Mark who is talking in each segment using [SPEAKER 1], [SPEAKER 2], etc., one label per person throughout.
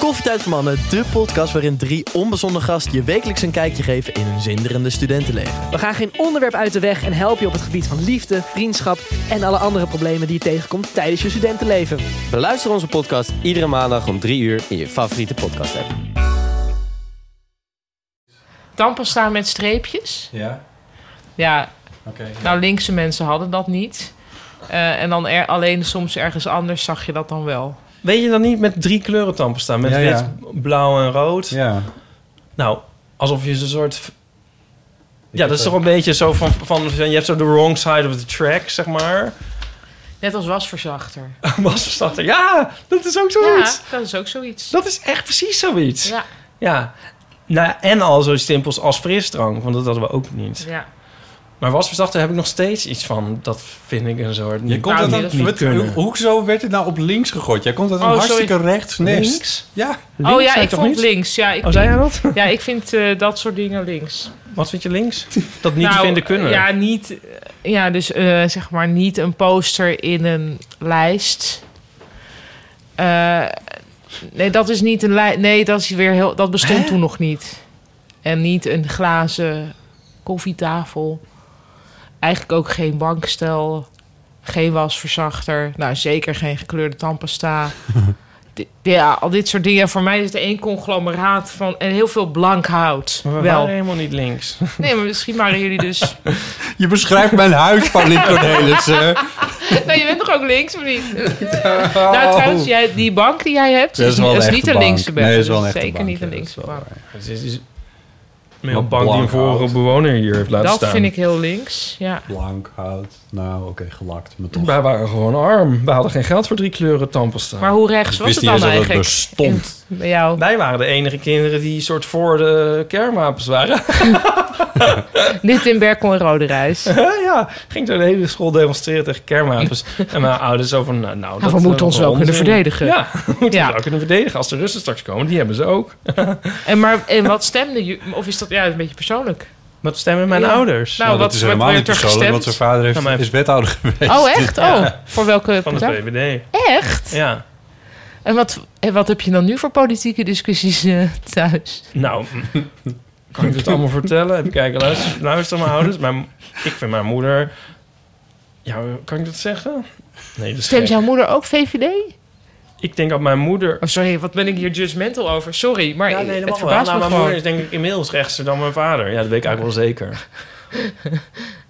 [SPEAKER 1] Koffietijd voor Mannen, de podcast waarin drie onbezonnen gasten je wekelijks een kijkje geven in hun zinderende studentenleven.
[SPEAKER 2] We gaan geen onderwerp uit de weg en helpen je op het gebied van liefde, vriendschap en alle andere problemen die je tegenkomt tijdens je studentenleven.
[SPEAKER 3] Beluister onze podcast iedere maandag om 3 uur in je favoriete podcast app.
[SPEAKER 4] tandpasta met streepjes.
[SPEAKER 5] Ja,
[SPEAKER 4] Ja,
[SPEAKER 5] oké.
[SPEAKER 4] nou linkse mensen hadden dat niet. Eh, en dan er, alleen soms ergens anders zag je dat dan wel.
[SPEAKER 6] Weet je dan niet met drie kleuren tandpasta? Met
[SPEAKER 5] Ja, ja.
[SPEAKER 6] wit, blauw en rood?
[SPEAKER 5] Ja.
[SPEAKER 6] Nou, alsof je zo'n soort... Ja,
[SPEAKER 5] heb
[SPEAKER 6] dat is
[SPEAKER 5] dat-
[SPEAKER 6] toch een beetje zo van, van, van... Je hebt zo de wrong side of the track, zeg maar.
[SPEAKER 4] Net als wasverzachter.
[SPEAKER 6] Wasverstander. Ja, dat is ook
[SPEAKER 4] Ja,
[SPEAKER 6] zoiets.
[SPEAKER 4] dat is ook zoiets.
[SPEAKER 6] Dat is echt precies zoiets. Ja.
[SPEAKER 4] Ja,
[SPEAKER 6] Nou, ja, en al zoiets simpels als frisdrank. Want dat hadden we ook niet.
[SPEAKER 4] ja.
[SPEAKER 6] Maar wasverstander heb ik nog steeds iets van. Dat vind ik een soort...
[SPEAKER 5] Je komt
[SPEAKER 4] Nou,
[SPEAKER 5] uit
[SPEAKER 4] nee,
[SPEAKER 5] een-
[SPEAKER 4] dat
[SPEAKER 6] niet
[SPEAKER 5] wat-
[SPEAKER 6] kunnen.
[SPEAKER 5] hoe- Hoezo werd het nou op links gegooid? Jij komt uit een
[SPEAKER 4] Oh, sorry.
[SPEAKER 5] hartstikke rechts nest.
[SPEAKER 6] Links?
[SPEAKER 5] Ja.
[SPEAKER 4] oh
[SPEAKER 6] Links,
[SPEAKER 4] ja,
[SPEAKER 6] zei
[SPEAKER 4] ik
[SPEAKER 6] toch
[SPEAKER 4] vond
[SPEAKER 6] niet?
[SPEAKER 4] links. Ja, ik
[SPEAKER 6] Oh, zei jij
[SPEAKER 4] vind,
[SPEAKER 6] dat?
[SPEAKER 4] ja, ik vind eh, dat soort dingen links.
[SPEAKER 6] Wat vind je links? Dat niet
[SPEAKER 4] Nou,
[SPEAKER 6] vinden kunnen.
[SPEAKER 4] Ja, niet, ja dus eh, zeg maar niet een poster in een lijst. Eh, nee, dat is niet een lijst. Nee, dat, is weer heel, dat bestond toen nog niet. En niet een glazen koffietafel. Eigenlijk ook geen bankstel. Geen wasverzachter. Nou, zeker geen gekleurde tandpasta. Di- ja, al dit soort dingen. Voor mij is het één conglomeraat van... en heel veel blank hout.
[SPEAKER 6] Maar we
[SPEAKER 4] Wel.
[SPEAKER 6] waren helemaal niet links.
[SPEAKER 4] Nee, maar misschien waren jullie dus...
[SPEAKER 5] Je beschrijft mijn huis, Pauline Cornelissen.
[SPEAKER 4] Nou, je bent toch ook links, of niet?
[SPEAKER 5] Oh.
[SPEAKER 4] Nou, trouwens, jij, die bank die jij hebt,
[SPEAKER 5] Dat
[SPEAKER 4] is,
[SPEAKER 5] is wel
[SPEAKER 4] dat is
[SPEAKER 5] een
[SPEAKER 4] niet
[SPEAKER 5] echte
[SPEAKER 4] een linkse
[SPEAKER 5] bank.
[SPEAKER 4] bank.
[SPEAKER 5] Nee, dat is
[SPEAKER 4] Dus
[SPEAKER 5] wel een echte
[SPEAKER 4] zeker
[SPEAKER 5] bank,
[SPEAKER 4] niet
[SPEAKER 5] ja,
[SPEAKER 4] een
[SPEAKER 5] dat is
[SPEAKER 4] linkse
[SPEAKER 5] wel
[SPEAKER 4] bank.
[SPEAKER 6] Dus Het is, is
[SPEAKER 5] Wat
[SPEAKER 6] een bank die een
[SPEAKER 5] blank
[SPEAKER 6] vorige
[SPEAKER 5] hout.
[SPEAKER 6] bewoner hier heeft laten
[SPEAKER 4] Dat
[SPEAKER 6] staan.
[SPEAKER 4] vind ik heel links, ja.
[SPEAKER 5] Blank hout. Nou, oké, gelakt. Maar toch.
[SPEAKER 6] Wij waren gewoon arm. We hadden geen geld voor drie kleuren tandpasta.
[SPEAKER 4] Maar hoe rechts was het dan
[SPEAKER 5] dat het dus
[SPEAKER 4] eigenlijk?
[SPEAKER 5] bestond.
[SPEAKER 4] In- bij jou.
[SPEAKER 6] Wij waren de enige kinderen die soort voor de kernwapens waren.
[SPEAKER 4] Niet in Berkel en Rode Reis.
[SPEAKER 6] ja, ging zo de hele school demonstreren tegen kernwapens. en mijn ouders zo van, nou, nou
[SPEAKER 4] we moeten ons
[SPEAKER 6] eh,
[SPEAKER 4] wel kunnen
[SPEAKER 6] onzin.
[SPEAKER 4] verdedigen.
[SPEAKER 6] Ja, we moeten
[SPEAKER 4] Ja.
[SPEAKER 6] ons wel kunnen verdedigen. Als de Russen straks komen, die hebben ze ook.
[SPEAKER 4] En, maar, en wat stemde je? Of is dat ja, een beetje persoonlijk?
[SPEAKER 6] Wat stemmen mijn
[SPEAKER 4] Ja.
[SPEAKER 6] ouders?
[SPEAKER 4] Nou, wat,
[SPEAKER 5] dat is
[SPEAKER 4] wat
[SPEAKER 5] helemaal niet
[SPEAKER 4] werd er
[SPEAKER 5] persoonlijk, want
[SPEAKER 4] gestemd?
[SPEAKER 5] zijn vader heeft,
[SPEAKER 6] Ja, maar-
[SPEAKER 5] is wethouder geweest.
[SPEAKER 4] Oh, echt? Oh, voor welke
[SPEAKER 6] van de
[SPEAKER 4] partij?
[SPEAKER 6] VVD.
[SPEAKER 4] Echt?
[SPEAKER 6] Ja.
[SPEAKER 4] En wat, en wat heb je dan nu voor politieke discussies eh, thuis?
[SPEAKER 6] Nou, m- kan ik het allemaal vertellen? Even kijken, luister, luister mijn ouders. Mijn, ik vind mijn moeder... Ja, kan ik dat zeggen? Nee, dat is
[SPEAKER 4] Stemt
[SPEAKER 6] gek.
[SPEAKER 4] jouw moeder ook VVD?
[SPEAKER 6] Ik denk dat mijn moeder...
[SPEAKER 4] Oh, sorry, wat ben ik hier judgmental over? Sorry, maar
[SPEAKER 6] Ja, nee,
[SPEAKER 4] het
[SPEAKER 6] helemaal wel.
[SPEAKER 4] verbaast
[SPEAKER 6] Nou,
[SPEAKER 4] me
[SPEAKER 6] mijn
[SPEAKER 4] gewoon.
[SPEAKER 6] moeder is denk ik inmiddels rechtser dan mijn vader. Ja, dat weet ik eigenlijk wel zeker.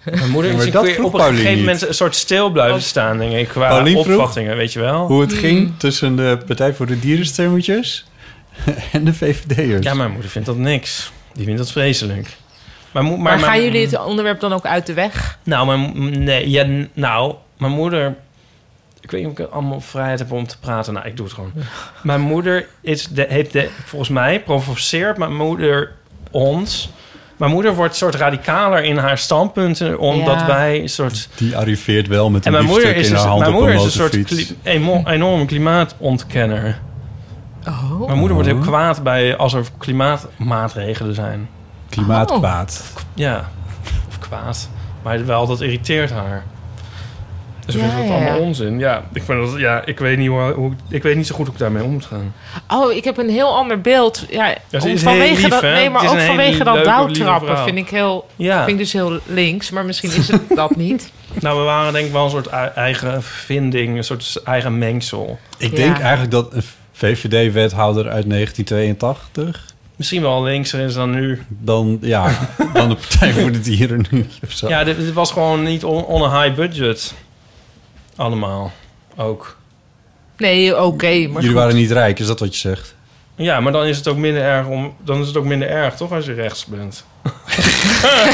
[SPEAKER 6] Mijn moeder
[SPEAKER 5] Ja,
[SPEAKER 6] is
[SPEAKER 5] maar
[SPEAKER 6] een
[SPEAKER 5] dat
[SPEAKER 6] keer
[SPEAKER 5] vroeg
[SPEAKER 6] op een gegeven
[SPEAKER 5] Paulien
[SPEAKER 6] moment een soort stil
[SPEAKER 4] Oh.
[SPEAKER 6] blijven staan, denk ik, qua
[SPEAKER 5] Paulien vroeg?
[SPEAKER 6] opvattingen, weet je wel.
[SPEAKER 5] Hoe
[SPEAKER 4] Hmm.
[SPEAKER 5] het ging tussen de Partij voor de Dierenstemmetjes en de VVD'ers.
[SPEAKER 6] Ja, mijn moeder vindt dat niks. Die vindt dat vreselijk. Maar, mo- maar,
[SPEAKER 4] Maar,
[SPEAKER 6] mijn-
[SPEAKER 4] gaan jullie het onderwerp dan ook uit de weg?
[SPEAKER 6] Nou, mijn, nee, ja, n- nou, mijn moeder... Ik weet niet of ik allemaal vrijheid heb om te praten. Nou, ik doe het gewoon. Mijn moeder is de, heeft de, volgens mij provoceert mijn moeder ons. Mijn moeder wordt soort radicaler in haar standpunten, omdat
[SPEAKER 4] Ja.
[SPEAKER 6] wij een soort.
[SPEAKER 5] Die arriveert wel met
[SPEAKER 6] En
[SPEAKER 5] een
[SPEAKER 6] mijn moeder
[SPEAKER 5] biefstuk
[SPEAKER 6] is
[SPEAKER 5] in haar
[SPEAKER 6] een, soort-
[SPEAKER 5] hand
[SPEAKER 6] mijn
[SPEAKER 5] op
[SPEAKER 6] moeder
[SPEAKER 5] een
[SPEAKER 6] is een soort
[SPEAKER 5] motorfiets.
[SPEAKER 6] kli- emo- enorme klimaatontkenner.
[SPEAKER 4] Oh.
[SPEAKER 6] Mijn moeder wordt heel kwaad bij als er klimaatmaatregelen zijn.
[SPEAKER 4] Oh.
[SPEAKER 5] Klimaatkwaad.
[SPEAKER 6] Ja, of kwaad. Maar wel, dat irriteert haar. Dus
[SPEAKER 4] Ja,
[SPEAKER 6] ik vind dat
[SPEAKER 4] ja,
[SPEAKER 6] allemaal
[SPEAKER 4] ja.
[SPEAKER 6] onzin. Ja, ik, vind dat, ja ik, weet niet hoe, hoe- ik weet niet zo goed hoe ik daarmee om moet gaan.
[SPEAKER 4] Oh, ik heb een heel ander beeld. Ja,
[SPEAKER 6] Ja, ze
[SPEAKER 4] om-
[SPEAKER 6] is
[SPEAKER 4] vanwege
[SPEAKER 6] heel lief,
[SPEAKER 4] dat,
[SPEAKER 6] hè?
[SPEAKER 4] nee, maar
[SPEAKER 6] Het is
[SPEAKER 4] ook
[SPEAKER 6] een hele
[SPEAKER 4] vanwege dat
[SPEAKER 6] leuke, lieve
[SPEAKER 4] douwtrappen
[SPEAKER 6] vrouw.
[SPEAKER 4] vind ik, heel,
[SPEAKER 6] Ja,
[SPEAKER 4] vind ik dus heel links. Maar misschien is het dat niet.
[SPEAKER 6] nou, we waren denk ik wel een soort ei- eigen vinding, een soort eigen mengsel.
[SPEAKER 5] Ik denk
[SPEAKER 4] Ja.
[SPEAKER 5] eigenlijk dat een VVD-wethouder uit 1982...
[SPEAKER 6] Misschien wel linkser is dan nu.
[SPEAKER 5] Dan, ja, dan de Partij voor de Dieren nu of zo.
[SPEAKER 6] Ja, dit, dit was gewoon niet on, on een high budget. Allemaal. Ook.
[SPEAKER 4] Nee, oké. maar
[SPEAKER 5] Jullie
[SPEAKER 4] goed.
[SPEAKER 5] waren niet rijk, is dat wat je zegt?
[SPEAKER 6] Ja, maar dan is het ook minder erg, om, dan is het ook minder erg toch, als je rechts bent?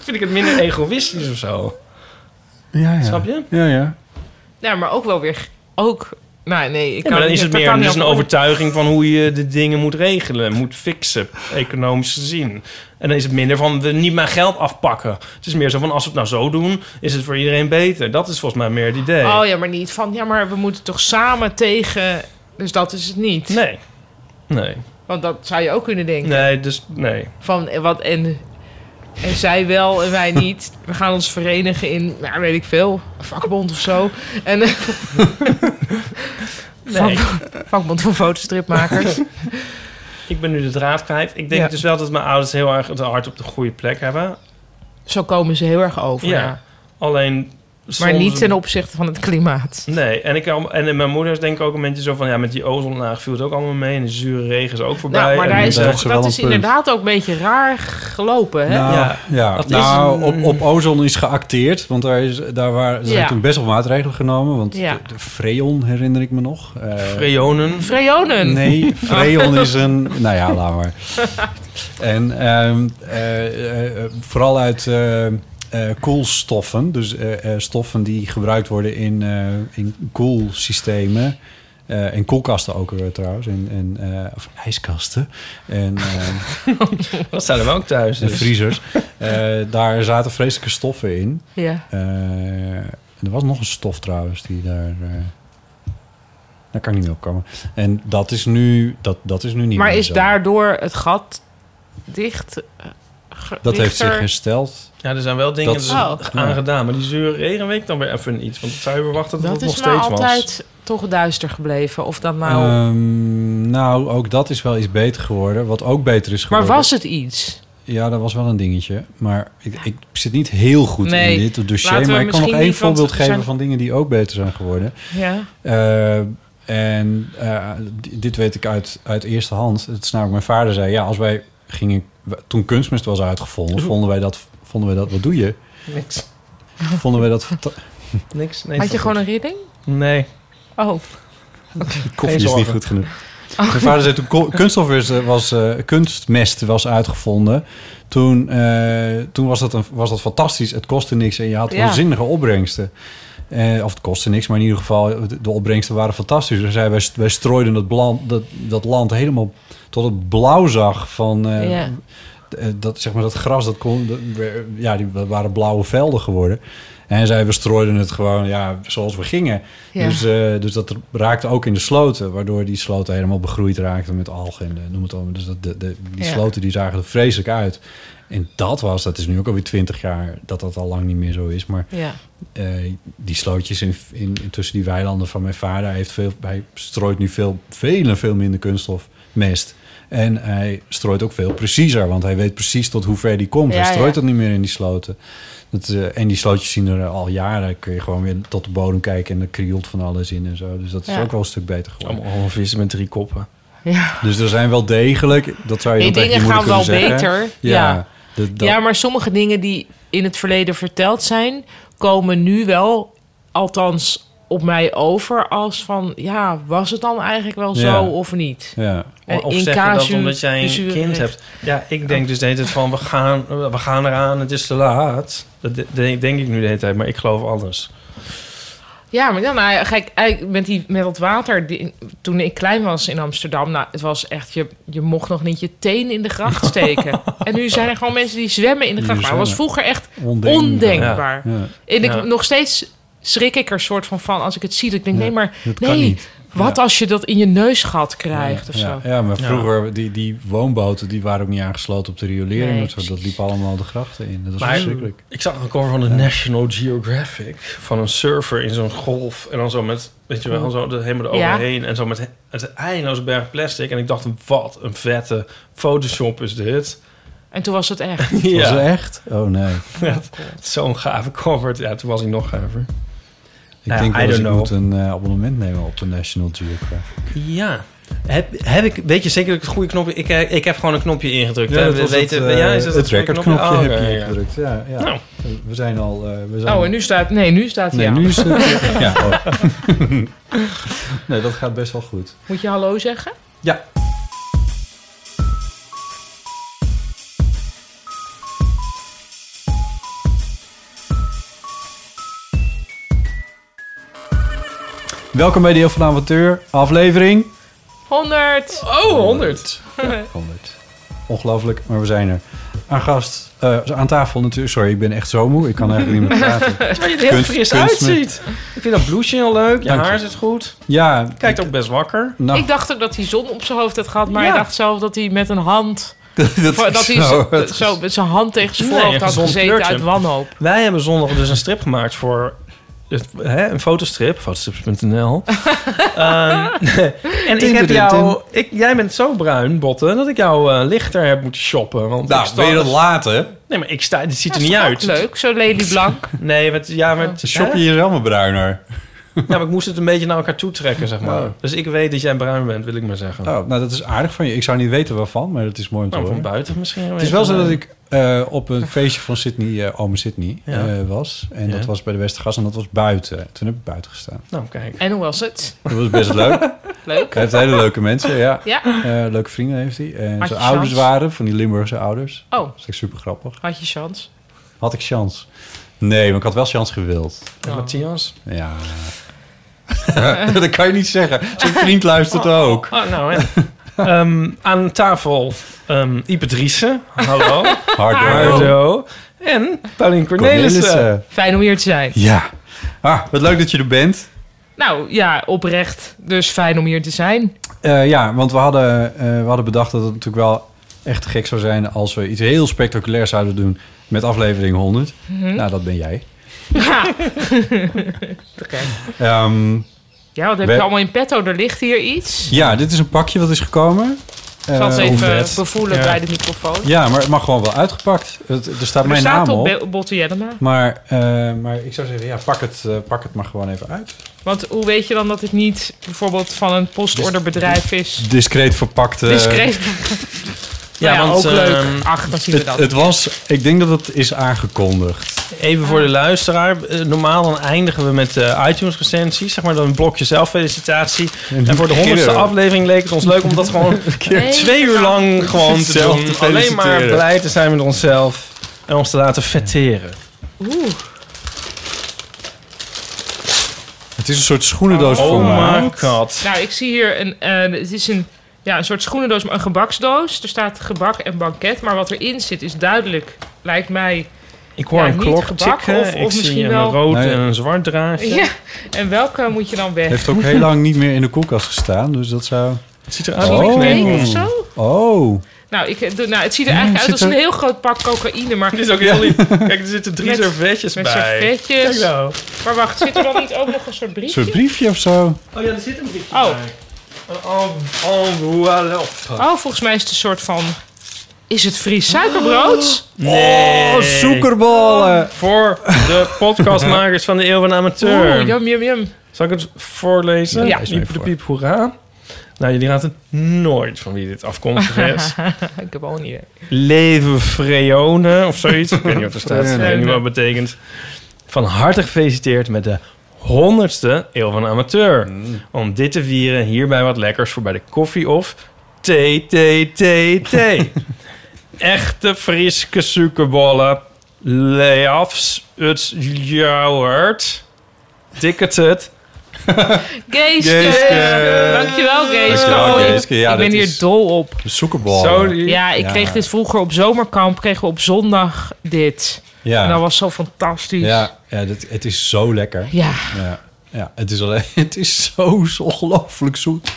[SPEAKER 6] Vind ik het minder egoïstisch of zo?
[SPEAKER 5] Ja, ja.
[SPEAKER 6] Snap je?
[SPEAKER 5] Ja, ja.
[SPEAKER 4] Ja, maar ook wel weer ook... Nou, nee, ik
[SPEAKER 6] Ja,
[SPEAKER 4] kan
[SPEAKER 6] maar dan
[SPEAKER 4] niet-
[SPEAKER 6] is het
[SPEAKER 4] dat
[SPEAKER 6] meer
[SPEAKER 4] kan
[SPEAKER 6] het
[SPEAKER 4] niet
[SPEAKER 6] is een
[SPEAKER 4] over-
[SPEAKER 6] overtuiging van hoe je de dingen moet regelen, moet fixen, economisch gezien. En dan is het minder van we niet mijn geld afpakken. Het is meer zo van als we het nou zo doen, is het voor iedereen beter. Dat is volgens mij meer het idee.
[SPEAKER 4] Oh ja, maar niet van... Ja, maar we moeten toch samen tegen... Dus dat is het niet.
[SPEAKER 6] Nee. Nee.
[SPEAKER 4] Want dat zou je ook kunnen denken.
[SPEAKER 6] Nee, dus nee.
[SPEAKER 4] Van eh, wat en, en zij wel en wij niet. We gaan ons verenigen in, nou, weet ik veel, een vakbond of zo. En, eh,
[SPEAKER 6] Nee.
[SPEAKER 4] Vak- vakbond voor fotostripmakers.
[SPEAKER 6] Ik ben nu de draad kwijt. Ik denk
[SPEAKER 4] Ja.
[SPEAKER 6] dus wel dat mijn ouders heel erg het hart op de goede plek hebben.
[SPEAKER 4] Zo komen ze heel erg over.
[SPEAKER 6] Ja.
[SPEAKER 4] Ja.
[SPEAKER 6] Alleen. soms-
[SPEAKER 4] Maar niet ten opzichte van het klimaat.
[SPEAKER 6] Nee, en, ik, en mijn moeder is denk ik ook een beetje zo van... ja, met die ozonlaag viel het ook allemaal mee... en de zure regen is ook voorbij.
[SPEAKER 4] Nou, maar
[SPEAKER 6] en
[SPEAKER 4] daar is
[SPEAKER 6] eh,
[SPEAKER 4] toch,
[SPEAKER 5] ze wel
[SPEAKER 4] dat
[SPEAKER 5] een
[SPEAKER 4] is
[SPEAKER 5] punt.
[SPEAKER 4] inderdaad ook een beetje raar gelopen. Hè?
[SPEAKER 5] Nou,
[SPEAKER 6] Ja,
[SPEAKER 5] ja.
[SPEAKER 6] dat is
[SPEAKER 5] nou
[SPEAKER 6] een-
[SPEAKER 5] op, op ozon is geacteerd. Want daar, is, daar waren, zijn
[SPEAKER 4] Ja.
[SPEAKER 5] toen best wel maatregelen genomen. Want
[SPEAKER 4] Ja.
[SPEAKER 5] de, de Freon herinner ik me nog. Eh,
[SPEAKER 6] Freonen.
[SPEAKER 4] Freonen.
[SPEAKER 5] Nee, Freon is een... Nou ja, laat maar. En ehm, eh, eh, eh, vooral uit eh, eh, koelstoffen. Dus eh, eh, stoffen die gebruikt worden in, eh, in koelsystemen. eh en koelkasten ook weer trouwens. En, en, eh, of ijskasten. En... ehm,
[SPEAKER 6] Dat zijn we ook thuis.
[SPEAKER 5] de
[SPEAKER 6] Dus.
[SPEAKER 5] vriezers. Eh, daar zaten vreselijke stoffen in.
[SPEAKER 4] Ja.
[SPEAKER 5] Eh, en er was nog een stof trouwens die daar... eh daar kan ik niet meer opkomen. En dat is nu, dat, dat is nu niet
[SPEAKER 4] Maar
[SPEAKER 5] meer
[SPEAKER 4] is
[SPEAKER 5] zo.
[SPEAKER 4] daardoor het gat dicht? eh, ge-
[SPEAKER 5] Dat heeft
[SPEAKER 4] dichter?
[SPEAKER 5] zich hersteld.
[SPEAKER 6] Ja, er zijn wel dingen dus
[SPEAKER 5] Dat-
[SPEAKER 6] aan
[SPEAKER 4] Oh.
[SPEAKER 6] aangedaan. Maar die zure regen weet ik dan weer even iets. Want dat zou je verwachten dat,
[SPEAKER 4] Dat
[SPEAKER 6] het nog
[SPEAKER 4] is nou
[SPEAKER 6] steeds
[SPEAKER 4] altijd
[SPEAKER 6] was.
[SPEAKER 4] toch duister gebleven. Of dat nou...
[SPEAKER 5] Ehm, nou, ook dat is wel iets beter geworden. Wat ook beter is
[SPEAKER 4] maar
[SPEAKER 5] geworden...
[SPEAKER 4] was het iets?
[SPEAKER 5] Ja, dat was wel een dingetje. Maar ik, ik zit niet heel goed
[SPEAKER 4] Nee,
[SPEAKER 5] in dit dossier.
[SPEAKER 4] laten we
[SPEAKER 5] Maar ik kan nog
[SPEAKER 4] misschien
[SPEAKER 5] één
[SPEAKER 4] niet, want
[SPEAKER 5] voorbeeld
[SPEAKER 4] er
[SPEAKER 5] geven
[SPEAKER 4] zijn-
[SPEAKER 5] van dingen die ook beter zijn geworden.
[SPEAKER 4] Ja.
[SPEAKER 5] Eh, en eh, di- dit weet ik uit, uit eerste hand. Het is namelijk mijn vader zei... Ja, als wij gingen... we- Toen kunstmest was uitgevonden, vonden wij dat... Vonden wij dat wat doe je?
[SPEAKER 6] Niks.
[SPEAKER 5] Vonden wij dat... fanta-
[SPEAKER 6] Niks. Nee,
[SPEAKER 4] Had je
[SPEAKER 6] dat-
[SPEAKER 4] gewoon een ridding?
[SPEAKER 6] Nee.
[SPEAKER 4] Oh.
[SPEAKER 5] Die koffie is niet
[SPEAKER 6] zorgen.
[SPEAKER 5] goed genoeg. Mijn vader zei toen ko- kunststof is, eh, was, eh, kunstmest was uitgevonden. Toen, eh, toen was, dat een, was dat fantastisch. Het kostte niks en je had
[SPEAKER 4] Ja.
[SPEAKER 5] waanzinnige opbrengsten. Eh, of het kostte niks, maar in ieder geval, de, de opbrengsten waren fantastisch. Dus hij, wij, wij strooiden dat, blan- dat, dat land helemaal tot het blauw zag van... eh,
[SPEAKER 4] Ja.
[SPEAKER 5] eh, dat, zeg maar, dat gras, dat kon, dat- ja, die waren blauwe velden geworden. En zij, we strooiden het gewoon ja, zoals we gingen.
[SPEAKER 4] Ja.
[SPEAKER 5] Dus, eh, dus dat raakte ook in de sloten, waardoor die sloten helemaal begroeid raakten met algen en eh, noem het allemaal. Dus dat, de, de, die
[SPEAKER 4] Ja.
[SPEAKER 5] sloten die zagen er vreselijk uit. En dat was, dat is nu ook alweer twintig jaar, dat dat al lang niet meer zo is. Maar
[SPEAKER 4] Ja.
[SPEAKER 5] eh, die slootjes in, in, tussen die weilanden van mijn vader, hij, heeft veel, hij strooit nu veel, veel en veel minder kunststofmest. En hij strooit ook veel preciezer, want hij weet precies tot hoe ver die komt.
[SPEAKER 4] Ja,
[SPEAKER 5] hij strooit
[SPEAKER 4] ja.
[SPEAKER 5] dat niet meer in die sloten. Dat, eh, en die slootjes zien er al jaren. Kun je gewoon weer tot de bodem kijken en er krioelt van alles in en zo. Dus dat is
[SPEAKER 4] Ja.
[SPEAKER 5] ook wel een stuk beter geworden.
[SPEAKER 6] Allemaal allemaal vissen met drie koppen.
[SPEAKER 4] ja.
[SPEAKER 5] Dus er zijn wel degelijk, dat zou je
[SPEAKER 4] Die
[SPEAKER 5] dan tegen je
[SPEAKER 4] dingen gaan
[SPEAKER 5] moeder
[SPEAKER 4] wel
[SPEAKER 5] kunnen zeggen.
[SPEAKER 4] beter.
[SPEAKER 5] Ja,
[SPEAKER 4] Ja.
[SPEAKER 5] dat- dat-
[SPEAKER 4] ja, maar sommige dingen die in het verleden verteld zijn, komen nu wel, althans op mij over, als van ja, was het dan eigenlijk wel zo
[SPEAKER 5] Ja.
[SPEAKER 4] of niet?
[SPEAKER 5] ja.
[SPEAKER 6] Of,
[SPEAKER 4] Eh,
[SPEAKER 6] of
[SPEAKER 4] in
[SPEAKER 6] zeg je dat
[SPEAKER 4] casu dus
[SPEAKER 6] omdat jij
[SPEAKER 4] de
[SPEAKER 6] een
[SPEAKER 4] zure
[SPEAKER 6] kind
[SPEAKER 4] regen.
[SPEAKER 6] hebt? Ja, ik denk dus de hele tijd van we gaan, we gaan eraan, het is te laat. Dat de- de- denk ik nu de hele tijd, maar ik geloof alles.
[SPEAKER 4] Ja, maar dan nou, kijk, eigenlijk met, die, met dat water. die- toen ik klein was in Amsterdam, nou, het was echt, je, je mocht nog niet je teen in de gracht steken. en nu zijn er gewoon mensen die zwemmen in de
[SPEAKER 5] Die
[SPEAKER 4] gracht. Maar dat was
[SPEAKER 5] zwemmen.
[SPEAKER 4] vroeger echt
[SPEAKER 5] Ondenkbaar.
[SPEAKER 4] ondenkbaar.
[SPEAKER 5] Ja.
[SPEAKER 4] En ik,
[SPEAKER 6] Ja.
[SPEAKER 4] nog steeds schrik ik er soort van van als ik het zie. Dat ik denk,
[SPEAKER 5] Ja,
[SPEAKER 4] nee, maar
[SPEAKER 5] dat kan
[SPEAKER 4] nee,
[SPEAKER 5] niet.
[SPEAKER 4] wat als je dat in je neusgat krijgt of
[SPEAKER 5] ja,
[SPEAKER 4] zo.
[SPEAKER 5] ja, maar vroeger, Die, die woonboten die waren ook niet aangesloten op de riolering.
[SPEAKER 4] Nee,
[SPEAKER 5] of zo. dat
[SPEAKER 4] precies.
[SPEAKER 5] liep allemaal de grachten in. Dat was
[SPEAKER 6] Maar-
[SPEAKER 5] verschrikkelijk.
[SPEAKER 6] Ik zag een cover van de National Geographic van een surfer in zo'n golf en dan zo met weet je wel zo de- helemaal
[SPEAKER 4] Oh. Ja.
[SPEAKER 6] eroverheen en zo met he- het eindeloos berg plastic en ik dacht wat een vette Photoshop is dit.
[SPEAKER 4] En toen was het echt.
[SPEAKER 5] Was
[SPEAKER 6] Ja,
[SPEAKER 5] het echt? Oh nee.
[SPEAKER 6] zo'n gave cover. Ja, toen was ik nog gaver. Nou
[SPEAKER 5] Ik
[SPEAKER 6] Ja,
[SPEAKER 5] denk wel
[SPEAKER 6] I
[SPEAKER 5] dat ik
[SPEAKER 6] don't know.
[SPEAKER 5] moet een eh, abonnement nemen op de National Geographic.
[SPEAKER 6] Ja. Heb, heb ik, weet je zeker dat ik het goede knopje... Ik, eh, ik heb gewoon een knopje ingedrukt. hè? We weten,
[SPEAKER 5] eh,
[SPEAKER 6] ja, is dat
[SPEAKER 5] het
[SPEAKER 6] goede
[SPEAKER 5] recordknopje
[SPEAKER 6] knopje?
[SPEAKER 5] heb
[SPEAKER 6] Oh,
[SPEAKER 5] je
[SPEAKER 6] ja, ja.
[SPEAKER 5] ingedrukt. Ja, ja.
[SPEAKER 6] Nou.
[SPEAKER 5] We zijn al... eh, we zijn
[SPEAKER 4] Oh, en nu staat. Nee, nu staat hij
[SPEAKER 5] Nee,
[SPEAKER 4] aan.
[SPEAKER 5] nu is het... ja, oh. nee, dat gaat best wel goed.
[SPEAKER 4] Moet je hallo zeggen?
[SPEAKER 5] Ja. Welkom bij Deel van de Amateur, aflevering
[SPEAKER 4] 100.
[SPEAKER 6] Oh, 100.
[SPEAKER 5] 100. Ongelooflijk, maar we zijn er. Aan gast, eh, aan tafel natuurlijk. Sorry, ik ben echt zo moe. Ik kan eigenlijk niet meer praten.
[SPEAKER 6] Terwijl je er heel
[SPEAKER 5] Kunst-
[SPEAKER 6] fris
[SPEAKER 5] kunst-
[SPEAKER 6] uitziet. Ik vind dat blouseje heel leuk. Je
[SPEAKER 5] Dank je.
[SPEAKER 6] haar zit goed.
[SPEAKER 5] Ja,
[SPEAKER 6] Kijkt ook best wakker.
[SPEAKER 5] nou,
[SPEAKER 4] Ik dacht ook dat hij zon op zijn hoofd had gehad, maar
[SPEAKER 6] Ja.
[SPEAKER 4] ik dacht zelf dat hij met een hand.
[SPEAKER 5] dat
[SPEAKER 4] Dat,
[SPEAKER 5] is
[SPEAKER 4] hij
[SPEAKER 5] zo.
[SPEAKER 4] zo, zo met zijn hand tegen zijn
[SPEAKER 6] Nee,
[SPEAKER 4] voorhoofd
[SPEAKER 6] een
[SPEAKER 4] had
[SPEAKER 6] gezond
[SPEAKER 4] gezeten
[SPEAKER 6] kleurtje.
[SPEAKER 4] uit wanhoop.
[SPEAKER 6] Wij hebben zondag dus een strip gemaakt voor het, hè, een fotostrip, fotostrips.nl. Ehm, en ik heb jou, ik, jij bent zo bruin, Botten, dat ik jou eh, lichter heb moeten shoppen. Want ik
[SPEAKER 5] Nou,
[SPEAKER 6] sta-
[SPEAKER 5] wil je dat laten?
[SPEAKER 6] Nee, maar ik sta, het ziet
[SPEAKER 4] Ja,
[SPEAKER 6] er
[SPEAKER 4] is
[SPEAKER 6] niet
[SPEAKER 4] toch
[SPEAKER 6] uit.
[SPEAKER 4] ook Leuk, zo Lady Blank.
[SPEAKER 6] Nee, maar, het- ja, maar, het-
[SPEAKER 5] Shop
[SPEAKER 6] hè?
[SPEAKER 5] je jezelf maar bruiner.
[SPEAKER 6] ja, maar ik moest het een beetje naar elkaar toe trekken, zeg maar.
[SPEAKER 5] Oh.
[SPEAKER 6] Dus ik weet dat jij bruin bent, wil ik maar zeggen.
[SPEAKER 5] Oh, nou, dat is aardig van je. Ik zou niet weten waarvan, maar dat is mooi om te
[SPEAKER 6] Nou, van
[SPEAKER 5] horen.
[SPEAKER 6] buiten misschien.
[SPEAKER 5] Het is wel zo dat ik eh, op een feestje van Sydney, eh ome Sydney,
[SPEAKER 6] Ja.
[SPEAKER 5] eh, was. En
[SPEAKER 6] Ja.
[SPEAKER 5] dat was bij de Westergas en dat was buiten. Toen heb ik buiten gestaan.
[SPEAKER 6] Nou, kijk.
[SPEAKER 4] En hoe was het?
[SPEAKER 5] Dat was best leuk.
[SPEAKER 4] Leuk.
[SPEAKER 5] Hij heeft hele leuke mensen, ja.
[SPEAKER 4] Ja.
[SPEAKER 5] Eh, leuke vrienden heeft hij. En
[SPEAKER 4] Had
[SPEAKER 5] zijn
[SPEAKER 4] je
[SPEAKER 5] ouders
[SPEAKER 4] chance?
[SPEAKER 5] waren van die Limburgse ouders.
[SPEAKER 4] Oh,
[SPEAKER 5] Dat is echt super grappig.
[SPEAKER 4] had je kans?
[SPEAKER 5] Had ik chance? Nee, maar ik had wel chance gewild.
[SPEAKER 6] En Matthias.
[SPEAKER 5] Ja. dat kan je niet zeggen. Zijn vriend luistert
[SPEAKER 4] Oh.
[SPEAKER 5] ook.
[SPEAKER 6] Ah, nou, hè. Ehm, aan tafel ehm Ipe Driessen. Hallo.
[SPEAKER 5] Harder.
[SPEAKER 6] Hardo. En Paulien Cornelissen.
[SPEAKER 5] Cornelissen.
[SPEAKER 4] Fijn om hier te zijn.
[SPEAKER 5] Ja. Ah, wat leuk dat je er bent.
[SPEAKER 4] Nou ja, oprecht. Dus fijn om hier te zijn.
[SPEAKER 5] Eh, ja, want we hadden, eh, we hadden bedacht dat het natuurlijk wel echt gek zou zijn... als we iets heel spectaculairs zouden doen met aflevering 100.
[SPEAKER 4] Mhm.
[SPEAKER 5] Nou, dat ben jij. Ehm,
[SPEAKER 4] Ja, wat heb
[SPEAKER 5] We-
[SPEAKER 4] je allemaal in petto? Er ligt hier iets.
[SPEAKER 5] ja, dit is een pakje wat is gekomen.
[SPEAKER 4] Ik zal het
[SPEAKER 5] Eh,
[SPEAKER 4] even
[SPEAKER 6] vet.
[SPEAKER 4] bevoelen
[SPEAKER 6] Ja.
[SPEAKER 4] bij de microfoon.
[SPEAKER 5] Ja, maar het mag gewoon wel uitgepakt. Het, er staat
[SPEAKER 4] er
[SPEAKER 5] mijn
[SPEAKER 4] staat
[SPEAKER 5] naam
[SPEAKER 4] op
[SPEAKER 5] op.
[SPEAKER 4] Be- Botte Jellema.
[SPEAKER 5] Maar, eh, maar ik zou zeggen, ja, pak het, eh, pak het maar gewoon even uit.
[SPEAKER 4] Want hoe weet je dan dat het niet bijvoorbeeld van een postorderbedrijf is?
[SPEAKER 5] Discreet verpakt. eh,
[SPEAKER 4] Discreet.
[SPEAKER 6] Ja,
[SPEAKER 4] Nou ja,
[SPEAKER 6] want,
[SPEAKER 4] ook leuk.
[SPEAKER 6] ehm,
[SPEAKER 4] Ach, dan zien we
[SPEAKER 5] Het,
[SPEAKER 4] dat.
[SPEAKER 5] het was, ik denk dat het is aangekondigd.
[SPEAKER 6] Even voor de luisteraar. eh, Normaal dan eindigen we met eh, iTunes recensies. Zeg maar dan een blokje zelffelicitatie. En voor de honderdste
[SPEAKER 5] Keren.
[SPEAKER 6] aflevering leek het ons leuk om dat gewoon twee uur lang gewoon te
[SPEAKER 5] Zelf
[SPEAKER 6] doen.
[SPEAKER 5] te
[SPEAKER 6] Alleen maar
[SPEAKER 5] feliciteren.
[SPEAKER 6] blij te zijn met onszelf. En ons te laten vetteren.
[SPEAKER 5] Het is een soort schoenendoos
[SPEAKER 6] Oh
[SPEAKER 5] voor mij.
[SPEAKER 6] my god.
[SPEAKER 4] Nou, ik zie hier een. eh, het is een, ja, een soort schoenendoos, maar een gebaksdoos. Er staat gebak en banket. Maar wat erin zit is duidelijk, lijkt mij.
[SPEAKER 6] Ik hoor
[SPEAKER 4] Ja,
[SPEAKER 6] een
[SPEAKER 4] niet
[SPEAKER 6] klok
[SPEAKER 4] gebakken
[SPEAKER 6] tikken.
[SPEAKER 4] of-
[SPEAKER 6] ik
[SPEAKER 4] of
[SPEAKER 6] zie
[SPEAKER 4] misschien
[SPEAKER 6] een
[SPEAKER 4] wel-
[SPEAKER 6] rood
[SPEAKER 5] Nee.
[SPEAKER 6] en een zwart draadje.
[SPEAKER 4] Ja. En welke moet je dan weg?
[SPEAKER 5] Heeft ook heel lang niet meer in de koelkast gestaan, dus dat zou...
[SPEAKER 6] Het ziet eruit
[SPEAKER 4] Misschien
[SPEAKER 6] als
[SPEAKER 5] Oh.
[SPEAKER 4] een
[SPEAKER 6] een
[SPEAKER 4] cake
[SPEAKER 6] oh.
[SPEAKER 4] of zo?
[SPEAKER 5] Oh,
[SPEAKER 4] Nou, ik, eh, doe- nou, het ziet er
[SPEAKER 5] Ja,
[SPEAKER 4] eigenlijk uit
[SPEAKER 5] zit
[SPEAKER 4] als
[SPEAKER 5] er-
[SPEAKER 4] een heel groot pak cocaïne, maar
[SPEAKER 6] Dit is ook heel lief. Kijk, er zitten drie
[SPEAKER 4] Met-
[SPEAKER 6] servetjes
[SPEAKER 4] met
[SPEAKER 6] bij. Kijk
[SPEAKER 4] servetjes.
[SPEAKER 6] nou.
[SPEAKER 4] Maar wacht, zit er dan niet ook nog een soort
[SPEAKER 5] een
[SPEAKER 4] briefje?
[SPEAKER 5] soort briefje of zo.
[SPEAKER 6] Oh ja, er zit een briefje
[SPEAKER 4] Oh.
[SPEAKER 6] bij. Oh, oh, voilà.
[SPEAKER 4] Oh, volgens mij is het een soort van... Is het Fries suikerbrood? Oh,
[SPEAKER 6] Nee.
[SPEAKER 5] Oh, zoekerballen.
[SPEAKER 6] Voor de podcastmakers van de Eeuw van de Amateur.
[SPEAKER 4] Oeh, yum, yum, yum.
[SPEAKER 6] Zal ik het voorlezen?
[SPEAKER 4] Ja.
[SPEAKER 6] Piep de piep, hoera. Nou, jullie raden nooit van wie dit afkomstig is.
[SPEAKER 4] Ik heb al niet. idee.
[SPEAKER 6] Leven Freone of zoiets. ik weet niet wat er staat. Ik weet niet wat het betekent. Van harte gefeliciteerd met de 100ste Eeuw van de Amateur. Om dit te vieren, hierbij wat lekkers voor bij de koffie of thee, thee, thee, thee. Echte Friese suikerbollen. Leafs, het jouwert. Ticket het.
[SPEAKER 4] Geeske!
[SPEAKER 5] Geeske.
[SPEAKER 4] Dankjewel, Geeske.
[SPEAKER 5] Dankjewel,
[SPEAKER 4] Oh, ik-
[SPEAKER 5] Geeske. Ja,
[SPEAKER 4] ik ben
[SPEAKER 5] dit
[SPEAKER 4] hier
[SPEAKER 5] is-
[SPEAKER 4] dol op.
[SPEAKER 6] Zo,
[SPEAKER 5] Zoekerballen.
[SPEAKER 6] die-
[SPEAKER 4] Ja, ik
[SPEAKER 5] Ja.
[SPEAKER 4] kreeg dit vroeger op zomerkamp. Kregen we op zondag dit. En dat
[SPEAKER 5] Ja,
[SPEAKER 4] was zo fantastisch.
[SPEAKER 5] ja, ja dat, het is zo lekker.
[SPEAKER 4] Ja,
[SPEAKER 5] Ja, ja het, is alleen, het is zo ongelooflijk zoet.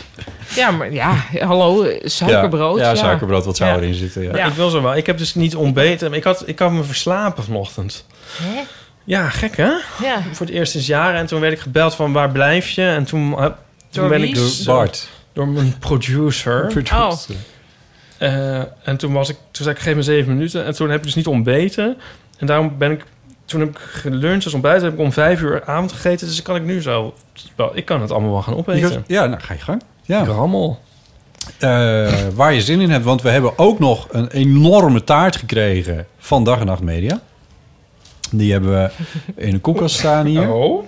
[SPEAKER 4] Ja, maar ja, hallo, eh, suikerbrood.
[SPEAKER 5] Ja,
[SPEAKER 4] Ja,
[SPEAKER 5] ja, suikerbrood, wat zou
[SPEAKER 4] Ja.
[SPEAKER 5] erin zitten. Ja.
[SPEAKER 6] Ja. Ik wil zo wel. Ik heb dus niet ontbeten. maar Ik had, ik had me verslapen vanochtend.
[SPEAKER 4] Hè?
[SPEAKER 6] Ja, gek hè?
[SPEAKER 4] Ja.
[SPEAKER 6] Voor het eerst sinds jaren. En toen werd ik gebeld van waar blijf je? En toen, eh, toen
[SPEAKER 4] Door
[SPEAKER 6] ben
[SPEAKER 4] wie?
[SPEAKER 6] ik
[SPEAKER 5] Door
[SPEAKER 6] zo-
[SPEAKER 5] Bart.
[SPEAKER 6] door mijn producer.
[SPEAKER 4] Oh.
[SPEAKER 6] Eh, en toen was ik, toen zei ik geef me zeven minuten. En toen heb ik dus niet ontbeten. En daarom ben ik, toen heb ik geluncht als ontbijt. Heb ik om vijf uur avond gegeten. Dus kan ik nu zo, wel, ik kan het allemaal wel gaan
[SPEAKER 5] Je
[SPEAKER 6] opeten.
[SPEAKER 5] kunt- Ja, nou, ga je gang. Ja.
[SPEAKER 6] Ik rammel.
[SPEAKER 5] Eh, waar je zin in hebt, want we hebben ook nog een enorme taart gekregen van Dag en Nacht Media. Die hebben we in de koelkast staan hier.
[SPEAKER 6] Oh,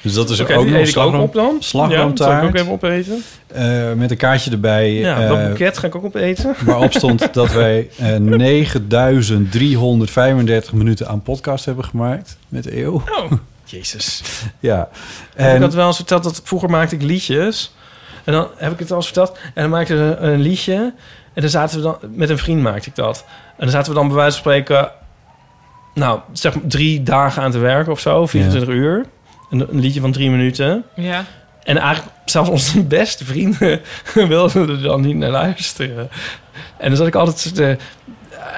[SPEAKER 5] Dus dat is
[SPEAKER 6] oké,
[SPEAKER 5] ook
[SPEAKER 6] die
[SPEAKER 5] nog
[SPEAKER 6] eet ik ook
[SPEAKER 5] slagroom,
[SPEAKER 6] op dan. Ja, dat
[SPEAKER 5] slagroomtaart.
[SPEAKER 6] zal ik ook even opeten.
[SPEAKER 5] eh, met een kaartje erbij
[SPEAKER 6] Ja,
[SPEAKER 5] eh,
[SPEAKER 6] dat boeket ga ik ook opeten.
[SPEAKER 5] waarop stond dat wij eh, 9335 minuten aan podcast hebben gemaakt met de eeuw.
[SPEAKER 6] Oh, Jezus.
[SPEAKER 5] Ja.
[SPEAKER 6] Heb ik
[SPEAKER 5] En-
[SPEAKER 6] dat wel eens verteld? Dat vroeger maakte ik liedjes. En dan heb ik het al eens verteld. En dan maakte ik een, een liedje. En dan zaten we dan... Met een vriend maakte ik dat. En dan zaten we dan bij wijze van spreken... Nou, zeg maar drie dagen aan te werken of zo. 24 uur. Een, een liedje van drie minuten.
[SPEAKER 4] Ja.
[SPEAKER 6] En eigenlijk zelfs onze beste vrienden wilden er dan niet naar luisteren. En dan zat ik altijd zo te,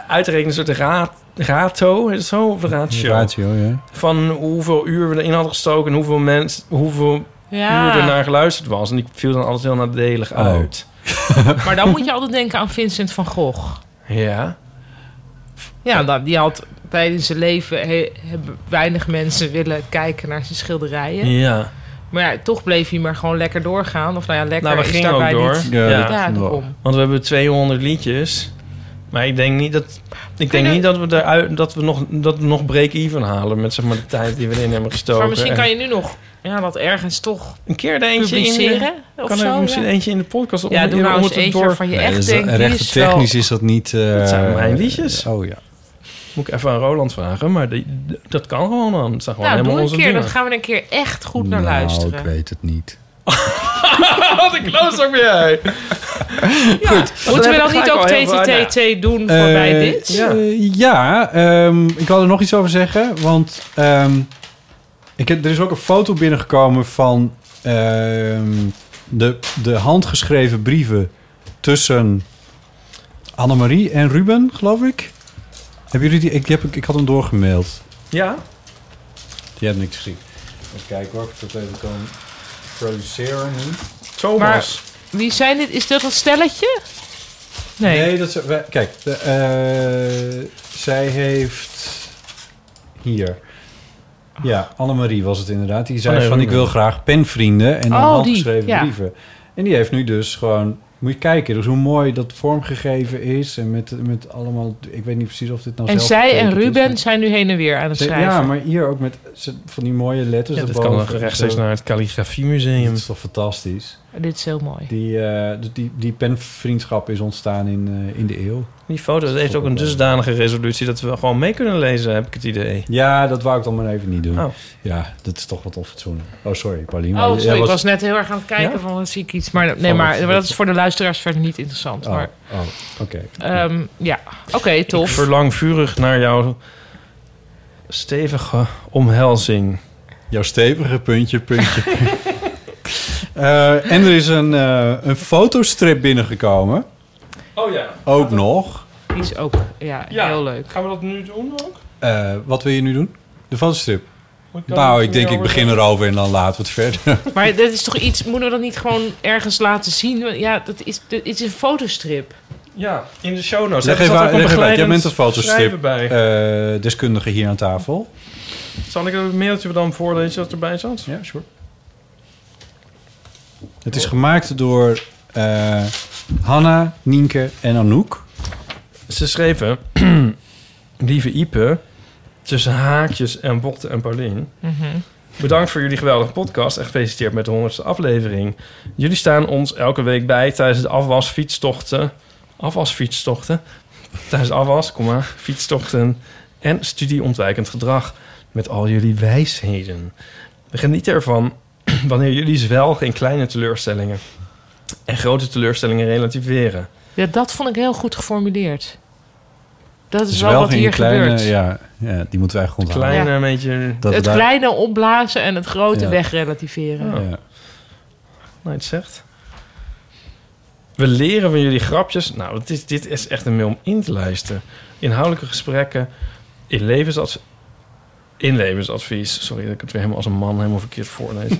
[SPEAKER 6] uit te rekenen, een soort raad, rato, heet het zo? Of ratio?
[SPEAKER 5] Ratio, ja.
[SPEAKER 6] Van hoeveel uur we erin hadden gestoken en hoeveel, mens, hoeveel
[SPEAKER 4] Ja.
[SPEAKER 6] uur er naar geluisterd was. En ik viel dan altijd heel
[SPEAKER 5] Oh.
[SPEAKER 6] nadelig uit.
[SPEAKER 4] Maar dan moet je altijd denken aan Vincent van Gogh.
[SPEAKER 6] Ja.
[SPEAKER 4] Ja, dat, die had tijdens zijn leven he- hebben weinig mensen willen kijken naar zijn schilderijen.
[SPEAKER 6] Ja.
[SPEAKER 4] Maar ja, toch bleef hij maar gewoon lekker doorgaan. Of nou ja, lekker
[SPEAKER 6] Nou, we
[SPEAKER 4] is
[SPEAKER 6] gingen ook
[SPEAKER 4] daarbij
[SPEAKER 6] door.
[SPEAKER 4] niet-
[SPEAKER 5] Ja,
[SPEAKER 4] Ja,
[SPEAKER 5] dat ging wel.
[SPEAKER 4] daarom.
[SPEAKER 6] Want we hebben 200 liedjes. Maar ik denk niet dat, ik denk
[SPEAKER 4] Kunnen-
[SPEAKER 6] niet dat we, daaruit, dat we nog, dat we nog break-even halen met zeg maar, de tijd die we erin hebben gestoken.
[SPEAKER 4] Maar misschien
[SPEAKER 6] En-
[SPEAKER 4] kan je nu nog ja, dat ergens toch
[SPEAKER 6] een keer er eentje in de-
[SPEAKER 4] publiceren. Of
[SPEAKER 6] kan
[SPEAKER 4] zo,
[SPEAKER 6] er
[SPEAKER 4] ja.
[SPEAKER 6] misschien eentje in de podcast om,
[SPEAKER 4] Ja, doe
[SPEAKER 6] om
[SPEAKER 4] nou eens
[SPEAKER 6] het
[SPEAKER 4] eentje
[SPEAKER 6] door...
[SPEAKER 4] waarvan je
[SPEAKER 5] Nee,
[SPEAKER 4] echt
[SPEAKER 5] dus
[SPEAKER 4] denkt, die
[SPEAKER 5] recht
[SPEAKER 4] is wel...
[SPEAKER 5] technisch is dat niet... eh,
[SPEAKER 6] Dat zijn mijn liedjes.
[SPEAKER 5] Oh ja.
[SPEAKER 6] Moet ik even aan Roland vragen, maar die, dat kan gewoon dan. Het zijn gewoon
[SPEAKER 4] Nou, doe
[SPEAKER 6] helemaal
[SPEAKER 4] een
[SPEAKER 6] onze
[SPEAKER 4] keer. Dan
[SPEAKER 6] dingen.
[SPEAKER 4] gaan we er een keer echt goed naar
[SPEAKER 5] Nou,
[SPEAKER 4] luisteren.
[SPEAKER 5] ik weet het niet.
[SPEAKER 6] Wat een klootzak ben jij.
[SPEAKER 5] eh,
[SPEAKER 4] Moeten we
[SPEAKER 6] Dan heb
[SPEAKER 4] dan
[SPEAKER 6] ik
[SPEAKER 4] niet ook
[SPEAKER 6] eigenlijk al Nou heel veel-
[SPEAKER 4] TTTT doen voorbij
[SPEAKER 5] Eh,
[SPEAKER 4] dit?
[SPEAKER 5] Ja, eh, ja ehm, ik wil er nog iets over zeggen. Want ehm, ik heb, er is ook een foto binnengekomen van ehm, de, de handgeschreven brieven tussen Annemarie en Ruben, geloof ik. Hebben jullie die? Ik, heb, ik had hem doorgemaild.
[SPEAKER 6] Ja?
[SPEAKER 5] Die hebben niks gezien. Even kijken hoor, of ik dat even kan produceren nu.
[SPEAKER 6] Thomas.
[SPEAKER 4] Wie zijn dit? Is dat dat stelletje?
[SPEAKER 5] Nee,
[SPEAKER 4] Nee.
[SPEAKER 5] dat is... wij- Kijk, de, eh, zij heeft... Hier.
[SPEAKER 4] Ah.
[SPEAKER 5] Ja, Annemarie was het inderdaad. Die zei
[SPEAKER 6] Oh, nee,
[SPEAKER 5] van, ik
[SPEAKER 6] Ruben.
[SPEAKER 5] wil graag penvrienden en dan
[SPEAKER 4] Oh,
[SPEAKER 5] handgeschreven
[SPEAKER 4] die, ja.
[SPEAKER 5] brieven. En die heeft nu dus gewoon... Moet je kijken, dus hoe mooi dat vormgegeven is. En met, met allemaal... Ik weet niet precies of dit nou
[SPEAKER 4] en
[SPEAKER 5] zelf
[SPEAKER 4] zij en
[SPEAKER 5] getekend is,
[SPEAKER 4] Ruben
[SPEAKER 5] maar-
[SPEAKER 4] zijn nu heen en weer aan het
[SPEAKER 5] Ze-
[SPEAKER 4] schrijven.
[SPEAKER 5] Ja, maar hier ook met ze- van die mooie letters.
[SPEAKER 6] dat
[SPEAKER 5] erboven
[SPEAKER 6] kan nog
[SPEAKER 5] en zo.
[SPEAKER 6] rechtstreeks naar het
[SPEAKER 5] Dat
[SPEAKER 6] Calligrafiemuseum.
[SPEAKER 5] is toch fantastisch?
[SPEAKER 4] Dit is heel mooi.
[SPEAKER 5] Die, eh, dus die, die penvriendschap is ontstaan in, eh, in de eeuw.
[SPEAKER 6] Die foto dat heeft ook een dusdanige resolutie dat we gewoon mee kunnen lezen, heb ik het idee.
[SPEAKER 5] Ja, dat wou ik dan maar even niet doen.
[SPEAKER 6] Oh.
[SPEAKER 5] Ja, dat is toch wat onfatsoenlijk. Oh, sorry, Paulien. maar
[SPEAKER 4] Oh,
[SPEAKER 5] jij
[SPEAKER 4] sorry, ik
[SPEAKER 5] was-
[SPEAKER 4] was net heel erg aan het kijken
[SPEAKER 6] Ja?
[SPEAKER 4] van wat zie ik iets. Maar, nee,
[SPEAKER 5] Van
[SPEAKER 4] maar,
[SPEAKER 5] wat-
[SPEAKER 4] maar dat is voor de luisteraars verder niet interessant.
[SPEAKER 5] Oh,
[SPEAKER 4] Maar
[SPEAKER 5] oh, oké.
[SPEAKER 4] ehm, ja, oké,
[SPEAKER 6] Ik
[SPEAKER 4] tof.
[SPEAKER 6] verlang vurig naar jouw stevige omhelzing.
[SPEAKER 5] Jouw stevige puntje, puntje. Eh, en er is een, eh, een fotostrip binnengekomen.
[SPEAKER 6] Oh ja.
[SPEAKER 5] Ook nog.
[SPEAKER 4] Die is ook ja,
[SPEAKER 6] Ja.
[SPEAKER 4] heel leuk.
[SPEAKER 6] Gaan we dat nu doen ook?
[SPEAKER 5] Eh, wat wil je nu doen? De fotostrip. nou, ik denk ik begin erover en dan laten we het
[SPEAKER 6] Nou,
[SPEAKER 5] verder.
[SPEAKER 4] Maar dit is toch iets, moeten we dat niet gewoon ergens laten zien? Want Ja, dat is, dit is een fotostrip.
[SPEAKER 6] Ja, in de show notes.
[SPEAKER 5] Leg even
[SPEAKER 6] Hebben ze dat
[SPEAKER 5] uit,
[SPEAKER 6] ook een
[SPEAKER 5] leg even uit. Jij
[SPEAKER 6] begeleidend
[SPEAKER 5] bent een fotostrip.
[SPEAKER 6] schrijven bij.
[SPEAKER 5] Eh, deskundige hier aan tafel.
[SPEAKER 6] Zal ik het mailtje dan voorlezen dat erbij zat?
[SPEAKER 5] Ja, sure. Het is gemaakt door eh, Hanna, Nienke en Anouk.
[SPEAKER 6] Ze schreven... Mm. Lieve Ipe, tussen haakjes en Botte en Paulien... Bedankt voor jullie geweldige podcast en gefeliciteerd met de 100ste aflevering. Jullie staan ons elke week bij tijdens de afwasfietstochten... Afwasfietstochten? Tijdens de afwas, kom maar, fietstochten en studieontwijkend gedrag. Met al jullie wijsheden. We genieten ervan wanneer jullie zwelgen in kleine teleurstellingen... en grote teleurstellingen relativeren.
[SPEAKER 4] Ja, dat vond ik heel goed geformuleerd. Dat is
[SPEAKER 5] Dus
[SPEAKER 4] wel wat
[SPEAKER 5] geen
[SPEAKER 4] hier gebeurt.
[SPEAKER 5] Ja, ja, die moeten wij eigenlijk onthouden.
[SPEAKER 6] Klein
[SPEAKER 4] Ja.
[SPEAKER 6] een beetje...
[SPEAKER 5] Dat we
[SPEAKER 4] het
[SPEAKER 5] daar-
[SPEAKER 4] kleine opblazen en het grote
[SPEAKER 5] Ja.
[SPEAKER 4] wegrelativeren.
[SPEAKER 6] Ja.
[SPEAKER 5] ja.
[SPEAKER 6] Nou, het zegt. We leren van jullie grapjes. Nou, dit is, dit is echt een mail om in te lijsten. Inhoudelijke gesprekken. In levensadvies. In levensadvies. Sorry dat ik het weer helemaal als een man helemaal verkeerd voorlees.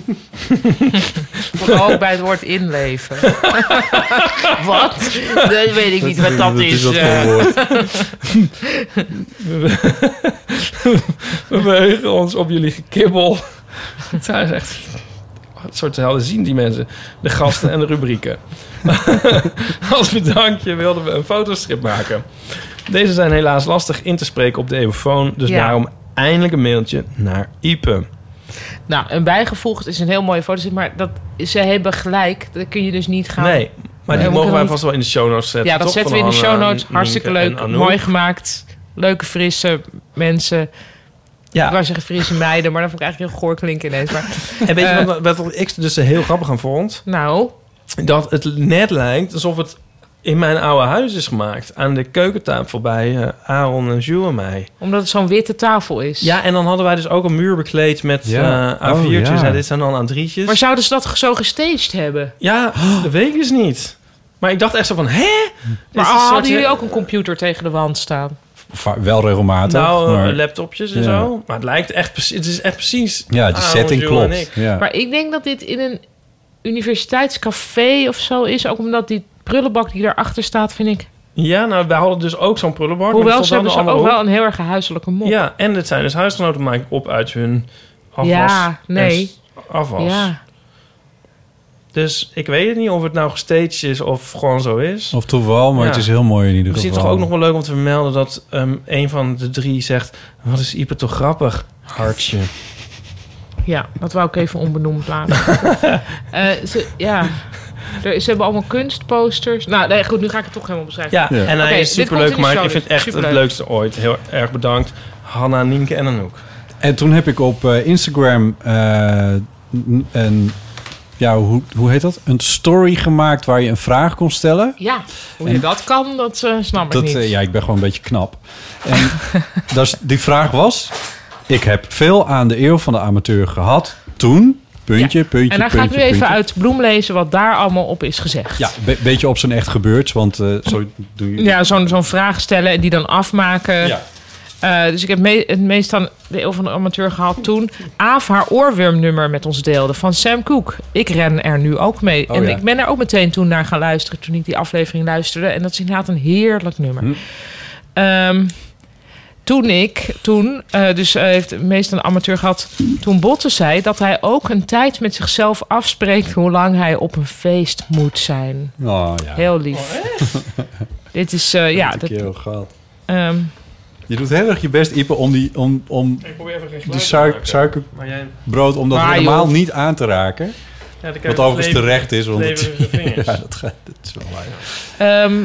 [SPEAKER 4] Vooral bij het woord inleven. wat? Dat weet ik niet wat dat is. eh.
[SPEAKER 6] We beheugen ons op jullie gekibbel. Het zijn echt een soort helden zien die mensen. De gasten en de rubrieken. Als bedankje wilden we een fotostrip maken. Deze zijn helaas lastig in te spreken op de eeuwfoon. Dus
[SPEAKER 4] Ja.
[SPEAKER 6] daarom eindelijk een mailtje naar Ipe.
[SPEAKER 4] nou, een bijgevoegd is een heel mooie foto, maar dat, ze hebben gelijk. Dat kun je dus niet gaan.
[SPEAKER 6] Nee, maar
[SPEAKER 4] Nee,
[SPEAKER 6] die mogen
[SPEAKER 4] we kunnen
[SPEAKER 6] wij
[SPEAKER 4] niet-
[SPEAKER 6] vast wel in de show notes zetten.
[SPEAKER 4] ja, dat
[SPEAKER 6] toch?
[SPEAKER 4] zetten we in
[SPEAKER 6] Van
[SPEAKER 4] de show
[SPEAKER 6] Anne,
[SPEAKER 4] notes.
[SPEAKER 6] Nienke
[SPEAKER 4] Hartstikke
[SPEAKER 6] en
[SPEAKER 4] leuk.
[SPEAKER 6] Anouk.
[SPEAKER 4] Mooi gemaakt. Leuke, frisse mensen. Ik
[SPEAKER 6] Ja,
[SPEAKER 4] wou zeggen Friese meiden, maar dat vond ik eigenlijk heel goor klinken ineens. Maar,
[SPEAKER 6] en weet
[SPEAKER 4] Eh.
[SPEAKER 6] je wat, wat ik dus heel grappig aan vond?
[SPEAKER 4] nou,
[SPEAKER 6] Dat het net lijkt alsof het in mijn oude huis is gemaakt. Aan de keukentafel bij eh, Aaron en Jules en mij.
[SPEAKER 4] omdat het zo'n witte tafel is.
[SPEAKER 6] Ja, en dan hadden wij dus ook een muur bekleed met
[SPEAKER 5] Ja.
[SPEAKER 6] eh, A4'tjes.
[SPEAKER 5] Oh, ja.
[SPEAKER 6] Ja, dit zijn dan A3'tjes.
[SPEAKER 4] Maar zouden ze dat zo gestaged hebben?
[SPEAKER 6] Ja, dat weet ik dus niet. Maar ik dacht echt zo van, hè?
[SPEAKER 4] Maar
[SPEAKER 6] Dit is een
[SPEAKER 4] ah,
[SPEAKER 6] soort,
[SPEAKER 4] hadden jullie
[SPEAKER 6] eh,
[SPEAKER 4] ook een computer tegen de wand staan?
[SPEAKER 5] Va- wel regelmatig.
[SPEAKER 6] Nou, eh,
[SPEAKER 5] maar,
[SPEAKER 6] laptopjes
[SPEAKER 5] Ja.
[SPEAKER 6] en zo. Maar het lijkt echt precies... Het is echt precies...
[SPEAKER 5] ja, die
[SPEAKER 6] Aaron,
[SPEAKER 5] setting
[SPEAKER 6] Jules Ah, en
[SPEAKER 5] klopt.
[SPEAKER 6] ik.
[SPEAKER 5] Ja.
[SPEAKER 4] Maar ik denk dat dit in een universiteitscafé of zo is. Ook omdat die prullenbak die daarachter staat, vind ik...
[SPEAKER 6] Ja, nou, wij hadden dus ook zo'n prullenbak. maar
[SPEAKER 4] Hoewel
[SPEAKER 6] die
[SPEAKER 4] ze
[SPEAKER 6] stond
[SPEAKER 4] hebben ze
[SPEAKER 6] allemaal
[SPEAKER 4] ook
[SPEAKER 6] op.
[SPEAKER 4] wel een heel erg huiselijke mop.
[SPEAKER 6] Ja, en het zijn dus huisgenoten maak ik op uit hun afwas.
[SPEAKER 4] Ja,
[SPEAKER 6] en
[SPEAKER 4] nee.
[SPEAKER 6] s- afwas.
[SPEAKER 4] Ja.
[SPEAKER 6] Dus ik weet het niet of het nou gestaged is of gewoon zo is.
[SPEAKER 5] Of toeval, maar
[SPEAKER 6] Ja.
[SPEAKER 5] het is heel mooi in ieder
[SPEAKER 6] Misschien
[SPEAKER 5] geval.
[SPEAKER 6] is het toch ook nog wel leuk om te vermelden dat ehm, een van de drie zegt... Wat is Ieper toch grappig? Hartje.
[SPEAKER 4] ja, dat wou ik even onbenoemd laten. Eh, ze, ja, Er- ze hebben allemaal kunstposters. Nou, nee, goed, nu ga ik het toch helemaal beschrijven.
[SPEAKER 6] Ja, en hij
[SPEAKER 4] Oké,
[SPEAKER 6] is
[SPEAKER 4] dit komt in
[SPEAKER 6] superleuk
[SPEAKER 4] de
[SPEAKER 6] gemaakt.
[SPEAKER 4] show
[SPEAKER 6] Ik vind het
[SPEAKER 4] dus.
[SPEAKER 6] echt
[SPEAKER 4] Superleuk.
[SPEAKER 6] het leukste ooit. Heel erg bedankt. Hanna, Nienke en Anouk.
[SPEAKER 5] En toen heb ik op eh, Instagram eh, n- een... Ja, hoe, hoe heet dat? Een story gemaakt waar je een vraag kon stellen.
[SPEAKER 4] Ja, hoe je dat kan, dat eh, snap ik
[SPEAKER 5] Dat,
[SPEAKER 4] niet.
[SPEAKER 5] eh, ja, ik ben gewoon een beetje knap. En dat is- die vraag was... Ik heb veel aan de eeuw van de amateur gehad. Toen, puntje, puntje, puntje,
[SPEAKER 4] en dan ga ik nu even
[SPEAKER 5] puntje.
[SPEAKER 4] uit Bloem lezen wat daar allemaal op is gezegd.
[SPEAKER 5] Ja, een be- beetje op zijn echt gebeurd, want eh, zo doe je...
[SPEAKER 4] Ja, zo'n zo'n vraag stellen en die dan afmaken.
[SPEAKER 5] Ja.
[SPEAKER 4] Eh, dus ik heb me- het meest aan de eeuw van de amateur gehad toen. Aaf haar oorwormnummer met ons deelde van Sam Cooke. Ik ren er nu ook mee.
[SPEAKER 5] Oh,
[SPEAKER 4] en
[SPEAKER 5] ja.
[SPEAKER 4] ik ben er ook meteen toen naar gaan luisteren toen ik die aflevering luisterde. En dat is inderdaad een heerlijk nummer.
[SPEAKER 5] Hm.
[SPEAKER 4] Ehm, toen ik, toen, eh, dus eh, heeft het meest aan de amateur gehad. Toen Botte zei dat hij ook een tijd met zichzelf afspreekt hoe lang hij op een feest moet zijn.
[SPEAKER 5] Oh, ja.
[SPEAKER 4] Heel lief. Dit is, eh, ja,
[SPEAKER 5] Dat
[SPEAKER 4] dat,
[SPEAKER 5] heb ik heel gauw.
[SPEAKER 4] ehm,
[SPEAKER 5] Je doet heel erg je best, Ipe, om die, om, om
[SPEAKER 6] Ik probeer even geen
[SPEAKER 5] die suik, suikerbrood...
[SPEAKER 6] Maar jij...
[SPEAKER 5] om dat
[SPEAKER 4] Maar,
[SPEAKER 5] helemaal
[SPEAKER 4] joh.
[SPEAKER 5] niet aan te raken.
[SPEAKER 6] Ja, de
[SPEAKER 5] Wat overigens terecht is, want het,
[SPEAKER 6] vingers.
[SPEAKER 5] ja, dat, gaat- dat is wel waar.
[SPEAKER 4] ehm,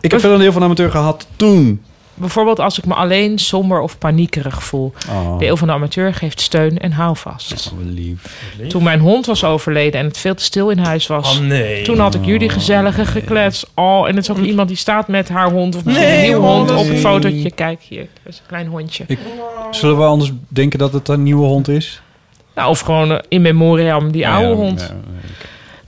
[SPEAKER 5] Ik heb veel een deel van de amateur gehad toen.
[SPEAKER 4] Bijvoorbeeld als ik me alleen somber of paniekerig voel.
[SPEAKER 5] Oh,
[SPEAKER 4] De eeuw van de amateur geeft steun en houvast.
[SPEAKER 5] oh, lief.
[SPEAKER 4] Toen mijn hond was overleden en het veel te stil in huis was.
[SPEAKER 6] Oh nee. Mm.
[SPEAKER 4] Toen had ik jullie gezellige geklets. Oh, en het is ook iemand die staat met haar hond of misschien een
[SPEAKER 6] Nee,
[SPEAKER 4] nieuwe
[SPEAKER 6] joh,
[SPEAKER 4] hond
[SPEAKER 6] dat
[SPEAKER 4] op
[SPEAKER 6] is
[SPEAKER 4] het
[SPEAKER 6] niet-
[SPEAKER 4] fotootje. Kijk hier, dat is een klein hondje.
[SPEAKER 5] Zullen we anders denken dat het een nieuwe hond is?
[SPEAKER 4] Nou, of gewoon eh, in memoriam die oude
[SPEAKER 5] Ja,
[SPEAKER 4] hond.
[SPEAKER 5] ja,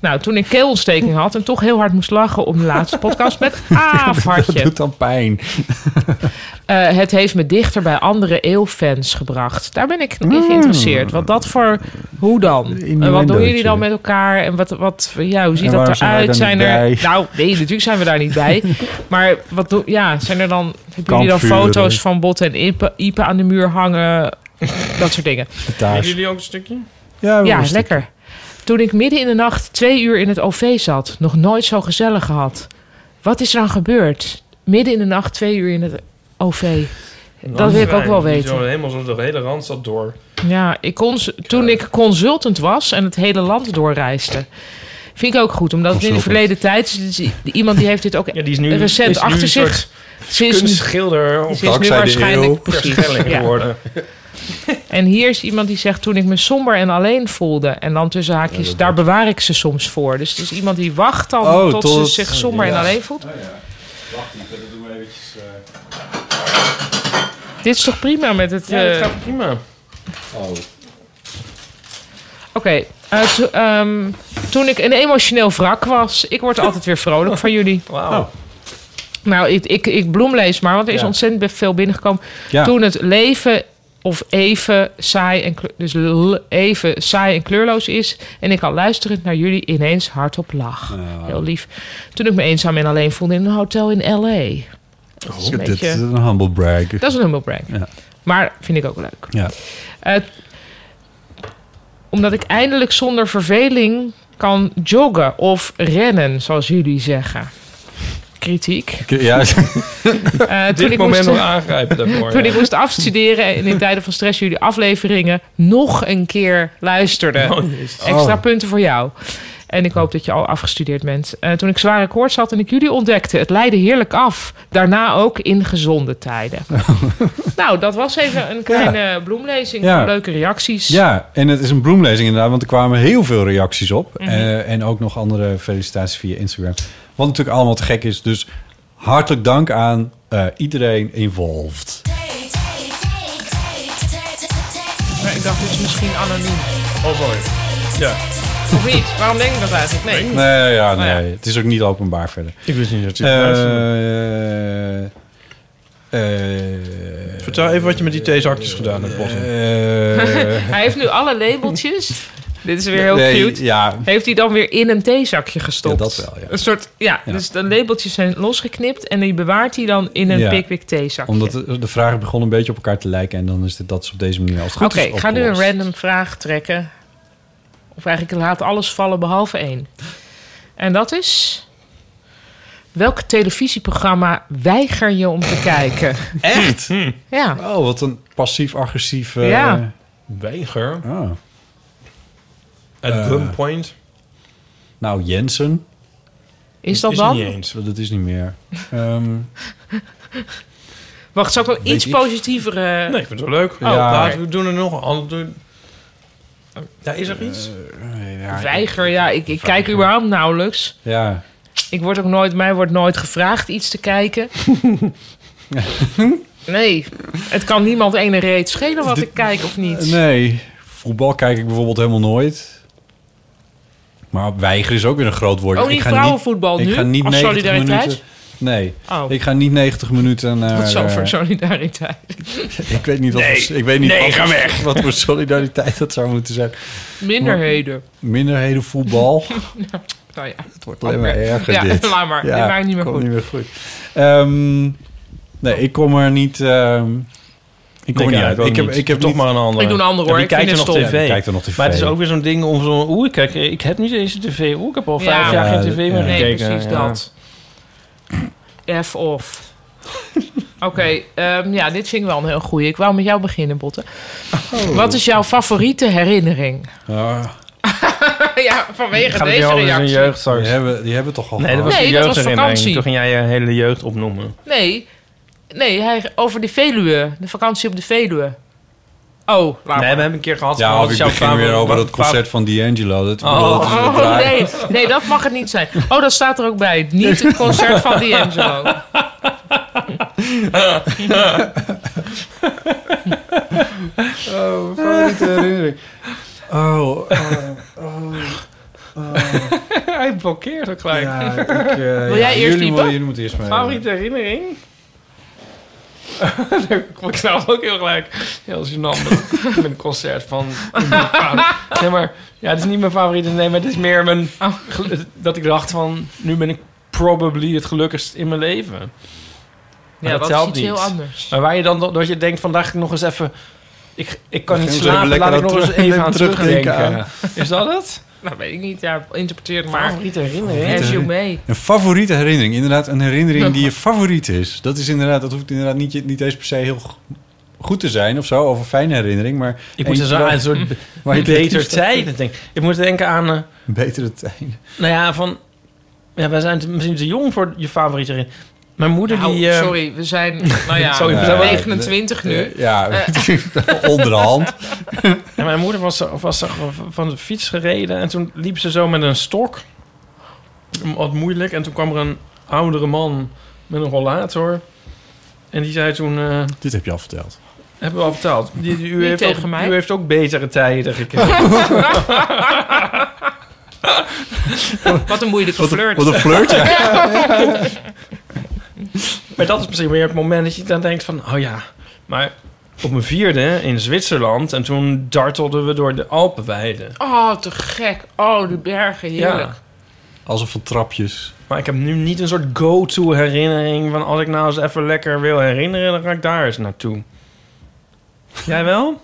[SPEAKER 4] Nou, toen ik keelontsteking had en toch heel hard moest lachen om de laatste podcast met
[SPEAKER 5] Dat
[SPEAKER 4] aafhartje.
[SPEAKER 5] doet dan pijn.
[SPEAKER 4] Eh, het heeft me dichter bij andere eeuwfans gebracht. Daar ben ik in
[SPEAKER 5] Ah.
[SPEAKER 4] geïnteresseerd. Wat dat voor... Hoe dan? En wat doen jullie dan met elkaar? En wat, wat, ja, hoe ziet
[SPEAKER 5] En
[SPEAKER 4] dat
[SPEAKER 5] waarom zijn wij
[SPEAKER 4] eruit?
[SPEAKER 5] daar
[SPEAKER 4] Zijn
[SPEAKER 5] niet
[SPEAKER 4] er,
[SPEAKER 5] bij?
[SPEAKER 4] nou, nee, natuurlijk zijn we daar niet bij. maar wat doen... Ja, zijn er dan... Hebben jullie dan
[SPEAKER 5] Kampvuren.
[SPEAKER 4] foto's van Bot en Ipe, Ipe aan de muur hangen? dat soort dingen.
[SPEAKER 5] De taars.
[SPEAKER 6] jullie ook een stukje?
[SPEAKER 5] Ja, we
[SPEAKER 4] Ja,
[SPEAKER 5] moesten-
[SPEAKER 4] lekker. Toen ik midden in de nacht twee uur in het OV zat, nog nooit zo gezellig gehad. Wat is er dan gebeurd? Midden in de nacht twee uur in het OV. Dat wil ik ook wel weten.
[SPEAKER 6] Zo, helemaal zo de hele randstad door.
[SPEAKER 4] Ja, ik cons- toen ik consultant was en het hele land doorreisde. Vind ik ook goed, omdat het in de
[SPEAKER 5] Consultant.
[SPEAKER 4] verleden tijd... is het- iemand die heeft dit ook...
[SPEAKER 6] Ja, die is nu
[SPEAKER 4] Recent
[SPEAKER 6] is nu
[SPEAKER 4] achter
[SPEAKER 6] een
[SPEAKER 4] zich.
[SPEAKER 6] soort
[SPEAKER 4] Ze is,
[SPEAKER 6] kunstschilder of
[SPEAKER 4] ze is nu
[SPEAKER 5] Dankzij de eeuw.
[SPEAKER 4] waarschijnlijk... Precies,
[SPEAKER 6] schelling
[SPEAKER 4] ja.
[SPEAKER 6] geworden.
[SPEAKER 4] En hier is iemand die zegt... toen ik me somber en alleen voelde... en dan tussen haakjes, daar bewaar ik ze soms voor. Dus het is iemand die wacht dan
[SPEAKER 5] Oh,
[SPEAKER 4] tot,
[SPEAKER 5] tot-
[SPEAKER 4] ze zich somber en
[SPEAKER 5] ja.
[SPEAKER 4] alleen
[SPEAKER 6] Oh,
[SPEAKER 4] voelt.
[SPEAKER 6] eh,
[SPEAKER 4] Dit is toch prima met het...
[SPEAKER 6] Ja, dat
[SPEAKER 4] eh,
[SPEAKER 6] gaat prima.
[SPEAKER 5] Oh.
[SPEAKER 4] Oké, eh, to- ehm, toen ik een emotioneel wrak was... ik word altijd weer vrolijk van jullie.
[SPEAKER 6] Wauw.
[SPEAKER 4] Nou, ik, ik, ik bloemlees maar, want er is
[SPEAKER 5] Ja.
[SPEAKER 4] ontzettend veel binnengekomen.
[SPEAKER 5] Ja.
[SPEAKER 4] Toen het leven of even saai en kleur- dus l- even saai en kleurloos is en ik al luisterend naar jullie ineens hardop lach.
[SPEAKER 5] Ja.
[SPEAKER 4] Heel lief. Toen ik me eenzaam en alleen voelde in een hotel in L.A. Dat is een
[SPEAKER 5] Dit is
[SPEAKER 4] beetje.
[SPEAKER 5] een humble brag.
[SPEAKER 4] Dat is een humble brag.
[SPEAKER 5] Ja.
[SPEAKER 4] Maar vind ik ook leuk.
[SPEAKER 5] Ja.
[SPEAKER 4] Eh, omdat ik eindelijk zonder verveling kan joggen of rennen, zoals jullie zeggen. Kritiek.
[SPEAKER 5] Ja,
[SPEAKER 4] Eh, toen
[SPEAKER 6] Dit
[SPEAKER 4] ik
[SPEAKER 6] moment
[SPEAKER 4] moest,
[SPEAKER 6] nog aangrijpen daarvoor.
[SPEAKER 4] toen
[SPEAKER 6] ja.
[SPEAKER 4] ik moest afstuderen en in tijden van stress jullie afleveringen nog een keer luisterde.
[SPEAKER 6] Oh, jezus.
[SPEAKER 4] Extra punten voor jou. En ik hoop dat je al afgestudeerd bent. Eh, toen ik zware koorts had en ik jullie ontdekte, het leidde heerlijk af. Daarna ook in gezonde tijden. nou, dat was even een kleine bloemlezing.
[SPEAKER 5] Ja.
[SPEAKER 4] van Leuke reacties.
[SPEAKER 5] Ja, en het is een bloemlezing inderdaad, want er kwamen heel veel reacties op.
[SPEAKER 4] Mhm.
[SPEAKER 5] Eh, en ook nog andere felicitaties via Instagram. Wat natuurlijk allemaal te gek is. Dus hartelijk dank aan eh, iedereen involved.
[SPEAKER 4] Maar ik dacht, dit is misschien anoniem.
[SPEAKER 5] Oh, sorry. Ja.
[SPEAKER 4] Of niet? Waarom denk ik dat eigenlijk? Nee.
[SPEAKER 5] Nee, ja,
[SPEAKER 4] Nou ja.
[SPEAKER 5] nee. Het is ook niet openbaar verder.
[SPEAKER 6] Ik wist niet dat je het
[SPEAKER 5] je
[SPEAKER 6] Vertel even wat je met die theezakjes gedaan hebt, Botten. Eh,
[SPEAKER 4] Hij heeft nu alle labeltjes. Dit is weer heel
[SPEAKER 5] Nee,
[SPEAKER 4] cute.
[SPEAKER 5] ja.
[SPEAKER 4] Heeft hij dan weer in een theezakje gestopt?
[SPEAKER 5] Ja, dat wel, ja.
[SPEAKER 4] Een soort, ja, dus de labeltjes zijn losgeknipt en die bewaart hij dan in een
[SPEAKER 5] Ja.
[SPEAKER 4] Pickwick theezakje.
[SPEAKER 5] Omdat de, de vragen begonnen een beetje op elkaar te lijken. En dan is dit, dat is op deze manier als het
[SPEAKER 4] Oké,
[SPEAKER 5] goed is
[SPEAKER 4] ik ga nu een
[SPEAKER 5] opgelost.
[SPEAKER 4] random vraag trekken. Of eigenlijk laat alles vallen behalve één. En dat is... Welk televisieprogramma weiger je om te kijken?
[SPEAKER 5] Echt?
[SPEAKER 4] Ja.
[SPEAKER 5] Oh, wat een passief-agressief... eh,
[SPEAKER 4] Ja.
[SPEAKER 6] Weiger.
[SPEAKER 5] Ah.
[SPEAKER 6] At
[SPEAKER 5] Eh,
[SPEAKER 6] gunpoint.
[SPEAKER 5] Nou, Jensen.
[SPEAKER 4] Is dat
[SPEAKER 6] is
[SPEAKER 4] dan?
[SPEAKER 6] niet eens.
[SPEAKER 5] Dat is niet meer. Ehm,
[SPEAKER 4] Wacht, zal ik wel
[SPEAKER 5] Weet
[SPEAKER 4] iets
[SPEAKER 5] ik.
[SPEAKER 4] positiever... eh,
[SPEAKER 6] Nee, ik vind het wel leuk.
[SPEAKER 5] Ja.
[SPEAKER 6] laten we doen er nog een ander. Ja, is er iets?
[SPEAKER 4] Weiger, ja. Ik, ik kijk überhaupt nauwelijks.
[SPEAKER 5] ja.
[SPEAKER 4] Ik word ook nooit, mij wordt nooit gevraagd iets te kijken. nee, het kan niemand ene reet schelen wat ik kijk of niet.
[SPEAKER 5] Nee, voetbal kijk ik bijvoorbeeld helemaal nooit. Maar weiger is ook weer een groot woord.
[SPEAKER 4] Ook Oh, niet
[SPEAKER 5] ik ga
[SPEAKER 4] vrouwenvoetbal
[SPEAKER 5] niet,
[SPEAKER 4] nu?
[SPEAKER 5] Ik ga niet
[SPEAKER 4] Als
[SPEAKER 5] 90
[SPEAKER 4] solidariteit?
[SPEAKER 5] minuten... Nee,
[SPEAKER 4] Oh,
[SPEAKER 5] ik ga niet 90 minuten naar...
[SPEAKER 4] wat zo
[SPEAKER 5] eh,
[SPEAKER 4] voor solidariteit.
[SPEAKER 5] ik weet niet, wat, voor- ik weet niet wat, wat voor solidariteit dat zou moeten zijn.
[SPEAKER 4] Minderheden.
[SPEAKER 5] Minderheden voetbal.
[SPEAKER 4] Nou ja,
[SPEAKER 5] Het wordt alleen maar
[SPEAKER 4] Oké.
[SPEAKER 5] erger
[SPEAKER 4] Ja,
[SPEAKER 5] dit.
[SPEAKER 4] laat maar. Dit maakt niet meer
[SPEAKER 5] komt
[SPEAKER 4] goed.
[SPEAKER 5] niet meer goed. Ehm, nee, ik kom er niet... ehm, ik kom er niet uit. Ik heb, ik heb
[SPEAKER 6] toch
[SPEAKER 5] niet-
[SPEAKER 6] maar een ander.
[SPEAKER 4] Ik doe een ander, hoor.
[SPEAKER 6] Wie
[SPEAKER 4] Ik
[SPEAKER 6] kijkt er
[SPEAKER 4] vind
[SPEAKER 6] nog
[SPEAKER 4] het
[SPEAKER 5] Ja,
[SPEAKER 4] stom.
[SPEAKER 6] tv?
[SPEAKER 5] die kijkt er nog tv.
[SPEAKER 6] Maar het is ook weer zo'n ding om zo'n... Oeh, kijk, ik heb niet eens de tv. Oeh, ik heb al
[SPEAKER 4] Ja.
[SPEAKER 6] vijf jaar geen
[SPEAKER 5] Ja,
[SPEAKER 6] tv meer
[SPEAKER 5] ja.
[SPEAKER 6] gekeken.
[SPEAKER 4] Nee, precies
[SPEAKER 6] Ja.
[SPEAKER 4] dat. F off. Oké, ehm, ja, dit vind ik wel een heel goeie. Ik wou met jou beginnen, Botte.
[SPEAKER 5] Oh.
[SPEAKER 4] Wat is jouw favoriete herinnering?
[SPEAKER 5] Ah,
[SPEAKER 4] ja, vanwege
[SPEAKER 6] Gaat het
[SPEAKER 4] deze
[SPEAKER 6] jou over zijn
[SPEAKER 4] reactie.
[SPEAKER 6] jeugd
[SPEAKER 5] die,
[SPEAKER 6] straks?
[SPEAKER 5] hebben, die hebben toch al
[SPEAKER 6] Nee, dat
[SPEAKER 5] gehad.
[SPEAKER 6] was
[SPEAKER 4] Nee,
[SPEAKER 6] je
[SPEAKER 4] dat was
[SPEAKER 6] jeugdherinnering.
[SPEAKER 4] vakantie.
[SPEAKER 6] Toen ging jij je hele jeugd opnoemen.
[SPEAKER 4] Nee, nee hij, over de Veluwe. De vakantie op de Veluwe. Oh, laat
[SPEAKER 6] Nee,
[SPEAKER 4] maar.
[SPEAKER 6] we hebben een keer gehad.
[SPEAKER 5] Ja,
[SPEAKER 6] wat
[SPEAKER 5] of
[SPEAKER 6] is
[SPEAKER 5] ik
[SPEAKER 6] jouw
[SPEAKER 5] begin
[SPEAKER 6] favoriete-
[SPEAKER 5] weer over dat
[SPEAKER 6] wat-
[SPEAKER 5] concert van D'Angelo. Dat,
[SPEAKER 6] Oh.
[SPEAKER 5] dat is een
[SPEAKER 4] Oh
[SPEAKER 5] draai.
[SPEAKER 4] nee, nee, dat mag het niet zijn. Oh, dat staat er ook bij. Niet het concert van D'Angelo.
[SPEAKER 5] Oh, favoriete herinnering. Oh, eh, oh, oh,
[SPEAKER 6] Hij blokkeert ook gelijk.
[SPEAKER 5] ja, ik, eh,
[SPEAKER 4] Wil jij
[SPEAKER 5] ja,
[SPEAKER 4] eerst
[SPEAKER 5] jullie,
[SPEAKER 4] die
[SPEAKER 5] moeten-
[SPEAKER 4] bo-
[SPEAKER 5] jullie moeten eerst mee.
[SPEAKER 6] Favoriete herinnering? ik word zelf ook heel gelijk. Heel gênant met, met een concert van... nee, maar... Ja, het is niet mijn favoriete, nee, maar het is meer mijn...
[SPEAKER 4] Oh.
[SPEAKER 6] gel- Dat ik dacht van... Nu ben ik probably het gelukkigst in mijn leven. Maar
[SPEAKER 4] Ja,
[SPEAKER 6] dat
[SPEAKER 4] dat is
[SPEAKER 6] helpt
[SPEAKER 4] iets
[SPEAKER 6] niet.
[SPEAKER 4] heel anders.
[SPEAKER 6] Maar waar je dan... do- Dat je denkt vandaag ik nog eens even... Ik, ik kan
[SPEAKER 5] Misschien
[SPEAKER 6] niet
[SPEAKER 5] eens
[SPEAKER 6] slapen,
[SPEAKER 5] even lekker
[SPEAKER 6] laat ik
[SPEAKER 5] aan
[SPEAKER 6] nog eens
[SPEAKER 5] terug-
[SPEAKER 6] even aan
[SPEAKER 5] terugdenken
[SPEAKER 6] terugdenken. Is dat het?
[SPEAKER 4] Nou, weet ik niet. Ja, interpreteer het maar.
[SPEAKER 6] Favoriete herinnering?
[SPEAKER 4] As you may.
[SPEAKER 5] Een favoriete herinnering. Inderdaad, een herinnering die je favoriet is. Dat is inderdaad, dat hoeft inderdaad niet, niet eens per se heel go- goed te zijn of zo. Of een fijne herinnering, maar...
[SPEAKER 6] Ik moest er zo
[SPEAKER 5] eentje
[SPEAKER 6] aan een soort be-
[SPEAKER 5] waar je
[SPEAKER 6] beter
[SPEAKER 5] liefst-
[SPEAKER 6] tijden denken. Ik moet denken aan... eh,
[SPEAKER 5] Betere tijden.
[SPEAKER 6] Nou ja, van... Ja, wij zijn te- misschien te jong voor je favoriete ring. Mijn moeder
[SPEAKER 4] Nou,
[SPEAKER 6] die... eh,
[SPEAKER 4] sorry, we zijn nou ja,
[SPEAKER 6] Sorry,
[SPEAKER 5] we zijn wel-
[SPEAKER 4] 29 nu.
[SPEAKER 5] Eh,
[SPEAKER 4] Eh.
[SPEAKER 5] Ja, onderhand.
[SPEAKER 6] en mijn moeder was, was van de fiets gereden en toen liep ze zo met een stok. Wat moeilijk. En toen kwam er een oudere man met een rollator. En die zei toen... eh,
[SPEAKER 5] Dit heb je al verteld.
[SPEAKER 6] hebben we al verteld. Die, die- u,
[SPEAKER 4] Niet
[SPEAKER 6] heeft
[SPEAKER 4] tegen
[SPEAKER 6] ook,
[SPEAKER 4] mij.
[SPEAKER 6] u heeft ook betere tijden gekregen.
[SPEAKER 4] Wat een moeilijke flirt.
[SPEAKER 5] Wat een flirt, ja.
[SPEAKER 6] maar dat is misschien weer het moment dat je dan denkt van... Oh ja, maar... Op mijn vierde in Zwitserland. En toen dartelden we door de Alpenweiden.
[SPEAKER 4] Oh, te gek. Oh, de bergen, heerlijk.
[SPEAKER 6] Ja.
[SPEAKER 5] Alsof van trapjes.
[SPEAKER 6] Maar ik heb nu niet een soort go-to herinnering van als ik nou eens even lekker wil herinneren, dan ga ik daar eens naartoe. Jij wel?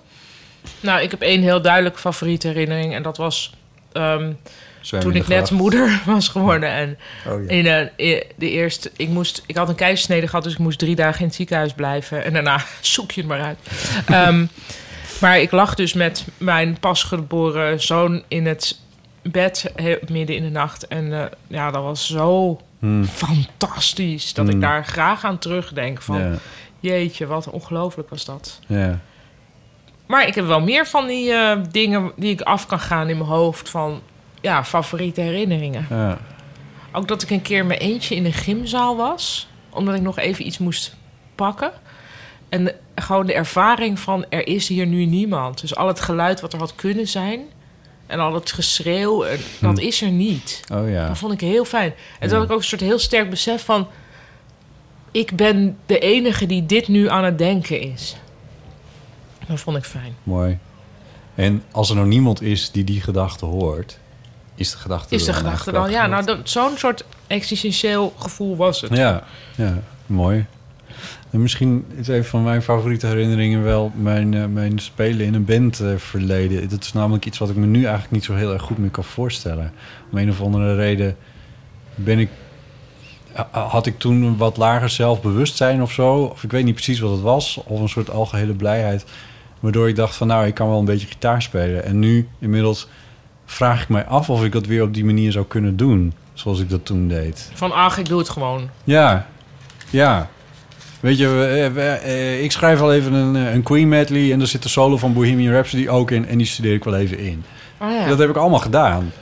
[SPEAKER 4] Nou, ik heb één heel duidelijk favoriete herinnering. En dat was ehm,
[SPEAKER 5] Zwemmen
[SPEAKER 4] toen
[SPEAKER 5] in
[SPEAKER 4] ik
[SPEAKER 5] de
[SPEAKER 4] net
[SPEAKER 5] gracht.
[SPEAKER 4] moeder was geworden. En
[SPEAKER 5] Oh, ja.
[SPEAKER 4] in, eh, in de eerste, ik, moest, ik had een keizersnede gehad, dus ik moest drie dagen in het ziekenhuis blijven. En daarna zoek je het maar uit. Ehm, maar ik lag dus met mijn pasgeboren zoon in het bed he- midden in de nacht. En eh, ja, dat was zo
[SPEAKER 5] Hmm.
[SPEAKER 4] fantastisch dat
[SPEAKER 5] Hmm.
[SPEAKER 4] ik daar graag aan terugdenk. Van,
[SPEAKER 5] Ja.
[SPEAKER 4] Jeetje, wat ongelooflijk was dat.
[SPEAKER 5] Ja.
[SPEAKER 4] Maar ik heb wel meer van die eh, dingen die ik af kan gaan in mijn hoofd van ja, favoriete herinneringen.
[SPEAKER 5] Ja.
[SPEAKER 4] Ook dat ik een keer in mijn eentje in de gymzaal was, omdat ik nog even iets moest pakken. En de- gewoon de ervaring van er is hier nu niemand. Dus al het geluid wat er had kunnen zijn en al het geschreeuw, en, dat is er niet.
[SPEAKER 5] Oh Hm. ja.
[SPEAKER 4] Dat vond ik heel fijn. En toen had ik ook een soort heel sterk besef van... ik ben de enige die dit nu aan het denken is. Dat vond ik fijn.
[SPEAKER 5] Mooi. En als er nou niemand is die die gedachte hoort, is de gedachte
[SPEAKER 4] Is de
[SPEAKER 5] er
[SPEAKER 4] gedachte dan?
[SPEAKER 5] eigenlijk
[SPEAKER 4] Ja,
[SPEAKER 5] wel
[SPEAKER 4] nou, dat- zo'n soort existentieel gevoel was het.
[SPEAKER 5] goed? Ja, ja, mooi. En misschien is een van mijn favoriete herinneringen wel mijn, eh, mijn spelen in een band eh, verleden. Dat is namelijk iets wat ik me nu eigenlijk niet zo heel erg goed meer kan voorstellen. Om een of andere reden ben ik, ha- had ik toen een wat lager zelfbewustzijn of zo. Of ik weet niet precies wat het was. Of een soort algehele blijheid. Waardoor ik dacht van nou, ik kan wel een beetje gitaar spelen. En nu inmiddels vraag ik mij af of ik dat weer op die manier zou kunnen doen. Zoals ik dat toen deed.
[SPEAKER 4] Van ach, ik doe het gewoon.
[SPEAKER 5] Ja, ja. Weet je, we- we- eh, ik schrijf al even een, eh, een Queen medley... en daar zit de solo van Bohemian Rhapsody ook in... en die studeer ik wel even in.
[SPEAKER 4] Oh ja.
[SPEAKER 5] Dat heb ik allemaal gedaan.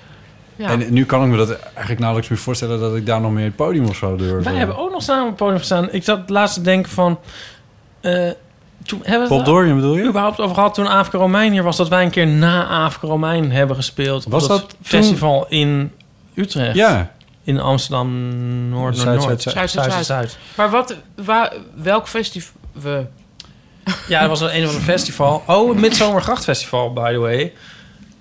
[SPEAKER 4] Ja.
[SPEAKER 5] En nu kan ik me dat eigenlijk nauwelijks meer voorstellen... dat ik daar nog meer het podium of zo durf.
[SPEAKER 6] Wij hebben ook nog samen op het podium gestaan. Ik zat laatst te denken van... eh, toen hebben we
[SPEAKER 5] Bob
[SPEAKER 6] het
[SPEAKER 5] Dorian bedoel je?
[SPEAKER 6] überhaupt over gehad toen Afrika Romein hier was... dat wij een keer na Afrika Romein hebben gespeeld. op
[SPEAKER 5] Was dat toen-
[SPEAKER 6] festival in Utrecht?
[SPEAKER 5] Ja.
[SPEAKER 6] In Amsterdam, Noord,
[SPEAKER 5] Zuid,
[SPEAKER 6] Noord,
[SPEAKER 5] Zuid, Zuid.
[SPEAKER 6] Noord.
[SPEAKER 4] Zuid, Zuid, Zuid. Maar wat, waar, welk festival... We,
[SPEAKER 6] Ja, dat was een, een of ander festival. Oh, het Midzomergrachtfestival, by the way.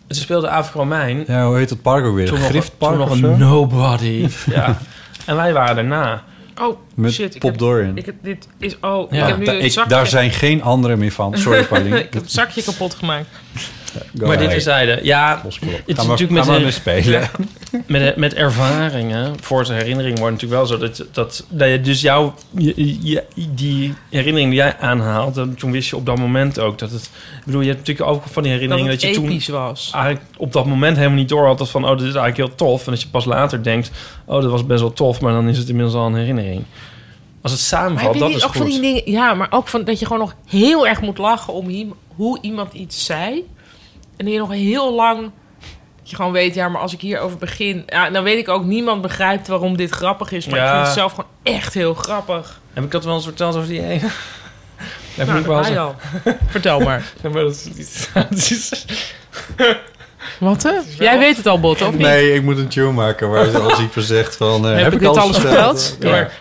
[SPEAKER 6] Ze speelden Afrika Romein.
[SPEAKER 5] Ja, hoe heet dat park ook weer?
[SPEAKER 6] Toen nog-
[SPEAKER 5] Griftpark
[SPEAKER 6] toen nog
[SPEAKER 5] of
[SPEAKER 6] een
[SPEAKER 5] zo?
[SPEAKER 6] nobody. Ja. En wij waren daarna.
[SPEAKER 4] oh,
[SPEAKER 5] Met
[SPEAKER 4] shit. Ik
[SPEAKER 5] Pop
[SPEAKER 4] heb,
[SPEAKER 5] Dorian.
[SPEAKER 4] ik heb, dit is... Oh,
[SPEAKER 6] Ja,
[SPEAKER 4] ik heb nu
[SPEAKER 5] Da-
[SPEAKER 4] het
[SPEAKER 5] ik-
[SPEAKER 4] zakje...
[SPEAKER 5] daar zijn geen anderen meer van. Sorry, Pauline.
[SPEAKER 4] ik heb het zakje kapot gemaakt.
[SPEAKER 5] Go
[SPEAKER 6] maar dit
[SPEAKER 5] ahead.
[SPEAKER 6] is zijde. Ja,
[SPEAKER 5] Losklop.
[SPEAKER 6] is
[SPEAKER 5] Ga maar-
[SPEAKER 6] natuurlijk met
[SPEAKER 5] ga maar
[SPEAKER 6] een-
[SPEAKER 5] mee spelen.
[SPEAKER 6] met, met ervaringen. Voor zijn herinnering wordt natuurlijk wel zo dat, dat, dat je dus jouw, je- je- die herinnering die jij aanhaalt, dan, toen wist je op dat moment ook dat het. Ik bedoel, je hebt natuurlijk ook van die
[SPEAKER 4] Dat
[SPEAKER 6] herinneringen
[SPEAKER 4] het
[SPEAKER 6] dat, je toen
[SPEAKER 4] episch was.
[SPEAKER 6] eigenlijk op dat moment helemaal niet door had dat van oh, dit is eigenlijk heel tof. En dat je pas later denkt, oh, dat was best wel tof, maar dan is het inmiddels al een herinnering. Als het
[SPEAKER 4] Maar heb
[SPEAKER 6] samenvalt,
[SPEAKER 4] je
[SPEAKER 6] dat
[SPEAKER 4] niet
[SPEAKER 6] is
[SPEAKER 4] ook van die
[SPEAKER 6] goed.
[SPEAKER 4] dingen... Ja, maar ook van dat je gewoon nog heel erg moet lachen om hiem- hoe iemand iets zei. En dat je nog heel lang... Dat je gewoon weet, ja, maar als ik hierover begin... Ja, dan weet ik ook, niemand begrijpt waarom dit grappig is. Maar ik
[SPEAKER 6] Ja.
[SPEAKER 4] vind het zelf gewoon echt heel grappig.
[SPEAKER 6] Heb ik dat wel eens verteld over die ene? Ja, vind
[SPEAKER 4] Nou,
[SPEAKER 6] ik wel
[SPEAKER 4] dat
[SPEAKER 6] eens-
[SPEAKER 4] mij al. Vertel maar.
[SPEAKER 6] Ja, maar dat is niet- dat is-
[SPEAKER 4] Wat, hè? Jij weet het al, Bot, of niet?
[SPEAKER 5] Nee, ik moet een tune maken waar ze als ik verzegt van... eh,
[SPEAKER 4] heb, ik dit alles verteld?
[SPEAKER 6] Ja, maar,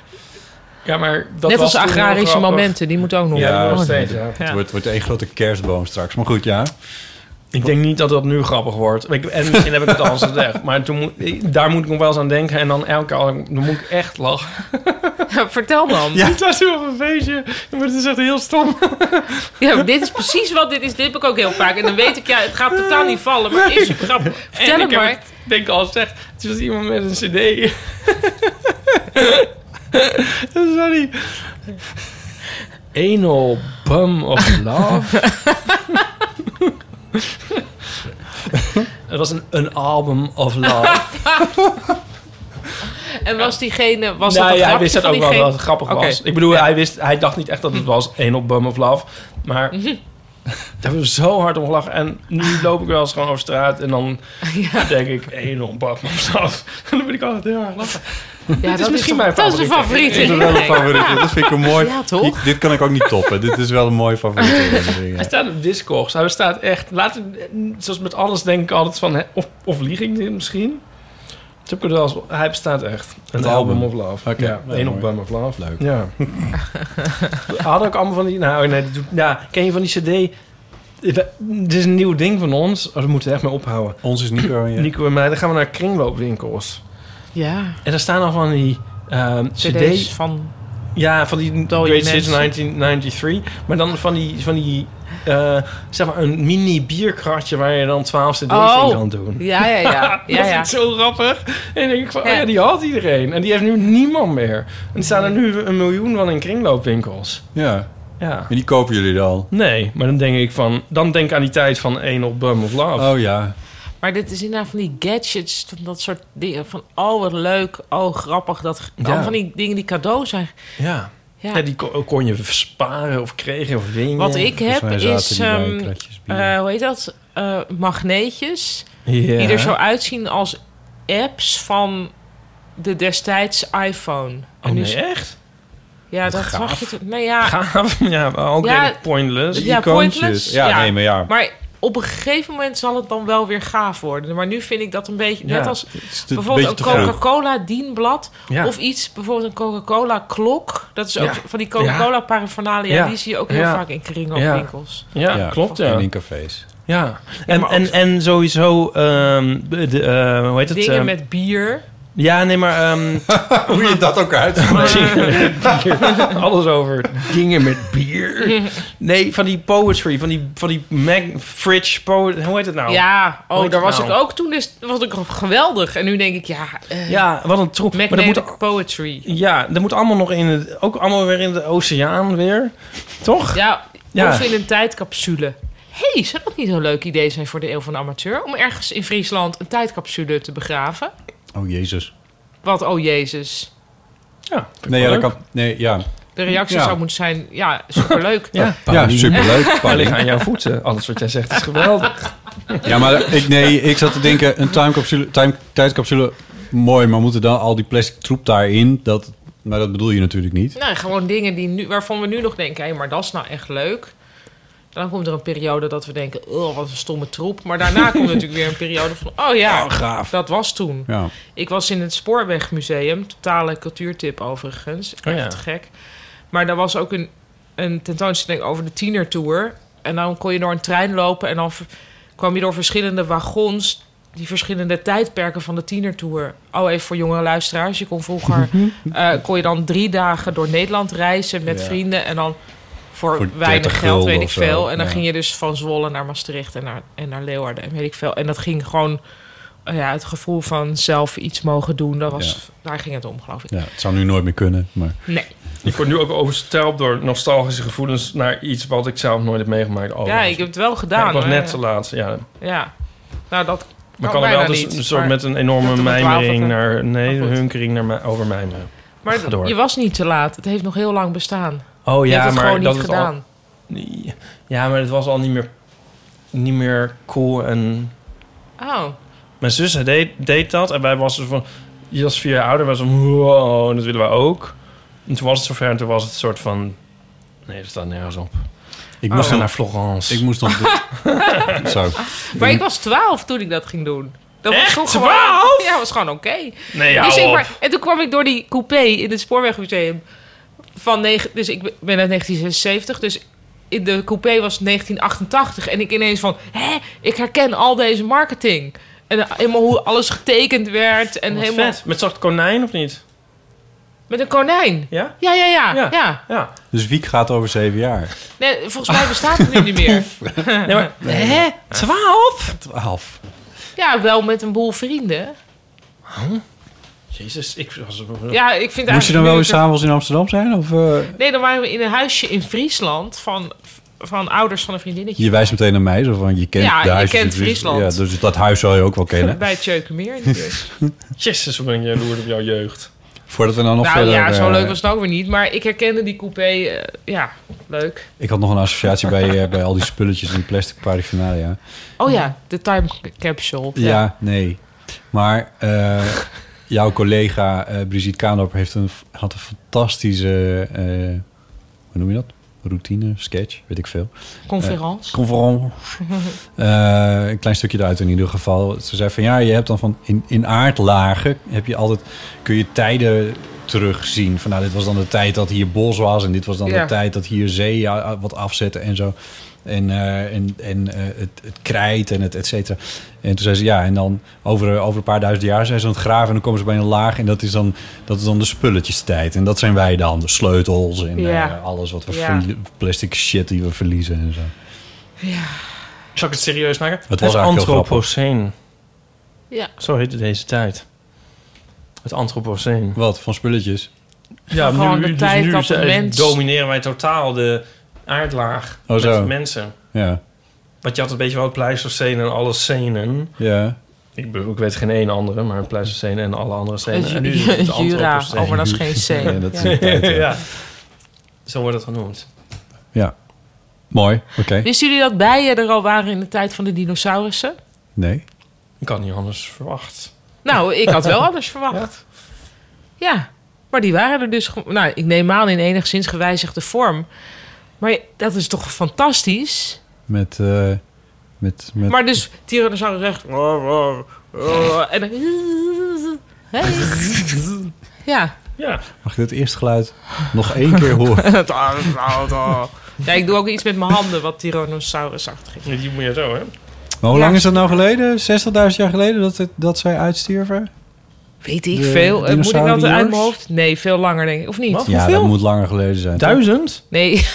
[SPEAKER 6] ja, maar dat
[SPEAKER 4] Net
[SPEAKER 6] was
[SPEAKER 4] als
[SPEAKER 6] toen heel
[SPEAKER 4] agrarische
[SPEAKER 6] grappig.
[SPEAKER 4] momenten, die moeten ook nog.
[SPEAKER 5] Ja,
[SPEAKER 4] Oh,
[SPEAKER 6] nog
[SPEAKER 4] nee.
[SPEAKER 6] steeds, ja.
[SPEAKER 5] Het wordt, wordt één grote kerstboom straks. Maar goed, ja.
[SPEAKER 6] Ik denk niet dat dat nu grappig wordt. Ik- En misschien heb ik het al eens gezegd. Maar toen moet, ik- daar moet ik nog wel eens aan denken. En dan elke keer, dan moet ik echt lachen.
[SPEAKER 4] Ja, Vertel dan. Ja.
[SPEAKER 6] Ja. Ik was toen op een feestje. Maar het is echt heel stom.
[SPEAKER 4] maar dit is precies wat dit is. Dit heb ik ook heel vaak. En dan weet ik, ja, het gaat totaal niet vallen, maar het is super grappig. Vertel
[SPEAKER 6] en ik
[SPEAKER 4] het
[SPEAKER 6] heb
[SPEAKER 4] maar.
[SPEAKER 6] het, denk ik al gezegd. Het was iemand met een cd. Sorry. Anal bum of love. Het was een, een album of love.
[SPEAKER 4] En was diegene, was
[SPEAKER 6] Nou
[SPEAKER 4] dat een
[SPEAKER 6] ja, hij
[SPEAKER 4] grapje
[SPEAKER 6] wist dat
[SPEAKER 4] van
[SPEAKER 6] ook wel
[SPEAKER 4] diegene?
[SPEAKER 6] dat het grappig
[SPEAKER 4] Oké.
[SPEAKER 6] was. Ik bedoel, hij, wist, hij dacht niet echt dat het was één op Bum of Love. Maar
[SPEAKER 4] Mhm.
[SPEAKER 6] daar hebben we zo hard om gelachen. En nu loop ik wel eens gewoon over straat en dan denk ik één op Bum of Love. Dan ben ik altijd heel erg lachen.
[SPEAKER 4] Ja, dat
[SPEAKER 6] is misschien
[SPEAKER 4] toch-
[SPEAKER 6] mijn
[SPEAKER 4] Dat is een favoriet.
[SPEAKER 5] Dit is wel een favoriet. Dat vind ik een mooi...
[SPEAKER 4] Ja, toch?
[SPEAKER 5] Ik- dit kan ik ook niet toppen. Dit is wel een mooi favoriet.
[SPEAKER 6] Hij staat op Discogs. Hij staat echt... Laat, zoals met alles denk ik altijd van... hè, Of, of lieg ik dit misschien? Dat heb ik er wel eens- Hij bestaat echt. Een
[SPEAKER 5] Het
[SPEAKER 6] album.
[SPEAKER 5] album.
[SPEAKER 6] of Love.
[SPEAKER 5] Oké,
[SPEAKER 6] ja,
[SPEAKER 5] ja,
[SPEAKER 6] één
[SPEAKER 5] mooi.
[SPEAKER 6] op Bum of Love.
[SPEAKER 5] Leuk.
[SPEAKER 6] Ja. We hadden ook allemaal van die... Nou, nee, dat doet- nou, ken je van die cd... We- Dit is een nieuw ding van ons. Oh, daar moeten we echt mee ophouden.
[SPEAKER 5] Ons is Nico en je.
[SPEAKER 6] Nico en mij, dan gaan we naar kringloopwinkels.
[SPEAKER 4] Ja,
[SPEAKER 6] En daar staan al van die ehm,
[SPEAKER 4] cd's
[SPEAKER 6] cd's.
[SPEAKER 4] van...
[SPEAKER 6] Ja, van die
[SPEAKER 4] Dode
[SPEAKER 6] Great Sits
[SPEAKER 4] mensen.
[SPEAKER 6] 1993. Maar dan van die... Van die eh, zeg maar een mini bierkratje waar je dan 12 cd's
[SPEAKER 4] Oh.
[SPEAKER 6] in kan doen.
[SPEAKER 4] Ja, ja, ja. ja,
[SPEAKER 6] Dat is
[SPEAKER 4] ja.
[SPEAKER 6] niet zo grappig. En dan denk ik van, oh
[SPEAKER 4] Ja.
[SPEAKER 6] ja, die had iedereen. En die heeft nu niemand meer. En er staan er nu een miljoen van in kringloopwinkels.
[SPEAKER 5] Ja.
[SPEAKER 6] Ja.
[SPEAKER 5] En die kopen jullie dan?
[SPEAKER 6] Nee, maar dan denk ik van... Dan denk ik aan die tijd van 1 op Bum of Love.
[SPEAKER 5] Oh ja.
[SPEAKER 4] Maar dit is inderdaad van die gadgets, van dat soort dingen. Van, oh, wat leuk, oh, grappig. Dat,
[SPEAKER 6] Ja.
[SPEAKER 4] al van die dingen die cadeau zijn.
[SPEAKER 6] Ja.
[SPEAKER 4] Ja.
[SPEAKER 6] Ja, die kon, kon je sparen of kregen of win je.
[SPEAKER 4] Wat ik
[SPEAKER 5] Volgens
[SPEAKER 4] heb
[SPEAKER 5] mij
[SPEAKER 4] is,
[SPEAKER 5] zaten die bij
[SPEAKER 4] ehm,
[SPEAKER 5] kratjes bier.
[SPEAKER 4] eh, hoe heet dat? Eh, magneetjes.
[SPEAKER 6] Ja.
[SPEAKER 4] Die er zo uitzien als apps van de destijds iPhone.
[SPEAKER 6] Oh,
[SPEAKER 4] nu
[SPEAKER 6] nee,
[SPEAKER 4] is-
[SPEAKER 6] echt?
[SPEAKER 4] ja, dat
[SPEAKER 5] gaaf.
[SPEAKER 4] zag je toch. Nou ja,
[SPEAKER 6] Gaaf. Ja, maar ook
[SPEAKER 4] Ja.
[SPEAKER 6] redelijk pointless.
[SPEAKER 4] ja
[SPEAKER 5] Icoontjes.
[SPEAKER 4] pointless.
[SPEAKER 5] Ja, nee, maar ja.
[SPEAKER 4] Maar op een gegeven moment zal het dan wel weer gaaf worden. Maar nu vind ik dat een beetje...
[SPEAKER 6] Ja.
[SPEAKER 4] Net als
[SPEAKER 5] Het is een beetje
[SPEAKER 4] bijvoorbeeld een
[SPEAKER 5] te vroeg.
[SPEAKER 4] Coca-Cola dienblad.
[SPEAKER 6] Ja.
[SPEAKER 4] Of iets, bijvoorbeeld een Coca-Cola klok. Dat is ook
[SPEAKER 6] Ja.
[SPEAKER 4] van die Coca-Cola paraphernalia.
[SPEAKER 6] Ja.
[SPEAKER 4] Die zie je ook heel
[SPEAKER 6] Ja.
[SPEAKER 4] vaak in kringloopwinkels.
[SPEAKER 6] Ja, klopt. Ja.
[SPEAKER 5] En in cafés.
[SPEAKER 6] Ja. En,
[SPEAKER 4] maar ook-
[SPEAKER 6] en, en sowieso, ehm, de, eh, hoe heet het?
[SPEAKER 4] Dingen
[SPEAKER 6] ehm,
[SPEAKER 4] met bier.
[SPEAKER 6] Ja, nee, maar ehm,
[SPEAKER 5] Hoe je dat ook uit.
[SPEAKER 6] alles over dingen met bier. Nee, van die poetry, van die, van die mag, fridge poet, hoe heet het nou?
[SPEAKER 4] Ja,
[SPEAKER 6] Hoe
[SPEAKER 4] oh,
[SPEAKER 6] heet
[SPEAKER 4] daar
[SPEAKER 6] het
[SPEAKER 4] was
[SPEAKER 6] nou?
[SPEAKER 4] ik ook toen. Dus was ik geweldig. En nu denk ik, ja, eh
[SPEAKER 6] Ja, wat een troep. Maar dat
[SPEAKER 4] magnetic
[SPEAKER 6] moet,
[SPEAKER 4] poetry.
[SPEAKER 6] ja, dat moet allemaal nog in het, ook allemaal weer in de oceaan weer, toch?
[SPEAKER 4] Ja,
[SPEAKER 6] Ja.
[SPEAKER 4] of in een tijdcapsule. hey, zou dat niet een leuk idee zijn voor de Eeuw van de Amateur? Om ergens in Friesland een tijdcapsule te begraven?
[SPEAKER 5] Oh, jezus.
[SPEAKER 4] Want, oh jezus,
[SPEAKER 6] Ja,
[SPEAKER 5] Nee, ja, dat kan... Nee, ja.
[SPEAKER 4] de reactie
[SPEAKER 5] Ja.
[SPEAKER 4] zou moeten zijn... Ja, superleuk.
[SPEAKER 6] Ja,
[SPEAKER 5] Ja, superleuk.
[SPEAKER 6] Hij ligt
[SPEAKER 5] Paulien.
[SPEAKER 6] aan jouw voeten. Alles wat jij zegt is geweldig.
[SPEAKER 5] Ja, maar ik, nee, ik zat te denken, een timecapsule, time, tijdcapsule, mooi, maar moeten dan al die plastic troep daarin? Dat, maar dat bedoel je natuurlijk niet.
[SPEAKER 4] Nou, gewoon dingen die nu, waarvan we nu nog denken... Hé, maar dat is nou echt leuk. En dan komt er een periode dat we denken... Oh, wat een stomme troep. Maar daarna komt natuurlijk weer een periode van... Oh ja,
[SPEAKER 6] gaaf.
[SPEAKER 4] dat was toen.
[SPEAKER 5] Ja.
[SPEAKER 4] Ik was in het Spoorwegmuseum, totale cultuurtip overigens.
[SPEAKER 6] Oh ja.
[SPEAKER 4] Echt gek. Maar daar was ook een, een tentoonstelling over de tienertour. En dan kon je door een trein lopen en dan ver- kwam je door verschillende wagons. Die verschillende tijdperken van de tienertour. Oh, even voor jongere luisteraars. Je kon vroeger eh, kon je dan drie dagen door Nederland reizen met
[SPEAKER 5] Ja.
[SPEAKER 4] vrienden. En dan voor,
[SPEAKER 5] Voor 30
[SPEAKER 4] weinig geld,
[SPEAKER 5] gulden
[SPEAKER 4] weet ik
[SPEAKER 5] of zo,
[SPEAKER 4] veel. En dan
[SPEAKER 5] ja.
[SPEAKER 4] ging je dus van Zwolle naar Maastricht en naar, en naar Leeuwarden. En weet ik veel. En dat ging gewoon eh, ja, het gevoel van zelf iets mogen doen, dat was, daar ging het om, geloof ik.
[SPEAKER 5] ja, het zou nu nooit meer kunnen, maar
[SPEAKER 4] Nee.
[SPEAKER 6] Ik word nu ook overstelpt door nostalgische gevoelens naar iets wat ik zelf nooit heb meegemaakt. Oh,
[SPEAKER 4] ja, ik heb het wel gedaan.
[SPEAKER 6] Ja, ik was
[SPEAKER 4] hoor.
[SPEAKER 6] net te laat. Ja.
[SPEAKER 4] Ja. Nou, dat
[SPEAKER 6] Maar
[SPEAKER 4] kan
[SPEAKER 6] kan er wel
[SPEAKER 4] bijna
[SPEAKER 6] dus
[SPEAKER 4] niet,
[SPEAKER 6] een soort
[SPEAKER 4] maar-
[SPEAKER 6] met een
[SPEAKER 4] dat
[SPEAKER 6] enorme
[SPEAKER 4] er maar
[SPEAKER 6] mijmering
[SPEAKER 4] 12
[SPEAKER 6] naar... Nee,
[SPEAKER 4] Maar goed.
[SPEAKER 6] hunkering naar, mij- over mijmeren.
[SPEAKER 4] Maar
[SPEAKER 6] Ga door.
[SPEAKER 4] je was niet te laat. Het heeft nog heel lang bestaan.
[SPEAKER 6] Oh
[SPEAKER 4] Je hebt het gewoon niet gedaan.
[SPEAKER 6] ja, maar het was al niet meer, niet meer cool. En
[SPEAKER 4] Oh,
[SPEAKER 6] mijn zus deed, deed dat. En wij was dus van... Je was vier jaar ouder. was van... Wow, dat willen wij ook. En toen was het zover. En toen was het een soort van... Nee, dat staat nergens op. Oh.
[SPEAKER 5] ik
[SPEAKER 6] We
[SPEAKER 5] moest dan...
[SPEAKER 6] gaan naar Florence.
[SPEAKER 5] Ik moest dan
[SPEAKER 4] Oh.
[SPEAKER 5] zo.
[SPEAKER 4] maar ik was twaalf toen ik dat ging doen. Dat
[SPEAKER 6] Echt?
[SPEAKER 4] was gewoon,
[SPEAKER 6] 12?
[SPEAKER 4] Ja, was gewoon oké.
[SPEAKER 6] nee,
[SPEAKER 4] Dus
[SPEAKER 6] hou
[SPEAKER 4] ik
[SPEAKER 6] op.
[SPEAKER 4] maar- en toen kwam ik door die coupé in het Spoorwegmuseum. Van negen, dus ik ben uit 1976, dus in de coupé was 1988. En ik ineens van, hè, ik herken al deze marketing. En eh, helemaal hoe alles getekend werd. En
[SPEAKER 6] Wat
[SPEAKER 4] helemaal,
[SPEAKER 6] vet. Met zo'n konijn of niet?
[SPEAKER 4] Met een konijn.
[SPEAKER 6] Ja?
[SPEAKER 4] Ja, ja, ja. ja.
[SPEAKER 6] Ja. Ja.
[SPEAKER 5] Dus Wiek gaat over zeven jaar.
[SPEAKER 4] Nee, volgens mij bestaat het nu niet meer.
[SPEAKER 6] Nee, maar,
[SPEAKER 4] Hè? Twaalf?
[SPEAKER 5] Twaalf.
[SPEAKER 4] Ja, wel met een boel vrienden.
[SPEAKER 6] Jezus, ik was...
[SPEAKER 4] Ja, ik vind
[SPEAKER 5] Moest je dan
[SPEAKER 4] eigenlijk
[SPEAKER 5] wel
[SPEAKER 4] nu
[SPEAKER 5] eens
[SPEAKER 4] dat-
[SPEAKER 5] s'avonds in Amsterdam zijn? Of, eh?
[SPEAKER 4] Nee, dan waren we in een huisje in Friesland van, van ouders van een vriendinnetje.
[SPEAKER 5] Je wijst meteen naar mij, zo van, je kent
[SPEAKER 4] Ja,
[SPEAKER 5] de
[SPEAKER 4] je
[SPEAKER 5] huisjes
[SPEAKER 4] kent
[SPEAKER 5] in Fries-
[SPEAKER 4] Friesland.
[SPEAKER 5] Ja, dus dat huis zou je ook wel kennen.
[SPEAKER 4] Bij het Tjeukenmeer in de buurt.
[SPEAKER 6] Jezus, hoe ben ik jaloers op jouw jeugd.
[SPEAKER 5] Voordat we dan nog
[SPEAKER 4] nou
[SPEAKER 5] verder...
[SPEAKER 4] ja, zo
[SPEAKER 5] eh,
[SPEAKER 4] leuk was het ook weer niet. Maar ik herkende die coupé. eh, ja, leuk.
[SPEAKER 5] Ik had nog een associatie bij, eh, bij al die spulletjes in plastic paraphernalia.
[SPEAKER 4] Oh ja, de time capsule.
[SPEAKER 5] Ja, nee. Maar eh, jouw collega eh, Brigitte Kaandorp heeft een, had een fantastische... eh, hoe noem je dat? Routine, sketch, weet ik veel.
[SPEAKER 4] Conference.
[SPEAKER 5] Conference. Eh, een klein stukje eruit in ieder geval. Ze zei van ja, je hebt dan van in, in aardlagen heb je altijd kun je tijden terugzien. Van nou, dit was dan de tijd dat hier bos was en dit was dan
[SPEAKER 4] Ja.
[SPEAKER 5] de tijd dat hier zee ja, ah, wat afzetten en zo. En, eh, en, en eh, het, het krijt en het et cetera. En toen zei ze ja, en dan over, over een paar duizend jaar zijn ze aan het graven en dan komen ze bij een laag en dat is dan, dat is dan de spulletjestijd. En dat zijn wij dan, de sleutels en
[SPEAKER 4] Ja.
[SPEAKER 5] eh, alles wat we
[SPEAKER 4] Ja.
[SPEAKER 5] verlie- plastic shit die we verliezen en zo.
[SPEAKER 6] Zal ik het serieus maken? Het,
[SPEAKER 5] was eigenlijk heel
[SPEAKER 6] Anthropoceen.
[SPEAKER 4] Ja.
[SPEAKER 6] Zo heette deze tijd. Het Anthropoceen.
[SPEAKER 5] Wat, van spulletjes?
[SPEAKER 6] Ja,
[SPEAKER 4] Gewoon de
[SPEAKER 6] dus
[SPEAKER 4] tijd dat de
[SPEAKER 6] zijn-
[SPEAKER 4] mens-
[SPEAKER 6] domineren wij totaal de aardlaag
[SPEAKER 5] Oh,
[SPEAKER 6] met
[SPEAKER 5] zo.
[SPEAKER 6] mensen.
[SPEAKER 5] Ja.
[SPEAKER 6] Want je had een beetje wel het Pleistocene en alle scenen.
[SPEAKER 5] Ja.
[SPEAKER 6] Ik, bedoel, ik weet geen één andere, maar het Pleistocene en alle andere scenen.
[SPEAKER 4] Ju-
[SPEAKER 6] En nu is
[SPEAKER 4] ju-
[SPEAKER 6] het het
[SPEAKER 4] Jura,
[SPEAKER 6] Anthropocene.
[SPEAKER 4] oh, maar dat is geen scene.
[SPEAKER 5] Ja, dat is
[SPEAKER 4] Ja.
[SPEAKER 5] een tijd, ja.
[SPEAKER 6] ja. Zo wordt het genoemd.
[SPEAKER 5] Ja. Mooi. Oké.
[SPEAKER 4] Wisten jullie dat bijen er al waren in de tijd van de dinosaurussen?
[SPEAKER 5] Nee.
[SPEAKER 6] Ik had niet anders verwacht.
[SPEAKER 4] Nou, ik had wel anders verwacht. Ja, maar die waren er dus... gewoon- Nou, ik neem aan in enigszins gewijzigde vorm. Maar dat is toch fantastisch?
[SPEAKER 5] Met, eh, met, met...
[SPEAKER 4] Maar dus Tyrannosaurus recht... Oh, En dan... Hey. Ja.
[SPEAKER 6] Ja.
[SPEAKER 5] Mag ik dat eerste geluid nog één keer horen?
[SPEAKER 4] nou ja, ik doe ook iets met mijn handen wat Tyrannosaurusachtig is.
[SPEAKER 6] Die moet je zo, hè?
[SPEAKER 5] Maar hoe
[SPEAKER 4] Ja.
[SPEAKER 5] lang is dat nou geleden? 60.000 jaar geleden dat, het, dat zij uitstierven?
[SPEAKER 4] Weet ik
[SPEAKER 5] De
[SPEAKER 4] veel. Eh, moet ik dat
[SPEAKER 5] dinosauriërs?
[SPEAKER 4] uit mijn hoofd? Nee, veel langer denk ik. Of niet?
[SPEAKER 6] Wat?
[SPEAKER 5] Ja,
[SPEAKER 6] Hoeveel?
[SPEAKER 5] dat moet langer geleden zijn. toch?
[SPEAKER 6] Duizend?
[SPEAKER 4] Nee.
[SPEAKER 6] 65.000?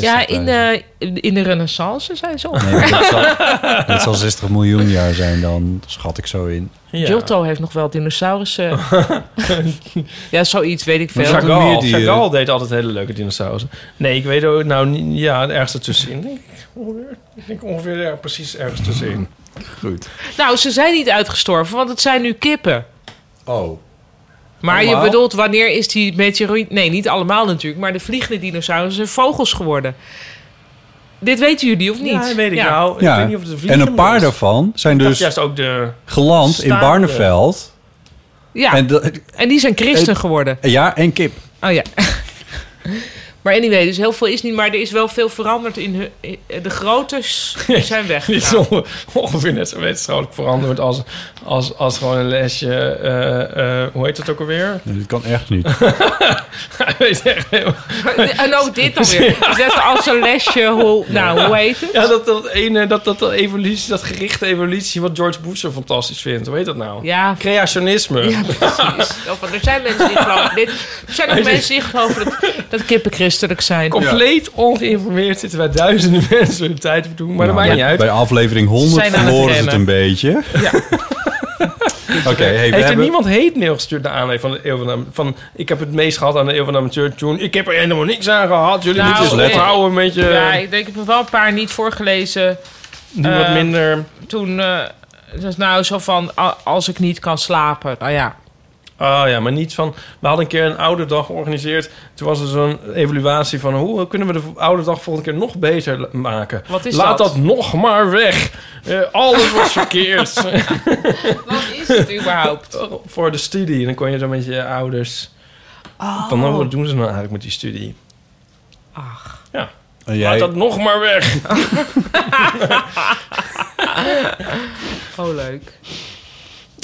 [SPEAKER 4] Ja, in de, in de renaissance zijn ze op.
[SPEAKER 5] Nee, dat, zal, dat zal 60 miljoen jaar zijn dan, schat ik zo in.
[SPEAKER 6] Ja.
[SPEAKER 4] Giotto heeft nog wel eh, dinosaurussen. ja, zoiets weet ik
[SPEAKER 5] Maar
[SPEAKER 4] veel.
[SPEAKER 5] zou ik-
[SPEAKER 6] Chagall,
[SPEAKER 5] Meer die, eh,
[SPEAKER 6] Chagall deed altijd hele leuke dinosaurussen. Nee, ik weet ook nou niet. Ja, ergens ertussenin. Denk ik, ongeveer. ik denk ongeveer ja, precies ergens tussenin.
[SPEAKER 5] Goed.
[SPEAKER 4] Nou, ze zijn niet uitgestorven, want het zijn nu kippen.
[SPEAKER 5] Oh.
[SPEAKER 4] Maar
[SPEAKER 6] Allemaal?
[SPEAKER 4] je bedoelt, wanneer is die meteoroïde... Nee, niet allemaal natuurlijk, maar de vliegende dinosaurussen zijn vogels geworden. Dit weten jullie, of niet?
[SPEAKER 6] Ja, weet ik
[SPEAKER 4] Oh,
[SPEAKER 6] nou. Ik
[SPEAKER 5] Ja.
[SPEAKER 6] weet niet of het
[SPEAKER 5] En een paar daarvan zijn
[SPEAKER 6] Dus
[SPEAKER 5] dus
[SPEAKER 6] juist ook de.
[SPEAKER 5] geland in
[SPEAKER 6] staande.
[SPEAKER 5] Barneveld.
[SPEAKER 4] Ja,
[SPEAKER 5] En
[SPEAKER 4] en,
[SPEAKER 5] dat-
[SPEAKER 4] die zijn christen
[SPEAKER 5] Het-
[SPEAKER 4] geworden.
[SPEAKER 5] ja, en kip.
[SPEAKER 4] Oh ja. maar anyway, dus heel veel is niet... Maar er is wel veel veranderd in hun... in- eh, De grootes zijn weg. nou.
[SPEAKER 6] Dit is onge- ongeveer net zo wetenschappelijk veranderd als, als, als gewoon een lesje. eh, eh, hoe heet dat ook alweer?
[SPEAKER 5] Nee, dat kan echt niet.
[SPEAKER 6] Ik weet echt heel-
[SPEAKER 4] En ook Oh, dit dan weer. Dus net als een lesje, hoe, nou, hoe heet het?
[SPEAKER 6] ja, dat, dat ene, dat, dat, dat evolutie, dat gerichte evolutie, wat George Bush zo fantastisch vindt. Hoe heet dat nou?
[SPEAKER 4] Ja,
[SPEAKER 6] Creationisme.
[SPEAKER 4] ja precies. Of, oh, er zijn mensen die geloven dit. Er zijn ook mensen die geloven dat, dat kippen christelijk zijn.
[SPEAKER 6] Compleet ongeïnformeerd zitten wij duizenden mensen hun tijd op doen. Maar dat
[SPEAKER 5] Nou,
[SPEAKER 6] maakt
[SPEAKER 5] bij-
[SPEAKER 6] niet uit.
[SPEAKER 5] Bij aflevering 100
[SPEAKER 4] Zijn aan het
[SPEAKER 5] verloren ze het een
[SPEAKER 4] rennen.
[SPEAKER 5] beetje.
[SPEAKER 4] Ja.
[SPEAKER 5] Oké, hey, we
[SPEAKER 6] Heeft er
[SPEAKER 5] hebben...
[SPEAKER 6] niemand hate mail gestuurd naar aanleiding van de eeuw van, de, van... Ik heb het meest gehad aan de eeuw van de amateur toen. Ik heb er helemaal niks aan gehad. Jullie
[SPEAKER 4] Nou,
[SPEAKER 6] moeten
[SPEAKER 4] nee.
[SPEAKER 6] het ophouden met je...
[SPEAKER 4] Ja, ik denk, ik heb er wel een paar niet voorgelezen.
[SPEAKER 6] doe wat
[SPEAKER 4] eh,
[SPEAKER 6] minder...
[SPEAKER 4] Toen, eh het was nou zo van, a- als ik niet kan slapen. Nou ja,
[SPEAKER 6] Ah ja, maar niet van... We hadden een keer een oude dag georganiseerd. Toen was er zo'n evaluatie van... Hoe kunnen we de oude dag volgende keer nog beter la- maken?
[SPEAKER 4] Wat is
[SPEAKER 6] Laat dat?
[SPEAKER 4] dat?
[SPEAKER 6] nog maar weg. Eh, alles was verkeerd. Oh,
[SPEAKER 4] wat is het überhaupt?
[SPEAKER 6] Voor de studie. En dan kon je dan met je ouders...
[SPEAKER 4] Oh.
[SPEAKER 6] Van, nou, wat doen ze nou eigenlijk met die studie?
[SPEAKER 5] En jij-
[SPEAKER 6] Laat dat nog maar weg.
[SPEAKER 4] Oh, leuk.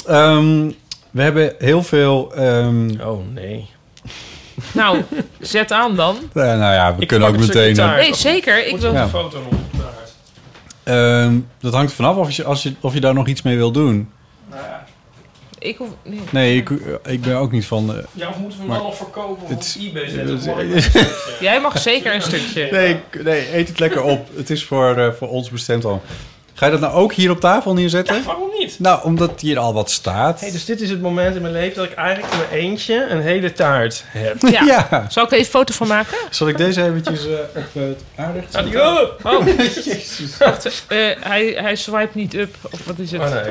[SPEAKER 5] Ehm, we hebben heel veel... ehm,
[SPEAKER 6] Oh nee.
[SPEAKER 4] Nou, zet aan dan.
[SPEAKER 5] eh, nou ja, we
[SPEAKER 6] Ik eh,
[SPEAKER 5] kunnen
[SPEAKER 6] pak
[SPEAKER 5] ook
[SPEAKER 6] een stukje
[SPEAKER 5] meteen... eh,
[SPEAKER 6] taart.
[SPEAKER 4] Nee, zeker. Ik wil...
[SPEAKER 5] Ja.
[SPEAKER 6] foto nog opgedraaid.
[SPEAKER 5] Ehm, dat hangt er vanaf of je, als je, of je daar nog iets mee wil doen.
[SPEAKER 4] Ik hoef... nee.
[SPEAKER 5] Nee, ik, ik ben ook niet van... eh,
[SPEAKER 6] Ja, of moeten we hem
[SPEAKER 5] Maar
[SPEAKER 6] dan nog verkopen
[SPEAKER 5] het-
[SPEAKER 6] op eBay
[SPEAKER 5] het-
[SPEAKER 6] zetten? Mag ik-
[SPEAKER 4] Jij mag zeker een stukje.
[SPEAKER 5] nee, ik- nee, eet het lekker op. Het is voor, eh, voor ons bestemd al. Ga je dat nou ook hier op tafel neerzetten?
[SPEAKER 6] Waarom niet?
[SPEAKER 5] Nou, omdat hier al wat staat.
[SPEAKER 6] Hey, dus dit is het moment in mijn leven dat ik eigenlijk in mijn eentje een hele taart heb.
[SPEAKER 4] Ja.
[SPEAKER 5] ja.
[SPEAKER 4] Zal ik er even een foto van maken?
[SPEAKER 5] Zal ik deze eventjes eh op het aanrecht zetten?
[SPEAKER 6] Oh,
[SPEAKER 4] Oh, Wacht, eh, hij, hij swipe niet up. Of wat is het?
[SPEAKER 6] Oh, nee.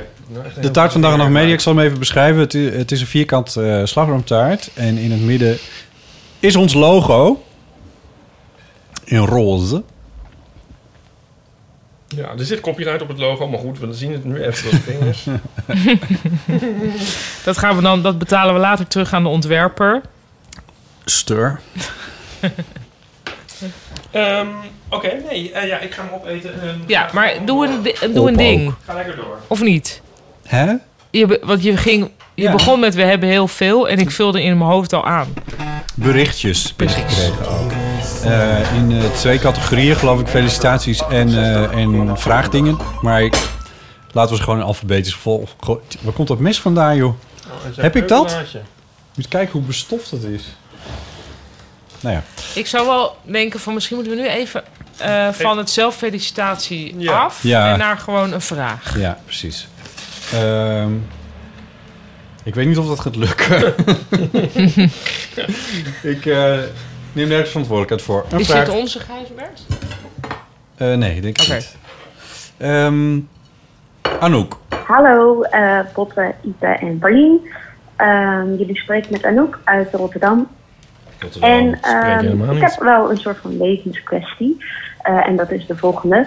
[SPEAKER 5] De taart van Dag en Nacht Media, ik zal hem even beschrijven. Het, i- het is een vierkant eh slagroomtaart. En in het midden is ons logo. In roze.
[SPEAKER 6] Ja, er zit copyright op het logo, maar goed, we zien het nu even door de vingers.
[SPEAKER 4] Dat, gaan we dan, dat betalen we later terug aan de ontwerper.
[SPEAKER 5] Stur.
[SPEAKER 6] Ehm, Oké, nee, eh, ja, ik ga hem opeten. en- eh,
[SPEAKER 4] Ja, maar doe een, di- Eh, doe
[SPEAKER 5] Op
[SPEAKER 4] een
[SPEAKER 5] ook.
[SPEAKER 4] ding.
[SPEAKER 6] Ga lekker door.
[SPEAKER 4] Of niet?
[SPEAKER 5] Hè?
[SPEAKER 4] Je, be- want je, ging, je
[SPEAKER 5] Ja.
[SPEAKER 4] begon met we hebben heel veel en ik vulde in mijn hoofd al aan.
[SPEAKER 5] Berichtjes is gekregen ook. Eh, in eh, twee categorieën, geloof ik. Felicitaties en, eh, en vraagdingen. Maar ik, laten we ze gewoon in alfabetisch volg. Goh, Waar komt dat mes vandaan, joh?
[SPEAKER 6] Oh, is
[SPEAKER 5] Heb ik dat?
[SPEAKER 6] keukelaadje.
[SPEAKER 5] Moet je kijken hoe bestoft het is. Nou ja.
[SPEAKER 4] Ik zou wel denken van misschien moeten we nu even eh, van het zelffelicitatie
[SPEAKER 6] Ja.
[SPEAKER 4] af
[SPEAKER 5] Ja.
[SPEAKER 4] en naar gewoon een vraag.
[SPEAKER 5] Ja, precies. Ehm, ik weet niet of dat gaat lukken. ik eh, neem nergens verantwoordelijkheid voor. Een
[SPEAKER 4] Is
[SPEAKER 5] vraag.
[SPEAKER 4] dit onze Gijsbert?
[SPEAKER 5] Eh, Eh, nee, denk ik
[SPEAKER 4] Oké.
[SPEAKER 5] niet. Ehm, Anouk.
[SPEAKER 7] Hallo, eh Botte, Ipe en Paulien. Ehm, jullie spreken met Anouk uit Rotterdam. En ehm, ik heb wel een soort van levenskwestie. Eh, en dat is de volgende.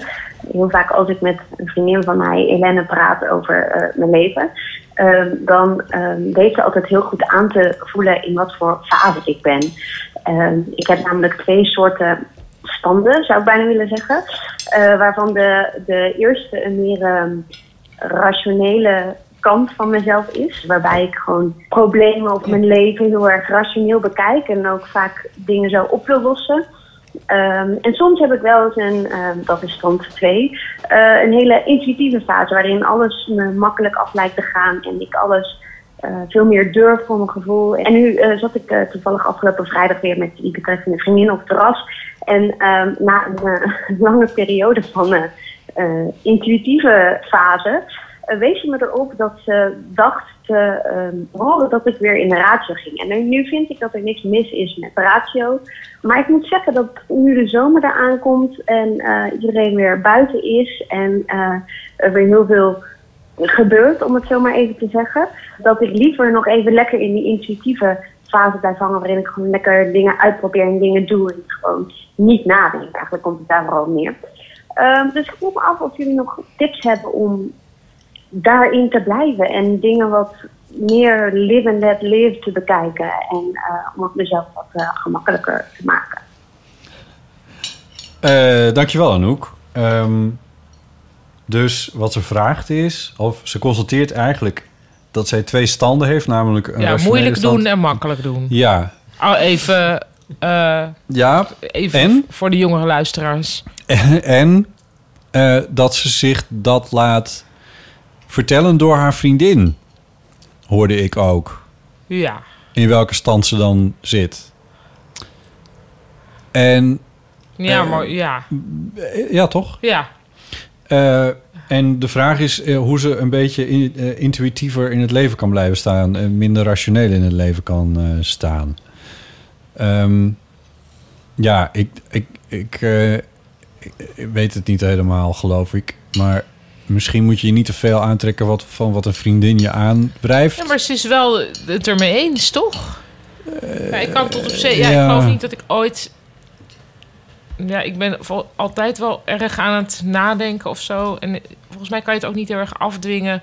[SPEAKER 7] Heel vaak als ik met een vriendin van mij, Helene, praat over eh, mijn leven, ehm, dan ehm, weet ze altijd heel goed aan te voelen in wat voor fase ik ben. Ehm, ik heb namelijk twee soorten standen, zou ik bijna willen zeggen. eh, waarvan de, de eerste een meer ehm, rationele kant van mezelf is. Waarbij ik gewoon problemen op mijn leven heel erg rationeel bekijk en ook vaak dingen zo op wil lossen. Ehm, en soms heb ik wel eens een, ehm, dat is stand 2, een hele intuïtieve fase waarin alles me makkelijk af lijkt te gaan en ik alles eh, veel meer durf voor mijn gevoel. En nu eh, zat ik eh, toevallig afgelopen vrijdag weer met die betreffende vriendin op het terras. En ehm, na een eh, lange periode van eh, eh, intuïtieve fase eh, wees ze me erop dat ze dacht te ehm, horen dat ik weer in de ratio ging. En nu- nu vind ik dat er niks mis is met de ratio. Maar ik moet zeggen dat nu de zomer eraan komt en eh, iedereen weer buiten is en eh, er weer heel veel gebeurt, om het zo maar even te zeggen. Dat ik liever nog even lekker in die intuïtieve fase blijf hangen, waarin ik gewoon lekker dingen uitprobeer en dingen doe en gewoon niet nadenk. Eigenlijk komt het daar vooral neer. Ehm, dus ik vroeg me af of jullie nog tips hebben om daarin te blijven en dingen wat meer live and let live te bekijken en eh, om het mezelf wat eh, gemakkelijker te maken.
[SPEAKER 5] Eh, dankjewel, Anouk. Ehm, dus wat ze vraagt is, of ze constateert eigenlijk dat zij twee standen heeft, namelijk een
[SPEAKER 4] Ja,
[SPEAKER 5] rationele
[SPEAKER 4] moeilijk
[SPEAKER 5] stand-
[SPEAKER 4] doen en makkelijk doen.
[SPEAKER 5] Ja,
[SPEAKER 4] Oh, even eh,
[SPEAKER 5] ja.
[SPEAKER 4] even
[SPEAKER 5] En?
[SPEAKER 4] voor de jongere luisteraars.
[SPEAKER 5] En eh, dat ze zich dat laat vertellen door haar vriendin, hoorde ik ook.
[SPEAKER 4] Ja.
[SPEAKER 5] In welke stand ze dan zit. En
[SPEAKER 4] Ja,
[SPEAKER 5] Eh,
[SPEAKER 4] maar ja.
[SPEAKER 5] eh, ja, toch?
[SPEAKER 4] Ja.
[SPEAKER 5] Eh, en de vraag is eh, hoe ze een beetje in- eh, intuïtiever in het leven kan blijven staan. En minder rationeel in het leven kan eh, staan. Ehm, ja, ik, ik, ik, eh, ik- ik weet het niet helemaal, geloof ik. Maar misschien moet je je niet te veel aantrekken wat, van wat een vriendin je aandrijft.
[SPEAKER 4] ja, maar ze is wel het ermee eens, toch? ja, ik kan tot op zee. Ja,
[SPEAKER 5] Eh, ja.
[SPEAKER 4] ik geloof niet dat ik ooit. Ja, ik ben vol- altijd wel erg aan het nadenken of zo. En volgens mij kan je het ook niet heel erg afdwingen.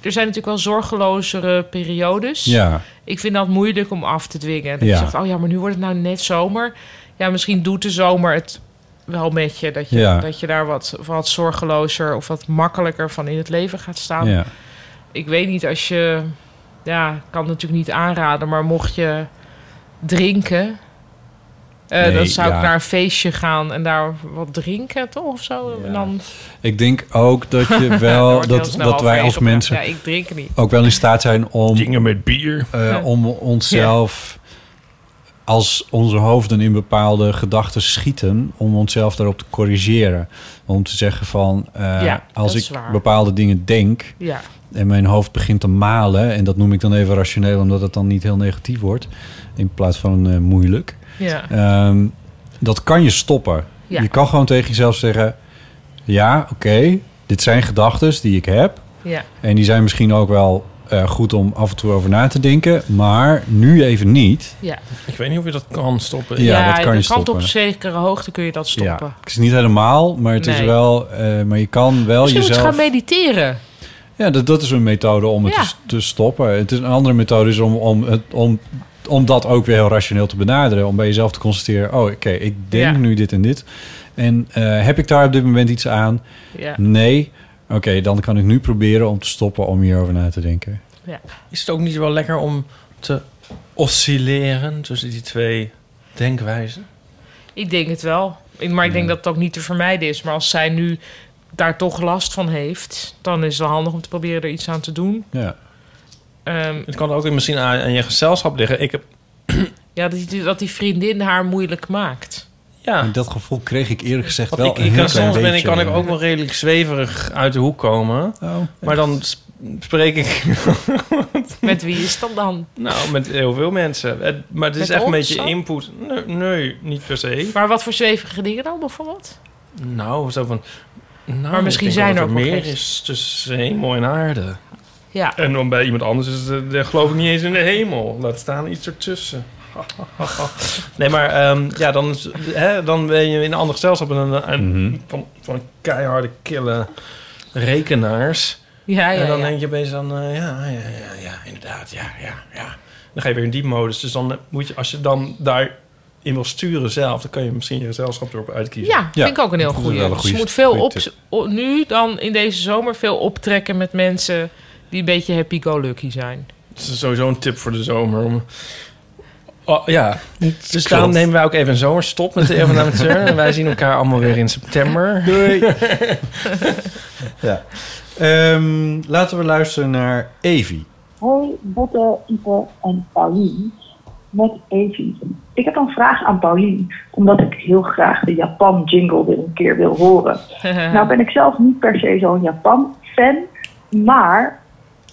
[SPEAKER 4] Er zijn natuurlijk wel zorgelozere periodes.
[SPEAKER 5] Ja.
[SPEAKER 4] Ik vind dat moeilijk om af te dwingen. Dat
[SPEAKER 5] Ja.
[SPEAKER 4] je zegt, oh ja, maar nu wordt het nou net zomer. Ja, misschien doet de zomer het wel met je. Dat je,
[SPEAKER 5] Ja.
[SPEAKER 4] dat je daar wat, wat zorgelozer of wat makkelijker van in het leven gaat staan.
[SPEAKER 5] Ja.
[SPEAKER 4] Ik weet niet als je... Ja, ik kan het natuurlijk niet aanraden. Maar mocht je drinken... eh,
[SPEAKER 5] Nee,
[SPEAKER 4] dan zou
[SPEAKER 5] ja.
[SPEAKER 4] ik naar een feestje gaan en daar wat drinken, toch? Of zo. En dan,
[SPEAKER 5] Ik denk ook dat je
[SPEAKER 4] dan
[SPEAKER 5] wel
[SPEAKER 4] wordt heel
[SPEAKER 5] dat,
[SPEAKER 4] snel
[SPEAKER 5] dat wij
[SPEAKER 4] overheen
[SPEAKER 5] als
[SPEAKER 4] opgegaan.
[SPEAKER 5] mensen
[SPEAKER 4] Ja, ik drink niet.
[SPEAKER 5] ook wel in staat zijn om
[SPEAKER 6] Dingen met bier.
[SPEAKER 5] eh,
[SPEAKER 4] Ja.
[SPEAKER 5] om onszelf als onze hoofden in bepaalde gedachten schieten, om onszelf daarop te corrigeren. Om te zeggen van eh,
[SPEAKER 4] Ja,
[SPEAKER 5] als
[SPEAKER 4] dat is
[SPEAKER 5] ik
[SPEAKER 4] waar.
[SPEAKER 5] bepaalde dingen denk
[SPEAKER 4] Ja.
[SPEAKER 5] en mijn hoofd begint te malen, en dat noem ik dan even rationeel, omdat het dan niet heel negatief wordt, in plaats van eh, moeilijk.
[SPEAKER 4] Ja.
[SPEAKER 5] Ehm, dat kan je stoppen.
[SPEAKER 4] Ja.
[SPEAKER 5] Je kan gewoon tegen jezelf zeggen: ja, oké, dit zijn gedachten die ik heb.
[SPEAKER 4] ja.
[SPEAKER 5] En die zijn misschien ook wel eh, goed om af en toe over na te denken, maar nu even niet.
[SPEAKER 4] Ja.
[SPEAKER 6] Ik weet niet of je dat kan stoppen.
[SPEAKER 5] Ja, dat kan je
[SPEAKER 4] op
[SPEAKER 5] stoppen.
[SPEAKER 4] zekere hoogte kun je dat stoppen.
[SPEAKER 5] Ja, het is niet helemaal, maar het is
[SPEAKER 4] Nee.
[SPEAKER 5] wel. eh, maar je kan wel
[SPEAKER 4] Misschien moet je
[SPEAKER 5] jezelf.
[SPEAKER 4] gaan mediteren.
[SPEAKER 5] ja, dat, dat is een methode om het
[SPEAKER 4] Ja.
[SPEAKER 5] te, te stoppen. Het is een andere methode is om, om, het, om, om dat ook weer heel rationeel te benaderen. Om bij jezelf te constateren: oh, oké, ik denk
[SPEAKER 4] Ja.
[SPEAKER 5] nu dit en dit. En eh, heb ik daar op dit moment iets aan?
[SPEAKER 4] Ja.
[SPEAKER 5] Nee. Oké, dan kan ik nu proberen om te stoppen om hierover na te denken.
[SPEAKER 6] Is het ook niet wel lekker om te oscilleren tussen die twee denkwijzen?
[SPEAKER 4] Ik denk het wel. Ik- Maar ik denk dat het ook niet te vermijden is. Maar als zij nu daar toch last van heeft, dan is het wel handig om te proberen er iets aan te doen.
[SPEAKER 5] Ja.
[SPEAKER 4] Ehm,
[SPEAKER 6] Het kan ook misschien aan, aan je gezelschap liggen. Ik heb,
[SPEAKER 4] ja, dat die, dat die vriendin haar moeilijk maakt.
[SPEAKER 6] ja,
[SPEAKER 5] En dat gevoel kreeg ik eerlijk gezegd
[SPEAKER 6] Ah. want
[SPEAKER 5] wel
[SPEAKER 6] ik,
[SPEAKER 5] een
[SPEAKER 6] ik
[SPEAKER 5] heel
[SPEAKER 6] kan,
[SPEAKER 5] klein
[SPEAKER 6] soms ben ik,
[SPEAKER 5] beetje. eh.
[SPEAKER 6] kan ik ook wel redelijk zweverig uit de hoek komen.
[SPEAKER 5] Oh.
[SPEAKER 6] Maar dan sp- spreek ik
[SPEAKER 4] Met wie is dat dan?
[SPEAKER 6] nou, met heel veel mensen. Het- maar het is
[SPEAKER 4] Met
[SPEAKER 6] echt een
[SPEAKER 4] ons
[SPEAKER 6] beetje
[SPEAKER 4] dan?
[SPEAKER 6] input. Nee, nee, niet per se.
[SPEAKER 4] Maar wat voor zwevige dingen dan bijvoorbeeld?
[SPEAKER 6] Nou, zo van... nou,
[SPEAKER 4] Maar misschien
[SPEAKER 6] ik denk
[SPEAKER 4] zijn
[SPEAKER 6] wel
[SPEAKER 4] er
[SPEAKER 6] dat
[SPEAKER 4] ook nog
[SPEAKER 6] meer
[SPEAKER 4] geen-
[SPEAKER 6] is tussen hemel en aarde.
[SPEAKER 4] Ja.
[SPEAKER 6] En dan bij iemand anders is het, eh, geloof ik niet eens in de hemel. Laat staan iets ertussen. nee, maar ehm, ja, dan, is- hè, dan ben je in een ander gezelschap en dan, eh, en van, van keiharde, kille rekenaars.
[SPEAKER 4] Ja, ja,
[SPEAKER 6] en dan
[SPEAKER 4] ja.
[SPEAKER 6] denk je opeens dan, eh, ja, ja, ja, ja, inderdaad, ja, ja, ja. Dan ga je weer in die modus. Dus dan moet je, als je dan daarin wil sturen zelf, dan kan je misschien je gezelschap erop uitkiezen.
[SPEAKER 4] Ja, vind ik ook een heel goede. Dus je moet veel op, o- nu dan in deze zomer veel optrekken met mensen die een beetje happy-go-lucky zijn.
[SPEAKER 6] Het is sowieso een tip voor de zomer. Om... Oh, ja, dus daarom
[SPEAKER 4] klopt.
[SPEAKER 6] nemen wij ook even een zomerstop met de Eeuw van de Amateur. en wij zien elkaar allemaal weer in september.
[SPEAKER 5] Doei. Ja. Ehm, laten we luisteren naar Evie.
[SPEAKER 8] Hoi, Botte, Ipe en Paulien. Met Evie. Ik heb een vraag aan Paulien, omdat ik heel graag de Japan-jingle weer een keer wil horen. Nou ben ik zelf niet per se zo'n Japan-fan, maar...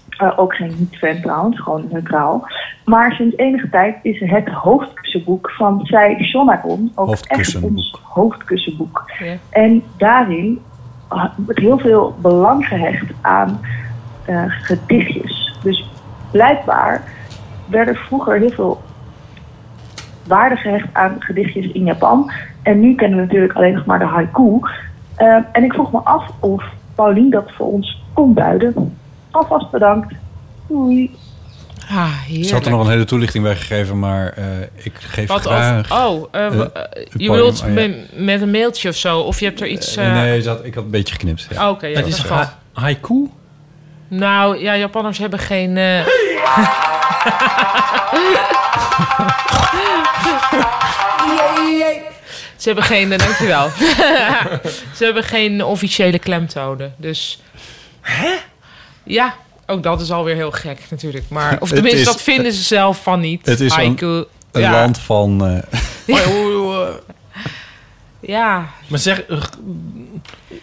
[SPEAKER 8] eh, ook geen niet-fan trouwens, gewoon neutraal. Maar sinds enige tijd is het hoofdkussenboek van Sai Shonagon ook echt ons hoofdkussenboek. En daarin ah, wordt heel veel belang gehecht aan eh, gedichtjes. Dus blijkbaar werden vroeger heel veel waarde gehecht aan gedichtjes in Japan. En nu kennen we natuurlijk alleen nog maar de haiku. Eh, en ik vroeg me af of Paulien dat voor ons kon duiden. Alvast bedankt. Doei.
[SPEAKER 4] Ah,
[SPEAKER 5] Ze had er nog een hele toelichting bij gegeven, maar eh, ik geef
[SPEAKER 4] Wat
[SPEAKER 5] graag...
[SPEAKER 4] over- oh, eh, w- eh, je wilt me- met een mailtje of zo? Of je hebt er iets... eh,
[SPEAKER 5] Oh, Nee, dat, ik had een beetje geknipt. ja.
[SPEAKER 4] Oh, oké, ja, dat is gewoon-
[SPEAKER 6] haiku?
[SPEAKER 4] Nou, ja, Japanners hebben geen... eh, Ze hebben geen... eh, dankjewel. Ze hebben geen officiële klemtonen, dus... Hè? Ja, ook dat is alweer heel gek natuurlijk. Maar, of
[SPEAKER 5] Het
[SPEAKER 4] tenminste,
[SPEAKER 5] is-
[SPEAKER 4] dat vinden ze zelf van niet.
[SPEAKER 5] Het is een,
[SPEAKER 4] Haiku.
[SPEAKER 5] een
[SPEAKER 4] ja.
[SPEAKER 5] land van... eh,
[SPEAKER 4] Ja,
[SPEAKER 6] Maar zeg, eh,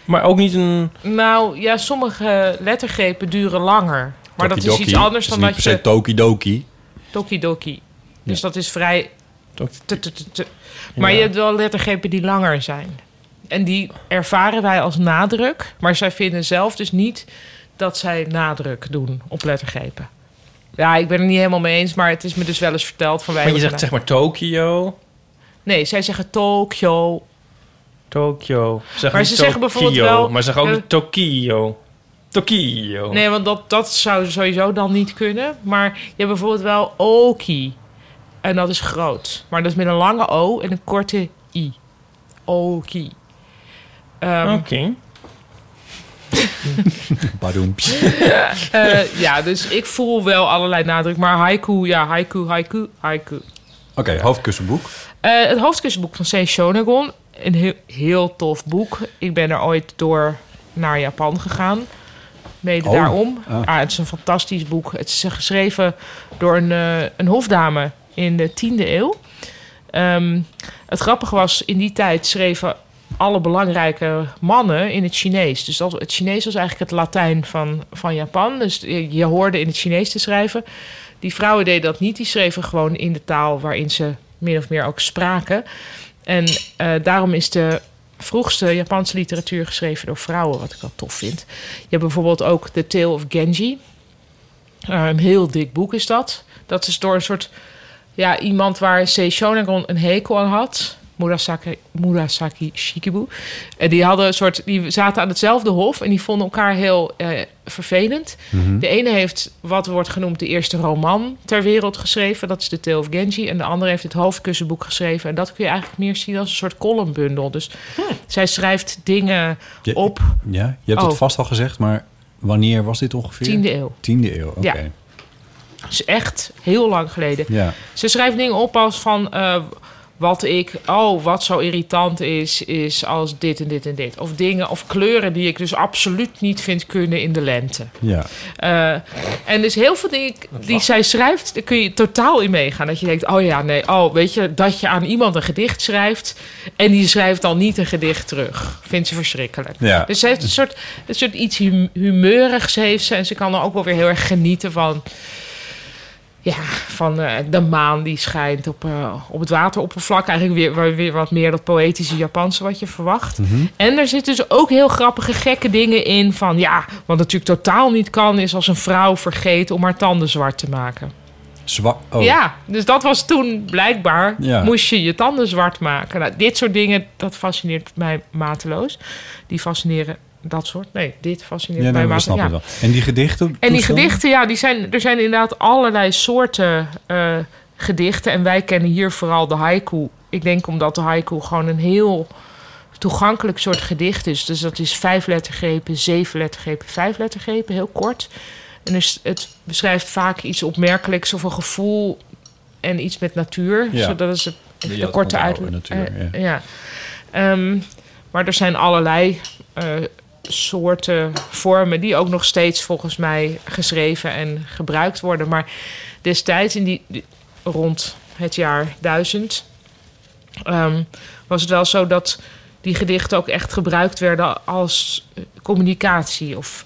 [SPEAKER 6] maar ook niet een...
[SPEAKER 4] nou ja, sommige lettergrepen duren langer. Maar dat is
[SPEAKER 5] tokidoki.
[SPEAKER 4] iets anders dan
[SPEAKER 5] Het
[SPEAKER 4] dat
[SPEAKER 5] is niet
[SPEAKER 4] je...
[SPEAKER 5] per se tokidoki.
[SPEAKER 4] Tokidoki. Dus dat is vrij... te- te- te- te- Maar
[SPEAKER 6] Ja.
[SPEAKER 4] je hebt wel lettergrepen die langer zijn. En die ervaren wij als nadruk. Maar zij vinden zelf dus niet dat zij nadruk doen op lettergrepen. Ja, ik ben er niet helemaal mee eens, maar het is me dus wel eens verteld van wij.
[SPEAKER 6] Maar je
[SPEAKER 4] hebben
[SPEAKER 6] zegt zeg maar Tokio.
[SPEAKER 4] gedaan. Nee, zij zeggen Tokyo.
[SPEAKER 6] Tokio. Zeg
[SPEAKER 4] Maar
[SPEAKER 6] niet
[SPEAKER 4] ze zeggen
[SPEAKER 6] Tokio,
[SPEAKER 4] bijvoorbeeld wel-
[SPEAKER 6] Maar zeg ook
[SPEAKER 4] Eh.
[SPEAKER 6] niet Tokio. Tokio.
[SPEAKER 4] Nee, want dat, dat zou sowieso dan niet kunnen. Maar je hebt bijvoorbeeld wel Oki. En dat is groot. Maar dat is met een lange O en een korte I. Oki. Ehm,
[SPEAKER 6] Oké.
[SPEAKER 5] Badoempje.
[SPEAKER 4] eh, ja, dus ik voel wel allerlei nadruk. Maar haiku, ja, haiku, haiku, haiku.
[SPEAKER 5] Oké, hoofdkussenboek.
[SPEAKER 4] Eh, het hoofdkussenboek van C. Shonagon. Een heel, heel tof boek. Ik ben er ooit door naar Japan gegaan. Mede
[SPEAKER 9] Oh,
[SPEAKER 4] daarom.
[SPEAKER 9] ah.
[SPEAKER 4] Ah, het is een fantastisch boek. Het is eh, geschreven door een, eh, een hofdame in de 10e eeuw. Ehm, het grappige was, in die tijd schreven alle belangrijke mannen in het Chinees. Dus dat, het Chinees was eigenlijk het Latijn van, van Japan. Dus je, je hoorde in het Chinees te schrijven. Die vrouwen deden dat niet. Die schreven gewoon in de taal waarin ze min of meer ook spraken. En eh, daarom is de vroegste Japanse literatuur geschreven door vrouwen, wat ik wel tof vind. Je hebt bijvoorbeeld ook The Tale of Genji. Eh, een heel dik boek is dat. Dat is door een soort ja, iemand waar C. Shonagon een hekel aan had. Murasaki, Murasaki Shikibu. En die, hadden een soort, die zaten aan hetzelfde hof en die vonden elkaar heel eh, vervelend.
[SPEAKER 9] Mhm.
[SPEAKER 4] De ene heeft wat wordt genoemd de eerste roman ter wereld geschreven. Dat is The Tale of Genji. En de andere heeft het hoofdkussenboek geschreven. En dat kun je eigenlijk meer zien als een soort columnbundel. Dus zij schrijft dingen
[SPEAKER 5] Je-
[SPEAKER 4] op.
[SPEAKER 5] Ja, je hebt
[SPEAKER 4] Oh.
[SPEAKER 5] het vast al gezegd, maar wanneer was dit ongeveer?
[SPEAKER 4] 10e eeuw.
[SPEAKER 5] 10e eeuw, oké.
[SPEAKER 4] Ja. is echt heel lang geleden.
[SPEAKER 5] Ja.
[SPEAKER 4] Ze schrijft dingen op als van eh, wat ik, oh, wat zo irritant is, is als dit en dit en dit. Of dingen of kleuren die ik dus absoluut niet vind kunnen in de lente.
[SPEAKER 5] Ja.
[SPEAKER 4] Eh, en dus heel veel dingen die zij schrijft, daar kun je totaal in meegaan. Dat je denkt, oh ja, nee, oh, weet je, dat je aan iemand een gedicht schrijft en die schrijft dan niet een gedicht terug. Vindt ze verschrikkelijk.
[SPEAKER 9] Ja.
[SPEAKER 4] Dus ze heeft een soort, een soort iets hum- humeurigs heeft ze en ze kan er ook wel weer heel erg genieten van. Ja, van eh, de maan die schijnt op, eh, op het wateroppervlak. Eigenlijk weer, weer, weer wat meer dat poëtische Japanse wat je verwacht.
[SPEAKER 5] Mhm.
[SPEAKER 4] En er zitten dus ook heel grappige, gekke dingen in. Van ja, wat natuurlijk totaal niet kan, is als een vrouw vergeet om haar tanden zwart te maken.
[SPEAKER 5] Zwa- oh.
[SPEAKER 4] Ja, dus dat was toen blijkbaar.
[SPEAKER 5] Ja.
[SPEAKER 4] Moest je je tanden zwart maken. Nou, dit soort dingen, dat fascineert mij mateloos. Die fascineren dat soort. Nee, dit fascineert
[SPEAKER 5] Ja,
[SPEAKER 4] mij
[SPEAKER 5] nee, we
[SPEAKER 4] mateloos.
[SPEAKER 5] snappen het
[SPEAKER 4] Ja.
[SPEAKER 5] wel. En die gedichten?
[SPEAKER 4] En die
[SPEAKER 5] toestanden?
[SPEAKER 4] gedichten, ja, die zijn, er zijn inderdaad allerlei soorten eh, gedichten. En wij kennen hier vooral de haiku. Ik denk omdat de haiku gewoon een heel toegankelijk soort gedicht is. Dus dat is vijf lettergrepen, zeven lettergrepen, vijf lettergrepen, heel kort. En dus het beschrijft vaak iets opmerkelijks of een gevoel en iets met natuur.
[SPEAKER 5] Ja.
[SPEAKER 4] Zodat is het
[SPEAKER 5] Die
[SPEAKER 4] even
[SPEAKER 5] je
[SPEAKER 4] de
[SPEAKER 5] had
[SPEAKER 4] korte
[SPEAKER 5] onthouden
[SPEAKER 4] uitleg.
[SPEAKER 5] natuurlijk,
[SPEAKER 4] Eh, ja. Ehm, maar er zijn allerlei eh, soorten vormen die ook nog steeds volgens mij geschreven en gebruikt worden. Maar destijds in die, die- rond het jaar 1000 ehm, was het wel zo dat die gedichten ook echt gebruikt werden als eh, communicatie of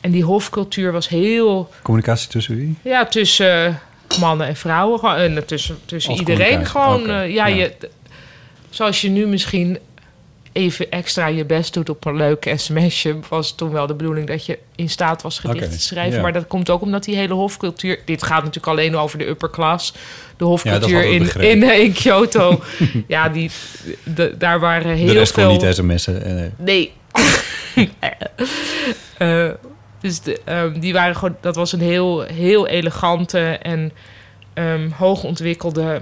[SPEAKER 4] en die hofcultuur was heel
[SPEAKER 5] Communicatie tussen wie?
[SPEAKER 4] ja, tussen eh, mannen en vrouwen. gewoon, En tussen, tussen
[SPEAKER 5] Als
[SPEAKER 4] iedereen
[SPEAKER 5] communicatie,
[SPEAKER 4] gewoon.
[SPEAKER 5] oké,
[SPEAKER 4] eh, ja,
[SPEAKER 5] ja.
[SPEAKER 4] Je, d- zoals je nu misschien even extra je best doet op een leuk sms'je... was toen wel de bedoeling dat je in staat was gedichten
[SPEAKER 5] Oké,
[SPEAKER 4] te schrijven.
[SPEAKER 5] ja.
[SPEAKER 4] Maar dat komt ook omdat die hele hofcultuur... Dit gaat natuurlijk alleen over de upper class. De hofcultuur
[SPEAKER 5] hadden we
[SPEAKER 4] in, in,
[SPEAKER 5] begrepen.
[SPEAKER 4] eh, in Kyoto. ja, die, de- daar waren heel
[SPEAKER 5] de rest
[SPEAKER 4] veel...
[SPEAKER 5] kon niet sms'en. Eh, nee.
[SPEAKER 4] Nee. Eh, dus de, ehm, die waren gewoon, dat was een heel, heel elegante en ehm hoogontwikkelde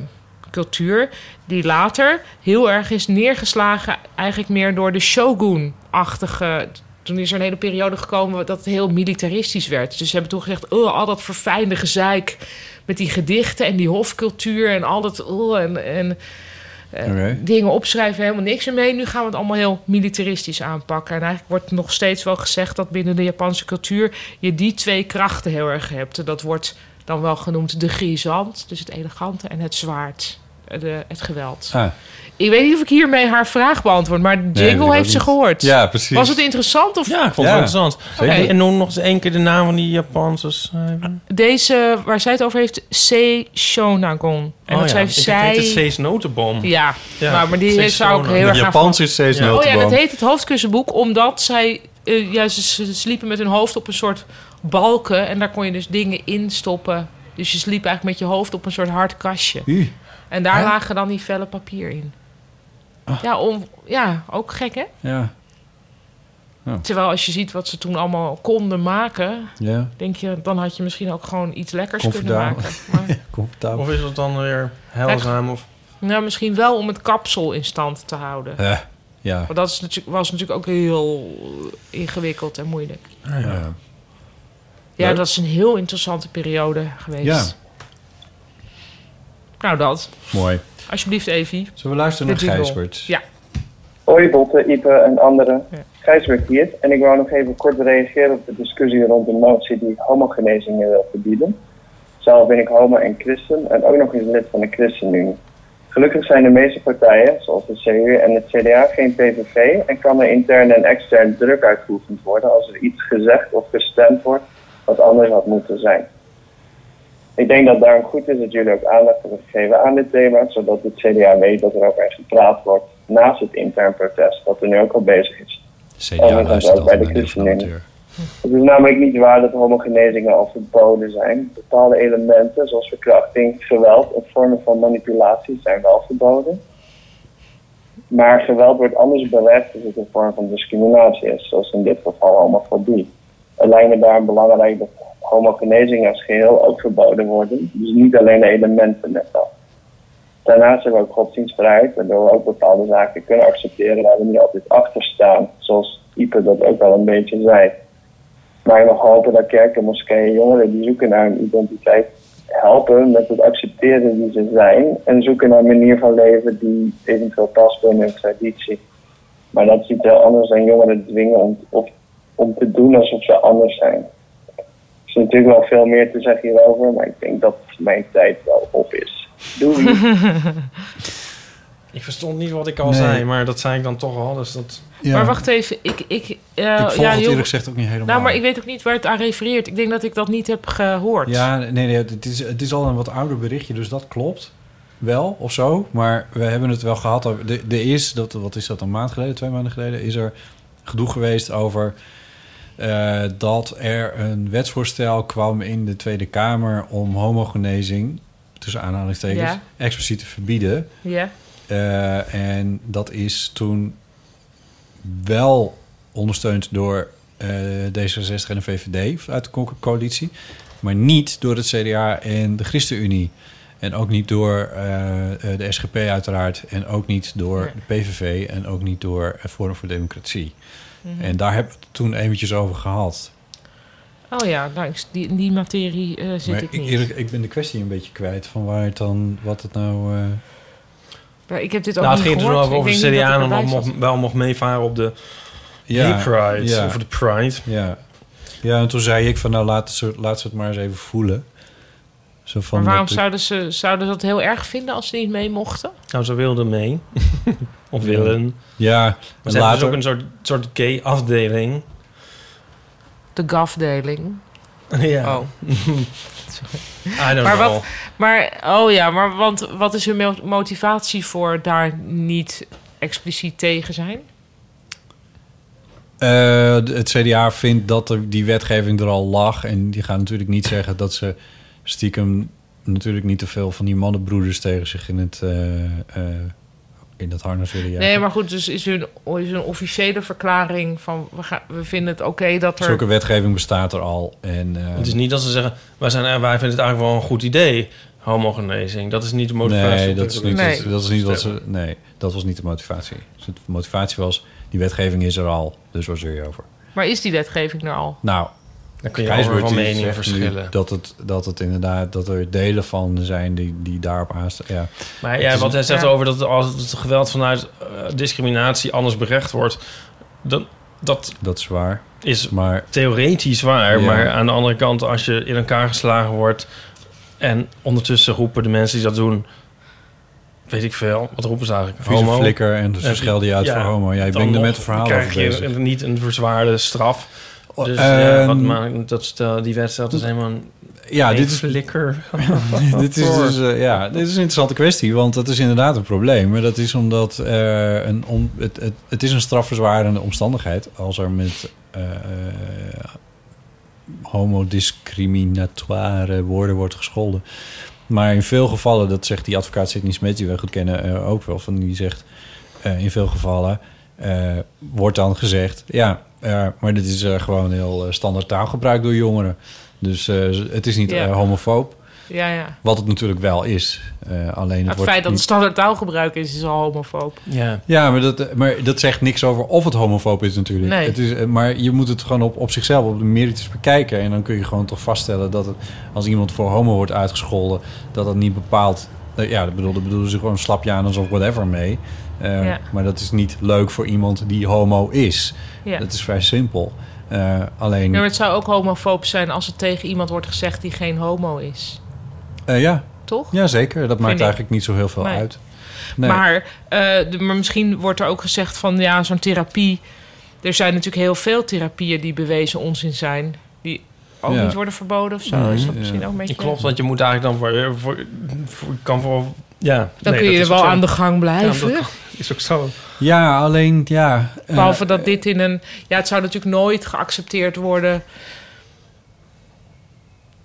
[SPEAKER 4] cultuur. Die later heel erg is neergeslagen, eigenlijk meer door de shogun-achtige. Toen is er een hele periode gekomen dat het heel militaristisch werd. Dus ze hebben toen gezegd: oh, al dat verfijnde gezeik met die gedichten en die hofcultuur en al dat. Oh, en, en eh,
[SPEAKER 5] Oké.
[SPEAKER 4] dingen opschrijven, helemaal niks ermee. Nu gaan we het allemaal heel militaristisch aanpakken. En eigenlijk wordt nog steeds wel gezegd dat binnen de Japanse cultuur je die twee krachten heel erg hebt. En dat wordt dan wel genoemd de grisant, dus het elegante, en het zwaard, eh, de, het geweld.
[SPEAKER 5] Ah,
[SPEAKER 4] Ik weet niet of ik hiermee haar vraag beantwoord, maar
[SPEAKER 5] weet ik
[SPEAKER 4] Jingle
[SPEAKER 5] ook
[SPEAKER 4] heeft ze
[SPEAKER 5] niet.
[SPEAKER 4] gehoord.
[SPEAKER 5] Ja, precies.
[SPEAKER 4] Was het interessant? Of?
[SPEAKER 6] Ja, Ah, ik vond het wel interessant.
[SPEAKER 4] Oké.
[SPEAKER 6] En noem nog eens één keer de naam van die Japanse schrijver.
[SPEAKER 4] Deze waar zij het over heeft, Sei Shonagon. En
[SPEAKER 6] Oh
[SPEAKER 4] dat
[SPEAKER 6] ja,
[SPEAKER 4] schrijft
[SPEAKER 6] ik- Het
[SPEAKER 4] zij...
[SPEAKER 6] heet het Sees Notenboom.
[SPEAKER 4] Ja,
[SPEAKER 6] Ja,
[SPEAKER 4] maar, maar die
[SPEAKER 6] Sees
[SPEAKER 4] heeft zou ook
[SPEAKER 6] Shonan.
[SPEAKER 4] heel
[SPEAKER 6] De
[SPEAKER 4] erg... aan
[SPEAKER 6] Japans
[SPEAKER 4] verwacht.
[SPEAKER 6] is Sees
[SPEAKER 4] Ja. Oh ja, dat
[SPEAKER 6] Notenboom.
[SPEAKER 4] heet het hoofdkussenboek, omdat zij... eh, ja, ze, ze sliepen met hun hoofd op een soort balken. En daar kon je dus dingen in stoppen. Dus je sliep eigenlijk met je hoofd op een soort hard kastje.
[SPEAKER 5] Ih.
[SPEAKER 4] En daar
[SPEAKER 5] Hè? Ah.
[SPEAKER 4] lagen dan die vellen papier in. Ja, om, ja, ook gek hè?
[SPEAKER 5] ja.
[SPEAKER 4] Terwijl als je ziet wat ze toen allemaal konden maken,
[SPEAKER 5] Ja.
[SPEAKER 4] denk je, dan had je misschien ook gewoon iets lekkers kunnen
[SPEAKER 5] Comfortabel.
[SPEAKER 4] maken. Maar,
[SPEAKER 5] Comfortabel.
[SPEAKER 6] Of is het dan weer heilzaam? Of...
[SPEAKER 4] nou, misschien wel om het kapsel in stand te houden.
[SPEAKER 5] Eh, ja.
[SPEAKER 4] Want dat is natuurlijk, was natuurlijk ook heel ingewikkeld en moeilijk.
[SPEAKER 5] Ja. ja.
[SPEAKER 4] Ja,
[SPEAKER 5] Leuk.
[SPEAKER 4] dat is een heel interessante periode geweest.
[SPEAKER 5] Ja.
[SPEAKER 4] Nou, dat.
[SPEAKER 5] Mooi.
[SPEAKER 4] Alsjeblieft, Evie.
[SPEAKER 5] Zullen we luisteren
[SPEAKER 4] De
[SPEAKER 5] naar
[SPEAKER 4] jingle.
[SPEAKER 5] Gijsbert?
[SPEAKER 4] Ja.
[SPEAKER 9] Hoi Botte, Ipe en anderen. Gijsbert hier. En ik wou nog even kort reageren op de discussie rond de motie die homogenezingen wil verbieden. Zelf ben ik homo en christen en ook nog eens lid van de ChristenUnie. Gelukkig zijn de meeste partijen, zoals de CU en het CDA, geen PVV en kan er intern en extern druk uitgeoefend worden als er iets gezegd of gestemd wordt wat anders had moeten zijn. Ik denk dat daarom goed is dat jullie ook aandacht hebben gegeven aan dit thema, zodat het CDA weet dat er ook echt gepraat wordt naast het intern protest, dat er nu ook al bezig is.
[SPEAKER 5] CDA
[SPEAKER 9] En dat is
[SPEAKER 5] luistert
[SPEAKER 9] ook bij
[SPEAKER 5] altijd
[SPEAKER 9] de
[SPEAKER 5] naar Nieuw
[SPEAKER 9] ChristenUnie.
[SPEAKER 5] Frontier.
[SPEAKER 9] Het is namelijk niet waar dat homogenezingen al verboden zijn. Bepaalde elementen, zoals verkrachting, geweld en vormen van manipulatie, zijn wel verboden. Maar geweld wordt anders berecht als het een vorm van discriminatie is, zoals in dit geval homofobie. Het lijkt me daarom belangrijk dat homogenezingen als geheel ook verboden worden, dus niet alleen de elementen net al. Daarnaast hebben we ook godsdienstvrijheid, waardoor we ook bepaalde zaken kunnen accepteren waar we niet altijd achter staan, zoals Ipe dat ook wel een beetje zei. Maar ik mag hopen dat kerken, moskeeën, jongeren die zoeken naar hun identiteit helpen met het accepteren die ze zijn en zoeken naar een manier van leven die eventueel past binnen hun traditie. Maar dat is iets heel anders dan jongeren dwingen om, of, om te doen alsof ze anders zijn. Er is natuurlijk wel veel meer te zeggen hierover, maar ik denk dat mijn tijd wel op is. Doei!
[SPEAKER 6] Ik verstond niet wat ik al
[SPEAKER 5] Nee.
[SPEAKER 6] zei, maar dat zei ik dan toch al. Dus dat...
[SPEAKER 5] Ja.
[SPEAKER 4] Maar wacht even, ik... Ik, eh,
[SPEAKER 5] volg
[SPEAKER 4] ja,
[SPEAKER 5] het
[SPEAKER 4] heel-
[SPEAKER 5] eerlijk gezegd ook niet helemaal.
[SPEAKER 4] Nou, maar ik weet ook niet waar het aan refereert. Ik denk dat ik dat niet heb gehoord.
[SPEAKER 5] Ja, nee, nee het, is, het is al een wat ouder berichtje, dus dat klopt wel of zo. Maar we hebben het wel gehad. over- De, de is, dat, wat is dat, een maand geleden, twee maanden geleden, is er gedoe geweest over eh, dat er een wetsvoorstel kwam in de Tweede Kamer om homogenezing, tussen aanhalingstekens,
[SPEAKER 4] Ja.
[SPEAKER 5] expliciet te verbieden.
[SPEAKER 4] Ja.
[SPEAKER 5] Eh, en dat is toen wel ondersteund door eh, D66 en de VVD uit de co- coalitie. Maar niet door het CDA en de ChristenUnie. En ook niet door eh, eh, de SGP uiteraard. En ook niet door
[SPEAKER 6] Nee.
[SPEAKER 5] de PVV. En ook niet door eh, Forum voor Democratie.
[SPEAKER 4] Mhm.
[SPEAKER 5] En daar hebben we het toen eventjes over gehad.
[SPEAKER 4] Oh ja, nou, ik- die, in die materie eh, zit
[SPEAKER 5] maar
[SPEAKER 4] ik niet.
[SPEAKER 5] eerlijk, ik ben de kwestie een beetje kwijt van waar het dan, wat het nou... eh,
[SPEAKER 4] Maar ik heb dit ook
[SPEAKER 6] Nou, het
[SPEAKER 4] niet
[SPEAKER 6] ging er toen
[SPEAKER 4] gehoord.
[SPEAKER 6] ook over
[SPEAKER 4] Ik
[SPEAKER 6] de
[SPEAKER 4] denk niet dat
[SPEAKER 6] CDA
[SPEAKER 4] ik
[SPEAKER 6] en
[SPEAKER 4] erbij
[SPEAKER 6] dan mocht,
[SPEAKER 4] zat.
[SPEAKER 6] wel mocht meevaren op de
[SPEAKER 5] Ja,
[SPEAKER 6] gay Pride.
[SPEAKER 5] ja.
[SPEAKER 6] Of de Pride.
[SPEAKER 5] Ja. ja, en toen zei ik van nou laat, het zo- laat ze het maar eens even voelen. Zo van
[SPEAKER 4] Maar waarom
[SPEAKER 5] dat-
[SPEAKER 4] zouden ze, zouden ze dat heel erg vinden als ze niet mee mochten?
[SPEAKER 6] Nou, ze wilden mee. of willen.
[SPEAKER 5] Ja, en
[SPEAKER 6] maar ze hebben dus
[SPEAKER 5] later-
[SPEAKER 6] ook een soort, soort gay afdeling.
[SPEAKER 4] De gafdeling.
[SPEAKER 6] ja.
[SPEAKER 4] Oh. Sorry.
[SPEAKER 6] I don't
[SPEAKER 4] maar
[SPEAKER 6] know.
[SPEAKER 4] Wat, maar, oh ja, maar want, wat is hun mo- motivatie voor daar niet expliciet tegen zijn?
[SPEAKER 5] Eh, het CDA vindt dat er die wetgeving er al lag. En die gaan natuurlijk niet zeggen dat ze stiekem natuurlijk niet te veel van die mannenbroeders tegen zich in het eh, eh, in dat harnas willen jagen.
[SPEAKER 4] Nee, maar goed, dus is hun, is hun officiële verklaring van we, gaan, we vinden het oké dat er...
[SPEAKER 5] Zulke wetgeving bestaat er al. En, eh,
[SPEAKER 6] Het is niet dat ze zeggen, wij, zijn, eh, wij vinden het eigenlijk wel een goed idee, homogenezing. Dat is niet de motivatie.
[SPEAKER 5] Nee,
[SPEAKER 6] om te
[SPEAKER 5] dat is niet,
[SPEAKER 6] willen
[SPEAKER 5] Dat, dat is niet wat ze.
[SPEAKER 6] stemmen.
[SPEAKER 5] Nee, dat was niet de motivatie. Dus de motivatie was: die wetgeving is er al, dus waar zeur je over?
[SPEAKER 4] Maar is die wetgeving er al?
[SPEAKER 5] Nou,
[SPEAKER 6] Dan kun je
[SPEAKER 5] Gijsbert
[SPEAKER 6] overal
[SPEAKER 5] die
[SPEAKER 6] meningen
[SPEAKER 5] zegt nu
[SPEAKER 6] verschillen.
[SPEAKER 5] Dat het, dat het inderdaad, dat er delen van zijn die, die daarop aanstaan. Ja.
[SPEAKER 6] Maar
[SPEAKER 5] Het
[SPEAKER 6] ja,
[SPEAKER 5] is
[SPEAKER 6] wat
[SPEAKER 5] een-
[SPEAKER 6] hij zegt over dat als het geweld vanuit eh, discriminatie anders berecht wordt, dan, dat
[SPEAKER 5] Dat is waar.
[SPEAKER 6] is
[SPEAKER 5] maar,
[SPEAKER 6] theoretisch waar.
[SPEAKER 5] Ja.
[SPEAKER 6] Maar aan de andere kant, als je in elkaar geslagen wordt en ondertussen roepen de mensen die dat doen, weet ik veel, wat roepen ze eigenlijk? Eh,
[SPEAKER 5] Vieze flikker en ze schelden je uit voor homo. Ja, ik
[SPEAKER 6] dan
[SPEAKER 5] ben er
[SPEAKER 6] nog
[SPEAKER 5] met het verhaal
[SPEAKER 6] krijg
[SPEAKER 5] over
[SPEAKER 6] je
[SPEAKER 5] bezig.
[SPEAKER 6] niet een verzwaarde straf. Dus ja,
[SPEAKER 5] ehm,
[SPEAKER 6] wat maakt dat stel, die wedstrijd is helemaal een
[SPEAKER 5] Ja, dit is-
[SPEAKER 6] flikker.
[SPEAKER 5] dit is dus, eh, ja, dit is een interessante kwestie, want dat is inderdaad een probleem. Maar dat is omdat eh, een, om, het, het, het is een strafverzwarende omstandigheid als er met eh homodiscriminatoire woorden wordt gescholden. Maar in veel gevallen, dat zegt die advocaat Sidney Smet, die we goed kennen, eh, ook wel. Van die zegt, eh, in veel gevallen eh, wordt dan gezegd... ja, eh, maar dit is eh, gewoon heel eh, standaard taalgebruik door jongeren. Dus eh, het is niet
[SPEAKER 4] Ja.
[SPEAKER 5] eh, homofoob.
[SPEAKER 4] Ja, ja.
[SPEAKER 5] Wat het natuurlijk wel is. Eh, alleen het,
[SPEAKER 4] Het
[SPEAKER 5] wordt
[SPEAKER 4] feit dat het
[SPEAKER 5] niet-
[SPEAKER 4] standaard taalgebruik is, is al homofoob.
[SPEAKER 6] Ja.
[SPEAKER 5] Ja, maar dat, eh, maar dat zegt niks over of het homofoob is natuurlijk.
[SPEAKER 4] Nee.
[SPEAKER 5] Het is, eh, maar je moet het gewoon op, op zichzelf, op de merites bekijken. En dan kun je gewoon toch vaststellen dat het, als iemand voor homo wordt uitgescholden... dat dat niet bepaalt... eh, Ja, dat bedoel, dat bedoelen ze gewoon slapjaners of whatever mee. Eh,
[SPEAKER 4] Ja.
[SPEAKER 5] Maar dat is niet leuk voor iemand die homo is.
[SPEAKER 4] Ja.
[SPEAKER 5] Dat is vrij simpel. Eh, alleen...
[SPEAKER 4] Ja, maar het zou ook homofoob zijn als het tegen iemand wordt gezegd die geen homo is.
[SPEAKER 5] eh, ja.
[SPEAKER 4] Toch?
[SPEAKER 5] Ja, zeker. Dat maakt
[SPEAKER 4] ik.
[SPEAKER 5] eigenlijk niet zo heel veel
[SPEAKER 4] Nee.
[SPEAKER 5] uit. Nee.
[SPEAKER 4] Maar, eh, de- maar misschien wordt er ook gezegd van ja, zo'n therapie. Er zijn natuurlijk heel veel therapieën die bewezen onzin zijn. Die ook
[SPEAKER 6] Ja.
[SPEAKER 4] niet worden verboden of zo.
[SPEAKER 6] Nee,
[SPEAKER 4] is dat
[SPEAKER 6] ja.
[SPEAKER 4] misschien ook een beetje.
[SPEAKER 6] Klopt, want je moet eigenlijk dan voor... eh, voor, voor- kan voor ja,
[SPEAKER 4] Dan
[SPEAKER 6] nee,
[SPEAKER 4] kun je
[SPEAKER 6] dat
[SPEAKER 4] er
[SPEAKER 6] is
[SPEAKER 4] wel
[SPEAKER 6] ook zo.
[SPEAKER 4] aan de gang blijven.
[SPEAKER 6] Ja, dat is ook zo.
[SPEAKER 5] Ja, alleen... Ja, eh,
[SPEAKER 4] Behalve dat dit in een. Ja, het zou natuurlijk nooit geaccepteerd worden.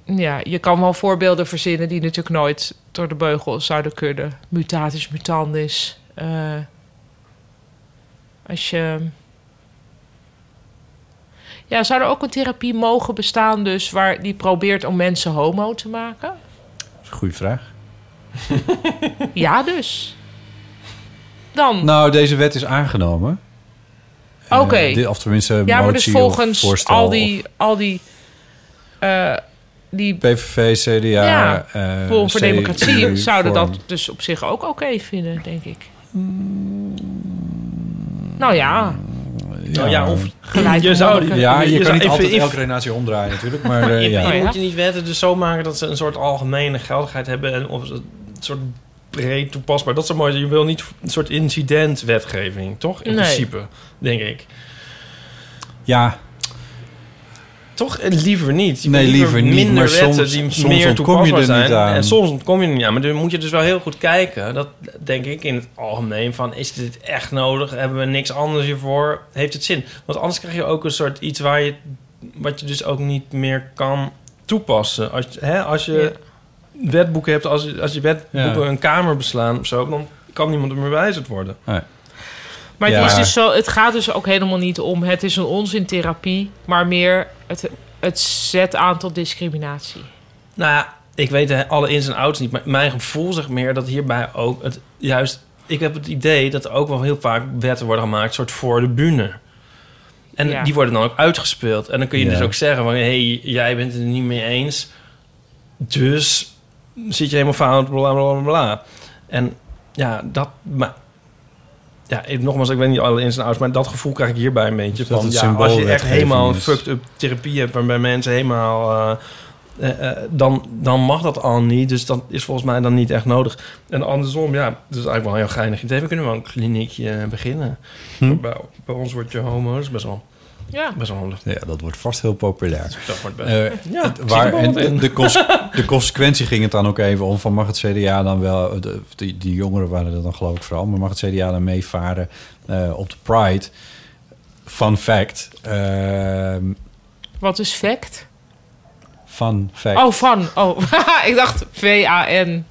[SPEAKER 4] Ja, je kan wel voorbeelden verzinnen die natuurlijk nooit door de beugel zouden kunnen. Mutatis mutandis. eh, als je. Ja, zou er ook een therapie mogen bestaan, dus waar die probeert om mensen homo te maken?
[SPEAKER 5] Goeie vraag.
[SPEAKER 4] Ja, dus. Dan.
[SPEAKER 5] Nou, deze wet is aangenomen.
[SPEAKER 4] Oké.
[SPEAKER 5] Eh, dit- of tenminste,
[SPEAKER 4] ja, maar dus
[SPEAKER 5] motie of
[SPEAKER 4] volgens
[SPEAKER 5] voorstel
[SPEAKER 4] al die, al die, eh, die
[SPEAKER 5] PVV, CDA,
[SPEAKER 4] ja,
[SPEAKER 5] eh,
[SPEAKER 4] Forum voor
[SPEAKER 5] CDU,
[SPEAKER 4] Democratie zouden
[SPEAKER 5] Forum.
[SPEAKER 4] dat dus op zich ook oké vinden, denk ik.
[SPEAKER 5] Mm.
[SPEAKER 4] Nou ja.
[SPEAKER 6] Nou ja, of
[SPEAKER 4] Gelijk
[SPEAKER 6] je zou
[SPEAKER 4] mogelijk.
[SPEAKER 5] Ja, je,
[SPEAKER 6] je
[SPEAKER 5] kan
[SPEAKER 6] zou
[SPEAKER 5] niet
[SPEAKER 6] even-
[SPEAKER 5] altijd
[SPEAKER 6] if- Oh,
[SPEAKER 5] elke redenatie omdraaien natuurlijk, maar eh,
[SPEAKER 6] je,
[SPEAKER 5] ja.
[SPEAKER 6] je moet je niet wetten dus zo maken dat ze een soort algemene geldigheid hebben en of een soort breed toepasbaar. Dat is mooi. Je wil niet een soort incidentwetgeving, toch? In
[SPEAKER 4] Nee.
[SPEAKER 6] principe, denk ik.
[SPEAKER 5] Ja.
[SPEAKER 6] Toch eh, liever niet. Je
[SPEAKER 5] Nee,
[SPEAKER 6] wil
[SPEAKER 5] liever niet,
[SPEAKER 6] Minder
[SPEAKER 5] maar
[SPEAKER 6] wetten
[SPEAKER 5] soms-
[SPEAKER 6] die
[SPEAKER 5] soms
[SPEAKER 6] meer
[SPEAKER 5] ontkom je
[SPEAKER 6] toepasbaar
[SPEAKER 5] er
[SPEAKER 6] zijn.
[SPEAKER 5] niet aan.
[SPEAKER 6] En soms ontkom je er niet aan. Maar dan moet je dus wel heel goed kijken. Dat denk ik in het algemeen. Van, is dit echt nodig? Hebben we niks anders hiervoor? Heeft het zin? Want anders krijg je ook een soort iets waar je... Wat je dus ook niet meer kan toepassen. Als, je- hè, als je wetboeken hebt... Als, je- als je wetboeken
[SPEAKER 5] Ja.
[SPEAKER 6] een kamer beslaan of zo... Dan kan niemand er meer wijzerd worden.
[SPEAKER 5] Nee.
[SPEAKER 4] Maar
[SPEAKER 6] Ja.
[SPEAKER 4] het, is dus zo, het gaat dus ook helemaal niet om het is een onzintherapie, maar meer het, het zet aan tot discriminatie.
[SPEAKER 6] Nou ja, ik weet eh, alle ins en outs niet. Maar mijn gevoel zegt meer dat hierbij ook het juist. Ik heb het idee dat er ook wel heel vaak wetten worden gemaakt, soort voor de bühne. En
[SPEAKER 10] Ja.
[SPEAKER 6] die worden dan ook uitgespeeld. En dan kun je
[SPEAKER 10] Ja.
[SPEAKER 6] dus ook zeggen: van, hey, jij bent het er niet mee eens. Dus zit je helemaal fout, bla bla bla bla. En ja, dat. Maar, ja, ik, nogmaals, ik weet niet alle ins en outs, maar dat gevoel krijg ik hierbij een beetje.
[SPEAKER 5] dat
[SPEAKER 6] Van,
[SPEAKER 5] het
[SPEAKER 6] ja, als je echt
[SPEAKER 5] symboolwetgeving
[SPEAKER 6] helemaal
[SPEAKER 5] is.
[SPEAKER 6] fucked up therapie hebt, waarbij mensen helemaal. eh, eh, eh, dan, dan mag dat al niet. Dus dat is volgens mij dan niet echt nodig. En andersom, ja, dat is eigenlijk wel een heel geinig idee. We kunnen wel een kliniekje eh, beginnen.
[SPEAKER 5] Hm.
[SPEAKER 6] Bij, bij ons wordt je homo's best wel.
[SPEAKER 4] Ja.
[SPEAKER 6] Best wel handig.
[SPEAKER 5] Ja, dat wordt vast heel populair.
[SPEAKER 6] Dat wordt best-
[SPEAKER 5] Eh,
[SPEAKER 6] Ja,
[SPEAKER 5] het-
[SPEAKER 6] ziet er
[SPEAKER 5] waar,
[SPEAKER 6] wel
[SPEAKER 5] en
[SPEAKER 6] wat in.
[SPEAKER 5] de, de, cons- de consequentie ging het dan ook even om van mag het CDA dan wel... De, die, die jongeren waren dat dan geloof ik vooral. Maar mag het CDA dan meevaren eh, op de Pride? Fun fact. ehm,
[SPEAKER 4] Wat is fact?
[SPEAKER 5] fun fact.
[SPEAKER 4] Oh, van. Oh, ik dacht V-A-N.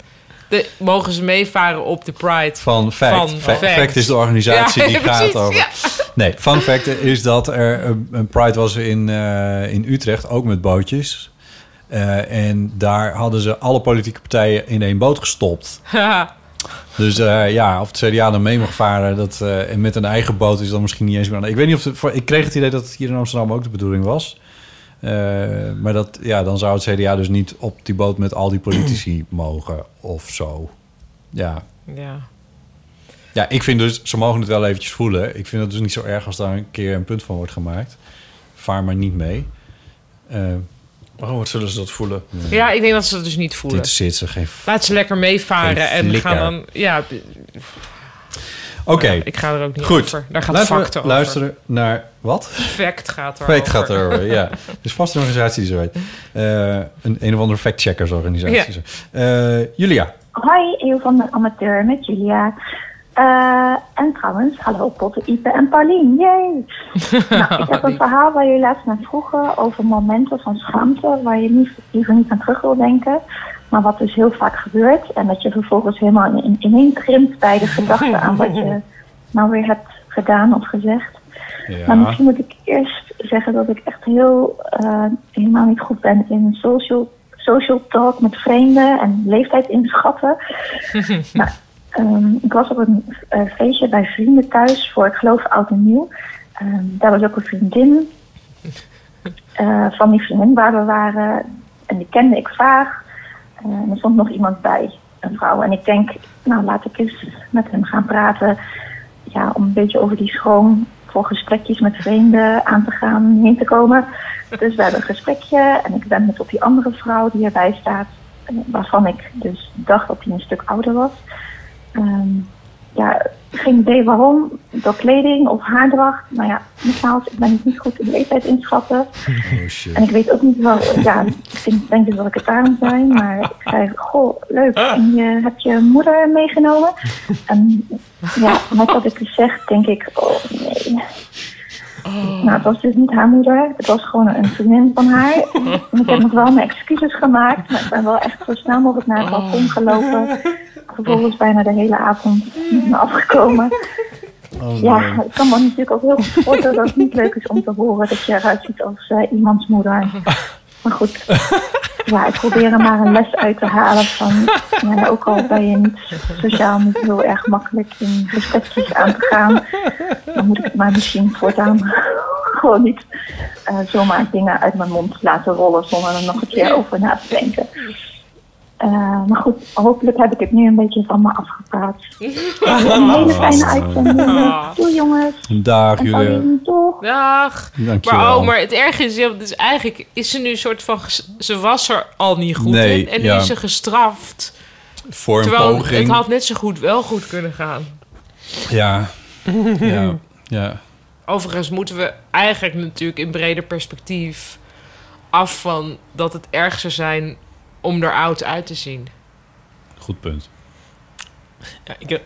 [SPEAKER 4] De, mogen ze meevaren op de Pride?
[SPEAKER 5] Van Fact.
[SPEAKER 4] Van
[SPEAKER 5] Fa-
[SPEAKER 4] Fact.
[SPEAKER 5] Fact is de organisatie
[SPEAKER 4] Ja,
[SPEAKER 5] die gaat
[SPEAKER 4] precies,
[SPEAKER 5] over.
[SPEAKER 4] ja.
[SPEAKER 5] Nee, fun fact is dat er een- een Pride was in, eh, in Utrecht, ook met bootjes. Eh, en daar hadden ze alle politieke partijen in één boot gestopt. Dus eh, ja, of het CDA dan mee mag varen dat, eh, en met een eigen boot is dan misschien niet eens meer aan. Ik weet niet of het, voor- ik kreeg het idee dat het hier in Amsterdam ook de bedoeling was. Eh, maar dat, ja, dan zou het CDA dus niet op die boot met al die politici mogen of zo. Ja,
[SPEAKER 4] Ja.
[SPEAKER 5] ja, ik vind dus, ze mogen het wel eventjes voelen. Ik vind het dus niet zo erg als daar een keer een punt van wordt gemaakt. Vaar maar niet mee. Eh,
[SPEAKER 6] oh, wat zullen ze dat voelen?
[SPEAKER 4] ja, ik denk dat ze dat dus niet voelen.
[SPEAKER 5] Dit zit ze geen... f-
[SPEAKER 4] Laat ze lekker meevaren
[SPEAKER 5] Geen
[SPEAKER 4] en
[SPEAKER 5] flikker.
[SPEAKER 4] gaan dan... Ja,
[SPEAKER 5] Oké.
[SPEAKER 4] Ja, ik ga er ook niet
[SPEAKER 5] Goed.
[SPEAKER 4] over. Daar gaat
[SPEAKER 5] Laten we
[SPEAKER 4] fact over.
[SPEAKER 5] luisteren naar... Wat?
[SPEAKER 4] fact gaat er
[SPEAKER 5] Fact gaat erover, ja. Er is vast een organisatie die zo heet. Eh, een, een of andere fact-checkers organisatie.
[SPEAKER 4] Ja.
[SPEAKER 5] Eh, Julia.
[SPEAKER 11] Hoi, Eeuw van de Amateur met Julia. Eh, en trouwens, hallo Potte, Ipe en Paulien. Yay! nou, ik heb een verhaal waar jullie laatst naar vroegen over momenten van schaamte waar je niet, liever niet aan terug wil denken. Maar wat dus heel vaak gebeurt en dat je vervolgens helemaal in, ineen krimpt bij de gedachte aan wat je nou weer hebt gedaan of gezegd. Maar misschien moet ik eerst zeggen dat ik echt heel eh, helemaal niet goed ben in social, social talk met vreemden en leeftijd inschatten. nou, ehm, ik was op een eh, feestje bij vrienden thuis voor ik geloof oud en nieuw. Ehm, daar was ook een vriendin eh, van die vriendin waar we waren. En die kende ik vaag. Eh, en er stond nog iemand bij, een vrouw. En ik denk, nou laat ik eens met hem gaan praten ja, om een beetje over die schroom voor gesprekjes met vreemden aan te gaan, heen te komen. Dus we hebben een gesprekje en ik ben met op die andere vrouw die erbij staat, eh, waarvan ik dus dacht dat hij een stuk ouder was. Ehm, ja, geen idee waarom, door kleding of haardracht. Nou ja, nogmaals, ik ben het niet goed in leeftijd inschatten.
[SPEAKER 5] Oh,
[SPEAKER 11] En ik weet ook niet wel, ja, ik denk, denk dus dat ik het daarom zijn, maar ik zei, goh, leuk, en je, heb je moeder meegenomen? En ja, met wat ik dus zeg, denk ik, oh nee. Nou, het was dus niet haar moeder, het was gewoon een vriendin van haar. En ik heb nog wel mijn excuses gemaakt, maar ik ben wel echt zo snel mogelijk naar het balkon gelopen. Vervolgens bijna de hele avond niet meer afgekomen. Ja, het kan wel natuurlijk ook heel goed worden dat het niet leuk is om te horen dat je eruit ziet als eh, iemands moeder. Maar goed, ja, ik probeer er maar een les uit te halen van, ja, ook al ben je niet sociaal niet heel erg makkelijk in gesprekjes aan te gaan, dan moet ik het maar misschien voortaan gewoon niet eh, zomaar dingen uit mijn mond laten rollen zonder er nog een keer over na te denken. Eh, maar goed, hopelijk heb ik het nu een beetje van me afgepraat. Een hele fijne
[SPEAKER 12] Ah.
[SPEAKER 11] uitzending. Doei jongens.
[SPEAKER 5] Dag, Julia.
[SPEAKER 11] Paulien, doeg.
[SPEAKER 4] Dag.
[SPEAKER 5] Dankjewel.
[SPEAKER 4] Maar, oh, maar het erg is, ja, dus eigenlijk is ze nu een soort van... ges- Ze was er al niet goed
[SPEAKER 5] Nee,
[SPEAKER 4] in en nu
[SPEAKER 5] ja.
[SPEAKER 4] is ze gestraft.
[SPEAKER 5] Voor
[SPEAKER 4] Terwijl
[SPEAKER 5] een poging.
[SPEAKER 4] het had net zo goed wel goed kunnen gaan.
[SPEAKER 5] Ja. ja. Ja.
[SPEAKER 4] Overigens moeten we eigenlijk natuurlijk in breder perspectief af van dat het erg zou zijn om er oud uit te zien.
[SPEAKER 5] Goed punt.
[SPEAKER 6] Ja, ik heb,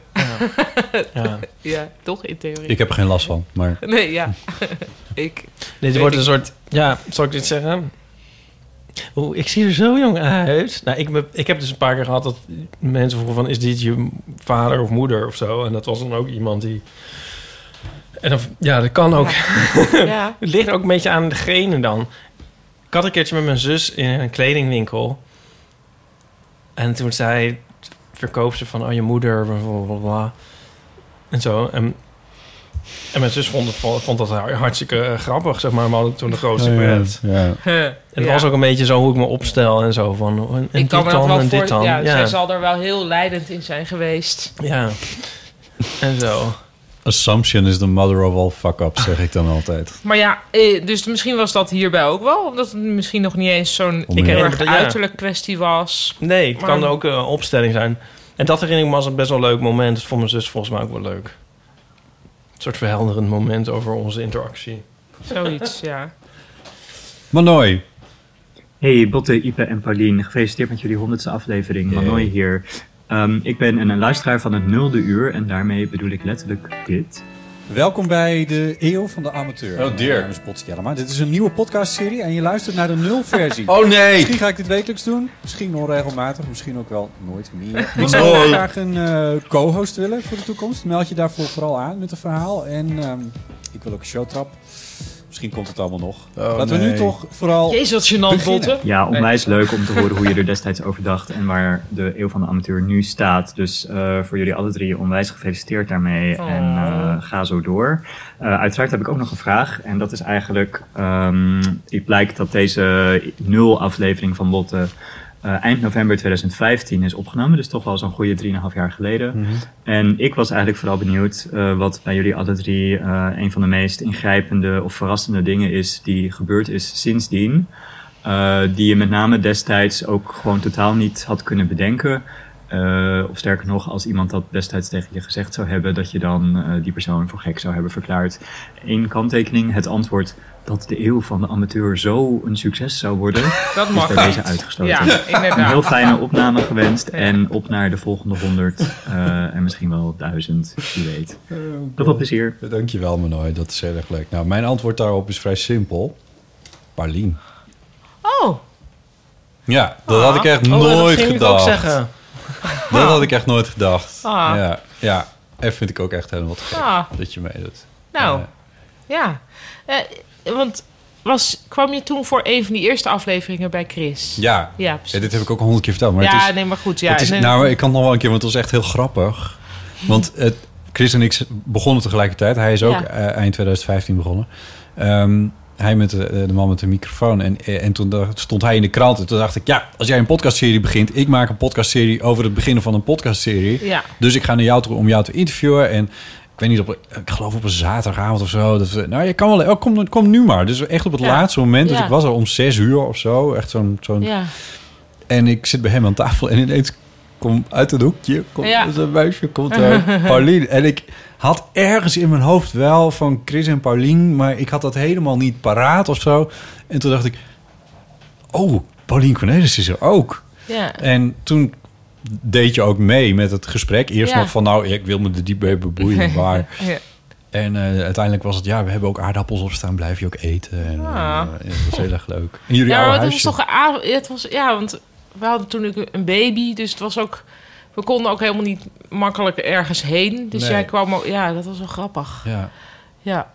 [SPEAKER 6] ja.
[SPEAKER 4] Ja, toch in theorie.
[SPEAKER 5] Ik heb er geen last van, maar...
[SPEAKER 4] Nee, ja. ik.
[SPEAKER 6] Dit
[SPEAKER 4] weet
[SPEAKER 6] wordt dus
[SPEAKER 4] ik-
[SPEAKER 6] een soort... Ja, zal ik dit zeggen? Oeh, ik zie er zo jong uit. Nou, ik, heb- ik heb dus een paar keer gehad dat mensen vroegen van... is dit je vader of moeder of zo? En dat was dan ook iemand die... En dan, ja, dat kan ook.
[SPEAKER 4] Ja.
[SPEAKER 6] Het ligt ook een beetje aan degene dan. Ik had een keertje met mijn zus in een kledingwinkel. En toen zei verkoopster van... oh, je moeder, bla, bla, bla, bla. En zo. En, en mijn zus vond, het- vond dat hartstikke eh, grappig, zeg maar. We hadden toen de grootste
[SPEAKER 5] Oh, Ja, ja,
[SPEAKER 6] pret.
[SPEAKER 5] ja.
[SPEAKER 4] Huh,
[SPEAKER 6] En het
[SPEAKER 4] ja.
[SPEAKER 6] was ook een beetje zo hoe ik me opstel en zo. Van, oh, en, en
[SPEAKER 4] ik kan me
[SPEAKER 6] dit
[SPEAKER 4] dat
[SPEAKER 6] dan
[SPEAKER 4] wel
[SPEAKER 6] en
[SPEAKER 4] voor...
[SPEAKER 6] dit dan.
[SPEAKER 4] Ja, dus
[SPEAKER 6] Ja,
[SPEAKER 4] zij
[SPEAKER 6] ja.
[SPEAKER 4] zal er wel heel leidend in zijn geweest.
[SPEAKER 6] en zo.
[SPEAKER 5] Assumption is the mother of all fuck-ups, zeg ik dan altijd.
[SPEAKER 4] Maar ja, eh, dus misschien was dat hierbij ook wel. Omdat het misschien nog niet eens zo'n
[SPEAKER 6] Om-
[SPEAKER 4] heel
[SPEAKER 6] Ja,
[SPEAKER 4] erg
[SPEAKER 6] ja.
[SPEAKER 4] uiterlijk kwestie was.
[SPEAKER 6] Nee, het
[SPEAKER 4] Maar-
[SPEAKER 6] kan ook eh, een opstelling zijn. En dat herinner ik me als een best wel leuk moment. Dat vond mijn zus volgens mij ook wel leuk. Een soort verhelderend moment over onze interactie.
[SPEAKER 4] Zoiets, ja.
[SPEAKER 5] Manoj.
[SPEAKER 10] Hey Botte, Ipe en Paulien, gefeliciteerd met jullie honderdste aflevering.
[SPEAKER 5] Hey.
[SPEAKER 10] Manoy hier. Ehm, ik ben een luisteraar van het nulde uur en daarmee bedoel ik letterlijk dit.
[SPEAKER 5] Welkom bij de Eeuw van de Amateur.
[SPEAKER 10] Oh, dear.
[SPEAKER 5] Mijn naam is Botsi Jellema. Dit is een nieuwe podcastserie en je luistert naar de nulversie.
[SPEAKER 10] Oh, nee.
[SPEAKER 5] Misschien ga ik dit wekelijks doen. Misschien onregelmatig. Misschien ook wel nooit meer. Ik zou
[SPEAKER 10] Nooit.
[SPEAKER 5] graag een eh, co-host willen voor de toekomst. Meld je daarvoor vooral aan met een verhaal. En ehm, ik wil ook een showtrap. Misschien komt het allemaal nog. Laten we nu
[SPEAKER 10] Oh, nee.
[SPEAKER 5] toch vooral
[SPEAKER 4] Jezus, wat gênant,
[SPEAKER 5] beginnen.
[SPEAKER 4] Botte.
[SPEAKER 10] Ja, onwijs leuk om te horen hoe je er destijds over dacht en waar de eeuw van de amateur nu staat. Dus eh, voor jullie alle drie onwijs gefeliciteerd daarmee
[SPEAKER 4] Oh.
[SPEAKER 10] en eh, ga zo door. Eh, uiteraard heb ik ook nog een vraag en dat is eigenlijk, ehm, het blijkt dat deze nul aflevering van Lotte eh, eind november 2015 is opgenomen, dus toch wel zo'n goede 3,5 jaar geleden. En ik was eigenlijk vooral benieuwd eh, wat bij jullie alle drie eh, een van de meest ingrijpende of verrassende dingen is die gebeurd is sindsdien. Eh, die je met name destijds ook gewoon totaal niet had kunnen bedenken. Eh, of sterker nog, als iemand dat destijds tegen je gezegd zou hebben, dat je dan eh, die persoon voor gek zou hebben verklaard. Eén kanttekening, het antwoord dat de eeuw van de amateur zo een succes zou worden,
[SPEAKER 4] Dat
[SPEAKER 10] is
[SPEAKER 4] mag
[SPEAKER 10] bij deze
[SPEAKER 4] niet.
[SPEAKER 10] uitgesloten.
[SPEAKER 4] Ja, inderdaad.
[SPEAKER 10] Een heel fijne opname gewenst en op naar de volgende honderd eh, en misschien wel duizend, wie weet. Heel veel plezier.
[SPEAKER 5] Eh, Dankjewel, Manoy. Dat is heel erg leuk. Nou, mijn antwoord daarop is vrij simpel. Paulien.
[SPEAKER 4] Oh, Ah.
[SPEAKER 5] Ja, dat had ik echt
[SPEAKER 6] Oh, dat
[SPEAKER 5] nooit
[SPEAKER 6] ging ik ook
[SPEAKER 5] gedacht.
[SPEAKER 6] zeggen.
[SPEAKER 5] Dat had ik echt nooit gedacht.
[SPEAKER 4] Ah.
[SPEAKER 5] Ja, ja, en vind ik ook echt helemaal te gek
[SPEAKER 4] Ah.
[SPEAKER 5] dat je meedoet.
[SPEAKER 4] nou.
[SPEAKER 5] Ja.
[SPEAKER 4] Ja. Eh, want was, kwam je toen voor een van die eerste afleveringen bij Chris?
[SPEAKER 5] Ja,
[SPEAKER 4] Ja, precies.
[SPEAKER 5] dit heb ik ook al honderd keer verteld. Maar
[SPEAKER 4] Ja,
[SPEAKER 5] het is,
[SPEAKER 4] nee, maar goed, ja,
[SPEAKER 5] het is,
[SPEAKER 4] nee.
[SPEAKER 5] nou, ik kan het nog wel een keer, want het was echt heel grappig. Want het, Chris en ik begonnen tegelijkertijd. Hij is ook
[SPEAKER 13] Ja.
[SPEAKER 5] eh, eind 2015 begonnen. Ehm, hij met de, eh, de man met de microfoon. En, eh, en toen dacht- stond hij in de krant. En toen dacht ik, ja, als jij een podcastserie begint... ik maak een podcastserie over het beginnen van een podcastserie.
[SPEAKER 13] Ja.
[SPEAKER 5] Dus ik ga naar jou toe om jou te interviewen. En ik weet niet, op, ik geloof op een zaterdagavond of zo. Dat we, nou, je kan wel... Oh, kom, kom nu maar. Dus echt op het
[SPEAKER 13] Ja.
[SPEAKER 5] laatste moment. Dus
[SPEAKER 13] Ja.
[SPEAKER 5] ik was er om zes uur of zo. Echt zo'n... zo'n
[SPEAKER 13] Ja.
[SPEAKER 5] en ik zit bij hem aan tafel en ineens komt uit het hoekje, komt
[SPEAKER 13] Ja.
[SPEAKER 5] er een muisje, komt er Paulien. En ik had ergens in mijn hoofd wel van Chris en Paulien, maar ik had dat helemaal niet paraat of zo. En toen dacht ik, oh, Paulien Cornelis is er ook.
[SPEAKER 4] Ja.
[SPEAKER 5] En toen deed je ook mee met het gesprek. Eerst
[SPEAKER 4] Ja.
[SPEAKER 5] nog van, nou, ik wil me er diep mee bemoeien, maar...
[SPEAKER 4] Ja.
[SPEAKER 5] En eh, uiteindelijk was het, ja, we hebben ook aardappels opstaan, blijf je ook eten. En,
[SPEAKER 4] Ah.
[SPEAKER 5] eh, het was heel erg leuk. En jullie
[SPEAKER 4] ja,
[SPEAKER 5] oude
[SPEAKER 4] maar het
[SPEAKER 5] huisje.
[SPEAKER 4] was toch een av- het was, ja, want we hadden toen ook een baby, dus het was ook... We konden ook helemaal niet makkelijk ergens heen. Dus
[SPEAKER 5] Nee.
[SPEAKER 4] jij kwam ook... Ja, dat was wel grappig.
[SPEAKER 5] Ja.
[SPEAKER 4] Ja.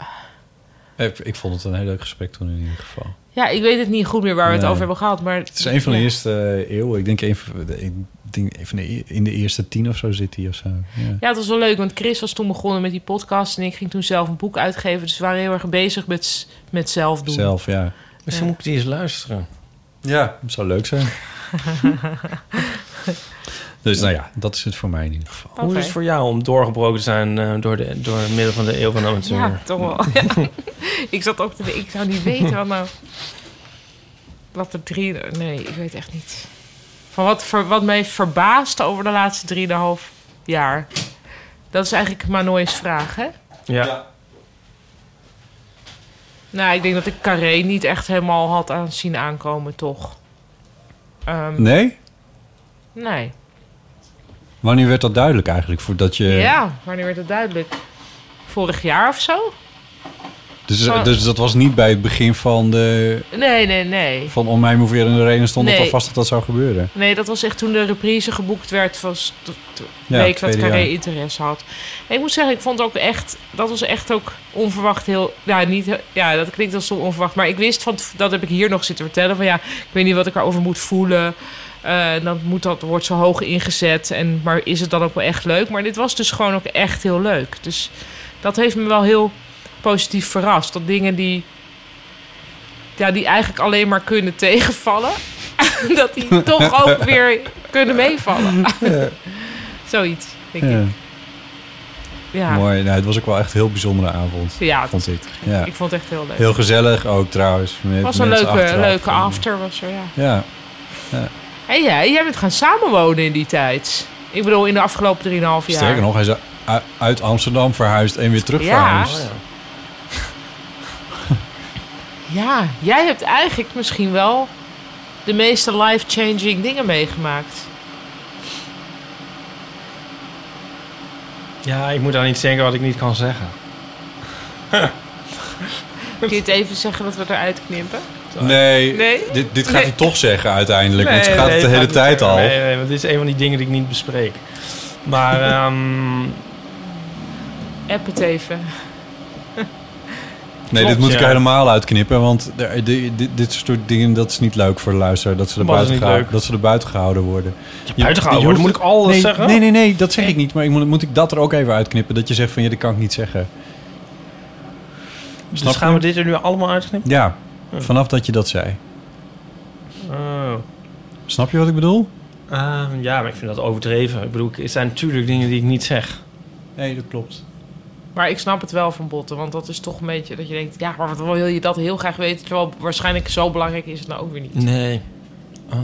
[SPEAKER 5] Ik, ik vond het een heel leuk gesprek toen in ieder geval.
[SPEAKER 4] Ja, ik weet het niet goed meer waar we het
[SPEAKER 5] Nee.
[SPEAKER 4] over hebben gehad, maar...
[SPEAKER 5] Het is een van de
[SPEAKER 4] ja.
[SPEAKER 5] eerste eeuwen. Ik denk een van de- ik denk een van de- e- in de eerste tien of zo zit hij of zo. Ja.
[SPEAKER 4] Ja, het was wel leuk, want Chris was toen begonnen met die podcast... en ik ging toen zelf een boek uitgeven. Dus we waren heel erg bezig met, s- met zelf doen.
[SPEAKER 5] Zelf, ja.
[SPEAKER 6] Misschien moet ik die eens luisteren.
[SPEAKER 5] Ja, het zou leuk zijn. dus nou ja, dat is het voor mij in ieder geval.
[SPEAKER 6] Hoe is het voor jou om doorgebroken te zijn eh, door, de, door het middel van de eeuw van de amateur?
[SPEAKER 4] Ja, toch wel. Ja. ik zat ook te Ik zou niet weten wat nou... Wat er drie... Nee, ik weet echt niet. Van wat, ver- wat mij verbaasde over de laatste drieënhalf jaar. Dat is eigenlijk Manoy's vraag, hè?
[SPEAKER 6] Ja.
[SPEAKER 4] Nou, ik denk dat ik Carré niet echt helemaal had aan zien aankomen, toch? Ehm,
[SPEAKER 5] Nee?
[SPEAKER 4] Nee.
[SPEAKER 5] Wanneer werd dat duidelijk eigenlijk? Voordat je...
[SPEAKER 4] Ja, wanneer werd het duidelijk? Vorig jaar of zo?
[SPEAKER 5] Dus,
[SPEAKER 4] Zo-
[SPEAKER 5] dus dat was niet bij het begin van, de,
[SPEAKER 4] Nee, nee, nee.
[SPEAKER 5] van Om mij moeveer in de reden stond het
[SPEAKER 4] Nee.
[SPEAKER 5] al vast dat dat zou gebeuren.
[SPEAKER 4] Nee, dat was echt toen de reprise geboekt werd. Was de, de
[SPEAKER 5] Ja,
[SPEAKER 4] week dat
[SPEAKER 5] tweede
[SPEAKER 4] Carré
[SPEAKER 5] jaar.
[SPEAKER 4] interesse had. En ik moet zeggen, ik vond ook echt... Dat was echt ook onverwacht heel... Ja, niet, he- ja dat klinkt als stom onverwacht. Maar ik wist, van, t- dat heb ik hier nog zitten vertellen. Van ja, ik weet niet wat ik erover moet voelen. Eh, dan moet dat, wordt zo hoog ingezet. En, maar is het dan ook wel echt leuk? Maar dit was dus gewoon ook echt heel leuk. Dus dat heeft me wel heel positief verrast. Dat dingen die... Ja, die eigenlijk alleen maar kunnen tegenvallen. dat die toch ook weer kunnen meevallen. Zoiets, denk
[SPEAKER 5] Ja.
[SPEAKER 4] ik. Ja.
[SPEAKER 5] Mooi. Nou, het was ook wel echt een heel bijzondere avond.
[SPEAKER 4] Ja, het-
[SPEAKER 5] vond ik. Ja.
[SPEAKER 4] ik vond het echt heel leuk.
[SPEAKER 5] Heel gezellig ook trouwens. Met
[SPEAKER 4] Het was een
[SPEAKER 5] mensen
[SPEAKER 4] leuke,
[SPEAKER 5] achteraf.
[SPEAKER 4] leuke after, was er, ja.
[SPEAKER 5] Ja. ja.
[SPEAKER 4] En jij, jij bent gaan samenwonen in die tijd. Ik bedoel, in de afgelopen 3,5 jaar.
[SPEAKER 5] Sterker nog, hij is u- uit Amsterdam verhuisd en weer terug
[SPEAKER 4] Ja.
[SPEAKER 5] verhuisd.
[SPEAKER 4] Oh, ja. Ja, jij hebt eigenlijk misschien wel de meeste life-changing dingen meegemaakt.
[SPEAKER 6] Ja, ik moet aan iets denken wat ik niet kan zeggen.
[SPEAKER 4] Kun je het even zeggen dat we eruit knippen?
[SPEAKER 5] Nee,
[SPEAKER 4] Nee?
[SPEAKER 5] Dit, dit gaat hij
[SPEAKER 4] Nee.
[SPEAKER 5] toch zeggen uiteindelijk. want ze
[SPEAKER 6] Nee,
[SPEAKER 5] gaat
[SPEAKER 6] nee,
[SPEAKER 5] het de
[SPEAKER 6] dat
[SPEAKER 5] hele
[SPEAKER 6] gaat niet
[SPEAKER 5] tijd
[SPEAKER 6] zeggen.
[SPEAKER 5] al.
[SPEAKER 6] Nee, nee, want dit is een van die dingen die ik niet bespreek. Maar, ehm,
[SPEAKER 4] App het even.
[SPEAKER 5] Nee,
[SPEAKER 6] Klopt,
[SPEAKER 5] dit moet ik
[SPEAKER 6] ja.
[SPEAKER 5] helemaal uitknippen. Want er- di- di- dit soort dingen, dat is niet leuk voor de luisteraar. Dat ze er,
[SPEAKER 6] Wat is
[SPEAKER 5] buiten,
[SPEAKER 6] niet
[SPEAKER 5] gehouden-
[SPEAKER 6] leuk?
[SPEAKER 5] dat ze er buiten gehouden worden. Je- je
[SPEAKER 6] buiten gehouden worden?
[SPEAKER 5] hoeft-
[SPEAKER 6] Moet ik alles
[SPEAKER 5] nee,
[SPEAKER 6] zeggen?
[SPEAKER 5] Nee, nee, nee, dat zeg ik niet. Maar ik moet, moet ik dat er ook even uitknippen? Dat je zegt van, ja, dat kan ik niet zeggen. Snap
[SPEAKER 6] dus
[SPEAKER 5] je?
[SPEAKER 6] gaan we dit er nu allemaal uitknippen?
[SPEAKER 5] Ja, vanaf dat je dat zei.
[SPEAKER 6] Oh.
[SPEAKER 5] Snap je wat ik bedoel?
[SPEAKER 6] Ehm, ja, maar ik vind dat overdreven. Ik bedoel, het zijn natuurlijk dingen die ik niet zeg.
[SPEAKER 5] Nee, dat klopt.
[SPEAKER 4] Maar ik snap het wel van Botten, want dat is toch een beetje dat je denkt... ja, maar wat wil je dat heel graag weten... terwijl waarschijnlijk zo belangrijk is het nou ook weer niet.
[SPEAKER 6] Nee.
[SPEAKER 5] Ah.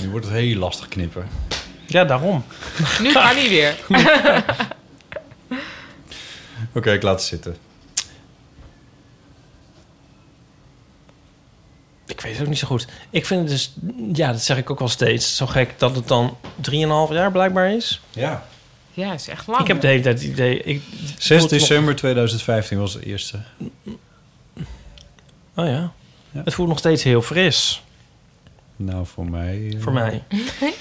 [SPEAKER 5] Nu wordt het heel lastig knippen.
[SPEAKER 6] Ja, daarom.
[SPEAKER 4] Nu kan hij weer.
[SPEAKER 5] Oké, ik laat het zitten.
[SPEAKER 6] Ik weet het ook niet zo goed. Ik vind het dus, ja, dat zeg ik ook wel steeds, zo gek dat het dan 3,5 jaar blijkbaar is.
[SPEAKER 5] Ja.
[SPEAKER 4] Ja, is echt lang.
[SPEAKER 6] Ik heb de hele tijd het idee. Ik,
[SPEAKER 5] 6
[SPEAKER 6] voelt nog-
[SPEAKER 5] december 2015 was de eerste.
[SPEAKER 6] Oh ja. Het voelt nog steeds heel fris
[SPEAKER 5] Nou, voor mij... eh,
[SPEAKER 6] voor mij.
[SPEAKER 4] mij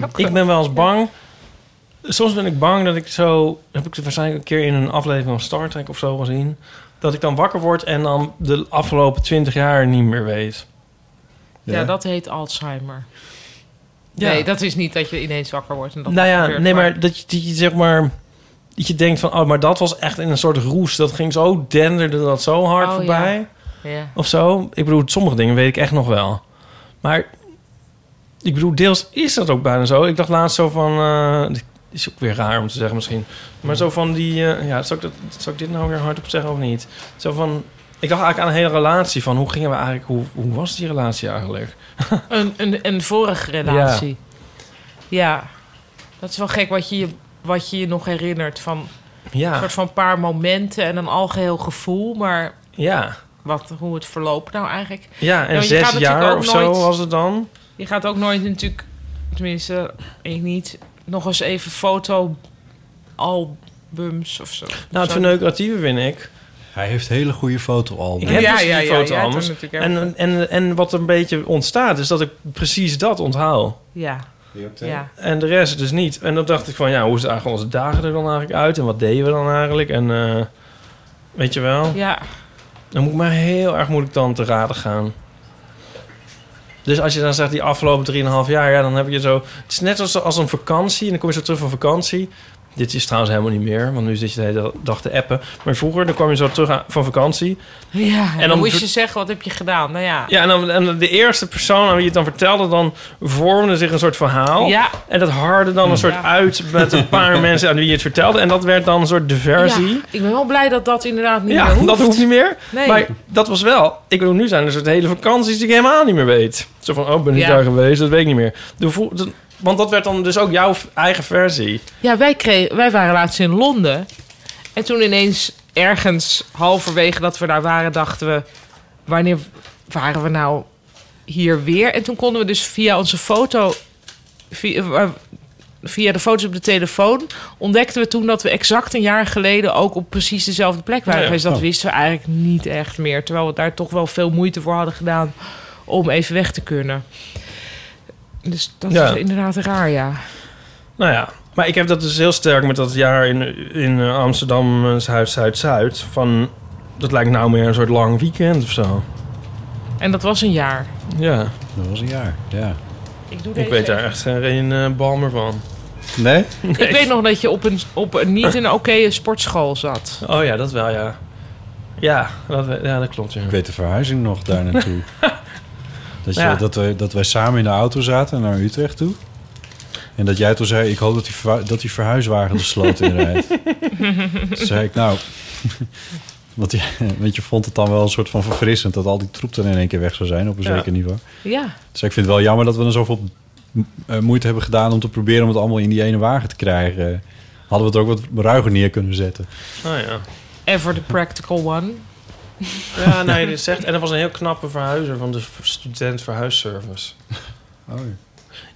[SPEAKER 4] ook.
[SPEAKER 6] ik ben wel eens bang. Soms ben ik bang dat ik zo. Heb ik het waarschijnlijk een keer in een aflevering van Star Trek of zo gezien. Dat ik dan wakker word en dan de afgelopen 20 jaar niet meer weet.
[SPEAKER 4] Ja, dat heet Alzheimer.
[SPEAKER 6] Ja.
[SPEAKER 4] Nee, dat is niet dat je ineens wakker wordt. En dat
[SPEAKER 6] nou ja,
[SPEAKER 4] gebeurt,
[SPEAKER 6] nee, maar dat je, dat je zeg maar. Dat je denkt van, oh, maar dat was echt in een soort roes. Dat ging zo, denderde dat zo hard
[SPEAKER 4] Oh,
[SPEAKER 6] voorbij.
[SPEAKER 4] ja. Ja.
[SPEAKER 6] Of zo. Ik bedoel, sommige dingen weet ik echt nog wel. Maar ik bedoel, deels is dat ook bijna zo. Ik dacht laatst zo van... eh, dit is ook weer raar om te zeggen misschien. Maar zo van die... eh, ja, zal ik, dat, zal ik dit nou weer hardop zeggen of niet? Zo van... Ik dacht eigenlijk aan een hele relatie van... Hoe gingen we eigenlijk... Hoe, hoe was die relatie eigenlijk?
[SPEAKER 4] Een, een, een vorige relatie. Ja. dat is wel gek wat je je, wat je, je nog herinnert. Van
[SPEAKER 6] Ja.
[SPEAKER 4] een soort van paar momenten en een algeheel gevoel. Maar
[SPEAKER 6] Ja.
[SPEAKER 4] wat, hoe het verloopt nou eigenlijk.
[SPEAKER 6] Ja, en
[SPEAKER 4] want je
[SPEAKER 6] zes
[SPEAKER 4] gaat natuurlijk
[SPEAKER 6] jaar
[SPEAKER 4] ook
[SPEAKER 6] of zo was het dan.
[SPEAKER 4] Je gaat ook nooit natuurlijk... Tenminste, ik niet. Nog eens even fotoalbums of zo.
[SPEAKER 6] Nou, het
[SPEAKER 4] Zo-
[SPEAKER 6] verneukeratieve vind ik...
[SPEAKER 5] Hij heeft hele goede fotoalbums.
[SPEAKER 6] Ik heb
[SPEAKER 4] Ja,
[SPEAKER 6] dus
[SPEAKER 4] ja,
[SPEAKER 6] die
[SPEAKER 4] ja,
[SPEAKER 6] foto
[SPEAKER 4] jij hebt
[SPEAKER 6] anders.
[SPEAKER 4] hem natuurlijk
[SPEAKER 6] En, en, en wat een beetje ontstaat, is dat ik precies dat onthoud.
[SPEAKER 4] Ja. ja.
[SPEAKER 6] En de rest dus niet. En dan dacht ik van, ja, hoe zagen onze dagen er dan eigenlijk uit? En wat deden we dan eigenlijk? En eh, weet je wel?
[SPEAKER 4] Ja.
[SPEAKER 6] Dan moet ik maar heel erg moeilijk dan te raden gaan. Dus als je dan zegt die afgelopen 3,5 jaar, ja, dan heb je zo... Het is net als, als een vakantie en dan kom je zo terug van vakantie. Dit is trouwens helemaal niet meer, want nu zit je de hele dag te appen. Maar vroeger, dan kwam je zo terug aan- van vakantie.
[SPEAKER 4] Ja, en dan,
[SPEAKER 6] dan
[SPEAKER 4] moest
[SPEAKER 6] ver-
[SPEAKER 4] je zeggen, wat heb je gedaan? Nou ja,
[SPEAKER 6] Ja, en, dan, en de eerste persoon aan wie je het dan vertelde, dan vormde zich een soort verhaal.
[SPEAKER 4] Ja.
[SPEAKER 6] En dat harde dan een soort uit met een paar mensen aan wie je het vertelde. En dat werd dan een soort de versie.
[SPEAKER 4] Ja, ik ben wel blij dat dat inderdaad niet
[SPEAKER 6] Ja,
[SPEAKER 4] meer hoeft.
[SPEAKER 6] dat hoeft niet meer.
[SPEAKER 4] Nee.
[SPEAKER 6] Maar dat was wel. Ik bedoel, nu zijn er soort hele vakanties die ik helemaal niet meer weet. Zo van, oh, ben ik
[SPEAKER 4] Ja.
[SPEAKER 6] daar geweest? Dat weet ik niet meer. De vo- dat- want dat werd dan dus ook jouw v- eigen versie.
[SPEAKER 4] Ja, wij, kregen, wij waren laatst in Londen. En toen ineens ergens halverwege dat we daar waren, dachten we... wanneer waren we nou hier weer? En toen konden we dus via onze foto... Via, eh, via de foto's op de telefoon ontdekten we toen dat we exact een jaar geleden... ook op precies dezelfde plek waren
[SPEAKER 6] Ja, ja.
[SPEAKER 4] geweest. Dat
[SPEAKER 6] Oh.
[SPEAKER 4] wisten we eigenlijk niet echt meer. Terwijl we daar toch wel veel moeite voor hadden gedaan om even weg te kunnen. Dus dat
[SPEAKER 6] Ja.
[SPEAKER 4] is inderdaad raar, ja.
[SPEAKER 6] Nou ja, maar ik heb dat dus heel sterk met dat jaar in, in eh, Amsterdam eh, Zuid-Zuid-Zuid. Van, dat lijkt nou meer een soort lang weekend of zo.
[SPEAKER 4] En dat was een jaar.
[SPEAKER 6] Ja.
[SPEAKER 5] Dat was een jaar, ja.
[SPEAKER 4] Ik, doe
[SPEAKER 6] Ik
[SPEAKER 4] deze
[SPEAKER 6] weet daar
[SPEAKER 4] even.
[SPEAKER 6] echt geen eh, bal meer van.
[SPEAKER 5] Nee?
[SPEAKER 4] Ik weet nog dat je op een, op een niet een oké sportschool zat.
[SPEAKER 6] Oh ja, dat wel, ja. Ja, dat, we- ja, dat klopt, ja.
[SPEAKER 5] Ik weet de verhuizing nog daar naartoe. dat, je,
[SPEAKER 6] Ja.
[SPEAKER 5] dat, we, dat wij samen in de auto zaten naar Utrecht toe. En dat jij toen zei, ik hoop dat die, verhu- dat die verhuiswagen de sloot inrijdt. Toen zei ik, nou... Want je, want je vond het dan wel een soort van verfrissend... dat al die troep dan in één keer weg zou zijn op een
[SPEAKER 4] Ja.
[SPEAKER 5] zeker niveau.
[SPEAKER 4] Ja.
[SPEAKER 5] Dus ik vind het wel jammer dat we dan zoveel m- eh, moeite hebben gedaan... om te proberen om het allemaal in die ene wagen te krijgen. Hadden we het ook wat ruiger neer kunnen zetten.
[SPEAKER 6] Oh ja.
[SPEAKER 4] Ever the practical one.
[SPEAKER 6] Ja, nee, dit zegt. En dat was een heel knappe verhuizer van de student verhuisservice.
[SPEAKER 5] Oh.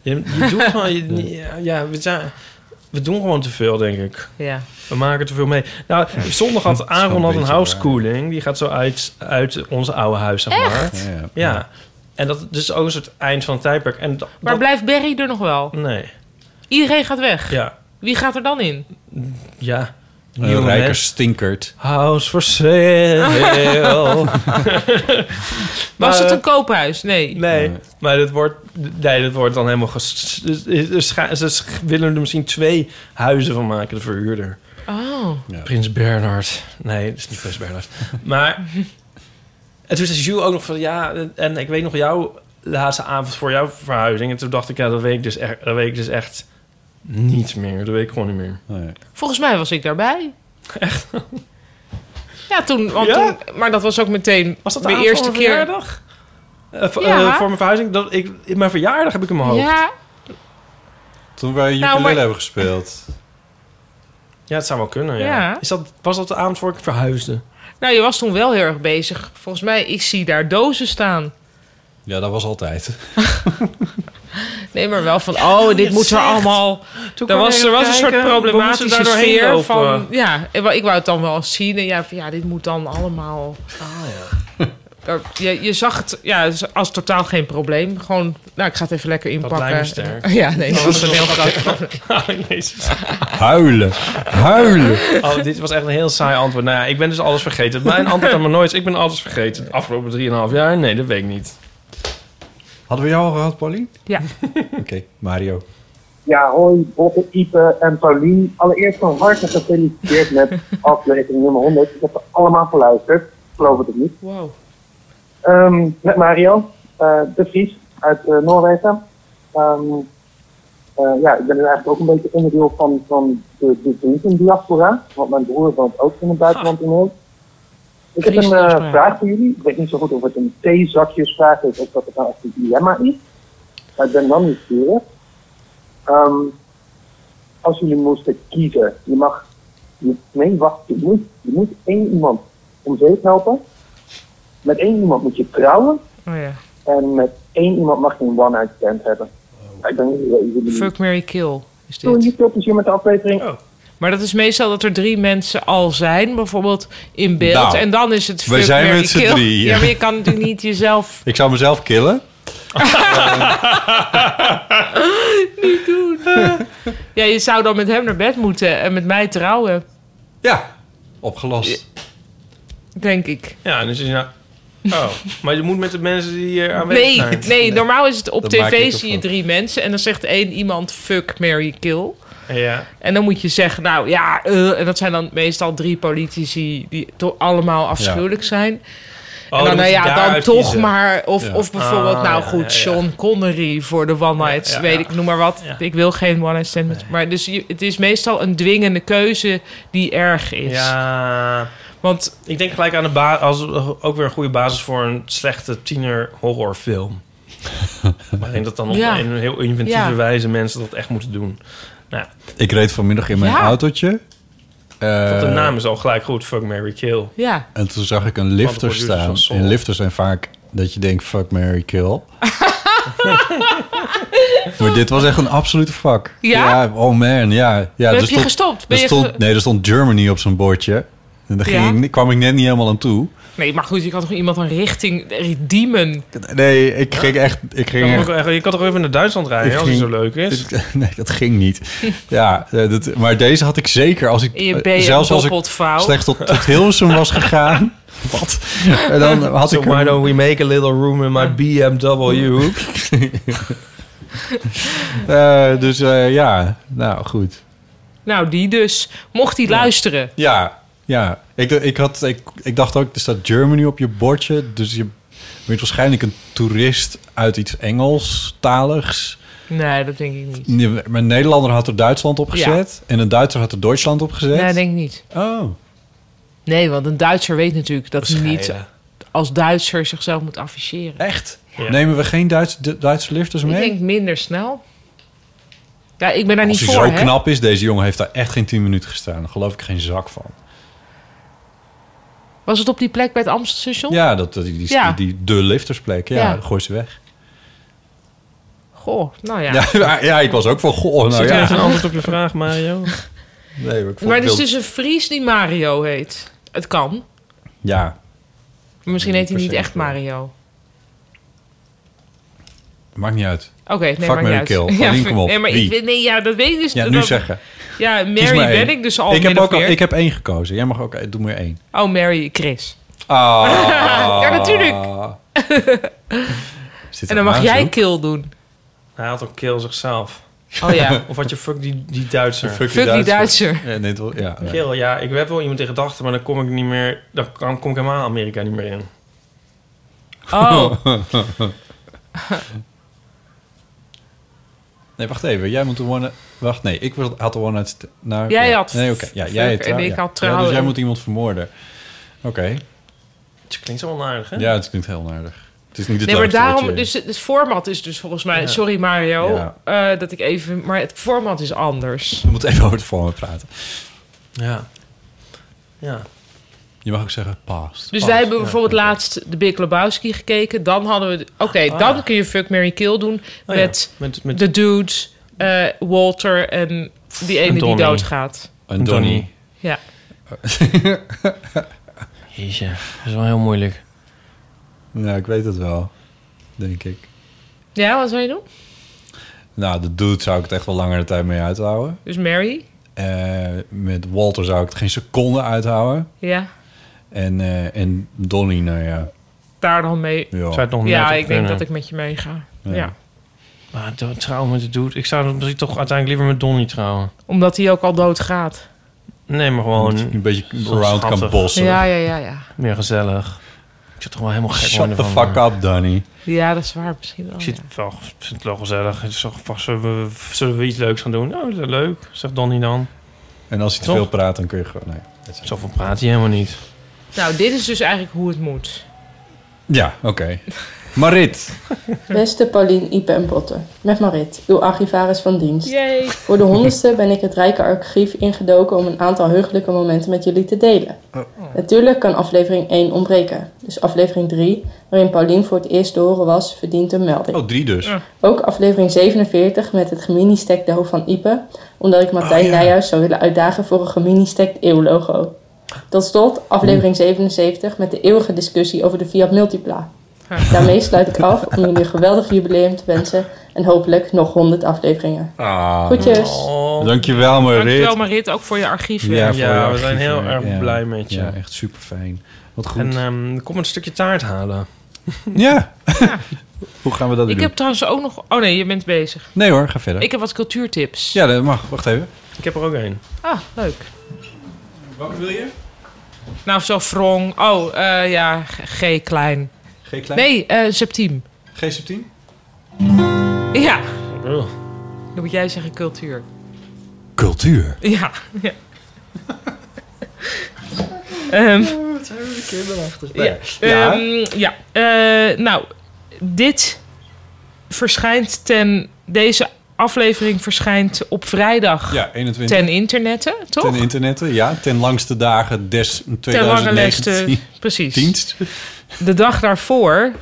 [SPEAKER 6] Je, je doet gewoon, je- ja, ja, we, zijn, we doen gewoon te veel, denk ik.
[SPEAKER 4] Ja.
[SPEAKER 6] We maken te veel mee. Nou, zondag had
[SPEAKER 5] is wel
[SPEAKER 6] Aaron
[SPEAKER 5] een
[SPEAKER 6] had een
[SPEAKER 5] beetje
[SPEAKER 6] housecooling. Die gaat zo uit, uit ons oude huis, zeg maar.
[SPEAKER 5] Echt? Ja, ja.
[SPEAKER 6] Ja. En dat is ook een soort eind van het tijdperk. En dat-
[SPEAKER 4] Maar blijft Barry er nog wel?
[SPEAKER 6] Nee.
[SPEAKER 4] Iedereen gaat weg.
[SPEAKER 6] Ja.
[SPEAKER 4] Wie gaat er dan in?
[SPEAKER 6] Ja.
[SPEAKER 5] Een
[SPEAKER 6] Nieuwe
[SPEAKER 5] rijke
[SPEAKER 6] mensen.
[SPEAKER 5] stinkert.
[SPEAKER 6] House for sale.
[SPEAKER 4] Was
[SPEAKER 6] Maar,
[SPEAKER 4] het
[SPEAKER 6] eh,
[SPEAKER 4] een koophuis? Nee.
[SPEAKER 6] Nee, maar dat wordt, nee, dat wordt dan helemaal... ges- dus- dus scha- Ze sch- willen er misschien twee huizen van maken, de verhuurder.
[SPEAKER 4] Oh.
[SPEAKER 6] Prins Bernhard. Nee, dat is niet Prins Bernhard. maar... En toen zei Jules ook nog van... Ja, en ik weet nog jouw laatste avond voor jouw verhuizing. En toen dacht ik, ja, dat weet ik dus echt, dat weet ik dus echt niet meer. Dat weet ik gewoon niet meer.
[SPEAKER 4] Volgens mij was ik daarbij. Echt? Ja, toen, want
[SPEAKER 6] Ja?
[SPEAKER 4] toen... Maar dat was ook meteen
[SPEAKER 6] Was dat de
[SPEAKER 4] mijn
[SPEAKER 6] avond
[SPEAKER 4] eerste
[SPEAKER 6] van
[SPEAKER 4] keer...
[SPEAKER 6] mijn verjaardag? Eh, v-
[SPEAKER 4] Ja.
[SPEAKER 6] eh, voor mijn verhuizing, dat ik, in mijn verjaardag heb ik hem hoofd.
[SPEAKER 4] Ja.
[SPEAKER 5] Toen wij ukulele
[SPEAKER 4] Nou, maar-
[SPEAKER 5] hebben gespeeld.
[SPEAKER 6] Ja, het zou wel kunnen, ja.
[SPEAKER 4] Ja.
[SPEAKER 6] Is dat, was dat de avond voor ik verhuisde?
[SPEAKER 4] Nou, je was toen wel heel erg bezig. Volgens mij, ik zie daar dozen staan.
[SPEAKER 5] Ja, dat was altijd.
[SPEAKER 4] Nee, maar wel van, oh, dit
[SPEAKER 6] je
[SPEAKER 4] moeten
[SPEAKER 6] zegt.
[SPEAKER 4] we allemaal...
[SPEAKER 6] Toen
[SPEAKER 4] Er
[SPEAKER 6] kwam
[SPEAKER 4] was,
[SPEAKER 6] ik
[SPEAKER 4] er was een
[SPEAKER 6] kijken,
[SPEAKER 4] soort
[SPEAKER 6] we moesten
[SPEAKER 4] problematische
[SPEAKER 6] daar doorheen
[SPEAKER 4] sfeer
[SPEAKER 6] lopen.
[SPEAKER 4] van... Ja, ik wou- ik wou het dan wel zien. En ja, van, ja dit moet dan allemaal...
[SPEAKER 6] Ah,
[SPEAKER 4] Er- Je, je zag het ja, als totaal geen probleem. Gewoon, nou, ik ga het even lekker inpakken.
[SPEAKER 6] lijkt me sterk.
[SPEAKER 4] Ja, nee, dat
[SPEAKER 6] Oh,
[SPEAKER 4] was een heel
[SPEAKER 6] dat is wel
[SPEAKER 4] groot probleem.
[SPEAKER 6] Oh, Jezus.
[SPEAKER 5] Huilen. Huilen.
[SPEAKER 6] Oh, dit was echt een heel saai antwoord. Nou ja, ik ben dus alles vergeten. Mijn antwoord aan me nooit is, ik ben alles vergeten. De afgelopen 3,5 jaar? Nee, dat weet ik niet.
[SPEAKER 5] Hadden we jou al gehad, Pauline?
[SPEAKER 4] Ja.
[SPEAKER 5] Oké, Mario.
[SPEAKER 9] Ja, hoi, Botte, Ipe en Paulien. Allereerst van harte gefeliciteerd met aflevering nummer 100. Ik heb er allemaal geluisterd, Ik geloof het of niet.
[SPEAKER 4] Wow.
[SPEAKER 9] Ehm, met Mario, eh, de Vries uit eh, Noorwegen. Ehm, eh, ja, ik ben nu eigenlijk ook een beetje onderdeel van, van de, de vriendendiaspora, want mijn broer woont ook in het buitenland in Noord. Ik heb een eh,
[SPEAKER 4] Vriendendiaspora.
[SPEAKER 9] vraag voor jullie. Ik weet niet zo goed of het een theezakjesvraag is of dat het nou echt een dilemma is. Maar ik ben wel nieuwsgierig. Ehm, als jullie moesten kiezen, je mag... Je, nee, wacht, je moet, je moet één iemand om zeep helpen. Met één iemand moet je trouwen.
[SPEAKER 4] Oh ja.
[SPEAKER 9] En met één iemand mag je een one-night stand hebben. Ja, Ik denk dat jullie- jullie...
[SPEAKER 4] Fuck, Mary kill is dit.
[SPEAKER 9] Doe niet veel plezier met de aflevering.
[SPEAKER 6] Oh,
[SPEAKER 4] Maar dat is meestal dat er drie mensen al zijn, bijvoorbeeld in beeld.
[SPEAKER 5] Nou,
[SPEAKER 4] en dan is het
[SPEAKER 5] wij
[SPEAKER 4] fuck,
[SPEAKER 5] zijn
[SPEAKER 4] Mary,
[SPEAKER 5] met z'n
[SPEAKER 4] kill.
[SPEAKER 5] drieën.
[SPEAKER 4] Ja, maar je kan natuurlijk niet jezelf
[SPEAKER 5] Ik zou mezelf killen.
[SPEAKER 4] niet doen. ja, je zou dan met hem naar bed moeten en met mij trouwen,
[SPEAKER 5] Ja, opgelost.
[SPEAKER 4] denk ik.
[SPEAKER 6] Ja, dus is nou... Oh, maar je moet met de mensen die hier aanwezig
[SPEAKER 4] Nee,
[SPEAKER 6] zijn.
[SPEAKER 4] nee, normaal is het op
[SPEAKER 6] Dat maak ik
[SPEAKER 4] tv
[SPEAKER 6] ervan.
[SPEAKER 4] zie je drie mensen en dan zegt één iemand fuck, Mary kill.
[SPEAKER 6] Ja.
[SPEAKER 4] En dan moet je zeggen, nou ja, eh, en dat zijn dan meestal drie politici die toch allemaal afschuwelijk zijn.
[SPEAKER 6] Oh,
[SPEAKER 4] en
[SPEAKER 6] dan
[SPEAKER 4] dan, nou
[SPEAKER 6] moet je
[SPEAKER 4] ja, dan
[SPEAKER 6] daaruit
[SPEAKER 4] toch
[SPEAKER 6] kiezen.
[SPEAKER 4] maar. Of,
[SPEAKER 6] Ja.
[SPEAKER 4] of bijvoorbeeld,
[SPEAKER 6] Ah,
[SPEAKER 4] nou
[SPEAKER 6] ja,
[SPEAKER 4] goed,
[SPEAKER 6] ja, ja.
[SPEAKER 4] Sean Connery voor de One Night,
[SPEAKER 6] Ja, ja,
[SPEAKER 4] weet
[SPEAKER 6] ja.
[SPEAKER 4] ik, noem maar wat. Ik wil geen One Night Stand. met- Maar dus je- het is meestal een dwingende keuze die erg is.
[SPEAKER 6] Ja.
[SPEAKER 4] Want
[SPEAKER 6] ik denk gelijk aan de ba- als ook weer een goede basis voor een slechte tiener horrorfilm. Waarin dat dan op
[SPEAKER 4] Ja.
[SPEAKER 6] een heel inventieve
[SPEAKER 4] Ja.
[SPEAKER 6] wijze mensen dat echt moeten doen. Nou, ja,
[SPEAKER 5] Ik reed vanmiddag in mijn
[SPEAKER 6] Ja.
[SPEAKER 5] autootje.
[SPEAKER 6] want de
[SPEAKER 5] Eh,
[SPEAKER 6] naam is al gelijk goed. Fuck, Mary Kill.
[SPEAKER 4] Ja.
[SPEAKER 5] En toen zag ik een
[SPEAKER 6] Van
[SPEAKER 5] lifter
[SPEAKER 6] de producers
[SPEAKER 5] staan.
[SPEAKER 6] van Soul.
[SPEAKER 5] En lifters zijn vaak dat je denkt, fuck, Mary kill. maar dit was echt een absolute fuck.
[SPEAKER 4] Ja?
[SPEAKER 5] oh man, ja. ja
[SPEAKER 4] Heb je gestopt? Ben
[SPEAKER 5] er
[SPEAKER 4] je
[SPEAKER 5] stond,
[SPEAKER 4] ge-
[SPEAKER 5] Nee, er stond Germany op zijn bordje. En daar ging
[SPEAKER 4] Ja?
[SPEAKER 5] ik ni- kwam ik net niet helemaal aan toe.
[SPEAKER 4] Nee, maar goed, je kan toch iemand een richting redeemen?
[SPEAKER 5] Nee, ik ging echt... Ik
[SPEAKER 6] Je
[SPEAKER 5] ging
[SPEAKER 6] kan,
[SPEAKER 5] echt-
[SPEAKER 6] toch ook- je kan toch even naar Duitsland rijden
[SPEAKER 5] Ik
[SPEAKER 6] als het
[SPEAKER 5] ging-
[SPEAKER 6] zo leuk is?
[SPEAKER 5] Nee, dat ging niet. Ja, eh, dat, maar deze had ik zeker als ik
[SPEAKER 4] In je
[SPEAKER 5] eh,
[SPEAKER 4] been
[SPEAKER 5] zelfs als ik
[SPEAKER 4] doppelt fout.
[SPEAKER 5] slecht tot, tot Hilversum was gegaan. Wat? En dan had ik
[SPEAKER 6] so
[SPEAKER 5] Oh, nou
[SPEAKER 6] why
[SPEAKER 5] hem-
[SPEAKER 6] don't we make a little room in my BMW?
[SPEAKER 5] Eh, dus eh, ja, nou goed.
[SPEAKER 4] Nou, die dus. Mocht die luisteren.
[SPEAKER 5] Ja, ja. Ik, d- ik, had, ik, ik dacht ook, er staat Germany op je bordje. Dus je bent waarschijnlijk een toerist uit iets Engels, taligs.
[SPEAKER 4] Nee, dat denk ik niet.
[SPEAKER 5] Nee, maar Een Nederlander had er Duitsland op gezet. En een Duitser had er Duitsland op gezet.
[SPEAKER 4] Nee, denk ik niet.
[SPEAKER 5] Oh.
[SPEAKER 4] Nee, want een Duitser weet natuurlijk dat hij niet
[SPEAKER 5] Bescheiden.
[SPEAKER 4] als Duitser zichzelf moet afficheren.
[SPEAKER 5] Echt? Nemen we geen Duits, de- Duitse lifters
[SPEAKER 4] Ik
[SPEAKER 5] mee?
[SPEAKER 4] denk minder snel. Ja, ik ben daar
[SPEAKER 5] Als
[SPEAKER 4] niet
[SPEAKER 5] hij
[SPEAKER 4] voor,
[SPEAKER 5] zo
[SPEAKER 4] hè?
[SPEAKER 5] knap is, deze jongen heeft daar echt geen 10 minuten gestaan. Daar geloof ik geen zak van.
[SPEAKER 4] Was het op die plek bij het Amstelstation?
[SPEAKER 5] Ja, dat, dat- die, die,
[SPEAKER 4] Ja.
[SPEAKER 5] Die, de liftersplek. Ja,
[SPEAKER 4] Ja.
[SPEAKER 5] gooi ze weg.
[SPEAKER 4] Goh, nou ja.
[SPEAKER 5] Ja. ja, ik was ook van, goh, nou
[SPEAKER 6] Zit er
[SPEAKER 5] ja.
[SPEAKER 6] echt een antwoord op je vraag, Mario?
[SPEAKER 5] Nee, maar ik vond
[SPEAKER 4] maar
[SPEAKER 5] het
[SPEAKER 4] het is
[SPEAKER 5] wel-
[SPEAKER 4] dus een Fries die Mario heet. Het kan.
[SPEAKER 5] Ja,
[SPEAKER 4] Maar misschien heet hij
[SPEAKER 5] per
[SPEAKER 4] niet
[SPEAKER 5] se
[SPEAKER 4] echt Mario.
[SPEAKER 5] maakt niet uit.
[SPEAKER 4] Oké, nee,
[SPEAKER 5] Fuck,
[SPEAKER 4] maar
[SPEAKER 5] Mary,
[SPEAKER 4] niet
[SPEAKER 5] kill.
[SPEAKER 4] uit.
[SPEAKER 5] Alleen,
[SPEAKER 4] v-
[SPEAKER 5] kom op.
[SPEAKER 4] Nee, maar
[SPEAKER 5] Wie?
[SPEAKER 4] ik, weet- nee, ja, dat weet ik dus.
[SPEAKER 5] Ja,
[SPEAKER 4] dat-
[SPEAKER 5] nu zeggen.
[SPEAKER 4] Ja,
[SPEAKER 5] Kies maar
[SPEAKER 4] Mary
[SPEAKER 5] één.
[SPEAKER 4] ben ik dus al.
[SPEAKER 5] Ik heb,
[SPEAKER 4] min of
[SPEAKER 5] ook al,
[SPEAKER 4] meer.
[SPEAKER 5] ik heb één gekozen. Jij mag ook... eh, Doe maar één.
[SPEAKER 4] Oh, Mary, Chris.
[SPEAKER 5] Ah.
[SPEAKER 4] ja, natuurlijk.
[SPEAKER 5] Zit
[SPEAKER 4] En
[SPEAKER 5] er
[SPEAKER 4] dan mag
[SPEAKER 5] aan,
[SPEAKER 4] jij
[SPEAKER 5] zo?
[SPEAKER 4] kill doen.
[SPEAKER 6] Hij had ook kill zichzelf.
[SPEAKER 4] Oh ja.
[SPEAKER 6] Of had je fuck die, die Duitser?
[SPEAKER 5] Fuck
[SPEAKER 4] die Fuck die Duitser. Duitser.
[SPEAKER 5] Ja, nee, het wel- ja, nee.
[SPEAKER 6] Kill, ja. Ik heb wel iemand in gedachten, maar dan kom ik niet meer... Dan kan- kom ik helemaal Amerika niet meer in.
[SPEAKER 4] Oh.
[SPEAKER 5] nee, wacht even. Jij moet de one... Wacht, nee. Ik wil- had de one uit... Nou,
[SPEAKER 4] Jij
[SPEAKER 5] ja.
[SPEAKER 4] had
[SPEAKER 5] Nee, oké. Ja, jij
[SPEAKER 4] fuck
[SPEAKER 5] had
[SPEAKER 4] en
[SPEAKER 5] trouw-
[SPEAKER 4] ik
[SPEAKER 5] ja.
[SPEAKER 4] had
[SPEAKER 5] Ja,
[SPEAKER 4] trouwen.
[SPEAKER 5] dus jij moet iemand vermoorden. Oké.
[SPEAKER 6] Het klinkt zo onaardig, hè?
[SPEAKER 5] Ja, het klinkt heel aardig. Het is niet het
[SPEAKER 4] Nee, maar
[SPEAKER 5] leukste wat
[SPEAKER 4] daarom,
[SPEAKER 5] je-
[SPEAKER 4] dus het format is dus volgens mij,
[SPEAKER 5] Ja.
[SPEAKER 4] sorry Mario,
[SPEAKER 5] Ja.
[SPEAKER 4] eh, dat ik even, maar het format is anders.
[SPEAKER 5] We moeten even over het format praten.
[SPEAKER 6] Ja. Ja.
[SPEAKER 5] Je mag ook zeggen past.
[SPEAKER 4] Dus
[SPEAKER 6] Oh,
[SPEAKER 5] Past.
[SPEAKER 4] wij hebben
[SPEAKER 5] Ja.
[SPEAKER 4] bijvoorbeeld laatst de Big Lebowski gekeken. Dan hadden we... Oké,
[SPEAKER 6] Ah. Oh,
[SPEAKER 4] dan kun je Fuck, Mary Kill doen
[SPEAKER 6] ja,
[SPEAKER 4] met,
[SPEAKER 6] met- met-
[SPEAKER 4] de dude, eh, Walter en die ene die
[SPEAKER 6] Donnie.
[SPEAKER 4] doodgaat.
[SPEAKER 5] En Donnie.
[SPEAKER 4] Ja.
[SPEAKER 6] Jeetje, dat is wel heel moeilijk.
[SPEAKER 5] Nou, ik weet het wel. Denk ik.
[SPEAKER 4] Ja, wat wil je doen?
[SPEAKER 5] Nou, de dude zou ik het echt wel langere tijd mee uithouden.
[SPEAKER 4] Dus Mary?
[SPEAKER 5] Eh, met Walter zou ik het geen seconde uithouden.
[SPEAKER 4] Ja.
[SPEAKER 5] En, eh, en Donnie, nou ja.
[SPEAKER 4] Daar dan mee.
[SPEAKER 5] Ja. Zou het nog
[SPEAKER 4] ja,
[SPEAKER 6] net op
[SPEAKER 4] ik denk
[SPEAKER 6] kunnen.
[SPEAKER 4] dat ik met je meega.
[SPEAKER 5] Ja.
[SPEAKER 4] Ja.
[SPEAKER 6] Maar trouw- trouwen met de dude... Ik zou dan misschien toch uiteindelijk liever met Donnie trouwen.
[SPEAKER 4] Omdat hij ook al doodgaat.
[SPEAKER 6] Nee, maar gewoon...
[SPEAKER 5] Een beetje
[SPEAKER 6] Zo
[SPEAKER 5] around
[SPEAKER 6] schattig.
[SPEAKER 5] kan bossen.
[SPEAKER 4] Ja, ja, ja, ja.
[SPEAKER 6] Meer gezellig. Ik zit toch wel helemaal gek eh,
[SPEAKER 5] Shut the
[SPEAKER 6] ervan,
[SPEAKER 5] fuck
[SPEAKER 6] maar-
[SPEAKER 5] up, Donnie.
[SPEAKER 4] Ja, dat is waar misschien wel.
[SPEAKER 6] Ik zit wel, ik vind het wel gezellig. Ik zeg, "Wacht, zullen, we, zullen we iets leuks gaan doen? Oh, dat is leuk, zegt Donnie dan.
[SPEAKER 5] En als hij te
[SPEAKER 6] Toch?
[SPEAKER 5] veel praat, dan kun je gewoon... Nee.
[SPEAKER 6] Zoveel praat hij helemaal niet.
[SPEAKER 4] Nou, dit is dus eigenlijk hoe het moet.
[SPEAKER 5] Ja, oké. Marit.
[SPEAKER 13] Beste Paulien, Ipe en Potter, met Marit, uw archivaris van dienst.
[SPEAKER 4] Yay.
[SPEAKER 13] Voor de honderdste ben ik het rijke archief ingedoken om een aantal heugelijke momenten met jullie te delen. Natuurlijk kan aflevering 1 ontbreken, dus aflevering 3, waarin Paulien voor het eerst te horen was, verdient een melding.
[SPEAKER 5] Oh, drie dus.
[SPEAKER 13] Ook aflevering 47 met het gemini-stekdo van Ipe, omdat ik Martijn Nijhuis zou willen uitdagen voor een gemini-stekt eeuwlogo. Tot slot aflevering 77 met de eeuwige discussie over de Fiat Multipla. Daarmee sluit ik af om jullie een geweldig jubileum te wensen en hopelijk nog 100 afleveringen.
[SPEAKER 5] Ah.
[SPEAKER 13] Groetjes.
[SPEAKER 5] Dankjewel, Marit.
[SPEAKER 4] Dankjewel Marit, ook voor je archief.
[SPEAKER 5] Ja, voor je
[SPEAKER 6] Ja, we zijn
[SPEAKER 5] archief,
[SPEAKER 6] heel
[SPEAKER 5] ja.
[SPEAKER 6] erg
[SPEAKER 5] Ja.
[SPEAKER 6] blij met je.
[SPEAKER 5] Ja, echt super fijn. Wat goed.
[SPEAKER 6] En ehm, kom een stukje taart halen.
[SPEAKER 5] Ja. Hoe gaan we dat
[SPEAKER 4] Ik
[SPEAKER 5] doen?
[SPEAKER 4] heb trouwens ook nog... Oh nee, je bent bezig.
[SPEAKER 5] Nee hoor, ga verder.
[SPEAKER 4] Ik heb wat cultuurtips.
[SPEAKER 5] Ja, dat mag. Wacht even.
[SPEAKER 6] Ik heb er ook één.
[SPEAKER 4] Ah, leuk.
[SPEAKER 5] Welke wil je?
[SPEAKER 4] Nou, zo wrong. Oh, eh, ja, G G klein.
[SPEAKER 5] G klein?
[SPEAKER 4] Nee, eh septiem.
[SPEAKER 5] G17?
[SPEAKER 4] Ja. Dan moet jij zeggen cultuur.
[SPEAKER 5] Cultuur.
[SPEAKER 4] Ja. ja. Ehm,
[SPEAKER 5] Wat zijn we kinderachtig.
[SPEAKER 4] ja. Ehm, ja. Eh, nou, dit verschijnt ten... Deze aflevering verschijnt op vrijdag
[SPEAKER 5] Ja, 21.
[SPEAKER 4] ten internetten, toch?
[SPEAKER 5] Ten internetten, ja. Ten langste dagen des
[SPEAKER 4] Ten lange leste,
[SPEAKER 5] 2019.
[SPEAKER 4] precies. De dag daarvoor,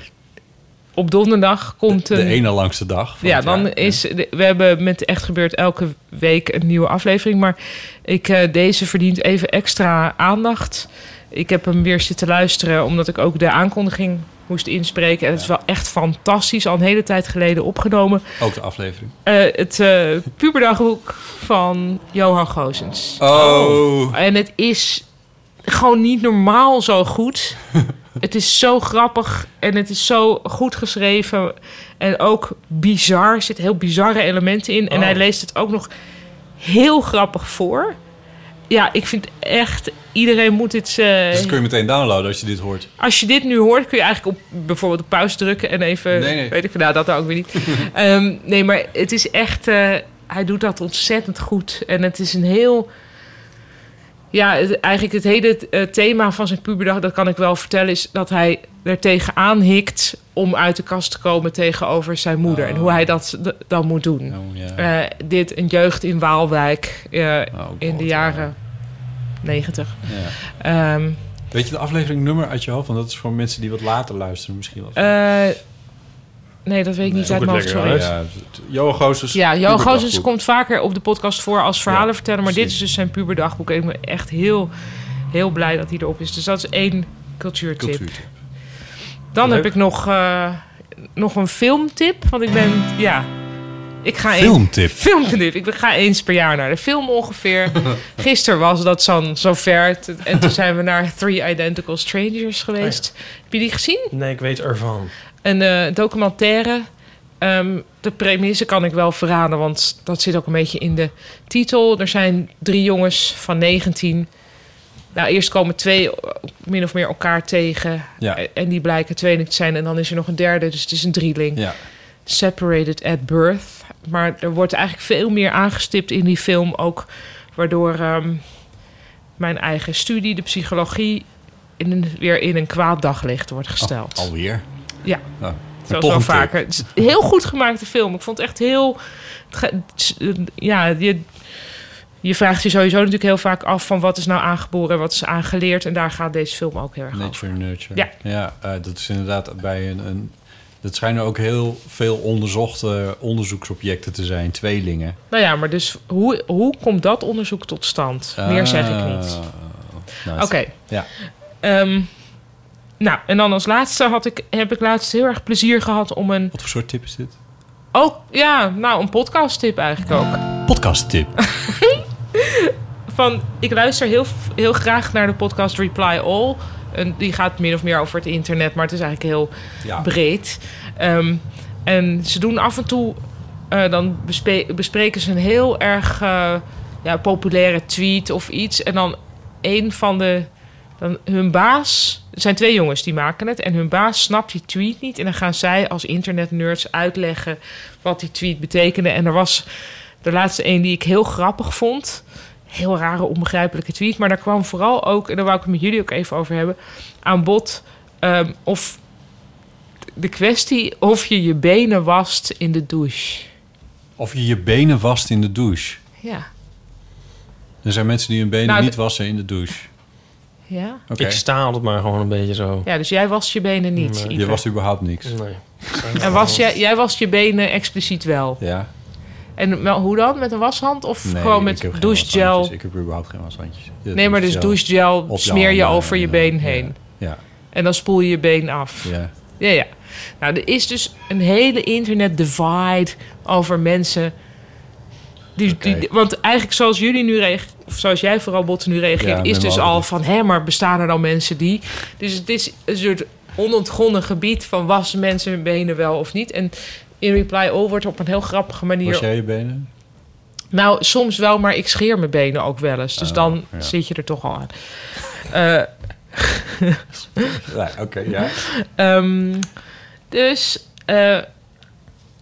[SPEAKER 4] op donderdag, komt een...
[SPEAKER 5] De ene langste dag.
[SPEAKER 4] Ja, dan is... de- We hebben met Echt Gebeurd elke week een nieuwe aflevering. Maar ik, eh, deze verdient even extra aandacht. Ik heb hem weer zitten luisteren, omdat ik ook de aankondiging moest inspreken. En het is wel echt fantastisch. Al een hele tijd geleden opgenomen.
[SPEAKER 5] Ook de aflevering. Dus
[SPEAKER 4] Eh, het eh puberdagboek van Johan Gozens.
[SPEAKER 5] Oh.
[SPEAKER 4] En het is gewoon niet normaal zo goed. het is zo grappig en het is zo goed geschreven. En ook bizar. Er zitten heel bizarre elementen in. En
[SPEAKER 14] Oh.
[SPEAKER 4] hij leest het ook nog heel grappig voor. Ja, ik vind echt... Iedereen moet dit... eh,
[SPEAKER 5] Dus dat kun je meteen downloaden als je dit hoort.
[SPEAKER 4] als je dit nu hoort, kun je eigenlijk op bijvoorbeeld op pauze drukken en even.
[SPEAKER 5] Nee, nee.
[SPEAKER 4] Weet ik, nou, dat ook weer niet. Ehm, nee, maar het is echt. eh, hij doet dat ontzettend goed. En het is een heel. Ja, het- eigenlijk het hele eh, thema van zijn puberdag, dat kan ik wel vertellen, is dat hij er tegenaan hikt om uit de kast te komen tegenover zijn moeder.
[SPEAKER 5] Oh.
[SPEAKER 4] En hoe hij dat d- dan moet doen. Eh, dit een jeugd in Waalwijk eh,
[SPEAKER 5] Oh,
[SPEAKER 4] in de jaren negentig. Ehm, Mm.
[SPEAKER 5] Weet je de aflevering nummer uit je hoofd? Want dat is voor mensen die wat later luisteren misschien wel.
[SPEAKER 4] Eh, nee, dat weet ik niet uit mijn hoofd, sorry.
[SPEAKER 5] Ja, dus het- Johan Gozes.
[SPEAKER 4] Ja, Johan
[SPEAKER 5] Puberdagboek.
[SPEAKER 4] Gozens komt vaker op de podcast voor als verhalenverteller. Maar dit is dus zijn puberdagboek. En ik ben echt heel, heel blij dat hij erop is. Dus dat is één cultuurtip.
[SPEAKER 5] Cultuurtip.
[SPEAKER 4] Dan
[SPEAKER 5] Leuk.
[SPEAKER 4] heb ik nog, eh, nog een filmtip. Want ik ben, ja... Ik ga één-
[SPEAKER 5] Filmtip.
[SPEAKER 4] filmtip. Ik ga eens per jaar naar de film ongeveer. Gisteren was dat zo'n zover. T- En toen zijn we naar Three Identical Strangers geweest. Heb je die gezien?
[SPEAKER 6] Nee, ik weet ervan.
[SPEAKER 4] Een eh, documentaire. Ehm, de premisse kan ik wel verraden, want dat zit ook een beetje in de titel. Er zijn drie jongens van 19. Nou, eerst komen twee eh, min of meer elkaar tegen.
[SPEAKER 5] Ja.
[SPEAKER 4] Eh, En die blijken tweeling te zijn. En dan is er nog een derde, dus het is een drieling.
[SPEAKER 5] Ja.
[SPEAKER 4] Separated at birth. Maar er wordt eigenlijk veel meer aangestipt in die film. Ook waardoor ehm, mijn eigen studie, de psychologie, in een- weer in een kwaad daglicht wordt gesteld.
[SPEAKER 5] Oh, Alweer.
[SPEAKER 4] Ja.
[SPEAKER 5] Nou, maar
[SPEAKER 4] Zoals
[SPEAKER 5] toch
[SPEAKER 4] wel
[SPEAKER 5] een tip.
[SPEAKER 4] vaker. Het is een heel goed gemaakte film. Ik vond het echt heel... het ge- het is, eh, Ja, je, je vraagt je sowieso natuurlijk heel vaak af... van wat is nou aangeboren en wat is aangeleerd. En daar gaat deze film ook heel erg over.
[SPEAKER 5] Nature Nurture.
[SPEAKER 4] Ja.
[SPEAKER 5] eh, dat is inderdaad bij een, een... Dat schijnen ook heel veel onderzochte onderzoeksobjecten te zijn. Tweelingen.
[SPEAKER 4] Nou ja, maar dus hoe, hoe komt dat onderzoek tot stand? Meer zeg ik niet.
[SPEAKER 5] Ah, nice.
[SPEAKER 4] Oké.
[SPEAKER 5] Eh, Ja.
[SPEAKER 4] Ehm, nou, en dan als laatste had ik, heb ik laatst heel erg plezier gehad om een...
[SPEAKER 5] Wat voor soort tip is dit?
[SPEAKER 4] Ook, ja, nou, een podcast tip eigenlijk ook.
[SPEAKER 5] Podcast tip.
[SPEAKER 4] Van, ik luister heel, heel graag naar de podcast Reply All. En die gaat min of meer over het internet, maar het is eigenlijk heel
[SPEAKER 14] Ja.
[SPEAKER 4] breed. Ehm, en ze doen af en toe, eh, dan bespe- bespreken ze een heel erg eh, ja, populaire tweet of iets. En dan een van de, dan hun baas, het zijn twee jongens die maken het. En hun baas snapt die tweet niet. En dan gaan zij als internetnerds uitleggen wat die tweet betekende. En er was de laatste een die ik heel grappig vond. Heel rare, onbegrijpelijke tweet. Maar daar kwam vooral ook, en daar wou ik het met jullie ook even over hebben, aan bod ehm, of de kwestie of je je benen wast in de douche.
[SPEAKER 5] Of je je benen wast in de douche.
[SPEAKER 4] Ja.
[SPEAKER 5] Er zijn mensen die hun benen
[SPEAKER 4] Nou,
[SPEAKER 5] niet
[SPEAKER 4] d-
[SPEAKER 5] wassen in de douche.
[SPEAKER 4] Ja.
[SPEAKER 5] Oké.
[SPEAKER 6] Ik sta altijd maar gewoon een beetje zo.
[SPEAKER 4] Ja, dus jij wast je benen niet.
[SPEAKER 6] Nee.
[SPEAKER 4] Ipe.
[SPEAKER 5] Je wast überhaupt niks.
[SPEAKER 6] Nee.
[SPEAKER 4] En was jij, jij wast je benen expliciet wel.
[SPEAKER 5] Ja.
[SPEAKER 4] En wel, hoe dan? Met een washand of
[SPEAKER 5] Nee,
[SPEAKER 4] gewoon
[SPEAKER 5] ik heb geen
[SPEAKER 4] met douchegel?
[SPEAKER 5] washandjes. Ik heb überhaupt geen washandjes. Ja,
[SPEAKER 4] Nee, maar dus douchegel
[SPEAKER 5] Op
[SPEAKER 4] smeer je
[SPEAKER 5] handen
[SPEAKER 4] over je
[SPEAKER 5] en-
[SPEAKER 4] been heen.
[SPEAKER 5] Ja.
[SPEAKER 4] En dan spoel je je been af.
[SPEAKER 5] Ja.
[SPEAKER 4] Ja, ja. Nou, er is dus een hele internet divide over mensen. Die, die, want eigenlijk zoals jullie nu reageert, of zoals jij vooral Botten nu
[SPEAKER 14] Ja,
[SPEAKER 4] reageert,
[SPEAKER 14] ik
[SPEAKER 4] is
[SPEAKER 14] ben
[SPEAKER 4] dus
[SPEAKER 14] wel
[SPEAKER 4] al
[SPEAKER 14] altijd-
[SPEAKER 4] van hé, maar bestaan er dan mensen die. Dus het is een soort onontgonnen gebied van wassen mensen hun benen wel of niet. En in Reply All wordt op een heel grappige manier.
[SPEAKER 5] Was jij je benen?
[SPEAKER 4] Nou, soms wel, maar ik scheer mijn benen ook wel eens. Dus
[SPEAKER 5] Oh,
[SPEAKER 4] dan
[SPEAKER 5] ja.
[SPEAKER 4] zit je er toch al aan. Eh,
[SPEAKER 5] Ja, Oké, ja.
[SPEAKER 4] Ehm, dus, eh,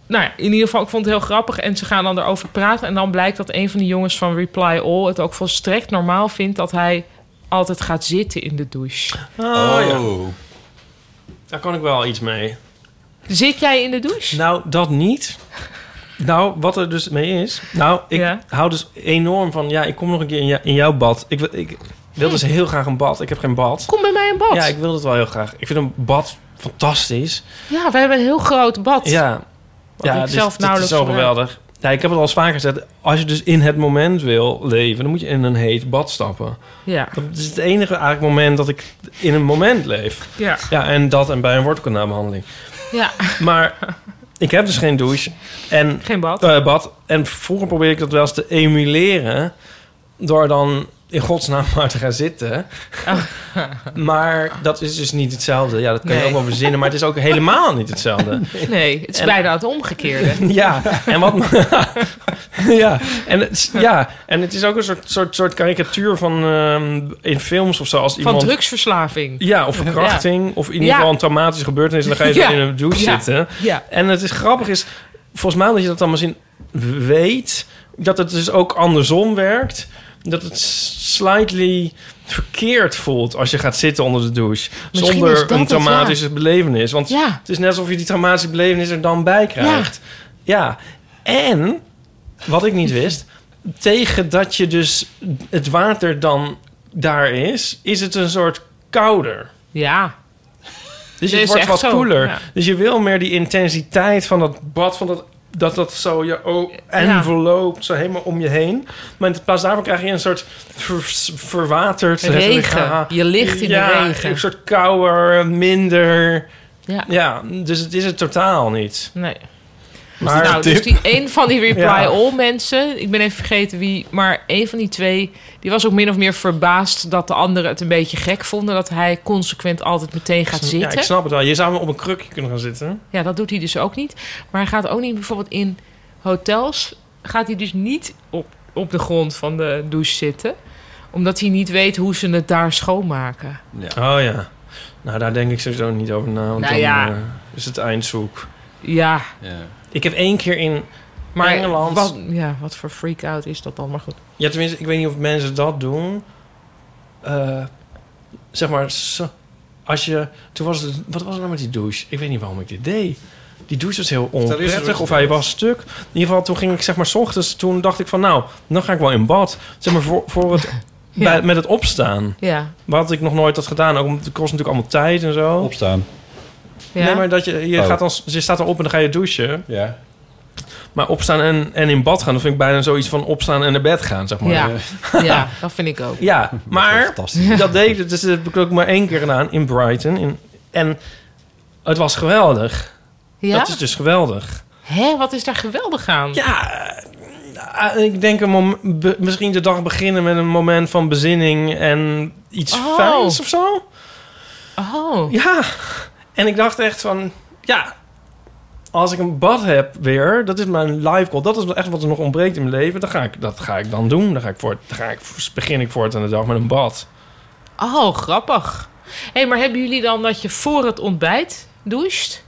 [SPEAKER 4] nou ja, in ieder geval, ik vond het heel grappig. En ze gaan dan erover praten. En dan blijkt dat een van de jongens van Reply All het ook volstrekt normaal vindt dat hij altijd gaat zitten in de douche.
[SPEAKER 6] Oh, ja.
[SPEAKER 5] Oh.
[SPEAKER 6] Daar kan ik wel iets mee.
[SPEAKER 4] Zit jij in de douche?
[SPEAKER 6] Nou, dat niet. Nou, wat er dus mee is. Nou, ik hou dus enorm van. Ja, ik kom nog een keer in, jou- in jouw bad. Ik, wil- ik wil dus heel graag een bad. Ik heb geen bad.
[SPEAKER 4] Hm. Kom bij mij een bad.
[SPEAKER 6] Ja, ik wil dat wel heel graag. Ik vind een bad fantastisch.
[SPEAKER 4] Ja, we hebben een heel groot bad.
[SPEAKER 6] Ja, ja
[SPEAKER 4] ik
[SPEAKER 6] dus
[SPEAKER 4] zelf
[SPEAKER 6] dat
[SPEAKER 4] nauwelijks
[SPEAKER 6] is zo
[SPEAKER 4] gebruik.
[SPEAKER 6] geweldig. Ja, ik heb het al eens vaker gezegd. Als je dus in het moment wil leven, dan moet je in een heet bad stappen.
[SPEAKER 4] Ja.
[SPEAKER 6] Dat is het enige eigenlijk moment dat ik in een moment leef.
[SPEAKER 4] Ja.
[SPEAKER 6] Ja, en dat en bij een wortelkanaalbehandeling.
[SPEAKER 4] Ja.
[SPEAKER 6] Maar ik heb dus geen douche. En, eh,
[SPEAKER 4] geen bad.
[SPEAKER 6] bad. En vroeger probeerde ik dat wel eens te emuleren. Door dan in godsnaam maar te gaan zitten.
[SPEAKER 4] Oh.
[SPEAKER 6] maar dat is dus niet hetzelfde. Ja, dat kan je
[SPEAKER 4] Nee.
[SPEAKER 6] ook wel verzinnen. Maar het is ook helemaal niet hetzelfde.
[SPEAKER 4] Nee, het is
[SPEAKER 6] En-
[SPEAKER 4] bijna het omgekeerde.
[SPEAKER 6] Ja, en wat... ja, en het, is- ja, en het is ook een soort, soort, soort karikatuur van ehm, in films of zo. Als
[SPEAKER 4] Van
[SPEAKER 6] iemand,
[SPEAKER 4] drugsverslaving.
[SPEAKER 6] Ja, of verkrachting. Of in ieder
[SPEAKER 4] Ja.
[SPEAKER 6] geval een traumatische gebeurtenis. En dan ga je
[SPEAKER 4] Ja.
[SPEAKER 6] zo in een douche
[SPEAKER 4] Ja.
[SPEAKER 6] zitten.
[SPEAKER 4] Ja.
[SPEAKER 6] En het is grappig is... Volgens mij dat je dat allemaal zin weet... dat het dus ook andersom werkt. Dat het slightly verkeerd voelt als je gaat zitten onder de douche.
[SPEAKER 4] Misschien is dat
[SPEAKER 6] zonder een
[SPEAKER 4] het, ja.
[SPEAKER 6] traumatische belevenis. Want
[SPEAKER 4] Ja.
[SPEAKER 6] het is net alsof je die traumatische belevenis er dan bij krijgt. Ja. En, wat ik niet wist... tegen dat je dus het water dan daar is... is het een soort kouder.
[SPEAKER 4] Ja.
[SPEAKER 6] Dus
[SPEAKER 4] Nee,
[SPEAKER 6] het
[SPEAKER 4] is
[SPEAKER 6] wordt
[SPEAKER 4] echt
[SPEAKER 6] wat
[SPEAKER 4] zo,
[SPEAKER 6] koeler.
[SPEAKER 4] ja.
[SPEAKER 6] Dus je wil meer die intensiteit van dat bad, van dat, dat, dat zo je o- enveloopt, zo helemaal om je heen. Maar in plaats daarvan krijg je een soort ver- verwaterd...
[SPEAKER 4] Regen. Je ligt in de
[SPEAKER 6] Ja,
[SPEAKER 4] regen.
[SPEAKER 6] een soort kouder, minder...
[SPEAKER 4] Ja.
[SPEAKER 6] dus het is het totaal niet.
[SPEAKER 4] Nee.
[SPEAKER 6] Maar
[SPEAKER 4] nou, dus die een van die reply
[SPEAKER 6] Ja.
[SPEAKER 4] all mensen, ik ben even vergeten wie, maar een van die twee, die was ook min of meer verbaasd dat de anderen het een beetje gek vonden dat hij consequent altijd meteen gaat
[SPEAKER 6] Ja,
[SPEAKER 4] zitten.
[SPEAKER 6] ik snap het wel. Je zou hem op een krukje kunnen gaan zitten.
[SPEAKER 4] Ja, dat doet hij dus ook niet. Maar hij gaat ook niet bijvoorbeeld in hotels. Gaat hij dus niet op, op de grond van de douche zitten. Omdat hij niet weet hoe ze het daar schoonmaken.
[SPEAKER 6] Oh ja. Nou, daar denk ik sowieso niet over na. Want
[SPEAKER 4] Nou
[SPEAKER 6] dan
[SPEAKER 4] ja.
[SPEAKER 6] eh, is het eindzoek.
[SPEAKER 4] Ja.
[SPEAKER 6] Ik heb één keer in
[SPEAKER 4] Maar
[SPEAKER 6] Engeland...
[SPEAKER 4] Wat, ja, wat voor freak-out is dat dan? Maar goed.
[SPEAKER 6] Ja, tenminste, ik weet niet of mensen dat doen. Eh, zeg maar, zo- als je... Toen was het, wat was het nou met die douche? Ik weet niet waarom ik dit deed. Die douche was heel
[SPEAKER 5] is er
[SPEAKER 6] onprettig,
[SPEAKER 5] iets
[SPEAKER 6] of hij was stuk. In ieder geval, toen ging ik zeg maar 's ochtends... Toen dacht ik van, nou, dan ga ik wel in bad. Zeg maar, voor, voor het,
[SPEAKER 4] Ja.
[SPEAKER 6] bij- met het opstaan.
[SPEAKER 4] Ja.
[SPEAKER 6] Wat ik nog nooit had gedaan. Ook, omdat het kost natuurlijk allemaal tijd en zo. Opstaan.
[SPEAKER 4] Ja.
[SPEAKER 6] Nee, maar dat je, je,
[SPEAKER 5] Oh.
[SPEAKER 6] gaat dan, je staat erop en dan ga je douchen.
[SPEAKER 5] Ja.
[SPEAKER 6] Maar opstaan en, en in bad gaan, dat vind ik bijna zoiets van opstaan en naar bed gaan, zeg maar.
[SPEAKER 4] ja. ja, dat vind ik ook.
[SPEAKER 6] Ja, maar dat deed het. Dus dat heb ik ook maar één keer gedaan in Brighton. In, en het was geweldig.
[SPEAKER 4] Ja?
[SPEAKER 6] Dat is dus geweldig.
[SPEAKER 4] Hé, wat is daar geweldig aan?
[SPEAKER 6] Ja, Ah, ik denk een mom- be- misschien de dag beginnen met een moment van bezinning en iets
[SPEAKER 4] Oh.
[SPEAKER 6] fijns of zo.
[SPEAKER 4] Oh.
[SPEAKER 6] Ja. En ik dacht echt van, ja, als ik een bad heb weer, dat is mijn live goal. Dat is echt wat er nog ontbreekt in mijn leven. Dan ga ik, dat ga ik dan doen. Dan, ga ik voort, dan ga ik, begin ik voort aan de dag met een bad.
[SPEAKER 4] Oh, grappig. Hé, maar hebben jullie dan dat je voor het ontbijt doucht?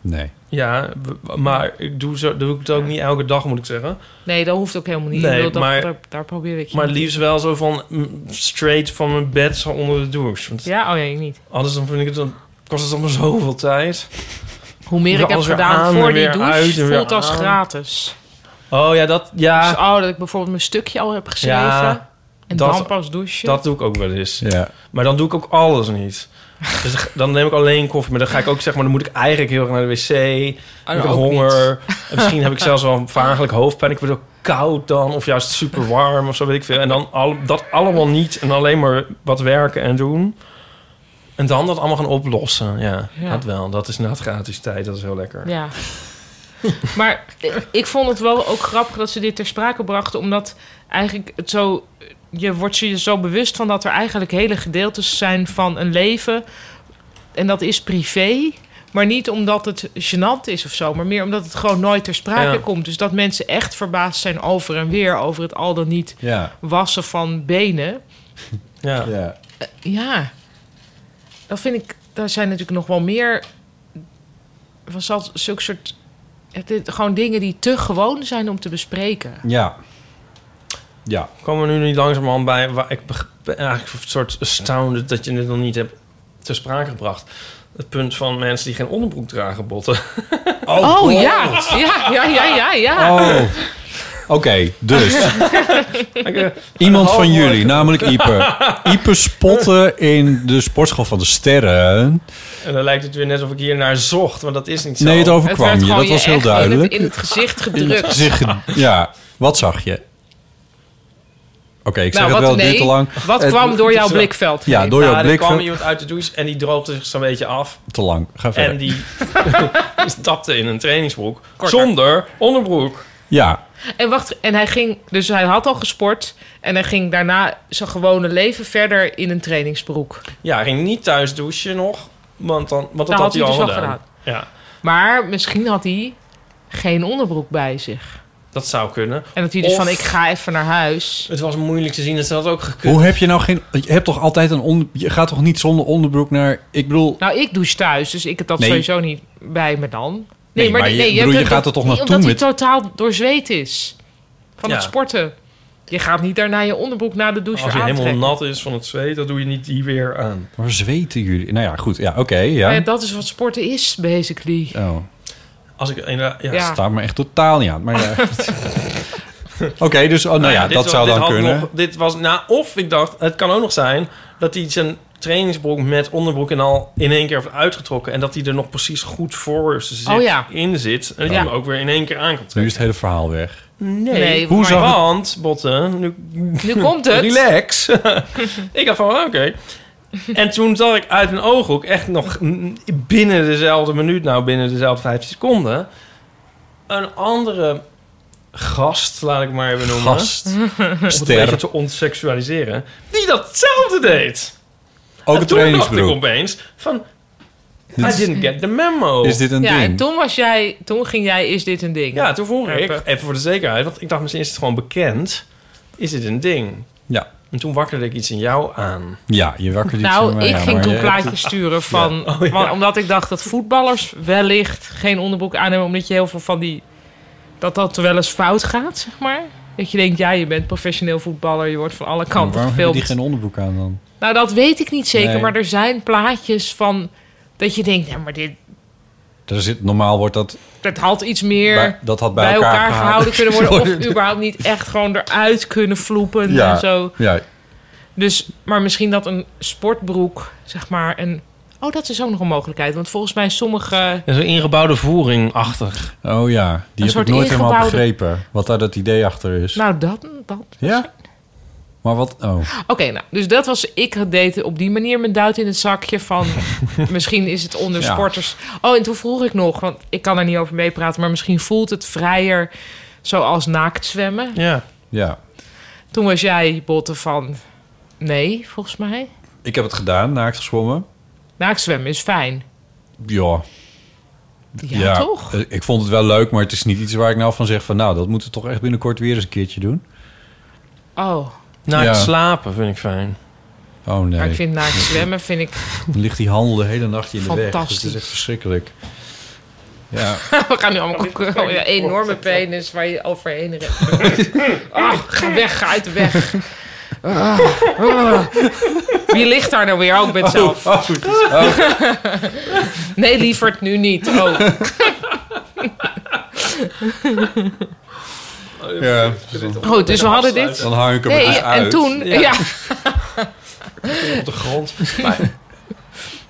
[SPEAKER 6] Nee. Ja, w- maar ik doe, zo, doe ik het ook niet elke dag, moet ik zeggen.
[SPEAKER 4] Nee, dat hoeft ook helemaal niet. Ik
[SPEAKER 6] Nee,
[SPEAKER 4] bedoel, dat,
[SPEAKER 6] maar-
[SPEAKER 4] daar, daar probeer ik je
[SPEAKER 6] Maar
[SPEAKER 4] niet-
[SPEAKER 6] liefst wel zo van mm, straight van mijn bed zo onder de douche. Want
[SPEAKER 4] Ja, oh nee, niet.
[SPEAKER 6] anders dan vind ik het dan kost het allemaal zoveel tijd.
[SPEAKER 4] Hoe meer ik heb
[SPEAKER 6] Alles weer
[SPEAKER 4] gedaan
[SPEAKER 6] aan en
[SPEAKER 4] voor die
[SPEAKER 6] weer uit
[SPEAKER 4] douche,
[SPEAKER 6] en weer
[SPEAKER 4] voelt als
[SPEAKER 6] aan.
[SPEAKER 4] gratis.
[SPEAKER 6] Oh ja, dat ja.
[SPEAKER 4] Dus oh, dat ik bijvoorbeeld mijn stukje al heb geschreven.
[SPEAKER 6] Ja,
[SPEAKER 4] en
[SPEAKER 6] dat-
[SPEAKER 4] dan pas douchen.
[SPEAKER 6] Dat doe ik ook wel eens. Maar dan doe ik ook alles niet. Dus dan neem ik alleen koffie. Maar dan ga ik ook zeg maar, dan moet ik eigenlijk heel erg naar de wc.
[SPEAKER 4] Ah,
[SPEAKER 6] ik heb
[SPEAKER 4] ook
[SPEAKER 6] honger.
[SPEAKER 4] niet.
[SPEAKER 6] En misschien heb ik zelfs wel een vagelijk hoofdpijn. Ik word ook koud dan. Of juist super warm of zo weet ik veel. En dan al, dat allemaal niet. En alleen maar wat werken en doen. En dan dat allemaal gaan oplossen. Ja,
[SPEAKER 4] Ja.
[SPEAKER 6] dat wel. Dat is na het gratis tijd. Dat is heel lekker.
[SPEAKER 4] Ja. maar eh, ik vond het wel ook grappig dat ze dit ter sprake brachten, omdat eigenlijk het zo. Je wordt je zo bewust van dat er eigenlijk hele gedeeltes zijn van een leven. En dat is privé. Maar niet omdat het gênant is of zo, maar meer omdat het gewoon nooit ter sprake
[SPEAKER 5] Ja.
[SPEAKER 4] komt. Dus dat mensen echt verbaasd zijn over en weer over het al dan niet
[SPEAKER 5] Ja.
[SPEAKER 4] wassen van benen.
[SPEAKER 6] Ja.
[SPEAKER 4] Eh, ja, dat vind ik. Daar zijn natuurlijk nog wel meer. Was dat zulke soort. het- het- gewoon dingen die te gewoon zijn om te bespreken.
[SPEAKER 6] Ja. Ja. Komen we nu niet langzamerhand bij waar ik beg- ben eigenlijk een soort astounded dat je het nog niet hebt ter sprake gebracht. het punt van mensen die geen onderbroek dragen botten.
[SPEAKER 4] Oh, ja. ja, ja, ja, ja, ja.
[SPEAKER 5] Oh. Oké, dus. Iemand
[SPEAKER 6] Oh,
[SPEAKER 5] van jullie, namelijk Ieper. Ieper spotte in de sportschool van de sterren.
[SPEAKER 6] En dan lijkt het weer net alsof ik hier naar zocht, maar dat is niet zo.
[SPEAKER 5] Nee, het overkwam
[SPEAKER 4] werd
[SPEAKER 5] je.
[SPEAKER 4] gewoon
[SPEAKER 5] Dat was heel
[SPEAKER 4] echt in het-
[SPEAKER 5] duidelijk.
[SPEAKER 4] in het gezicht
[SPEAKER 5] In het
[SPEAKER 4] gedrukt.
[SPEAKER 5] gezicht ge- ja, wat zag je? Oké, ik zeg
[SPEAKER 4] Nou,
[SPEAKER 5] het
[SPEAKER 4] wat-
[SPEAKER 5] wel dit
[SPEAKER 4] nee.
[SPEAKER 5] te lang.
[SPEAKER 4] Wat
[SPEAKER 5] Het-
[SPEAKER 4] kwam door jouw blikveld
[SPEAKER 5] Ja,
[SPEAKER 4] heen?
[SPEAKER 5] door jouw
[SPEAKER 6] Nou, Er kwam
[SPEAKER 5] blikveld.
[SPEAKER 6] iemand uit de douche en die droogde zich zo'n beetje af.
[SPEAKER 5] Te lang. Ga verder.
[SPEAKER 6] En die stapte in een trainingsbroek zonder onderbroek.
[SPEAKER 5] Ja,
[SPEAKER 4] En wacht, en hij ging, dus hij had al gesport. En hij ging daarna zijn gewone leven verder in een trainingsbroek.
[SPEAKER 6] Ja, hij ging niet thuis douchen nog, want, dan, want dat
[SPEAKER 4] Nou,
[SPEAKER 6] had, hij al
[SPEAKER 4] dus
[SPEAKER 6] gedaan. Ja,
[SPEAKER 4] Maar misschien had hij geen onderbroek bij zich.
[SPEAKER 6] dat zou kunnen.
[SPEAKER 4] En dat hij dus
[SPEAKER 6] Of-
[SPEAKER 4] van, ik ga even naar huis.
[SPEAKER 6] Het was moeilijk te zien, dat ze dat ook gekund.
[SPEAKER 5] Hoe heb je nou geen... Je hebt toch altijd een onder... Je gaat toch niet zonder onderbroek naar... Ik bedoel...
[SPEAKER 4] Nou, ik douche thuis, dus ik heb dat
[SPEAKER 5] Nee.
[SPEAKER 4] sowieso niet bij me dan. Nee,
[SPEAKER 5] Nee, maar je- bedoel,
[SPEAKER 4] hebt
[SPEAKER 5] je
[SPEAKER 4] het
[SPEAKER 5] gaat er toch
[SPEAKER 4] niet
[SPEAKER 5] naartoe
[SPEAKER 4] Omdat
[SPEAKER 5] met-
[SPEAKER 4] hij totaal doorzweet is. Van
[SPEAKER 6] Ja.
[SPEAKER 4] het sporten. Je gaat niet daarna je onderbroek na de douche
[SPEAKER 6] Als je
[SPEAKER 4] weer aantrekken.
[SPEAKER 6] helemaal nat is van het zweet, dan doe je niet die weer aan.
[SPEAKER 5] Waar zweten jullie? Nou ja, goed. Ja, oké. ja.
[SPEAKER 4] Nou ja, dat is wat sporten is, basically.
[SPEAKER 5] Oh,
[SPEAKER 6] Als ik inderdaad... Ja.
[SPEAKER 4] Ja.
[SPEAKER 5] staat me echt totaal niet aan. Maar ja. oké, dus... Oh, nou ja,
[SPEAKER 6] dit
[SPEAKER 5] dat
[SPEAKER 6] was-
[SPEAKER 5] zou
[SPEAKER 6] dit
[SPEAKER 5] dan
[SPEAKER 6] had
[SPEAKER 5] kunnen.
[SPEAKER 6] nog- dit was, nou, of ik dacht, het kan ook nog zijn dat hij zijn trainingsbroek met onderbroek en al in één keer heeft uitgetrokken. En dat hij er nog precies goed voor zit,
[SPEAKER 4] Oh ja.
[SPEAKER 6] in zit. En dat
[SPEAKER 4] Ja.
[SPEAKER 6] hij hem ook weer in één keer aan kan
[SPEAKER 5] Nu is het hele verhaal weg.
[SPEAKER 6] Nee,
[SPEAKER 4] Nee,
[SPEAKER 6] hoe
[SPEAKER 4] Hoe maar- zag het-
[SPEAKER 6] want, Botten, nu,
[SPEAKER 4] Nu komt het.
[SPEAKER 6] Relax. ik dacht van, oké. En toen zag ik uit mijn ooghoek, echt nog mm, binnen dezelfde minuut, nou binnen dezelfde vijf seconden, een andere gast, laat ik maar even noemen.
[SPEAKER 5] Gast.
[SPEAKER 6] Om het een
[SPEAKER 5] Ster.
[SPEAKER 6] beetje te ontseksualiseren. Die datzelfde deed.
[SPEAKER 5] Ook
[SPEAKER 6] en
[SPEAKER 5] een
[SPEAKER 6] toen dacht ik
[SPEAKER 5] trainingsbroek.
[SPEAKER 6] opeens van,
[SPEAKER 5] Dit
[SPEAKER 6] I
[SPEAKER 5] is-
[SPEAKER 6] didn't get the memo.
[SPEAKER 5] Is dit een
[SPEAKER 4] ja, en
[SPEAKER 5] ding?
[SPEAKER 4] toen was jij, toen ging jij, is dit een ding?
[SPEAKER 6] Ja, toen vroeg ik,
[SPEAKER 4] Rappen.
[SPEAKER 6] even voor de zekerheid, want ik dacht misschien is het gewoon bekend. Is dit een ding?
[SPEAKER 5] Ja.
[SPEAKER 6] En toen wakkerde ik iets in jou aan.
[SPEAKER 5] Ja, je wakker niet zo,
[SPEAKER 4] Nou,
[SPEAKER 5] maar
[SPEAKER 4] ik
[SPEAKER 5] ja,
[SPEAKER 4] ging
[SPEAKER 5] maar eh,
[SPEAKER 4] toen
[SPEAKER 5] je-
[SPEAKER 4] plaatjes sturen van...
[SPEAKER 5] Oh,
[SPEAKER 4] want- omdat ik dacht dat voetballers wellicht geen onderbroek aan hebben... omdat je heel veel van die... dat dat wel eens fout gaat, zeg maar. Dat je denkt, ja, je bent professioneel voetballer... je wordt van alle
[SPEAKER 5] Waarom
[SPEAKER 4] kanten
[SPEAKER 5] hebben
[SPEAKER 4] gefilmd.
[SPEAKER 5] die geen onderbroek aan dan?
[SPEAKER 4] Nou, dat weet ik niet zeker,
[SPEAKER 5] Nee.
[SPEAKER 4] maar er zijn plaatjes van... dat je denkt, ja, maar dit...
[SPEAKER 5] Daar zit, normaal wordt dat...
[SPEAKER 4] dat had iets meer...
[SPEAKER 5] Bij- dat had bij elkaar gehouden.
[SPEAKER 4] gehouden kunnen worden... of
[SPEAKER 5] Sorry.
[SPEAKER 4] überhaupt niet echt gewoon eruit kunnen vloepen en zo.
[SPEAKER 5] ja.
[SPEAKER 4] Dus, maar misschien dat een sportbroek, zeg maar, een... Oh, dat is ook nog een mogelijkheid. Want volgens mij sommige...
[SPEAKER 6] Zo'n ingebouwde voering-achtig.
[SPEAKER 5] Oh ja, die heb
[SPEAKER 4] soort
[SPEAKER 5] ik nooit helemaal
[SPEAKER 4] ingebouwde-
[SPEAKER 5] begrepen. Wat daar dat idee achter is.
[SPEAKER 4] Nou, dat... dat.
[SPEAKER 5] ja? Maar wat... Oh.
[SPEAKER 4] Oké, nou, dus dat was... Ik had deed op die manier mijn duit in het zakje van... misschien is het onder
[SPEAKER 14] Ja.
[SPEAKER 4] sporters... Oh, en toen vroeg ik nog, want ik kan er niet over meepraten... maar misschien voelt het vrijer zoals naakt zwemmen.
[SPEAKER 6] Ja.
[SPEAKER 5] Ja.
[SPEAKER 4] Toen was jij, Botte, van... Nee, volgens mij.
[SPEAKER 5] Ik heb het gedaan, naakt gezwommen.
[SPEAKER 4] Naakt zwemmen is fijn.
[SPEAKER 5] Ja.
[SPEAKER 4] Ja, toch?
[SPEAKER 5] eh, Ik vond het wel leuk, maar het is niet iets waar ik nou van zeg van... nou, dat moeten we toch echt binnenkort weer eens een keertje doen.
[SPEAKER 4] Oh,
[SPEAKER 6] Naakt
[SPEAKER 5] Ja.
[SPEAKER 6] Nou, slapen vind ik fijn.
[SPEAKER 5] Oh nee.
[SPEAKER 4] maar ik vind naakt zwemmen vind ik...
[SPEAKER 5] Dan ligt die handel de hele nacht in de weg. Dus het
[SPEAKER 4] Fantastisch.
[SPEAKER 5] is echt verschrikkelijk. Ja.
[SPEAKER 4] We gaan nu allemaal koeken. Oh, ja, enorme penis waar je overheen rent. Ah, ga weg, ga uit de weg. Ah, ah. Wie ligt daar nou weer? Ook ik ben het zelf.
[SPEAKER 5] Oh, oh.
[SPEAKER 4] Nee, lieverd, nu niet. Oh.
[SPEAKER 5] Ja.
[SPEAKER 4] Goed, dus we hadden dit.
[SPEAKER 5] Dan hang ik hem
[SPEAKER 4] nee,
[SPEAKER 5] er dus uit.
[SPEAKER 4] En toen, ja.
[SPEAKER 6] Op de grond.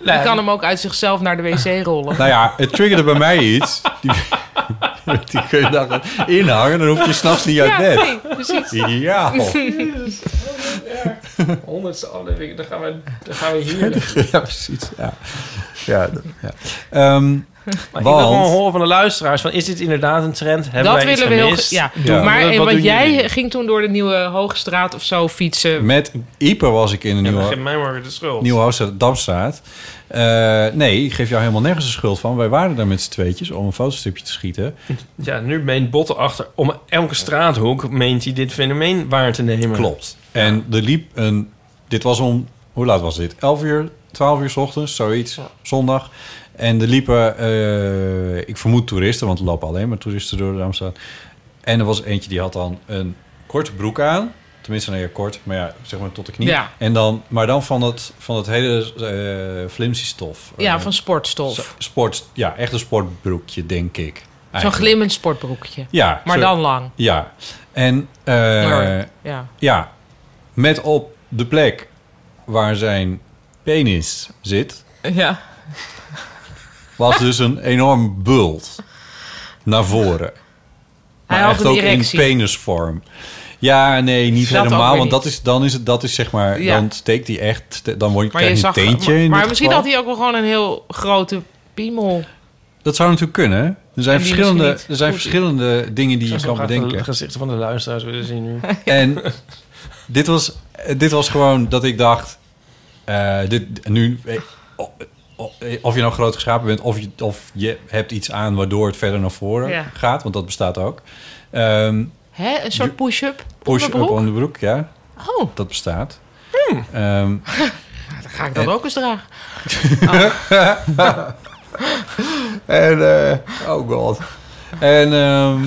[SPEAKER 4] Je kan hem ook uit zichzelf naar de wc rollen.
[SPEAKER 5] Nou ja, het triggerde bij mij iets. Die, die kun je dan inhangen, dan hoef je s'nachts niet uit
[SPEAKER 4] Ja,
[SPEAKER 5] bed. Oh.
[SPEAKER 4] nee, precies.
[SPEAKER 5] Ideaal.
[SPEAKER 6] Honderdste aflevering, dan gaan we, dan gaan we
[SPEAKER 5] ja, precies. Ja. Ja, d- ja. Ehm,
[SPEAKER 6] Maar ik wil gewoon
[SPEAKER 5] want,
[SPEAKER 6] horen van de luisteraars: van, is dit inderdaad een trend? Hebben
[SPEAKER 4] dat
[SPEAKER 6] wij iets
[SPEAKER 4] willen we heel...
[SPEAKER 6] gemist?
[SPEAKER 4] Ja.
[SPEAKER 5] Ja.
[SPEAKER 4] Maar
[SPEAKER 5] Wat- wat
[SPEAKER 4] en want
[SPEAKER 5] doen
[SPEAKER 4] jij
[SPEAKER 5] jullie?
[SPEAKER 4] ging toen door de
[SPEAKER 6] eh,
[SPEAKER 4] Nieuwe Hoogstraat of zo fietsen.
[SPEAKER 5] met Ieper was ik in een
[SPEAKER 6] Dan
[SPEAKER 5] nieuwe,
[SPEAKER 6] geeft mij maar weer de schuld.
[SPEAKER 5] nieuwe huis uit Damstraat. Eh, nee, ik geef jou helemaal nergens de schuld van. Wij waren daar met z'n tweetjes om een fotostripje te schieten.
[SPEAKER 6] Ja, nu meent Botten achter. Om elke straathoek meent hij dit fenomeen waar te nemen.
[SPEAKER 5] Klopt. En er liep een... Dit was om... Hoe laat was dit? 11 uur, 12 uur 's ochtends, zoiets. Zondag. En er liepen... eh, ik vermoed toeristen, want er lopen alleen maar toeristen door de Amsterdam. En er was eentje die had dan een korte broek aan. Tenminste, nou ja, kort, maar ja, zeg maar tot de knie.
[SPEAKER 4] Ja.
[SPEAKER 5] En dan, maar dan van dat, van dat hele eh flimsy stof.
[SPEAKER 4] Ja,
[SPEAKER 5] Eh,
[SPEAKER 4] van sportstof.
[SPEAKER 5] Sport, ja, echt een sportbroekje, denk ik.
[SPEAKER 4] Zo'n
[SPEAKER 5] eigenlijk.
[SPEAKER 4] glimmend sportbroekje.
[SPEAKER 5] Ja.
[SPEAKER 4] Maar
[SPEAKER 5] zo-
[SPEAKER 4] dan lang.
[SPEAKER 5] Ja. En eh,
[SPEAKER 4] Maar, ja.
[SPEAKER 5] ja, met op de plek waar zijn penis zit,
[SPEAKER 4] Ja.
[SPEAKER 5] was dus een enorm bult naar voren. Maar
[SPEAKER 4] had
[SPEAKER 5] echt
[SPEAKER 4] een
[SPEAKER 5] ook
[SPEAKER 4] erectie.
[SPEAKER 5] in penisvorm. Ja, nee, niet
[SPEAKER 4] Dat ook
[SPEAKER 5] helemaal.
[SPEAKER 4] weer
[SPEAKER 5] Want dat
[SPEAKER 4] niet.
[SPEAKER 5] is, dan is het, dat is zeg maar,
[SPEAKER 4] Ja.
[SPEAKER 5] dan steekt hij echt, dan word je,
[SPEAKER 4] Maar,
[SPEAKER 5] krijg
[SPEAKER 4] je
[SPEAKER 5] je een
[SPEAKER 4] zag,
[SPEAKER 5] teentje.
[SPEAKER 4] maar,
[SPEAKER 5] in
[SPEAKER 4] maar
[SPEAKER 5] dit
[SPEAKER 4] misschien
[SPEAKER 5] geval.
[SPEAKER 4] had hij ook wel gewoon een heel grote piemel.
[SPEAKER 5] Dat zou natuurlijk kunnen. hè? Er zijn
[SPEAKER 4] En die
[SPEAKER 5] verschillende,
[SPEAKER 4] misschien niet.
[SPEAKER 5] er zijn
[SPEAKER 4] Goed.
[SPEAKER 5] verschillende dingen die je kan
[SPEAKER 6] De
[SPEAKER 5] bedenken.
[SPEAKER 6] gezichten van de luisteraars willen zien nu.
[SPEAKER 5] En dit was, dit was gewoon dat ik dacht... eh, dit, nu, eh, o- o- of je nou groot geschapen bent... Of je, of je hebt iets aan waardoor het verder naar voren
[SPEAKER 4] Ja.
[SPEAKER 5] gaat. Want dat bestaat ook. Ehm,
[SPEAKER 4] Hè? Een soort push-up
[SPEAKER 5] Push-up
[SPEAKER 4] onderbroek?
[SPEAKER 5] onderbroek, ja.
[SPEAKER 4] Oh.
[SPEAKER 5] Dat bestaat.
[SPEAKER 4] Hmm.
[SPEAKER 5] Ehm,
[SPEAKER 4] Dan ga ik dat
[SPEAKER 5] En-
[SPEAKER 4] ook eens dragen.
[SPEAKER 5] en, eh, oh god. En, ehm,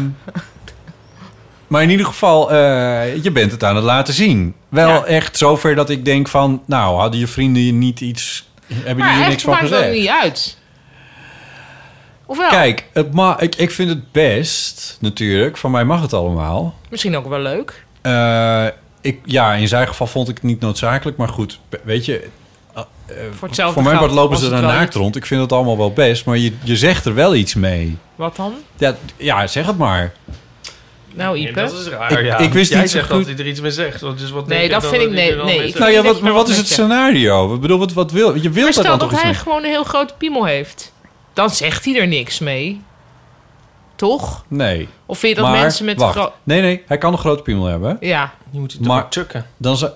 [SPEAKER 5] maar in ieder geval, eh, je bent het aan het laten zien. Wel echt zover dat ik denk van, nou, hadden je vrienden je niet iets, hebben die
[SPEAKER 4] Maar
[SPEAKER 5] hier
[SPEAKER 4] Nou, echt,
[SPEAKER 5] niks van
[SPEAKER 4] maakt dat
[SPEAKER 5] gezegd?
[SPEAKER 4] niet uit. Of wel?
[SPEAKER 5] Kijk, het ma ik, ik vind het best, natuurlijk. Van mij mag het allemaal.
[SPEAKER 4] Misschien ook wel leuk.
[SPEAKER 5] Eh, ik, ja, in zijn geval vond ik het niet noodzakelijk. Maar goed, be- weet je... eh, eh,
[SPEAKER 4] hetzelfde
[SPEAKER 5] voor mij
[SPEAKER 4] geld
[SPEAKER 5] part lopen
[SPEAKER 4] was
[SPEAKER 5] ze
[SPEAKER 4] het
[SPEAKER 5] daar
[SPEAKER 4] wel
[SPEAKER 5] naakt rond. Ik vind het allemaal wel best. Maar je, je zegt er wel iets mee.
[SPEAKER 4] Wat dan?
[SPEAKER 5] Ja, ja zeg het maar.
[SPEAKER 4] Nou, Ipe.
[SPEAKER 6] dat is raar.
[SPEAKER 5] Ik-
[SPEAKER 6] ja.
[SPEAKER 5] ik wist
[SPEAKER 6] Jij
[SPEAKER 5] niet zo
[SPEAKER 6] zegt
[SPEAKER 5] goed-
[SPEAKER 6] dat hij er iets mee zegt. want Dus wat
[SPEAKER 4] Nee,
[SPEAKER 6] denk je
[SPEAKER 4] dat
[SPEAKER 6] dan
[SPEAKER 4] vind
[SPEAKER 6] hij
[SPEAKER 4] ik-
[SPEAKER 6] er
[SPEAKER 4] nee,
[SPEAKER 6] dan
[SPEAKER 4] nee,
[SPEAKER 6] mee
[SPEAKER 4] ik-
[SPEAKER 6] zegt?
[SPEAKER 5] nou ja,
[SPEAKER 4] niks
[SPEAKER 5] wat,
[SPEAKER 4] meer
[SPEAKER 5] maar wat
[SPEAKER 4] wat
[SPEAKER 5] is het
[SPEAKER 4] met je.
[SPEAKER 5] scenario? Ik bedoel, wat, wat wil... Je
[SPEAKER 4] Maar
[SPEAKER 5] wilt daar
[SPEAKER 4] stel
[SPEAKER 5] dan
[SPEAKER 4] dat
[SPEAKER 5] toch iets
[SPEAKER 4] hij
[SPEAKER 5] mee?
[SPEAKER 4] gewoon een heel grote piemel heeft. Dan zegt hij er niks mee. Toch?
[SPEAKER 5] Nee.
[SPEAKER 4] Of vind je dat
[SPEAKER 5] Maar,
[SPEAKER 4] mensen met
[SPEAKER 5] wacht.
[SPEAKER 4] gro-
[SPEAKER 5] Nee, nee. Hij kan een grote piemel hebben.
[SPEAKER 4] Ja.
[SPEAKER 6] Je moet
[SPEAKER 5] maar tukken. Dan zou...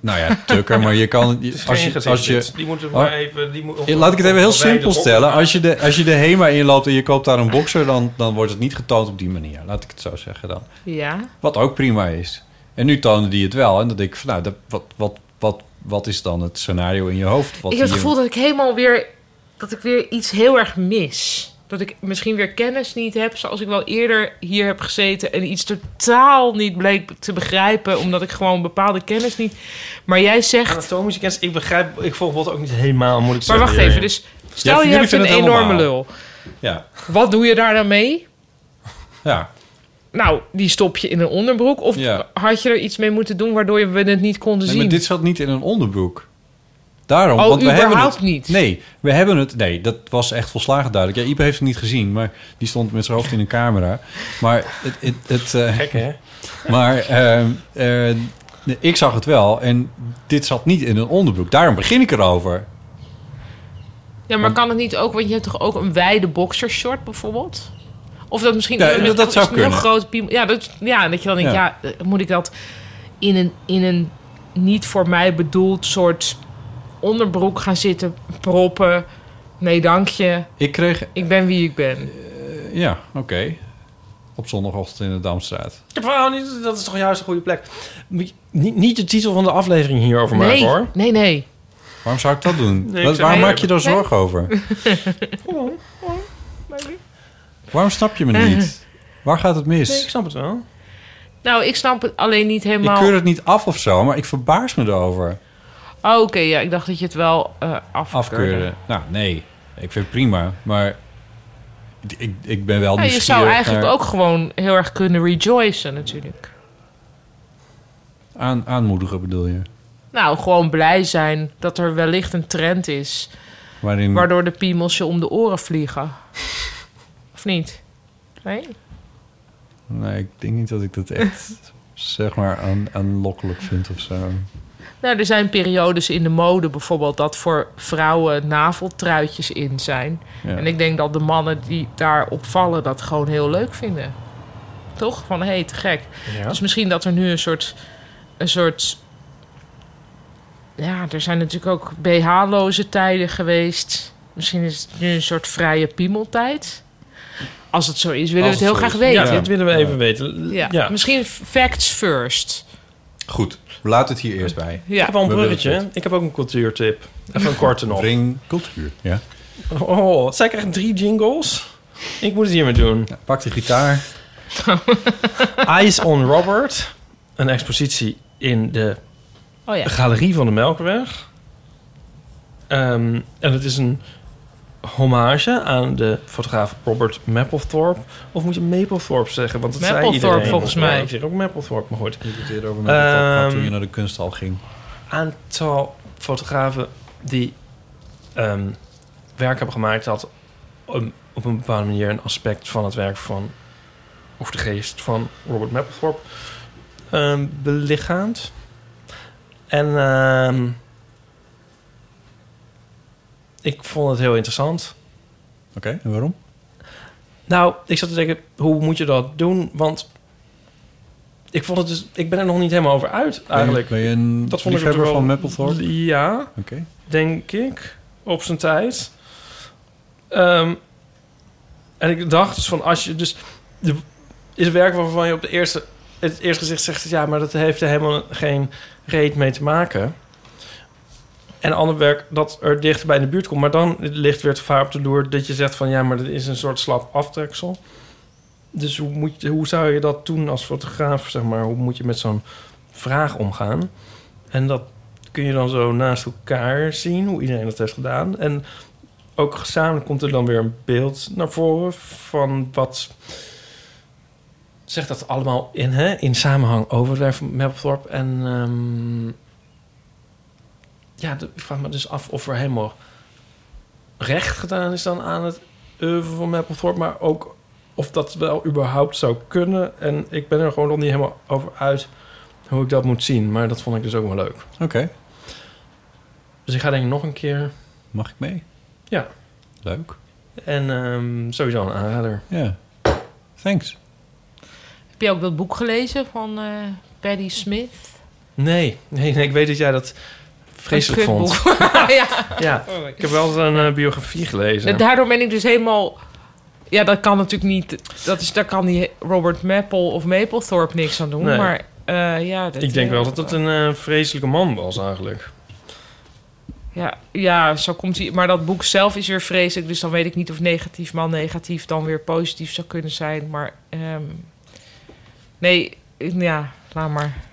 [SPEAKER 5] Nou ja, tukken, maar je kan... je-
[SPEAKER 6] geen
[SPEAKER 5] Als je, als je,
[SPEAKER 6] gezichtsdits. Die moeten we
[SPEAKER 5] Oh.
[SPEAKER 6] maar even- die moet- of-
[SPEAKER 5] Laat ik het even heel
[SPEAKER 6] of wij de
[SPEAKER 5] simpel
[SPEAKER 6] box-
[SPEAKER 5] stellen. Als je, de, als je de HEMA inloopt en je koopt daar een boxer... Dan, dan wordt het niet getoond op die manier. Laat ik het zo zeggen dan.
[SPEAKER 4] Ja.
[SPEAKER 5] Wat ook prima is. En nu toonde die het wel. En dan denk ik van, nou, dat- wat, wat, wat, wat is dan het scenario in je hoofd? Wat
[SPEAKER 4] ik heb het
[SPEAKER 5] die-
[SPEAKER 4] gevoel dat ik helemaal weer... Dat ik weer iets heel erg mis. Dat ik misschien weer kennis niet heb... zoals ik wel eerder hier heb gezeten... en iets totaal niet bleek te begrijpen... omdat ik gewoon bepaalde kennis niet... Maar jij zegt...
[SPEAKER 6] Anatomische kennis, ik begrijp... Ik volg wat ook niet helemaal, moet ik
[SPEAKER 4] Maar
[SPEAKER 6] zeggen.
[SPEAKER 4] wacht even, dus... Stel je hebt een enorme lul.
[SPEAKER 5] Ja,
[SPEAKER 4] Wat doe je daar dan mee?
[SPEAKER 5] ja.
[SPEAKER 4] Nou, die stop je in een onderbroek. Of
[SPEAKER 5] Ja.
[SPEAKER 4] had je er iets mee moeten doen waardoor je we het niet konden
[SPEAKER 5] Nee,
[SPEAKER 4] zien?
[SPEAKER 5] maar dit zat niet in een onderbroek. Daarom,
[SPEAKER 4] Oh,
[SPEAKER 5] want we hebben
[SPEAKER 4] überhaupt
[SPEAKER 5] het
[SPEAKER 4] niet?
[SPEAKER 5] Nee, we hebben het. Nee, dat was echt volslagen duidelijk. Ja, Ipe heeft het niet gezien, maar die stond met zijn hoofd in een camera. Maar het, het, het eh,
[SPEAKER 6] Gek, hè?
[SPEAKER 5] Maar ehm, eh, nee, ik zag het wel en dit zat niet in een onderbroek. Daarom begin ik erover.
[SPEAKER 4] Ja, maar kan het niet ook, want je hebt toch ook een wijde boxershort bijvoorbeeld? Of dat misschien
[SPEAKER 5] Ja,
[SPEAKER 4] iemand met
[SPEAKER 5] dat zou
[SPEAKER 4] nog
[SPEAKER 5] kunnen.
[SPEAKER 4] grote piemel. Ja, dat, ja, en dat je dan denkt, ja,
[SPEAKER 5] Ja.
[SPEAKER 4] eh, moet ik dat in een, in een niet voor mij bedoeld soort onderbroek gaan zitten proppen? Nee, dankje.
[SPEAKER 5] Ik kreeg,
[SPEAKER 4] Ik ben wie ik ben.
[SPEAKER 5] eh, ja, oké. Op zondagochtend in de Damstraat.
[SPEAKER 6] Ik heb wel niet- Dat is toch juist een goede plek. Moet je- Niet, niet de titel van de aflevering hierover
[SPEAKER 4] nee,
[SPEAKER 6] maken, hoor.
[SPEAKER 4] nee, nee.
[SPEAKER 5] Waarom zou ik dat doen?
[SPEAKER 6] Nee, ik
[SPEAKER 5] Wat-
[SPEAKER 6] zou-
[SPEAKER 5] waarom
[SPEAKER 6] nee,
[SPEAKER 5] maak je daar
[SPEAKER 6] nee.
[SPEAKER 5] zorgen over? Waarom snap je me niet? Waar gaat het mis?
[SPEAKER 6] Nee, ik snap het wel.
[SPEAKER 4] Nou, ik snap het alleen niet helemaal.
[SPEAKER 5] Ik keur het niet af of zo, maar ik verbaas me erover.
[SPEAKER 4] Oh, Oké, ja, ik dacht dat je het wel eh afkeurde.
[SPEAKER 5] Afkeuren. Nou, nee. Ik vind het prima, maar ik- ik, ik ben wel
[SPEAKER 4] Ja, je
[SPEAKER 5] nieuwsgierig
[SPEAKER 4] zou eigenlijk
[SPEAKER 5] naar-
[SPEAKER 4] ook gewoon heel erg kunnen rejoicen natuurlijk.
[SPEAKER 5] Aan, aanmoedigen bedoel je?
[SPEAKER 4] Nou, gewoon blij zijn dat er wellicht een trend is...
[SPEAKER 5] Waarin...
[SPEAKER 4] waardoor de piemels je om de oren vliegen. Of niet? Nee?
[SPEAKER 5] Nee, ik denk niet dat ik dat echt, zeg maar, aan, aanlokkelijk vind of zo.
[SPEAKER 4] Nou, er zijn periodes in de mode bijvoorbeeld... dat voor vrouwen naveltruitjes in zijn.
[SPEAKER 5] Ja.
[SPEAKER 4] En ik denk dat de mannen die daarop vallen... dat gewoon heel leuk vinden. Toch? Van, hé, hey, te gek.
[SPEAKER 6] Ja.
[SPEAKER 4] Dus misschien dat er nu een soort... Een soort ja, er zijn natuurlijk ook BH-loze tijden geweest. Misschien is het nu een soort vrije piemeltijd. Als het zo is, willen
[SPEAKER 6] Als
[SPEAKER 4] we het heel
[SPEAKER 6] het
[SPEAKER 4] graag
[SPEAKER 6] zo is.
[SPEAKER 4] weten.
[SPEAKER 6] Ja, dit willen we even weten.
[SPEAKER 4] Ja.
[SPEAKER 6] Ja.
[SPEAKER 4] Misschien facts first.
[SPEAKER 5] Goed, laat het hier eerst bij.
[SPEAKER 4] Ja.
[SPEAKER 6] Ik heb al een
[SPEAKER 4] We willen
[SPEAKER 6] bruggetje. Ik heb ook een cultuurtip. Even een korte nog.
[SPEAKER 5] Breng cultuur, ja.
[SPEAKER 6] Oh, zij krijgen drie jingles. Ik moet het hiermee doen.
[SPEAKER 5] pak de gitaar.
[SPEAKER 6] Eyes on Robert. Een expositie in de
[SPEAKER 4] Oh ja.
[SPEAKER 6] Galerie van de Melkweg. Ehm, en het is een hommage aan de fotograaf Robert Mapplethorpe. Of moet je Mapplethorpe zeggen? Want het zei
[SPEAKER 4] Mapplethorpe
[SPEAKER 6] iedereen.
[SPEAKER 4] volgens mij.
[SPEAKER 6] Ja, Ik zeg ook Mapplethorpe, maar goed.
[SPEAKER 5] Ik heb het eerder over Mapplethorpe gehad toen je
[SPEAKER 6] Ehm,
[SPEAKER 5] naar de kunsthal ging.
[SPEAKER 6] aantal fotografen die ehm, werk hebben gemaakt dat een- op een bepaalde manier een aspect van het werk van of de geest van Robert Mapplethorpe ehm belichaamt. En ehm, ik vond het heel interessant.
[SPEAKER 5] Oké, en waarom?
[SPEAKER 6] Nou, ik zat te denken, hoe moet je dat doen? Want ik vond het dus, ik ben er nog niet helemaal over uit
[SPEAKER 5] je-
[SPEAKER 6] eigenlijk.
[SPEAKER 5] ben je een
[SPEAKER 6] toch
[SPEAKER 5] liefhebber
[SPEAKER 6] wel-
[SPEAKER 5] van Mapplethorpe?
[SPEAKER 6] Ja,
[SPEAKER 5] Oké.
[SPEAKER 6] denk ik, op zijn tijd. Ehm, en ik dacht dus van als je dus de, is werk waarvan je op de eerste het eerste gezicht zegt ja, maar dat heeft er helemaal geen reet mee te maken. En ander werk dat er dicht bij in de buurt komt, maar dan ligt weer het gevaar op de loer dat je zegt van ja, maar dat is een soort slap aftreksel. Dus hoe, moet je, hoe zou je dat doen als fotograaf, zeg maar? Hoe moet je met zo'n vraag omgaan? En dat kun je dan zo naast elkaar zien, hoe iedereen dat heeft gedaan. En ook gezamenlijk komt er dan weer een beeld naar voren van wat... Zegt dat allemaal in, hè? in samenhang over het werk van Mapplethorpe. En ehm, ja, de- ik vraag me dus af of er helemaal recht gedaan is dan aan het oeuvre van Mapplethorpe. Maar ook of dat wel überhaupt zou kunnen. En ik ben er gewoon nog niet helemaal over uit hoe ik dat moet zien. Maar dat vond ik dus ook wel leuk.
[SPEAKER 5] Oké,
[SPEAKER 6] Dus ik ga denk ik nog een keer.
[SPEAKER 5] mag ik mee?
[SPEAKER 6] Ja.
[SPEAKER 5] Leuk.
[SPEAKER 6] En ehm, sowieso een aanrader.
[SPEAKER 5] Ja. Thanks.
[SPEAKER 4] Heb je ook dat boek gelezen van eh Paddy Smith?
[SPEAKER 6] Nee, nee, nee, ik weet dat jij dat vreselijk
[SPEAKER 4] Een
[SPEAKER 6] vond.
[SPEAKER 4] kutboek. ja.
[SPEAKER 6] ja, ik heb wel altijd een eh, biografie gelezen.
[SPEAKER 4] Daardoor ben ik dus helemaal... Ja, dat kan natuurlijk niet... Dat is, daar kan die Robert Maple of Maplethorpe niks aan doen.
[SPEAKER 6] Nee.
[SPEAKER 4] Maar eh, ja... Dat,
[SPEAKER 6] ik denk wel dat dat een eh, vreselijke man was eigenlijk.
[SPEAKER 4] Ja, ja, zo komt hij. Maar dat boek zelf is weer vreselijk. Dus dan weet ik niet of negatief man negatief dan weer positief zou kunnen zijn. Maar ehm, nee, ja, laat maar.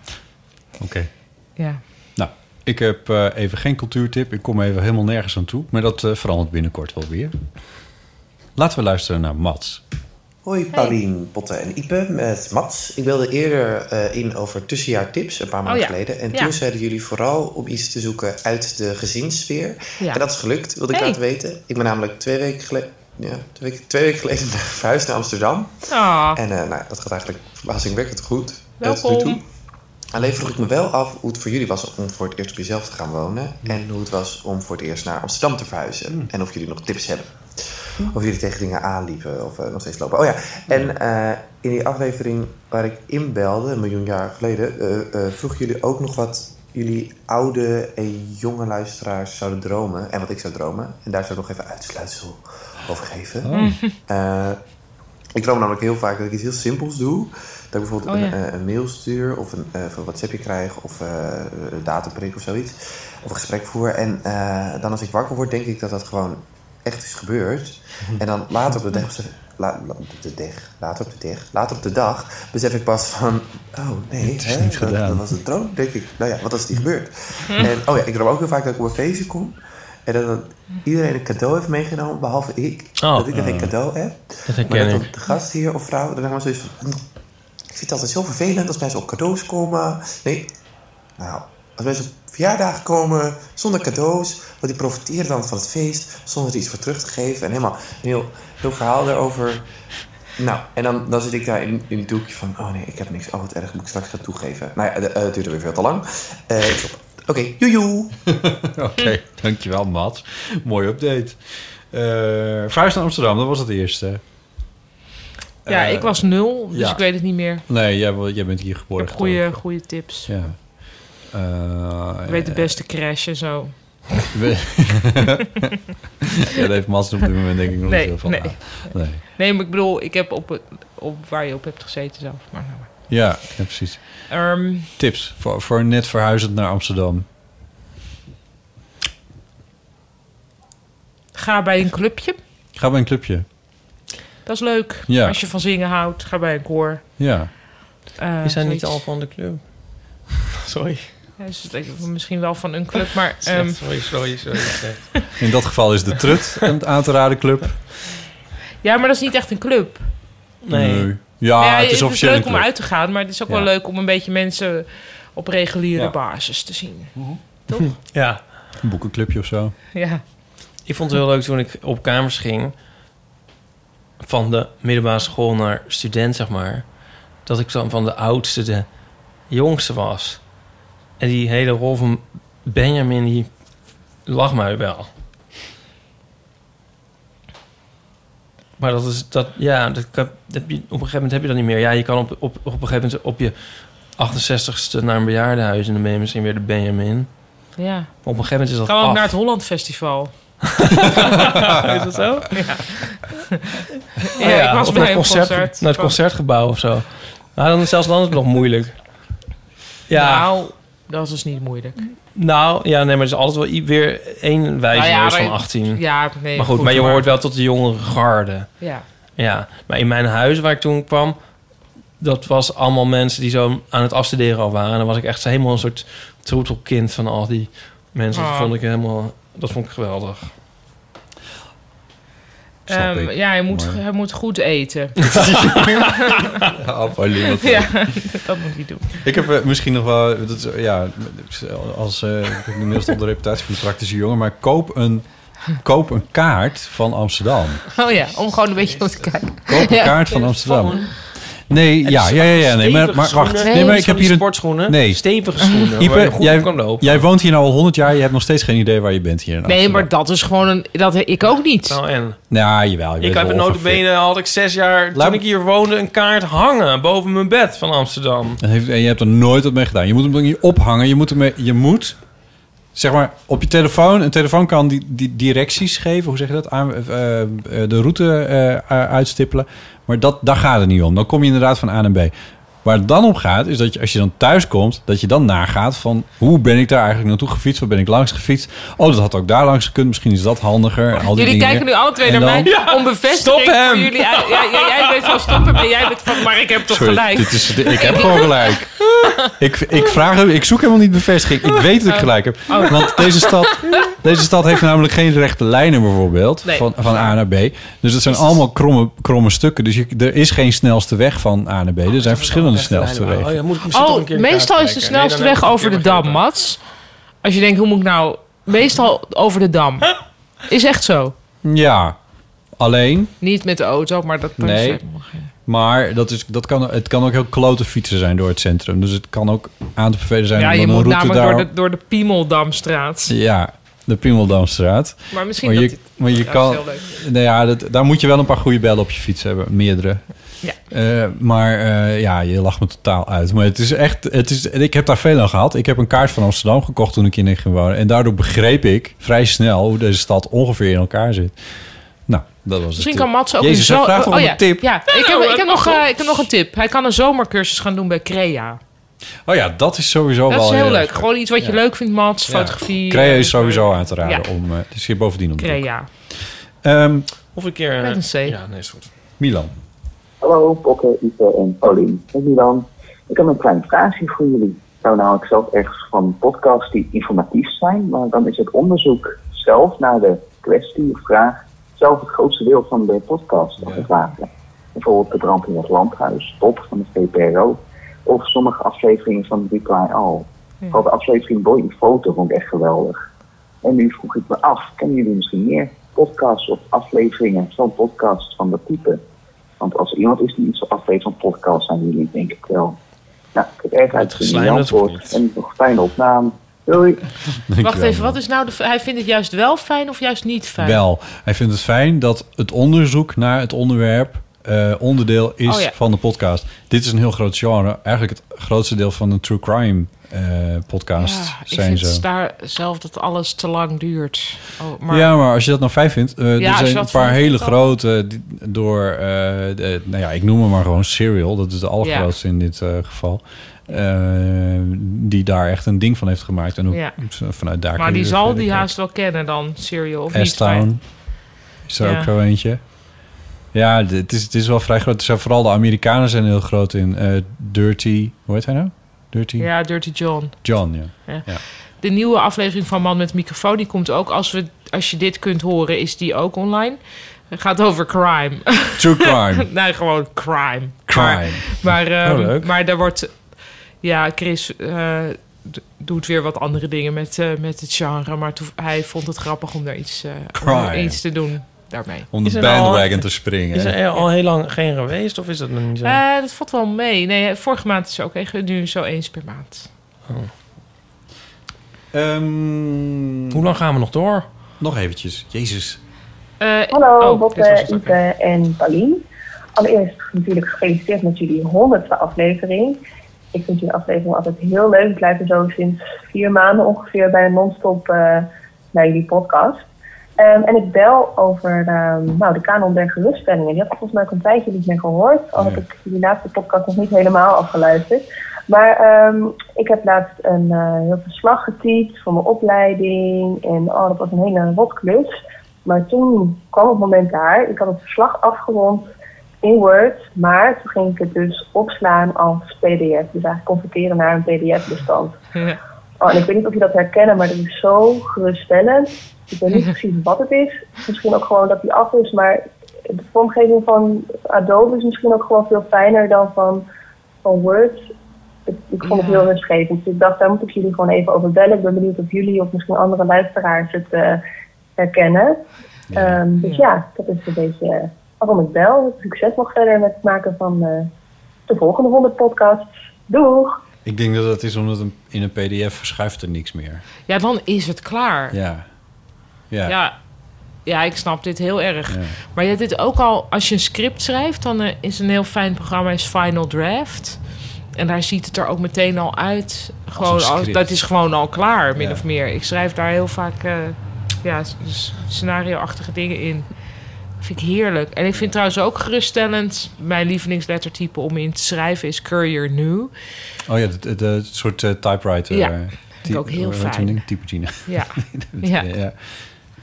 [SPEAKER 5] Oké.
[SPEAKER 4] Ja.
[SPEAKER 5] Nou, ik heb eh, even geen cultuurtip. Ik kom even helemaal nergens aan toe. Maar dat eh, verandert binnenkort wel weer. Laten we luisteren naar Mats.
[SPEAKER 14] Hoi Paulien Potten en Ipe met Mats. Ik wilde eerder eh, in over tussenjaartips, een paar maanden
[SPEAKER 15] Oh ja.
[SPEAKER 14] geleden. En
[SPEAKER 15] Ja.
[SPEAKER 14] toen zeiden jullie vooral om iets te zoeken uit de gezinssfeer.
[SPEAKER 15] Ja.
[SPEAKER 14] En dat is gelukt, wilde ik
[SPEAKER 15] Hey.
[SPEAKER 14] laten weten. Ik ben namelijk twee weken geleden... Ja, twee weken, twee weken geleden verhuisd naar Amsterdam.
[SPEAKER 4] Ah.
[SPEAKER 14] En eh, nou, dat gaat eigenlijk verbazingwekkend goed. eh, tot nu toe.
[SPEAKER 4] Welkom.
[SPEAKER 14] Alleen vroeg ik me wel af hoe het voor jullie was om voor het eerst op jezelf te gaan wonen. En hoe het was om voor het eerst naar Amsterdam te verhuizen. En of jullie nog tips hebben. Of jullie tegen dingen aanliepen of eh, nog steeds lopen. Oh ja, en eh, in die aflevering waar ik inbelde, een miljoen jaar geleden, eh, eh, vroegen jullie ook nog wat jullie oude en jonge luisteraars zouden dromen. En wat ik zou dromen. En daar zou ik nog even uitsluitsel over geven.
[SPEAKER 15] Oh.
[SPEAKER 14] Eh, ik droom namelijk heel vaak dat ik iets heel simpels doe. Dat ik bijvoorbeeld
[SPEAKER 15] Oh
[SPEAKER 14] een,
[SPEAKER 15] ja.
[SPEAKER 14] eh, een mail stuur of een, eh, of een WhatsAppje krijg of eh een dataprik of zoiets. Of een gesprek voer. En eh, dan als ik wakker word, denk ik dat dat gewoon echt is gebeurd.
[SPEAKER 5] Mhm.
[SPEAKER 14] En dan later op de dag, besef- la- la- op de dag, later op de dag, later op de dag besef ik pas van, oh nee,
[SPEAKER 5] Het is
[SPEAKER 14] hè,
[SPEAKER 5] niet
[SPEAKER 14] dat,
[SPEAKER 5] gedaan. Mhm.
[SPEAKER 14] dat was een droom, denk ik. Nou ja, wat is die gebeurd? En oh ja, ik droom ook heel vaak dat ik op een feestje kom en dat dan iedereen een cadeau heeft meegenomen, behalve ik,
[SPEAKER 6] Oh.
[SPEAKER 14] dat ik er geen
[SPEAKER 6] Eh,
[SPEAKER 5] Ah.
[SPEAKER 14] cadeau heb.
[SPEAKER 6] dat herken
[SPEAKER 14] maar dat dan
[SPEAKER 6] ik.
[SPEAKER 14] de gast hier of vrouw, dan zeg maar zoiets van, "Mm, ik vind het altijd zo vervelend als mensen op cadeaus komen. Nee, nou, als mensen op verjaardagen komen zonder cadeaus, want die profiteren dan van het feest zonder er iets voor terug te geven. En helemaal een heel, heel verhaal daarover. Nou, en dan, dan zit ik daar in, in het doekje van, oh nee, ik heb niks. Oh, wat erg, moet ik straks gaan toegeven. Nou ja, de- eh, het duurde weer veel te lang. Eh, ik stop. Oké, joejoe!
[SPEAKER 5] Oké, dankjewel Mats. Mooi update. Eh Vuist naar Amsterdam, dat was het eerste.
[SPEAKER 4] Ah, Ja,
[SPEAKER 5] Eh,
[SPEAKER 4] ik was nul, dus
[SPEAKER 5] ja.
[SPEAKER 4] ik weet het niet meer.
[SPEAKER 5] Nee, jij, wel- jij bent hier geboren.
[SPEAKER 4] Goeie,
[SPEAKER 5] getogen.
[SPEAKER 4] goede tips.
[SPEAKER 5] Ja. Eh,
[SPEAKER 4] Ik weet de beste crash en zo.
[SPEAKER 5] We- ja, dat heeft Mats op dit moment denk ik nog
[SPEAKER 4] Nee,
[SPEAKER 5] niet heel van.
[SPEAKER 4] nee.
[SPEAKER 5] aan. nee.
[SPEAKER 4] Nee, maar ik bedoel, ik heb op, het- op waar je op hebt gezeten zelf. Maar, nou maar.
[SPEAKER 5] Ja, ja, precies.
[SPEAKER 4] Ehm,
[SPEAKER 5] Tips voor, voor net verhuizend naar Amsterdam.
[SPEAKER 4] ga bij een clubje.
[SPEAKER 5] Ga bij een clubje.
[SPEAKER 4] Dat is leuk.
[SPEAKER 5] Ja.
[SPEAKER 4] Als je van zingen houdt, ga bij een koor.
[SPEAKER 5] Ja.
[SPEAKER 4] Eh,
[SPEAKER 6] Is hij niet
[SPEAKER 4] zoiets.
[SPEAKER 6] al van de club? sorry.
[SPEAKER 4] Ja, dus het lijkt misschien wel van een club, maar... ehm,
[SPEAKER 6] Slecht, sorry, sorry, sorry. slecht.
[SPEAKER 5] In dat geval is de Trut een aan te raden club.
[SPEAKER 4] ja, maar dat is niet echt een club.
[SPEAKER 5] Ja,
[SPEAKER 4] Nou ja,
[SPEAKER 5] het is officieel
[SPEAKER 4] leuk
[SPEAKER 5] een
[SPEAKER 4] om
[SPEAKER 5] club.
[SPEAKER 4] uit te gaan, maar het is ook
[SPEAKER 5] Ja.
[SPEAKER 4] wel leuk om een beetje mensen op reguliere
[SPEAKER 5] Ja. Mhm.
[SPEAKER 4] basis te zien.
[SPEAKER 6] Toch? Ja.
[SPEAKER 5] Een boekenclubje of zo.
[SPEAKER 4] Ja.
[SPEAKER 6] Ik vond het heel leuk toen ik op kamers ging. Van de middelbare school naar student, zeg maar. Dat ik dan van de oudste de jongste was. En die hele rol van Benjamin, die lag mij wel. Maar dat is dat, ja, dat, kan- dat heb je, op een gegeven moment heb je dat niet meer. Ja, je kan op, op, op een gegeven moment op je 68ste naar een bejaardenhuis en dan ben je misschien weer de Benjamin.
[SPEAKER 4] Ja.
[SPEAKER 6] Maar op een gegeven moment is dat
[SPEAKER 4] kan ook
[SPEAKER 6] af.
[SPEAKER 4] naar het Holland Festival. is dat zo? Ja. Ja,
[SPEAKER 6] Oh
[SPEAKER 4] ik was
[SPEAKER 6] of naar
[SPEAKER 4] bij
[SPEAKER 6] het
[SPEAKER 4] een concert.
[SPEAKER 6] Naar het
[SPEAKER 4] Van-
[SPEAKER 6] concertgebouw of zo. Nou, dan, zelfs dan is het nog moeilijk. Ja.
[SPEAKER 4] Nou, dat is dus niet moeilijk.
[SPEAKER 6] Nou, ja, nee, maar er is altijd wel i- weer één wijze
[SPEAKER 4] Nou ja,
[SPEAKER 6] neus van
[SPEAKER 4] maar-
[SPEAKER 6] 18.
[SPEAKER 4] ja, nee,
[SPEAKER 6] maar goed,
[SPEAKER 4] goed,
[SPEAKER 6] maar je
[SPEAKER 4] maar-
[SPEAKER 6] hoort wel tot de jongere garde.
[SPEAKER 4] Ja.
[SPEAKER 6] Ja, maar in mijn huis waar ik toen kwam... dat was allemaal mensen die zo aan het afstuderen al waren. Dan was ik echt helemaal een soort troetelkind van al die mensen. Dat
[SPEAKER 4] Ah.
[SPEAKER 6] vond ik helemaal... Dat vond ik geweldig.
[SPEAKER 5] Snap
[SPEAKER 4] Ehm,
[SPEAKER 5] ik.
[SPEAKER 4] ja, hij moet,
[SPEAKER 5] Maar-
[SPEAKER 4] hij moet goed eten.
[SPEAKER 5] Apolline, wat-
[SPEAKER 4] ja, dat moet hij doen.
[SPEAKER 5] Ik heb eh, misschien nog wel... Dat is, ja, als, eh, ik heb inmiddels al de reputatie van de praktische jongen... maar koop een, koop een kaart van Amsterdam.
[SPEAKER 4] Oh ja, om gewoon een beetje om te kijken.
[SPEAKER 5] Koop een
[SPEAKER 4] Ja.
[SPEAKER 5] kaart van Amsterdam. Nee, ja, ja, ja, ja, nee, maar, maar
[SPEAKER 6] stevige
[SPEAKER 5] wacht.
[SPEAKER 6] schoenen.
[SPEAKER 5] Nee, maar ik heb
[SPEAKER 6] Van die
[SPEAKER 5] hier een...
[SPEAKER 6] sportschoenen.
[SPEAKER 5] Nee.
[SPEAKER 6] Stevige schoenen, waar je
[SPEAKER 5] Ipe,
[SPEAKER 6] goed op
[SPEAKER 5] jij,
[SPEAKER 6] kan lopen.
[SPEAKER 5] jij woont hier nou al 100 jaar. Je hebt nog steeds geen idee waar je bent hier in
[SPEAKER 4] Nee, maar dat is gewoon een... Dat, ik ook niet.
[SPEAKER 6] Nou, en?
[SPEAKER 5] Nou, jawel. Je weet
[SPEAKER 6] Ik heb
[SPEAKER 5] wel
[SPEAKER 6] een
[SPEAKER 5] ongeveer.
[SPEAKER 6] notabene, had ik zes jaar, toen ik hier woonde, een kaart hangen boven mijn bed van Amsterdam.
[SPEAKER 5] En, heeft, en je hebt er nooit wat mee gedaan. Je moet hem dan niet ophangen. Je moet, hem, je moet zeg maar, op je telefoon... Een telefoon kan die, die directies geven. Hoe zeg je dat? Aan, eh, eh, de route eh, eh, uitstippelen. Maar dat, daar gaat het niet om. Dan kom je inderdaad van A naar B. Waar het dan om gaat, is dat je, als je dan thuis komt... dat je dan nagaat van... hoe ben ik daar eigenlijk naartoe gefietst? Waar ben ik langs gefietst? Oh, dat had ook daar langs gekund. Misschien is dat handiger. en Al die
[SPEAKER 4] Jullie
[SPEAKER 5] dingen.
[SPEAKER 4] kijken nu alle twee
[SPEAKER 5] En
[SPEAKER 4] naar mij
[SPEAKER 5] dan-
[SPEAKER 4] om bevestiging
[SPEAKER 6] Stop hem!
[SPEAKER 4] voor jullie. uit- Ja, ja, jij bent van stoppen, maar jij bent van... Maar ik heb toch
[SPEAKER 5] Sorry,
[SPEAKER 4] gelijk.
[SPEAKER 5] Dit is, dit- ik heb gewoon gelijk. Ik, ik, vraag, hem- ik zoek helemaal niet bevestiging. Ik weet dat ik gelijk heb.
[SPEAKER 4] Oh.
[SPEAKER 5] Want deze stad, deze stad heeft namelijk geen rechte lijnen bijvoorbeeld.
[SPEAKER 15] Nee.
[SPEAKER 5] Van, van A naar B. Dus dat zijn allemaal kromme, kromme stukken. Dus je, er is geen snelste weg van A naar B. Er zijn verschillende snelste wegen.
[SPEAKER 6] Oh, ja, moet ik misschien toch een
[SPEAKER 4] Oh,
[SPEAKER 6] keer
[SPEAKER 4] meestal is de snelste weg over de Dam, Mats. Als je denkt, hoe moet ik nou... Meestal over de Dam. Is echt zo.
[SPEAKER 5] Ja, alleen...
[SPEAKER 4] Niet met de auto, maar dat...
[SPEAKER 5] Nee. Maar dat is, dat kan, het kan ook heel klote fietsen zijn door het centrum. Dus het kan ook aan te bevelen zijn
[SPEAKER 4] Ja,
[SPEAKER 5] om
[SPEAKER 4] je
[SPEAKER 5] dan een
[SPEAKER 4] moet
[SPEAKER 5] route
[SPEAKER 4] namelijk door
[SPEAKER 5] daar-
[SPEAKER 4] de, door de Piemeldamstraat.
[SPEAKER 5] Ja, de Piemeldamstraat.
[SPEAKER 4] Maar misschien
[SPEAKER 5] je,
[SPEAKER 4] dat dit-
[SPEAKER 5] maar je
[SPEAKER 4] dat is
[SPEAKER 5] kan,
[SPEAKER 4] heel leuk.
[SPEAKER 5] Nou ja, dat, daar moet je wel een paar goede bellen op je fiets hebben, meerdere.
[SPEAKER 4] Ja.
[SPEAKER 5] Eh, maar eh, ja, je lacht me totaal uit. Maar het is echt, het is, ik heb daar veel aan gehad. Ik heb een kaart van Amsterdam gekocht toen ik in ging wonen. En daardoor begreep ik vrij snel hoe deze stad ongeveer in elkaar zit. Nou, dat was
[SPEAKER 4] Misschien
[SPEAKER 5] het.
[SPEAKER 4] kan Mats ook
[SPEAKER 5] Jezus,
[SPEAKER 4] een zo- Oh,
[SPEAKER 5] hij vraagt om
[SPEAKER 4] ja.
[SPEAKER 5] een tip.
[SPEAKER 4] Ja, ik, heb,
[SPEAKER 6] nou,
[SPEAKER 4] ik,
[SPEAKER 6] dat
[SPEAKER 4] heb nog,
[SPEAKER 6] mag
[SPEAKER 4] eh,
[SPEAKER 6] wel.
[SPEAKER 4] ik heb nog een tip. Hij kan een zomercursus gaan doen bij Crea.
[SPEAKER 5] Oh ja, dat is sowieso wel
[SPEAKER 4] dat is heel
[SPEAKER 5] erg
[SPEAKER 4] leuk. Gewoon iets wat je
[SPEAKER 5] Ja.
[SPEAKER 4] leuk vindt, Mats.
[SPEAKER 5] Ja.
[SPEAKER 4] Fotografie.
[SPEAKER 5] Crea
[SPEAKER 4] eh,
[SPEAKER 5] is sowieso aan te raden.
[SPEAKER 4] Ja.
[SPEAKER 5] Om, eh het is hier bovendien om de hoek.
[SPEAKER 4] Crea.
[SPEAKER 5] Ehm,
[SPEAKER 6] Of een keer... eh,
[SPEAKER 4] Met een C.
[SPEAKER 6] Ja, nee, is goed.
[SPEAKER 5] Milan.
[SPEAKER 15] Hallo, Pokke, Ipe en Paulien. Met Milan. Ik heb een klein vraagje voor jullie. Nou, nou, ik zelf ergens van podcasts die informatief zijn, maar dan is het onderzoek zelf naar de kwestie of vraag zelf het grootste deel van de podcast als het ware. Bijvoorbeeld de brand in het landhuis, Top van de VPRO, of sommige afleveringen van Reply All. Vooral de aflevering Boy in Foto vond ik echt geweldig. En nu vroeg ik me af, kennen jullie misschien meer podcasts of afleveringen van podcasts van dat type? Want als er iemand is die iets afweet van podcast, zijn jullie het denk ik wel. Nou, ik heb erg uitgezien
[SPEAKER 6] geslijm, dat is
[SPEAKER 15] antwoord en nog fijne opname. Doei.
[SPEAKER 4] Wacht even, wat is nou de... Hij vindt het juist wel fijn of juist niet fijn?
[SPEAKER 5] Wel, hij vindt het fijn dat het onderzoek naar het onderwerp eh, onderdeel is
[SPEAKER 4] Oh ja.
[SPEAKER 5] van de podcast. Dit is een heel groot genre. Eigenlijk het grootste deel van een true crime eh, podcast
[SPEAKER 4] Ja, ik
[SPEAKER 5] zijn
[SPEAKER 4] vind
[SPEAKER 5] zo.
[SPEAKER 4] daar zelf dat alles te lang duurt. Oh, maar,
[SPEAKER 5] ja, maar als je dat nou fijn vindt, eh,
[SPEAKER 4] Ja, als
[SPEAKER 5] er
[SPEAKER 4] je
[SPEAKER 5] zijn een
[SPEAKER 4] dat
[SPEAKER 5] paar
[SPEAKER 4] vindt,
[SPEAKER 5] hele
[SPEAKER 4] dan-
[SPEAKER 5] grote die- door, eh, de- nou ja, ik noem hem maar gewoon Serial, dat is de allergrootste in dit eh, geval, eh, die daar echt een ding van heeft gemaakt en ook
[SPEAKER 4] Ja.
[SPEAKER 5] vanuit daar.
[SPEAKER 4] maar
[SPEAKER 5] kun
[SPEAKER 4] die
[SPEAKER 5] je dus
[SPEAKER 4] zal
[SPEAKER 5] verder
[SPEAKER 4] die
[SPEAKER 5] kijken.
[SPEAKER 4] haast wel kennen dan, Serial of niet. maar-
[SPEAKER 5] S-Town is er
[SPEAKER 4] Ja.
[SPEAKER 5] ook zo eentje. Ja, d- het is, het is wel vrij groot. Er zijn vooral de Amerikanen zijn heel groot in. eh, Dirty, hoe heet hij nou? Dirty
[SPEAKER 4] Ja, Dirty John.
[SPEAKER 5] John, ja.
[SPEAKER 4] Ja.
[SPEAKER 5] Ja.
[SPEAKER 4] De nieuwe aflevering van Man met Microfoon, die komt ook. Als, we, als je dit kunt horen, is die ook online. Het gaat over crime.
[SPEAKER 5] True crime.
[SPEAKER 4] nee, gewoon crime.
[SPEAKER 5] Crime.
[SPEAKER 4] Maar, ehm,
[SPEAKER 5] Oh, leuk.
[SPEAKER 4] maar daar wordt... Ja, Chris eh, d- doet weer wat andere dingen met, eh, met het genre. Maar toe- hij vond het grappig om daar iets, eh, om
[SPEAKER 5] Crime.
[SPEAKER 4] iets te doen daarmee.
[SPEAKER 5] Om de
[SPEAKER 6] Is er
[SPEAKER 5] bandwagon
[SPEAKER 6] al-
[SPEAKER 5] te springen.
[SPEAKER 6] Is
[SPEAKER 5] hè?
[SPEAKER 6] er al heel lang geen geweest of is dat nog niet zo?
[SPEAKER 4] Eh, dat valt wel mee. Nee, eh, vorige maand is er ook één, nu zo eens per maand.
[SPEAKER 6] Hoe lang gaan we nog door?
[SPEAKER 5] Ehm, Nog eventjes. Jezus.
[SPEAKER 8] Hallo Botte, Ipe en Paulien. Allereerst natuurlijk gefeliciteerd met jullie 100e aflevering. Ik vind jullie aflevering altijd heel leuk. Ik luister zo sinds vier maanden ongeveer bij een non-stop eh, naar jullie podcast. Ehm, en ik bel over ehm, nou, de kanon der geruststellingen. Die had ik volgens mij ook een tijdje niet meer gehoord. Al heb ik jullie laatste podcast nog niet helemaal afgeluisterd. Maar ehm, ik heb laatst een eh, heel verslag getypt voor mijn opleiding. En oh, dat was een hele rotklus. Maar toen kwam het moment daar. Ik had het verslag afgerond in Word. Maar toen ging ik het dus opslaan als pdf. Dus eigenlijk converteren naar een pdf-bestand. Oh, en ik weet niet of je dat herkennen, maar dat is zo geruststellend. Ik weet niet precies wat het is. Misschien ook gewoon dat die af is, maar de vormgeving van Adobe is misschien ook gewoon veel fijner dan van, van Word. Ik, ik vond het heel rustgevend. Dus ik dacht, daar moet ik jullie gewoon even over bellen. Ik ben benieuwd of jullie of misschien andere luisteraars het eh, herkennen. Ehm, dus ja. dat is een beetje eh, waarom ik bel. Succes nog verder met het maken van eh, de volgende 100 podcasts. Doeg!
[SPEAKER 5] Ik denk dat dat is omdat een- in een pdf verschuift er niks meer.
[SPEAKER 4] Ja, dan is het klaar.
[SPEAKER 5] Ja. Ja.
[SPEAKER 4] Ja, ja ik snap dit heel erg.
[SPEAKER 5] Ja.
[SPEAKER 4] Maar je hebt dit ook al, als je een script schrijft, dan eh, is een heel fijn programma is Final Draft. En daar ziet het er ook meteen al uit. Gewoon als
[SPEAKER 6] script.
[SPEAKER 4] dat is gewoon al klaar, min
[SPEAKER 6] Ja.
[SPEAKER 4] of meer. Ik schrijf daar heel vaak eh, ja, s- s- scenario-achtige dingen in. Vind ik heerlijk. En ik vind trouwens ook geruststellend... mijn lievelingslettertype om in te schrijven is Courier New.
[SPEAKER 5] Oh ja, de, de- de soort eh, typewriter.
[SPEAKER 4] Ja.
[SPEAKER 5] eh,
[SPEAKER 4] Vind ik
[SPEAKER 5] type-
[SPEAKER 4] ook heel
[SPEAKER 5] wat
[SPEAKER 4] fijn.
[SPEAKER 5] zo'n ding? Typogene.
[SPEAKER 4] Ja.
[SPEAKER 5] ja.
[SPEAKER 4] Ja.
[SPEAKER 5] ja.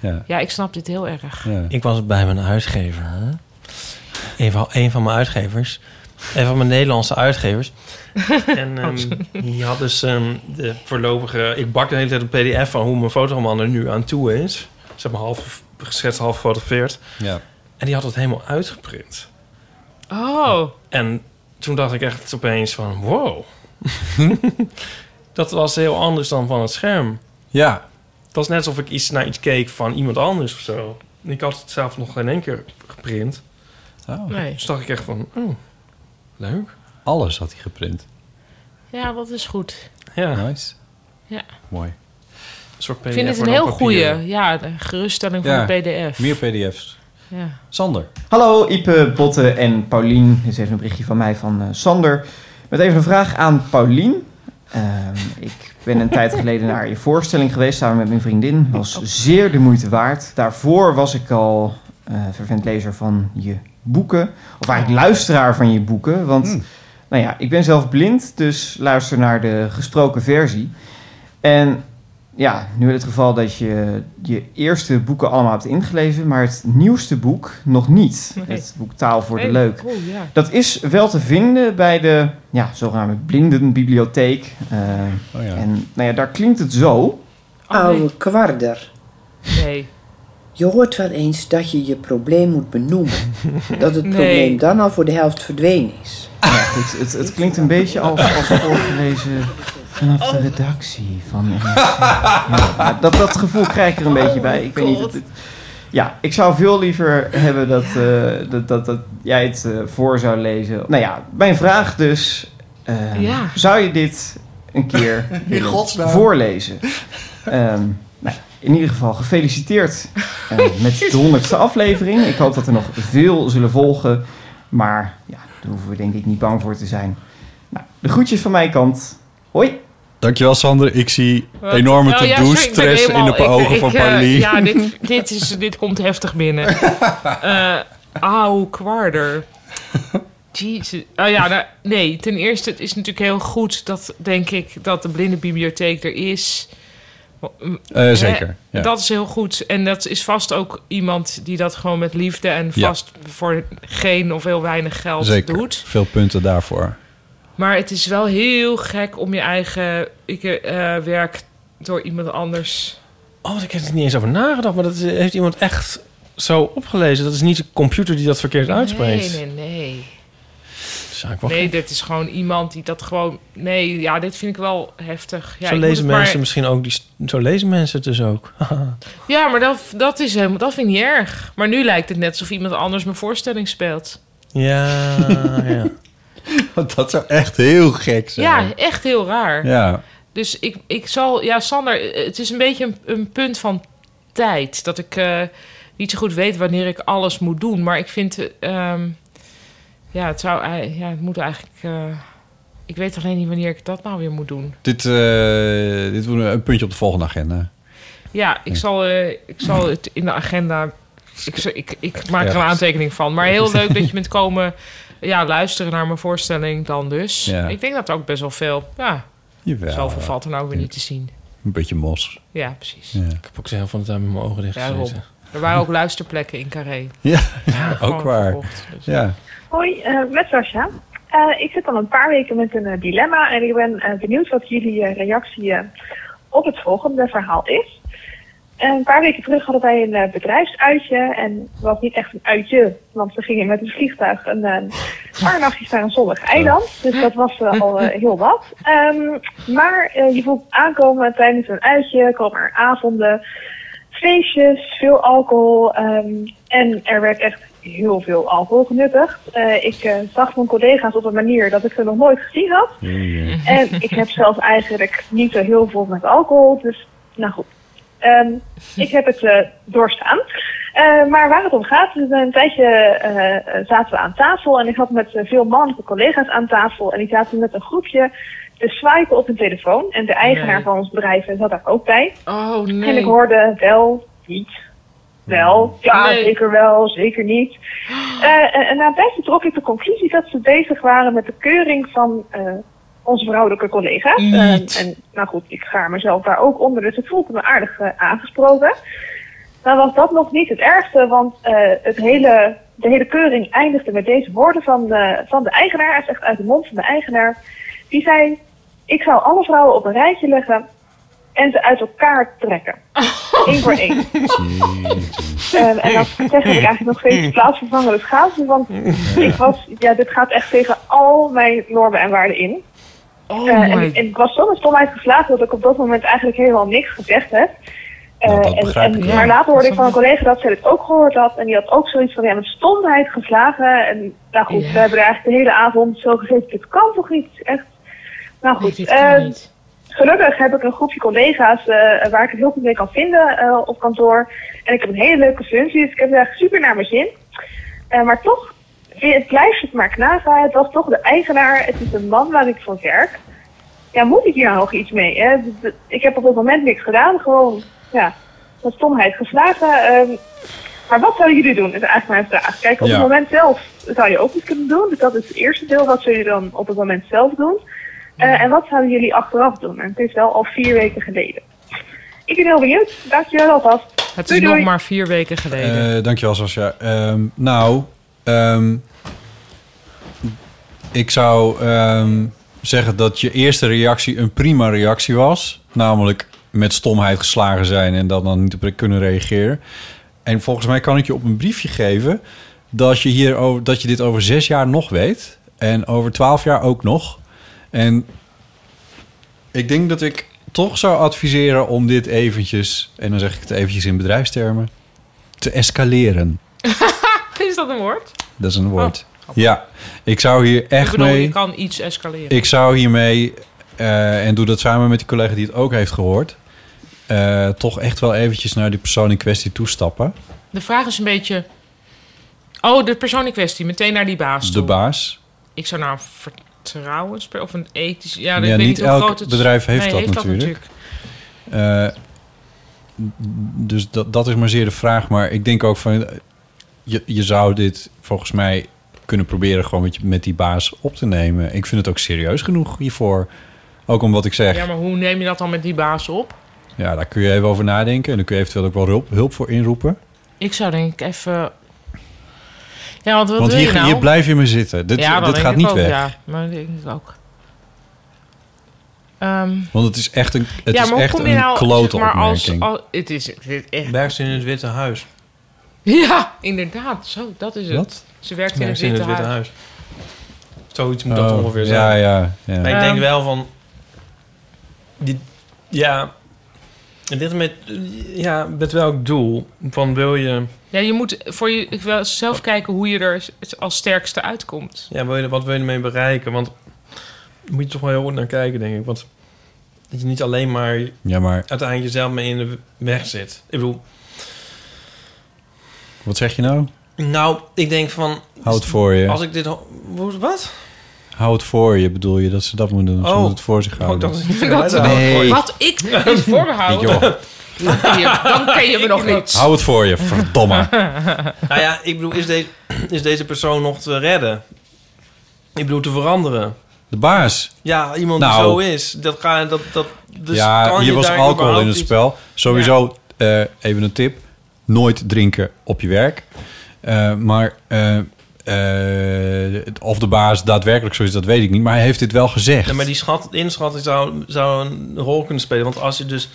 [SPEAKER 5] ja.
[SPEAKER 4] Ja, ik snap dit heel erg.
[SPEAKER 6] Ik was bij mijn uitgever. Een van, een van mijn uitgevers. Een van mijn Nederlandse uitgevers. En
[SPEAKER 4] Oh,
[SPEAKER 6] ehm, die had dus ehm, de voorlopige... Ik bak de hele tijd een pdf van hoe mijn fotoman er nu aan toe is. Ze hebben half geschetst, half gefotografeerd.
[SPEAKER 5] Ja.
[SPEAKER 6] En die had het helemaal uitgeprint.
[SPEAKER 4] Oh,
[SPEAKER 6] En toen dacht ik echt opeens van... Wow. dat was heel anders dan van het scherm.
[SPEAKER 5] Ja.
[SPEAKER 6] Het was net alsof ik iets naar iets keek van iemand anders of zo. Ik had het zelf nog geen één keer geprint.
[SPEAKER 5] Oh.
[SPEAKER 4] Nee.
[SPEAKER 6] Dus dacht ik echt van... Oh, leuk.
[SPEAKER 5] Alles had hij geprint.
[SPEAKER 4] ja, dat is goed.
[SPEAKER 6] Ja.
[SPEAKER 5] Nice.
[SPEAKER 4] Ja.
[SPEAKER 5] Mooi.
[SPEAKER 6] Een soort
[SPEAKER 4] Ik vind dit een heel goede. Ja, de geruststelling van
[SPEAKER 5] Ja.
[SPEAKER 4] de PDF.
[SPEAKER 5] Meer pdf's.
[SPEAKER 4] Ja.
[SPEAKER 5] Sander.
[SPEAKER 16] Hallo Ipe, Botte en Paulien. Dit is even een berichtje van mij van eh, Sander. Met even een vraag aan Paulien. Ehm, ik ben een tijd geleden naar je voorstelling geweest samen met mijn vriendin. Was zeer de moeite waard. Daarvoor was ik al eh vervent lezer van je boeken. Of eigenlijk luisteraar van je boeken. Want nou ja, ik ben zelf blind, dus luister naar de gesproken versie. En ja, nu in het geval dat je je eerste boeken allemaal hebt ingelezen, maar het nieuwste boek nog niet.
[SPEAKER 17] Nee.
[SPEAKER 16] Het boek Taal voor de
[SPEAKER 17] Nee,
[SPEAKER 16] Leuk.
[SPEAKER 17] cool, ja.
[SPEAKER 16] Dat is wel te vinden bij de ja, zogenaamde blindenbibliotheek. Eh, En nou ja, daar klinkt het zo.
[SPEAKER 18] Oude kwarder.
[SPEAKER 4] Nee.
[SPEAKER 18] Je hoort wel eens dat je je probleem moet benoemen. Dat het
[SPEAKER 16] Nee.
[SPEAKER 18] probleem dan al voor de helft verdwenen is.
[SPEAKER 16] Ja, goed, het, het klinkt een beetje als, als voorgelezen vanaf de redactie van NRC. ja, dat, dat gevoel krijg ik er een beetje bij. Ik weet niet. Het, het- ja, ik zou veel liever hebben dat, eh, dat, dat, dat jij het eh, voor zou lezen. Nou ja, mijn vraag dus. eh,
[SPEAKER 17] Ja.
[SPEAKER 16] Zou je dit een keer
[SPEAKER 17] In
[SPEAKER 16] willen
[SPEAKER 17] godsnaam.
[SPEAKER 16] voorlezen? Ehm, nou, in ieder geval gefeliciteerd eh, met de honderdste aflevering. Ik hoop dat er nog veel zullen volgen. Maar ja, daar hoeven we denk ik niet bang voor te zijn. Nou, de groetjes van mijn kant. Hoi.
[SPEAKER 5] Dankjewel Sander. Ik zie
[SPEAKER 4] Wat?
[SPEAKER 5] enorme
[SPEAKER 4] Oh, ja, sorry, ik ben
[SPEAKER 5] to-do-stress in
[SPEAKER 4] helemaal-
[SPEAKER 5] de
[SPEAKER 4] ik-
[SPEAKER 5] ogen
[SPEAKER 4] ik,
[SPEAKER 5] van
[SPEAKER 4] eh,
[SPEAKER 5] Paulien.
[SPEAKER 4] ja, dit, dit, is, dit komt heftig binnen. Eh au, kwarder. Jezus. Oh ja, nou, nee. Ten eerste, het is natuurlijk heel goed dat, denk ik, dat de blindenbibliotheek er is.
[SPEAKER 5] Eh,
[SPEAKER 4] Hè?
[SPEAKER 5] zeker, ja.
[SPEAKER 4] Dat is heel goed. En dat is vast ook iemand die dat gewoon met liefde en
[SPEAKER 5] Ja.
[SPEAKER 4] vast voor geen of heel weinig geld
[SPEAKER 5] Zeker.
[SPEAKER 4] doet.
[SPEAKER 5] Veel punten daarvoor.
[SPEAKER 4] Maar het is wel heel gek om je eigen ik, eh, werk door iemand anders.
[SPEAKER 6] Oh, want ik heb er niet eens over nagedacht, maar dat is- heeft iemand echt zo opgelezen. Dat is niet de computer die dat verkeerd uitspreekt.
[SPEAKER 4] Nee, nee, nee.
[SPEAKER 6] Zou ik wel
[SPEAKER 4] nee, dit is gewoon iemand die dat gewoon. Nee, ja, dit vind ik wel heftig. Ja,
[SPEAKER 6] zo
[SPEAKER 4] ik moet
[SPEAKER 6] lezen
[SPEAKER 4] het maar-
[SPEAKER 6] mensen misschien ook die, st- zo lezen mensen het dus ook.
[SPEAKER 4] Ja, maar dat, dat is helemaal. Dat vind ik niet erg. Maar nu lijkt het net alsof iemand anders mijn voorstelling speelt.
[SPEAKER 6] ja, ja.
[SPEAKER 5] Want dat zou echt heel gek zijn.
[SPEAKER 4] Ja, echt heel raar.
[SPEAKER 5] Ja.
[SPEAKER 4] Dus ik, ik zal, ja, Sander, eh, het is een beetje een, een punt van tijd. Dat ik eh, niet zo goed weet wanneer ik alles moet doen. Maar ik vind, eh, ehm, ja, het zou, ei- ja, het moet eigenlijk. eh, ik weet alleen niet wanneer ik dat nou weer moet doen.
[SPEAKER 5] Dit, eh, dit wordt een puntje op de volgende agenda.
[SPEAKER 4] Ja, ik zal, eh, ik zal het in de agenda. Ik, z- ik, ik maak er een
[SPEAKER 5] Ergens.
[SPEAKER 4] aantekening van. Maar heel leuk dat je bent komen ja, luisteren naar mijn voorstelling dan dus.
[SPEAKER 5] Ja.
[SPEAKER 4] Ik denk dat ook best wel veel. Ja,
[SPEAKER 5] Jawel.
[SPEAKER 4] zoveel valt er nou weer niet te zien.
[SPEAKER 5] Een beetje mos.
[SPEAKER 4] Ja, precies.
[SPEAKER 6] Ik heb ook de helft van de tijd met mijn ogen dicht
[SPEAKER 4] Ja,
[SPEAKER 6] gezeten.
[SPEAKER 4] Rob. Er waren ook luisterplekken in Carré.
[SPEAKER 5] Ja,
[SPEAKER 4] gewoon
[SPEAKER 6] ook waar.
[SPEAKER 4] verkocht, dus.
[SPEAKER 5] Ja.
[SPEAKER 17] Hoi, eh met Sascha. Eh, ik zit al een paar weken met een eh, dilemma en ik ben eh, benieuwd wat jullie eh, reactie eh, op het volgende verhaal is. Eh, een paar weken terug hadden wij een eh, bedrijfsuitje en het was niet echt een uitje, want we gingen met een vliegtuig een eh paar nachtjes naar een zonnig eiland. Dus dat was eh, al eh, heel wat. Ehm, maar eh, je voelt aankomen tijdens een uitje, komen er avonden, feestjes, veel alcohol. ehm, en er werd echt heel veel alcohol genuttigd. Eh, ik eh, zag mijn collega's op een manier dat ik ze nog nooit gezien had.
[SPEAKER 4] Mhm.
[SPEAKER 17] En ik heb zelf eigenlijk niet zo heel veel met alcohol. Dus, nou goed. Ehm, ik heb het eh, doorstaan. Eh, maar waar het om gaat, is een tijdje eh, eh, zaten we aan tafel. En ik had met eh, veel mannelijke collega's aan tafel. En die zaten met een groepje te swipen op hun telefoon. En de eigenaar
[SPEAKER 4] Nee.
[SPEAKER 17] van ons bedrijf eh, zat daar ook bij.
[SPEAKER 4] Oh nee.
[SPEAKER 17] En ik hoorde wel, niet, wel, ja,
[SPEAKER 4] Nee.
[SPEAKER 17] zeker wel, zeker niet. Eh, en, en na een tijdje trok ik de conclusie dat ze bezig waren met de keuring van eh, onze vrouwelijke collega's. Eh, en nou goed, ik schaar mezelf daar ook onder, dus ik voelde me aardig eh, aangesproken. Maar was dat nog niet het ergste, want eh, het hele, de hele keuring eindigde met deze woorden van de, van de eigenaar. Het is echt uit de mond van de eigenaar. Die zei, ik zou alle vrouwen op een rijtje leggen en ze uit elkaar trekken. Eén voor één. Ehm, en dat zeg ik eigenlijk nog steeds plaatsvervangende schaamte, want ik was, ja, dit gaat echt tegen al mijn normen en waarden in.
[SPEAKER 4] Oh
[SPEAKER 17] Eh, en,
[SPEAKER 4] my-
[SPEAKER 17] en ik was zo met stomheid geslagen dat ik op dat moment eigenlijk helemaal niks gezegd heb. Eh, en,
[SPEAKER 5] begrijp
[SPEAKER 17] en-
[SPEAKER 5] ik wel.
[SPEAKER 17] maar later hoorde ik van een collega dat zij dit ook gehoord had. En die had ook zoiets van, ja, met stomheid geslagen. En nou goed, we hebben er eigenlijk de hele avond zo gezeten. Dit kan toch niet? Echt. Nou goed, eh, gelukkig heb ik een groepje collega's eh, waar ik het heel goed mee kan vinden eh, op kantoor. En ik heb een hele leuke functie, dus ik heb het echt super naar mijn zin. Eh, maar toch, het blijft het maar knagen. Het was toch de eigenaar, het is een man waar ik voor werk. Ja, moet ik hier nou nog iets mee? Hè? D- d- Ik heb op dat moment niks gedaan, gewoon, ja, met stomheid geslagen. Ehm, maar wat zouden jullie doen, is eigenlijk mijn vraag. Kijk, op
[SPEAKER 19] Ja.
[SPEAKER 17] het moment zelf zou je ook iets kunnen doen. Dus dat is het eerste deel, wat zullen jullie dan op het moment zelf doen? Eh, en wat zouden jullie achteraf doen? En het is wel al vier weken geleden. Ik ben heel benieuwd. Dankjewel alvast.
[SPEAKER 4] Het is
[SPEAKER 17] Doei, doei.
[SPEAKER 4] nog maar vier weken geleden.
[SPEAKER 5] Eh, dankjewel, Sascha. Ehm, nou, ehm, ik zou ehm, zeggen dat je eerste reactie een prima reactie was. Namelijk met stomheid geslagen zijn en dat dan niet op kunnen reageren. En volgens mij kan ik je op een briefje geven dat je, hier over, dat je dit over zes jaar nog weet. En over twaalf jaar ook nog. En ik denk dat ik toch zou adviseren om dit eventjes, en dan zeg ik het eventjes in bedrijfstermen, te escaleren.
[SPEAKER 4] is dat een woord?
[SPEAKER 5] Dat is een woord. ja, ik zou hier
[SPEAKER 4] Oh, ik
[SPEAKER 5] echt
[SPEAKER 4] bedoel,
[SPEAKER 5] mee.
[SPEAKER 4] je kan iets escaleren.
[SPEAKER 5] Ik zou hiermee, eh, en doe dat samen met die collega die het ook heeft gehoord, eh, toch echt wel eventjes naar die persoon in kwestie toestappen.
[SPEAKER 4] De vraag is een beetje... Oh, de persoon in kwestie. Meteen naar die baas
[SPEAKER 5] De
[SPEAKER 4] toe.
[SPEAKER 5] baas.
[SPEAKER 4] Ik zou naar een vertrouwens... Of een ethisch... Ja,
[SPEAKER 5] Ja,
[SPEAKER 4] ik weet
[SPEAKER 5] niet
[SPEAKER 4] niet hoe
[SPEAKER 5] elk
[SPEAKER 4] groot het...
[SPEAKER 5] bedrijf heeft
[SPEAKER 4] Nee,
[SPEAKER 5] dat natuurlijk. Eh, dus dat, dat is maar zeer de vraag. Maar ik denk ook van, eh, je, je zou dit volgens mij kunnen proberen gewoon met, je- met die baas op te nemen. Ik vind het ook serieus genoeg hiervoor. Ook om wat ik zeg.
[SPEAKER 4] Ja, maar hoe neem je dat dan met die baas op?
[SPEAKER 5] Ja, daar kun je even over nadenken. En dan kun je eventueel ook wel hulp, hulp voor inroepen.
[SPEAKER 4] Ik zou denk ik even... Ja, want wat
[SPEAKER 5] Want
[SPEAKER 4] wil
[SPEAKER 5] hier,
[SPEAKER 4] je nou?
[SPEAKER 5] hier blijf je maar zitten. Dit,
[SPEAKER 4] Ja, dat
[SPEAKER 5] dit
[SPEAKER 4] denk
[SPEAKER 5] gaat
[SPEAKER 4] ik
[SPEAKER 5] niet
[SPEAKER 4] ook,
[SPEAKER 5] weg.
[SPEAKER 4] Ja, maar dat denk ik ook. Ehm,
[SPEAKER 5] Want het is echt een, het
[SPEAKER 4] ja,
[SPEAKER 5] is
[SPEAKER 4] maar hoe
[SPEAKER 5] echt
[SPEAKER 4] kom je
[SPEAKER 5] een
[SPEAKER 4] nou,
[SPEAKER 5] klote
[SPEAKER 4] zeg maar, als,
[SPEAKER 5] opmerking.
[SPEAKER 4] als- het is, het is echt...
[SPEAKER 6] Werkt in het Witte Huis.
[SPEAKER 4] Ja, inderdaad. Zo, dat is het.
[SPEAKER 6] Wat?
[SPEAKER 4] Ze werkt in
[SPEAKER 6] Werkt
[SPEAKER 4] het Witte Huis.
[SPEAKER 6] Zoiets moet
[SPEAKER 5] Oh,
[SPEAKER 6] dat ongeveer zijn.
[SPEAKER 5] ja, ja, ja.
[SPEAKER 6] Maar ik
[SPEAKER 4] Ehm.
[SPEAKER 6] denk wel van... die- ja... Dit met, ja, met welk doel? Van wil je...
[SPEAKER 4] Ja, je moet voor jezelf kijken hoe je er als sterkste uitkomt.
[SPEAKER 6] Ja, wil je, wat wil je ermee bereiken? Want daar moet je toch wel heel goed naar kijken, denk ik. Want dat je niet alleen maar,
[SPEAKER 5] Ja, maar-
[SPEAKER 6] uiteindelijk jezelf mee in de weg zit. Ik bedoel,
[SPEAKER 5] Wat zeg je nou?
[SPEAKER 6] nou, ik denk van...
[SPEAKER 5] Hou het voor je.
[SPEAKER 6] Als ik dit... ho- hoe- Wat?
[SPEAKER 5] Hou het voor je, bedoel je dat ze dat moeten doen? Ze
[SPEAKER 6] Oh.
[SPEAKER 5] moeten het voor zich
[SPEAKER 6] Oh,
[SPEAKER 5] houden.
[SPEAKER 6] ik dacht dat je-
[SPEAKER 4] Dat-
[SPEAKER 5] Nee.
[SPEAKER 4] Wat ik is voorbehouden.
[SPEAKER 5] Joh.
[SPEAKER 4] Dan ken je, dan ken je me nog niet.
[SPEAKER 5] Hou het voor je, verdomme.
[SPEAKER 6] nou ja, ik bedoel, is, deze is deze persoon nog te redden? Ik bedoel, te veranderen?
[SPEAKER 5] De baas.
[SPEAKER 6] Ja, iemand
[SPEAKER 5] Nou.
[SPEAKER 6] die zo is. Dat ga, dat, dat, dus
[SPEAKER 5] ja,
[SPEAKER 6] kan
[SPEAKER 5] hier
[SPEAKER 6] je
[SPEAKER 5] was
[SPEAKER 6] daar
[SPEAKER 5] alcohol
[SPEAKER 6] überhaupt
[SPEAKER 5] in het
[SPEAKER 6] iets-
[SPEAKER 5] spel. Sowieso, eh, even een tip. Nooit drinken op je werk. Eh, maar eh, eh, of de baas daadwerkelijk zo is, dat weet ik niet. Maar hij heeft dit wel gezegd.
[SPEAKER 6] Ja, maar die schat, inschatting zou, zou een rol kunnen spelen. Want als je dus...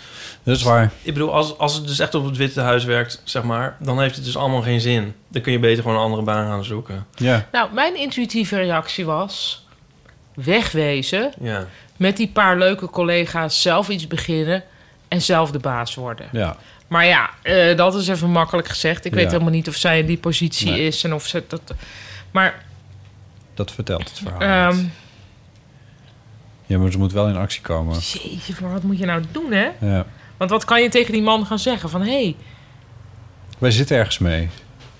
[SPEAKER 5] Dat is waar.
[SPEAKER 6] Ik bedoel, als, als het dus echt op het Witte Huis werkt, zeg maar... dan heeft het dus allemaal geen zin. Dan kun je beter gewoon een andere baan gaan zoeken.
[SPEAKER 5] Ja.
[SPEAKER 4] Nou, mijn intuïtieve reactie was wegwezen.
[SPEAKER 6] Ja.
[SPEAKER 4] Met die paar leuke collega's zelf iets beginnen en zelf de baas worden.
[SPEAKER 5] Ja.
[SPEAKER 4] Maar ja, eh, dat is even makkelijk gezegd. Ik
[SPEAKER 5] Ja.
[SPEAKER 4] weet helemaal niet of zij in die positie
[SPEAKER 5] Nee.
[SPEAKER 4] is en of ze dat. Maar
[SPEAKER 5] Dat vertelt het verhaal.
[SPEAKER 4] ehm
[SPEAKER 5] Ja, maar ze moet wel in actie komen.
[SPEAKER 4] ehm, jeetje, maar wat moet je nou doen, hè?
[SPEAKER 5] Ja.
[SPEAKER 4] Want wat kan je tegen die man gaan zeggen? Van hé, hey,
[SPEAKER 5] Wij zitten ergens mee.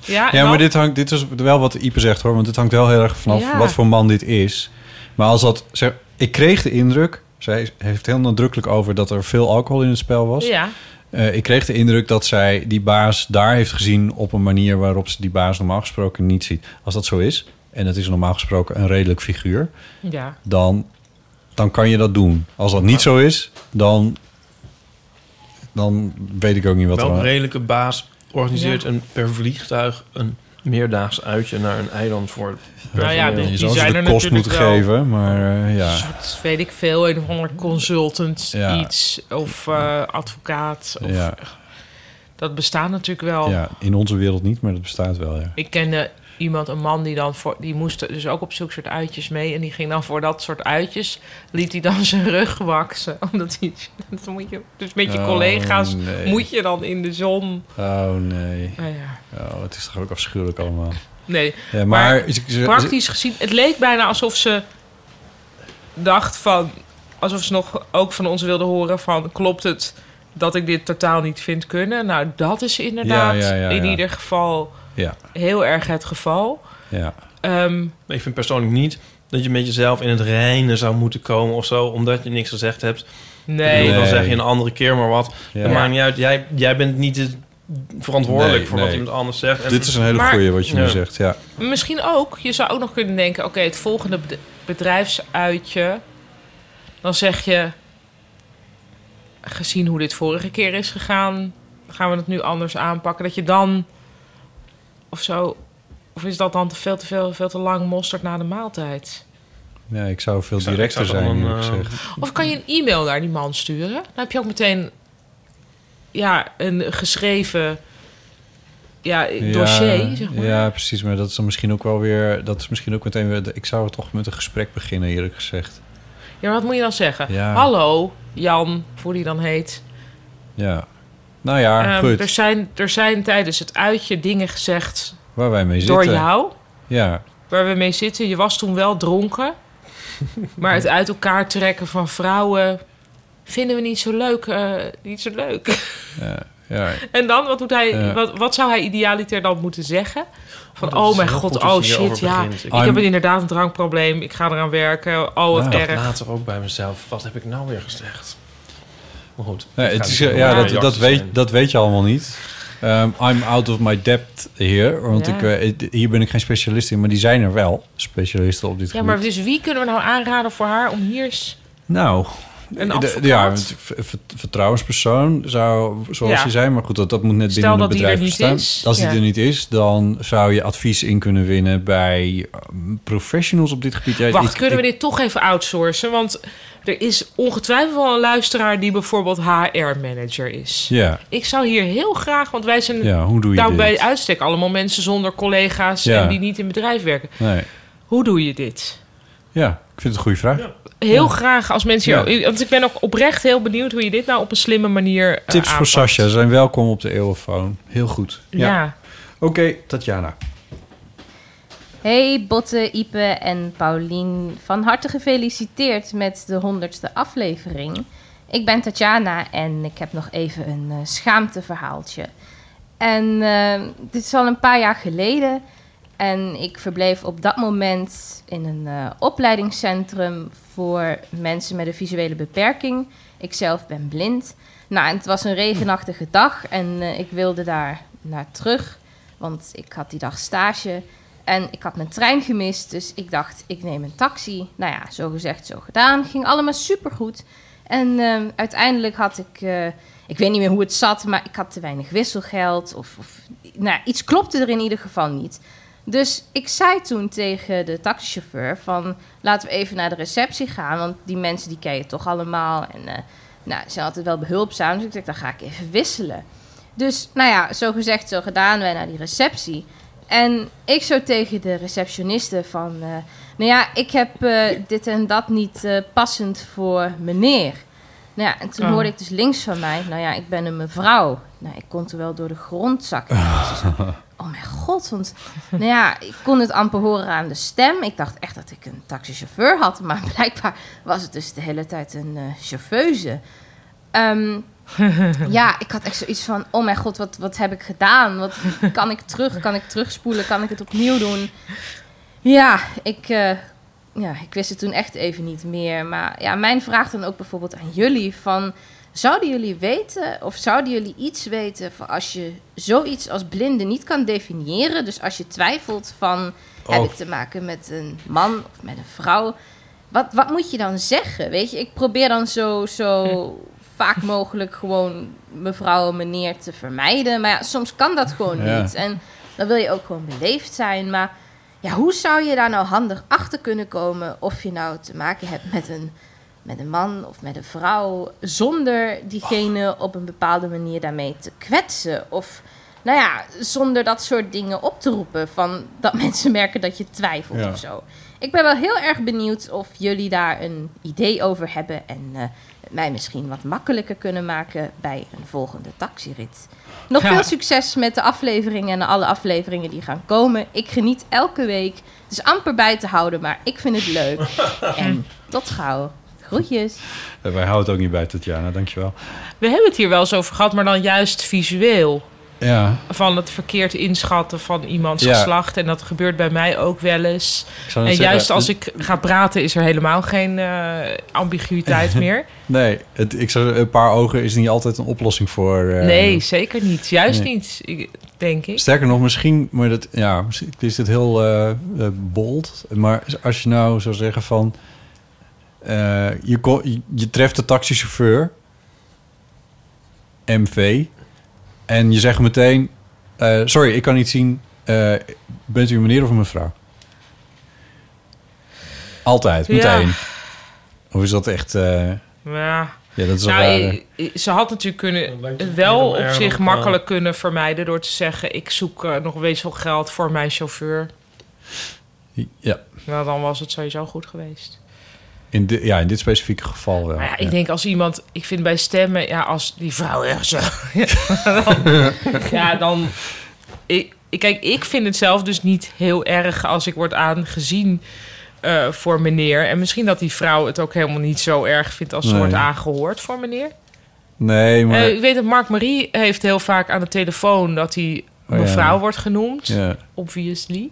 [SPEAKER 4] ja, en
[SPEAKER 5] Ja, maar
[SPEAKER 4] dan-
[SPEAKER 5] dit, hangt, dit is wel wat Ipe zegt hoor. Want het hangt wel heel erg vanaf
[SPEAKER 4] Ja.
[SPEAKER 5] wat voor man dit is. Maar als dat. Zeg, ik kreeg de indruk. Zij heeft heel nadrukkelijk over dat er veel alcohol in het spel was.
[SPEAKER 4] Ja.
[SPEAKER 5] Eh, ik kreeg de indruk dat zij die baas daar heeft gezien op een manier waarop ze die baas normaal gesproken niet ziet. Als dat zo is, en dat is normaal gesproken een redelijk figuur,
[SPEAKER 4] Ja.
[SPEAKER 5] dan, dan kan je dat doen. Als dat niet zo is, dan, dan weet ik ook niet wat
[SPEAKER 6] Wel
[SPEAKER 5] er
[SPEAKER 6] een
[SPEAKER 5] aan-
[SPEAKER 6] redelijke baas organiseert
[SPEAKER 4] Ja.
[SPEAKER 6] een, per vliegtuig een meerdaags uitje naar een eiland voor...
[SPEAKER 4] Nou ja,
[SPEAKER 6] personeel.
[SPEAKER 4] die- die
[SPEAKER 5] Je zou ze
[SPEAKER 4] zijn
[SPEAKER 5] de
[SPEAKER 4] er
[SPEAKER 5] kost
[SPEAKER 4] natuurlijk
[SPEAKER 5] moeten
[SPEAKER 4] wel.
[SPEAKER 5] geven, maar eh, ja.
[SPEAKER 4] soort, weet ik veel, een of ander consultant
[SPEAKER 5] Ja.
[SPEAKER 4] iets of eh, advocaat. Of,
[SPEAKER 5] Ja.
[SPEAKER 4] Dat bestaat natuurlijk wel.
[SPEAKER 5] ja, in onze wereld niet, maar dat bestaat wel, ja.
[SPEAKER 4] Ik kende iemand, een man die dan voor, die moest dus ook op zulke soort uitjes mee en die ging dan voor dat soort uitjes, liet hij dan zijn rug waksen, omdat hij dat moet je, dus met je
[SPEAKER 5] Oh,
[SPEAKER 4] collega's
[SPEAKER 5] nee.
[SPEAKER 4] moet je dan in de zon.
[SPEAKER 5] Oh nee.
[SPEAKER 4] Nou ja.
[SPEAKER 5] Oh, het is toch ook afschuwelijk allemaal.
[SPEAKER 4] Nee,
[SPEAKER 5] Ja,
[SPEAKER 4] maar,
[SPEAKER 5] maar- ze- ze-
[SPEAKER 4] praktisch gezien, het leek bijna alsof ze dacht van, alsof ze nog ook van ons wilde horen van, klopt het dat ik dit totaal niet vind kunnen? Nou, dat is inderdaad
[SPEAKER 6] Ja, ja, ja,
[SPEAKER 4] in
[SPEAKER 6] ja.
[SPEAKER 4] ieder geval
[SPEAKER 6] Ja.
[SPEAKER 4] heel erg het geval.
[SPEAKER 5] Ja.
[SPEAKER 4] Ehm,
[SPEAKER 6] Maar ik vind persoonlijk niet dat je met jezelf in het reinen zou moeten komen of zo, omdat je niks gezegd hebt.
[SPEAKER 4] Nee.
[SPEAKER 6] Ik bedoel, Dan
[SPEAKER 4] Nee.
[SPEAKER 6] zeg je een andere keer maar wat.
[SPEAKER 5] Ja.
[SPEAKER 6] Dat maakt niet uit. Jij, jij bent niet het- verantwoordelijk
[SPEAKER 5] Nee,
[SPEAKER 6] voor
[SPEAKER 5] nee.
[SPEAKER 6] wat iemand anders zegt. En-
[SPEAKER 5] Dit is een hele
[SPEAKER 4] Maar-
[SPEAKER 5] goeie wat je nu
[SPEAKER 6] Ja.
[SPEAKER 5] zegt, ja.
[SPEAKER 4] Misschien ook, je zou ook nog kunnen denken: oké, het volgende bed- bedrijfsuitje. Dan zeg je: gezien hoe dit vorige keer is gegaan, gaan we het nu anders aanpakken. Dat je dan of zo, of is dat dan te veel te veel, veel te lang mosterd na de maaltijd?
[SPEAKER 5] Ja, ik zou veel
[SPEAKER 6] Ik zou-
[SPEAKER 5] directer
[SPEAKER 6] ik zou
[SPEAKER 5] zijn,
[SPEAKER 6] gewoon,
[SPEAKER 5] eerlijk
[SPEAKER 6] eh,
[SPEAKER 5] gezegd.
[SPEAKER 4] Of kan je een e-mail naar die man sturen? Dan heb je ook meteen ja, een geschreven ja, eh, dossier, zeg maar.
[SPEAKER 5] Ja, precies. Maar dat is dan misschien ook wel weer... Dat is misschien ook meteen weer... Ik zou toch met een gesprek beginnen, eerlijk gezegd.
[SPEAKER 4] Ja, maar wat moet je dan zeggen?
[SPEAKER 5] Ja.
[SPEAKER 4] Hallo, Jan, of hoe die dan heet.
[SPEAKER 5] Ja. Nou ja,
[SPEAKER 4] Ehm,
[SPEAKER 5] goed.
[SPEAKER 4] Er zijn, er zijn tijdens het uitje dingen gezegd
[SPEAKER 5] Waar wij mee
[SPEAKER 4] door
[SPEAKER 5] zitten.
[SPEAKER 4] jou,
[SPEAKER 5] Ja.
[SPEAKER 4] waar we mee zitten. Je was toen wel dronken, maar het uit elkaar trekken van vrouwen vinden we niet zo leuk. eh, niet zo leuk.
[SPEAKER 5] Ja. ja.
[SPEAKER 4] en dan, wat, doet hij,
[SPEAKER 5] Ja.
[SPEAKER 4] wat, wat zou hij idealiter dan moeten zeggen? Van,
[SPEAKER 6] Oh,
[SPEAKER 4] oh,
[SPEAKER 6] dat is
[SPEAKER 4] mijn
[SPEAKER 6] heel
[SPEAKER 4] god,
[SPEAKER 6] goed als je
[SPEAKER 4] oh shit,
[SPEAKER 6] hierover
[SPEAKER 4] ja.
[SPEAKER 6] begint.
[SPEAKER 4] Ik
[SPEAKER 6] I'm-
[SPEAKER 4] heb inderdaad een drankprobleem. Ik ga eraan werken. Oh, wat
[SPEAKER 6] Ik dacht
[SPEAKER 4] erg.
[SPEAKER 6] later ook bij mezelf, wat heb ik nou weer gezegd? Maar goed.
[SPEAKER 5] Nee,
[SPEAKER 6] ik ga
[SPEAKER 5] het is,
[SPEAKER 6] niet
[SPEAKER 5] eh, ja,
[SPEAKER 6] allemaal
[SPEAKER 5] dat, dat,
[SPEAKER 6] reacties
[SPEAKER 5] weet,
[SPEAKER 6] zijn.
[SPEAKER 5] dat weet je allemaal niet. Ehm, I'm out of my depth here. Want
[SPEAKER 4] Ja.
[SPEAKER 5] ik, eh, ik- hier ben ik geen specialist in, maar die zijn er wel. Specialisten op dit
[SPEAKER 4] Ja,
[SPEAKER 5] gebied.
[SPEAKER 4] maar dus wie kunnen we nou aanraden voor haar om hier eens...
[SPEAKER 5] Nou,
[SPEAKER 4] Een
[SPEAKER 5] de-
[SPEAKER 4] advocaat?
[SPEAKER 5] ja, een v- v- vertrouwenspersoon zou, zoals
[SPEAKER 4] Ja.
[SPEAKER 5] je zei, maar goed, dat, dat moet net
[SPEAKER 4] Stel
[SPEAKER 5] binnen het
[SPEAKER 4] dat die
[SPEAKER 5] bedrijf
[SPEAKER 4] er niet
[SPEAKER 5] bestaan.
[SPEAKER 4] is,
[SPEAKER 5] Als die
[SPEAKER 4] ja.
[SPEAKER 5] er niet is, dan zou je advies in kunnen winnen bij eh, professionals op dit gebied. Ja,
[SPEAKER 4] Wacht,
[SPEAKER 5] ik-
[SPEAKER 4] kunnen
[SPEAKER 5] ik-
[SPEAKER 4] we dit toch even outsourcen? Want Er is ongetwijfeld wel een luisteraar die bijvoorbeeld HR-manager is.
[SPEAKER 5] Ja.
[SPEAKER 4] Ik zou hier heel graag, want wij zijn
[SPEAKER 5] Ja, hoe doe je
[SPEAKER 4] nou
[SPEAKER 5] dit?
[SPEAKER 4] bij uitstek allemaal mensen zonder collega's
[SPEAKER 5] Ja.
[SPEAKER 4] en die niet in bedrijf werken.
[SPEAKER 5] Nee.
[SPEAKER 4] Hoe doe je dit?
[SPEAKER 5] Ja, ik vind het een goede vraag.
[SPEAKER 4] Heel graag als mensen hier.
[SPEAKER 5] Ja.
[SPEAKER 4] Want ik ben ook oprecht heel benieuwd hoe je dit nou op een slimme manier. eh,
[SPEAKER 5] Tips voor
[SPEAKER 4] aanpakt.
[SPEAKER 5] Sascha zijn welkom op de Eeuwenfoon. Heel goed.
[SPEAKER 4] Ja.
[SPEAKER 5] Oké, Tatjana.
[SPEAKER 19] Hey Botte, Ipe en Paulien. Van harte gefeliciteerd met de honderdste aflevering. Ik ben Tatjana en ik heb nog even een eh, schaamteverhaaltje. En eh, dit is al een paar jaar geleden. En ik verbleef op dat moment in een eh, opleidingscentrum voor mensen met een visuele beperking. Ik zelf ben blind. Nou, en het was een regenachtige dag en eh, ik wilde daar naar terug. Want ik had die dag stage en ik had mijn trein gemist. Dus ik dacht, ik neem een taxi. Nou ja, zo gezegd, zo gedaan. Ging allemaal supergoed. En ehm, uiteindelijk had ik, eh, ik weet niet meer hoe het zat, maar ik had te weinig wisselgeld. Of, of nou, ja, iets klopte er in ieder geval niet. Dus ik zei toen tegen de taxichauffeur van... laten we even naar de receptie gaan, want die mensen die ken je toch allemaal. En eh, nou, ze zijn altijd wel behulpzaam, dus ik dacht, dan ga ik even wisselen. Dus nou ja, zo gezegd, zo gedaan, wij naar die receptie. En ik zo tegen de receptioniste van... eh, nou ja, ik heb eh, dit en dat niet eh, passend voor meneer. Nou ja, en toen
[SPEAKER 20] Oh.
[SPEAKER 19] hoorde ik dus links van mij... nou ja, ik ben een mevrouw. Nou, ik kon toen wel door de grond zakken. Oh mijn god, want nou ja, ik kon het amper horen aan de stem. Ik dacht echt dat ik een taxichauffeur had, maar blijkbaar was het dus de hele tijd een eh chauffeuse. Ehm, ja, ik had echt zoiets van, oh mijn god, wat, wat heb ik gedaan? Wat, kan ik terug? Kan ik terugspoelen? Kan ik het opnieuw doen? Ja, ik, eh, ja, ik wist het toen echt even niet meer. Maar ja, mijn vraag dan ook bijvoorbeeld aan jullie van... Zouden jullie weten of zouden jullie iets weten van als je zoiets als blinde niet kan definiëren? Dus als je twijfelt van heb
[SPEAKER 12] Oh.
[SPEAKER 19] ik te maken met een man of met een vrouw? Wat, wat moet je dan zeggen? Weet je, ik probeer dan zo, zo vaak mogelijk gewoon mevrouw en meneer te vermijden. Maar ja, soms kan dat gewoon
[SPEAKER 20] Ja.
[SPEAKER 19] niet. En dan wil je ook gewoon beleefd zijn. Maar ja, hoe zou je daar nou handig achter kunnen komen of je nou te maken hebt met een, met een man of met een vrouw, zonder diegene op een bepaalde manier daarmee te kwetsen? Of nou ja, zonder dat soort dingen op te roepen, van dat mensen merken dat je twijfelt
[SPEAKER 20] Ja.
[SPEAKER 19] of zo. Ik ben wel heel erg benieuwd of jullie daar een idee over hebben en eh, het mij misschien wat makkelijker kunnen maken bij een volgende taxirit. Nog
[SPEAKER 4] Ja.
[SPEAKER 19] veel succes met de afleveringen en alle afleveringen die gaan komen. Ik geniet elke week. Het is amper bij te houden, maar ik vind het leuk. en tot gauw. Groetjes.
[SPEAKER 5] Eh, Wij houden het ook niet bij, Tatjana. Dankjewel.
[SPEAKER 4] We hebben het hier wel eens over gehad, maar dan juist visueel.
[SPEAKER 5] Ja,
[SPEAKER 4] Van het verkeerd inschatten van iemands
[SPEAKER 5] Ja.
[SPEAKER 4] geslacht. En dat gebeurt bij mij ook wel eens. En
[SPEAKER 5] Ik zou net
[SPEAKER 4] juist
[SPEAKER 5] zeggen, eh,
[SPEAKER 4] als ik ga praten, is er helemaal geen eh, ambiguïteit meer.
[SPEAKER 5] nee, het, ik zou, een paar ogen is niet altijd een oplossing voor... eh,
[SPEAKER 4] nee, zeker niet. Juist
[SPEAKER 5] nee.
[SPEAKER 4] niet, ik- denk ik.
[SPEAKER 5] Sterker nog, misschien, maar dat, ja, misschien is dit heel eh, eh, bold. Maar als je nou zou zeggen van... eh, je, ko- je- je treft de taxichauffeur, MV, en je zegt meteen... eh, sorry, ik kan niet zien. eh, bent u een meneer of een mevrouw? Altijd,
[SPEAKER 4] Ja.
[SPEAKER 5] meteen. Of is dat echt... eh,
[SPEAKER 4] Ja.
[SPEAKER 5] ja, dat is
[SPEAKER 4] Nou,
[SPEAKER 5] een rare-
[SPEAKER 4] eh, eh, Ze had natuurlijk kunnen, eh, wel
[SPEAKER 6] heel
[SPEAKER 4] op
[SPEAKER 6] erg
[SPEAKER 4] zich
[SPEAKER 6] op,
[SPEAKER 4] makkelijk kunnen vermijden... door te zeggen, ik zoek eh, nog wisselgeld voor mijn chauffeur.
[SPEAKER 5] Ja,
[SPEAKER 4] Nou, dan was het sowieso goed geweest.
[SPEAKER 5] in, di- ja, in dit specifieke geval wel.
[SPEAKER 4] Maar Nou ja, ik
[SPEAKER 5] ja.
[SPEAKER 4] denk als iemand... Ik vind bij stemmen, ja, als die vrouw echt zo... dan, ja, dan... Ik, ik- kijk, ik vind het zelf dus niet heel erg als ik word aangezien eh, voor meneer. En misschien dat die vrouw het ook helemaal niet zo erg vindt als ze
[SPEAKER 5] Nee.
[SPEAKER 4] wordt aangehoord voor meneer.
[SPEAKER 5] Nee, maar...
[SPEAKER 4] Eh, ik weet dat Mark Marie heeft heel vaak aan de telefoon dat hij
[SPEAKER 5] Oh, ja.
[SPEAKER 4] mevrouw wordt genoemd.
[SPEAKER 5] Ja.
[SPEAKER 4] Obviously.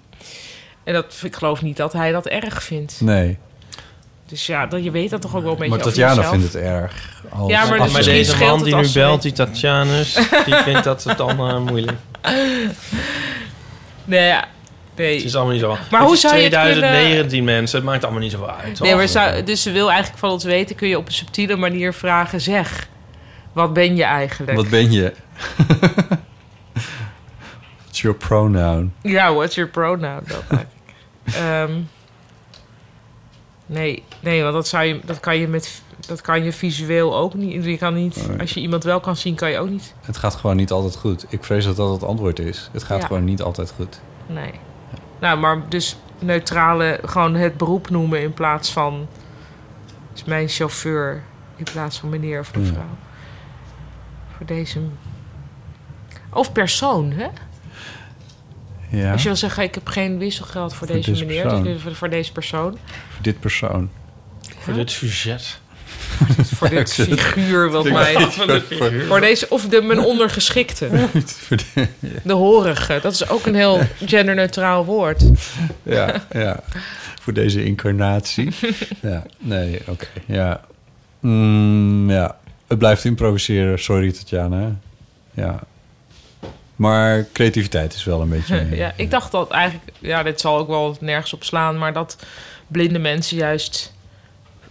[SPEAKER 4] En dat, ik geloof niet dat hij dat erg vindt.
[SPEAKER 5] nee.
[SPEAKER 4] Dus ja, dat, je weet dat toch ook wel een beetje
[SPEAKER 5] Maar
[SPEAKER 4] over
[SPEAKER 5] Tatjana
[SPEAKER 4] jezelf.
[SPEAKER 5] vindt het erg. Als,
[SPEAKER 4] Ja, maar
[SPEAKER 5] als
[SPEAKER 4] dus misschien
[SPEAKER 6] deze
[SPEAKER 4] scheelt
[SPEAKER 6] man
[SPEAKER 4] het
[SPEAKER 6] die
[SPEAKER 4] als
[SPEAKER 6] nu
[SPEAKER 4] ze-
[SPEAKER 6] belt, die Tatjanus, die vindt dat het dan eh, moeilijk.
[SPEAKER 4] Nee, ja. nee.
[SPEAKER 6] Het is allemaal niet zo.
[SPEAKER 4] Maar
[SPEAKER 6] Het
[SPEAKER 4] hoe
[SPEAKER 6] is
[SPEAKER 4] zou je het
[SPEAKER 6] 2019 mensen, het maakt allemaal niet zo uit.
[SPEAKER 4] Nee, maar zou, dus ze wil eigenlijk van ons weten... kun je op een subtiele manier vragen... zeg, wat ben je eigenlijk?
[SPEAKER 5] Wat ben je? It's your pronoun.
[SPEAKER 4] Ja, what's your pronoun? Dat eigenlijk. Ehm, Nee, nee want dat, zou je, dat, kan je met, dat kan je visueel ook niet. Je kan niet. Als je iemand wel kan zien, kan je ook niet.
[SPEAKER 5] Het gaat gewoon niet altijd goed. Ik vrees dat dat het antwoord is. Het gaat
[SPEAKER 4] Ja.
[SPEAKER 5] gewoon niet altijd goed.
[SPEAKER 4] Nee. Nou, maar dus neutrale, gewoon het beroep noemen in plaats van. Dus mijn chauffeur in plaats van meneer of mevrouw. Voor deze. Of persoon, hè?
[SPEAKER 5] Ja.
[SPEAKER 4] Als je wil zeggen, ik heb geen wisselgeld voor,
[SPEAKER 5] Voor
[SPEAKER 4] deze
[SPEAKER 5] deze
[SPEAKER 4] meneer,
[SPEAKER 5] persoon.
[SPEAKER 4] dus voor, voor deze persoon.
[SPEAKER 5] Voor dit persoon.
[SPEAKER 6] Voor dit sujet.
[SPEAKER 4] Voor dit figuur, wat
[SPEAKER 6] Ik
[SPEAKER 4] mij.
[SPEAKER 6] dacht, wat een figuur.
[SPEAKER 4] Voor deze, of de, mijn ondergeschikte. De horige. Dat is ook een heel genderneutraal woord.
[SPEAKER 5] Ja, ja. Voor deze incarnatie. Ja, nee, oké. Ja. Mm, ja. Het blijft improviseren. Sorry, Tatjana. Ja. Maar creativiteit is wel een beetje...
[SPEAKER 4] ja, ik dacht dat eigenlijk, ja, dit zal ook wel nergens op slaan, maar dat blinde mensen juist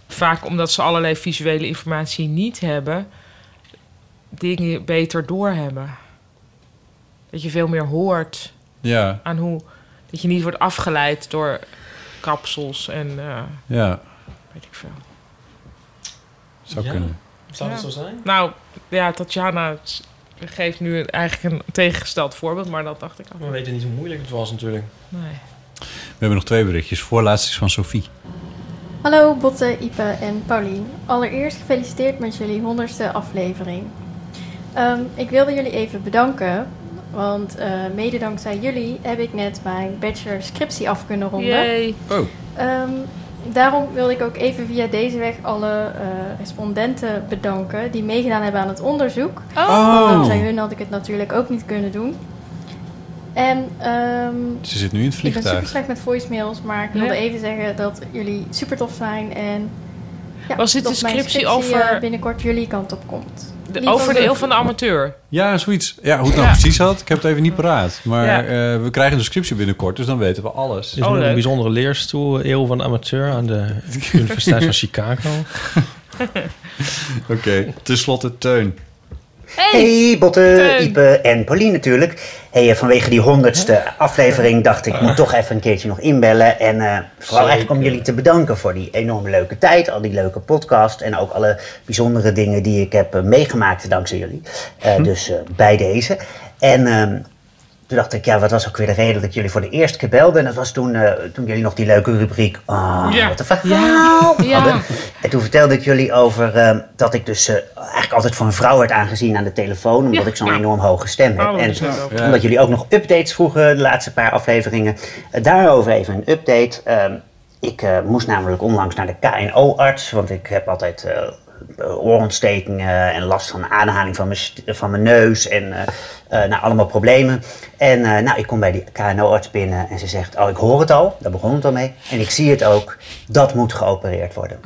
[SPEAKER 4] vaak omdat ze allerlei visuele informatie niet hebben, dingen beter doorhebben. Dat je veel meer hoort
[SPEAKER 5] Ja.
[SPEAKER 4] aan hoe, dat je niet wordt afgeleid door kapsels en eh,
[SPEAKER 5] Ja,
[SPEAKER 4] weet ik veel.
[SPEAKER 5] zou
[SPEAKER 6] Ja.
[SPEAKER 5] kunnen.
[SPEAKER 6] Zou dat
[SPEAKER 4] Ja.
[SPEAKER 6] zo zijn?
[SPEAKER 4] Nou, ja, Tatjana s- geeft nu eigenlijk een tegengesteld voorbeeld, maar dat dacht ik al.
[SPEAKER 6] We weten niet hoe moeilijk het was natuurlijk.
[SPEAKER 4] Nee.
[SPEAKER 5] We hebben nog twee berichtjes. Voorlaatst is van Sophie.
[SPEAKER 21] Hallo Botte, Ipe en Paulien. Allereerst gefeliciteerd met jullie honderdste aflevering. Ehm, ik wilde jullie even bedanken, want eh, mede dankzij jullie heb ik net mijn bachelor scriptie af kunnen ronden.
[SPEAKER 4] Yay.
[SPEAKER 5] Oh.
[SPEAKER 21] Ehm, daarom wilde ik ook even via deze weg alle eh, respondenten bedanken die meegedaan hebben aan het onderzoek.
[SPEAKER 5] Oh.
[SPEAKER 21] Want dankzij hun had ik het natuurlijk ook niet kunnen doen. En, ehm,
[SPEAKER 5] Ze zit nu in het
[SPEAKER 21] Ik ben
[SPEAKER 5] vliegtuig.
[SPEAKER 21] super slecht met voicemails, maar ik wilde even zeggen dat jullie super tof zijn. En ja,
[SPEAKER 4] Was dit
[SPEAKER 21] dat
[SPEAKER 4] de
[SPEAKER 21] mijn
[SPEAKER 4] scriptie
[SPEAKER 21] eh,
[SPEAKER 4] over-
[SPEAKER 21] binnenkort jullie kant op komt.
[SPEAKER 4] De-
[SPEAKER 21] Lieve
[SPEAKER 4] over de
[SPEAKER 21] Roel.
[SPEAKER 4] eeuw van de amateur.
[SPEAKER 5] Ja, zoiets. Ja, hoe het nou
[SPEAKER 4] Ja.
[SPEAKER 5] precies had, ik heb het even niet paraat. Maar
[SPEAKER 4] Ja. Oh,
[SPEAKER 5] eh, we krijgen een scriptie binnenkort, dus dan weten we alles.
[SPEAKER 6] Het is nu een bijzondere leerstoel, eeuw van amateur aan de Universiteit van Chicago.
[SPEAKER 5] Oké, tenslotte Teun.
[SPEAKER 20] Hey, Botte, Ipe en Pauline natuurlijk. Hey, eh, vanwege die honderdste aflevering dacht ik, moet toch even een keertje nog inbellen. En eh, vooral eigenlijk om jullie te bedanken voor die enorme leuke tijd, al die leuke podcast en ook alle bijzondere dingen die ik heb eh, meegemaakt dankzij jullie. Eh,
[SPEAKER 5] Hm.
[SPEAKER 20] Dus eh, bij deze. En ehm, toen dacht ik, ja, wat was ook weer de reden dat jullie voor de eerste keer belden? En dat was toen, eh, toen jullie nog die leuke rubriek, oh,
[SPEAKER 12] Ja.
[SPEAKER 20] wat een verhaal hadden. En toen vertelde ik jullie over ehm, dat ik dus eh, eigenlijk altijd voor een vrouw werd aangezien aan de telefoon. Omdat ik zo'n enorm hoge stem heb.
[SPEAKER 12] Oh,
[SPEAKER 20] en
[SPEAKER 12] zo. Ja.
[SPEAKER 20] omdat jullie ook nog updates vroegen de laatste paar afleveringen. Eh, daarover even een update. Ehm, ik eh, moest namelijk onlangs naar de KNO-arts. Want ik heb altijd eh, oorontstekingen en last van aanhaling van mijn, st- van mijn neus. En eh, eh, nou, allemaal problemen. En eh, nou, ik kom bij die KNO-arts binnen en ze zegt... Oh, ik hoor het al. Daar begon het al mee. En ik zie het ook. Dat moet geopereerd worden.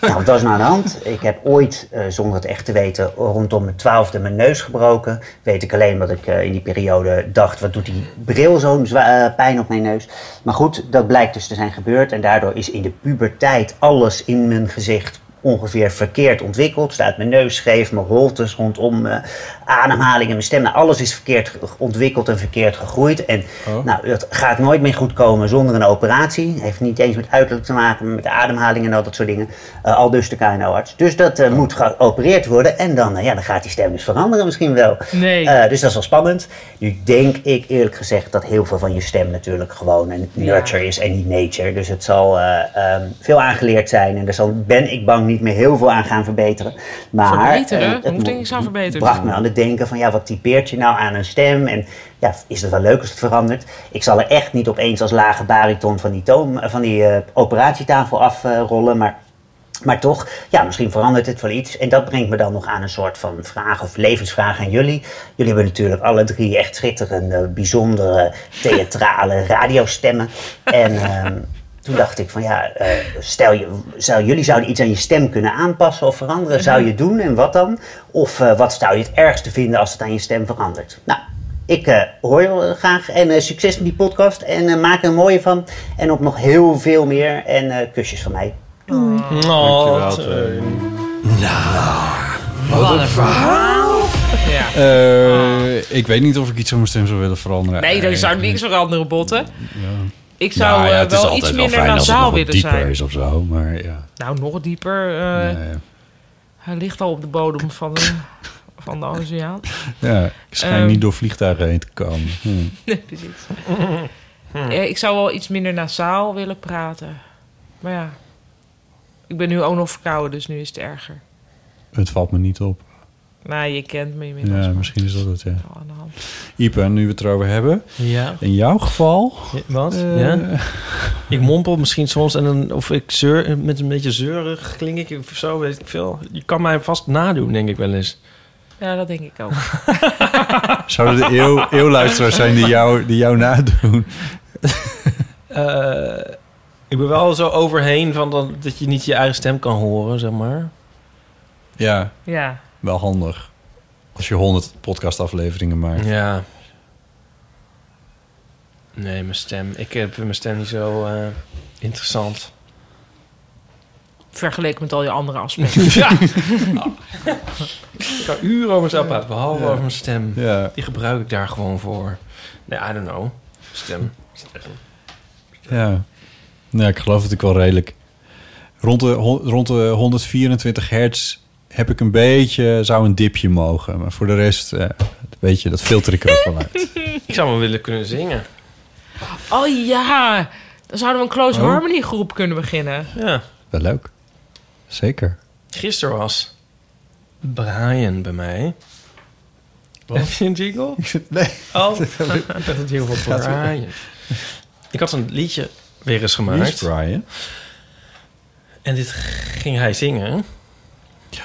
[SPEAKER 20] Nou, wat was er nou aan de hand? Ik heb ooit, eh, zonder het echt te weten, rondom mijn twaalfde mijn neus gebroken. Weet ik alleen dat ik eh, in die periode dacht, wat doet die bril zo'n zwa- eh, pijn op mijn neus. Maar goed, dat blijkt dus te zijn gebeurd. En daardoor is in de puberteit alles in mijn gezicht ongeveer verkeerd ontwikkeld. Staat mijn neus scheef, mijn holtes rondom eh ademhalingen, mijn stem. Nou, alles is verkeerd ge- ontwikkeld en verkeerd gegroeid. En
[SPEAKER 4] Oh.
[SPEAKER 20] nou, dat gaat nooit meer goed komen zonder een operatie. Heeft niet eens met uiterlijk te maken, maar met de ademhaling en al dat soort dingen. Eh, al dus de KNO-arts. Dus dat eh, moet geopereerd worden. En dan, eh, ja, dan gaat die stem dus veranderen misschien wel.
[SPEAKER 4] Nee.
[SPEAKER 20] Eh, dus dat is wel spannend. Nu denk ik eerlijk gezegd dat heel veel van je stem natuurlijk gewoon een nurture is en niet nature. Dus het zal eh, ehm, veel aangeleerd zijn. En daar zal, ben ik bang niet meer heel veel aan gaan verbeteren. Maar eh,
[SPEAKER 4] verbeteren?
[SPEAKER 20] het
[SPEAKER 4] Hoe moet
[SPEAKER 20] mo-
[SPEAKER 4] ik iets aan verbeteren?
[SPEAKER 20] bracht me aan het denken van ja, wat typeert je nou aan een stem? En ja, is het wel leuk als het verandert? Ik zal er echt niet opeens als lage bariton van die, toom, van die eh, operatietafel afrollen, maar... Maar toch, ja, misschien verandert het wel iets. En dat brengt me dan nog aan een soort van vraag of levensvraag aan jullie. Jullie hebben natuurlijk alle drie echt schitterende, bijzondere, theatrale radiostemmen. En ehm, toen dacht ik van ja, eh, stel je, zou, jullie zouden iets aan je stem kunnen aanpassen of veranderen. Zou je doen en wat dan? Of eh, wat zou je het ergste vinden als het aan je stem verandert? Nou, ik eh, hoor je wel graag en eh, succes met die podcast en eh, maak er een mooie van. En op nog heel veel meer en eh, kusjes van mij.
[SPEAKER 6] Oh,
[SPEAKER 5] Nou,
[SPEAKER 6] wat een verhaal.
[SPEAKER 4] Ja.
[SPEAKER 5] Eh,
[SPEAKER 4] Ah.
[SPEAKER 5] Ik weet niet of ik iets aan mijn stem zou willen veranderen.
[SPEAKER 4] Nee, er zou niks veranderen, botten.
[SPEAKER 5] Ja.
[SPEAKER 4] Ik zou
[SPEAKER 5] Nou ja,
[SPEAKER 4] eh,
[SPEAKER 5] het is
[SPEAKER 4] wel
[SPEAKER 5] altijd
[SPEAKER 4] iets minder
[SPEAKER 5] fijn als het nog
[SPEAKER 4] nasaal
[SPEAKER 5] wat
[SPEAKER 4] willen
[SPEAKER 5] dieper
[SPEAKER 4] zijn.
[SPEAKER 5] is of zo, maar ja.
[SPEAKER 4] Nou, nog dieper. eh, Hij ligt al op de bodem van de, van de oceaan.
[SPEAKER 5] Ja, ik schijn
[SPEAKER 4] Ehm,
[SPEAKER 5] niet door vliegtuigen heen te komen. Hm.
[SPEAKER 4] Nee, precies. Ja, ik zou wel iets minder nasaal willen praten. Maar ja, ik ben nu ook nog verkouden, dus nu is het erger.
[SPEAKER 5] Het valt me niet op.
[SPEAKER 4] Nou, je kent me inmiddels.
[SPEAKER 5] Ja, misschien is dat het, ja. Ipe, nu we het erover hebben.
[SPEAKER 6] Ja.
[SPEAKER 5] In jouw geval...
[SPEAKER 6] Wat?
[SPEAKER 5] eh,
[SPEAKER 6] ja? Ik mompel misschien soms en dan, of ik zeur, met een beetje zeurig klink ik of zo, weet ik veel. Je kan mij vast nadoen, denk ik wel eens.
[SPEAKER 4] Ja, dat denk ik ook.
[SPEAKER 5] Zouden de eeuw, eeuwluisteraars zijn die jou, die jou nadoen?
[SPEAKER 6] Eh, ik ben wel zo overheen van dat, dat je niet je eigen stem kan horen, zeg maar.
[SPEAKER 5] Ja,
[SPEAKER 4] Ja.
[SPEAKER 5] wel handig. Als je 100 podcastafleveringen maakt.
[SPEAKER 6] Ja. Nee, mijn stem. Ik heb mijn stem niet zo eh, interessant.
[SPEAKER 4] Vergeleken met al je andere aspecten.
[SPEAKER 6] Ik kan uren over mezelf praten, behalve
[SPEAKER 4] Ja.
[SPEAKER 6] over mijn stem.
[SPEAKER 5] Ja.
[SPEAKER 6] Die gebruik ik daar gewoon voor. Nee, I don't know. Stem. Stem.
[SPEAKER 5] Ja. Nou, ik geloof het ik wel redelijk. Rond de, hon- rond de 124 hertz heb ik een beetje, zou een dipje mogen. Maar voor de rest, eh, weet je, dat filter ik er ook wel uit.
[SPEAKER 6] Ik zou me willen kunnen zingen.
[SPEAKER 4] Oh ja, dan zouden we een Close
[SPEAKER 5] Oh.
[SPEAKER 4] Harmony groep kunnen beginnen.
[SPEAKER 6] Ja.
[SPEAKER 5] Wel leuk. Zeker.
[SPEAKER 6] Gisteren was Brian bij mij. Heb je een jingle?
[SPEAKER 5] Nee.
[SPEAKER 6] Oh, ik had een jingle van
[SPEAKER 5] Gaat weer.
[SPEAKER 6] Brian. Ik had een liedje weer eens gemaakt.
[SPEAKER 5] Wie is Brian?
[SPEAKER 6] En dit ging hij zingen.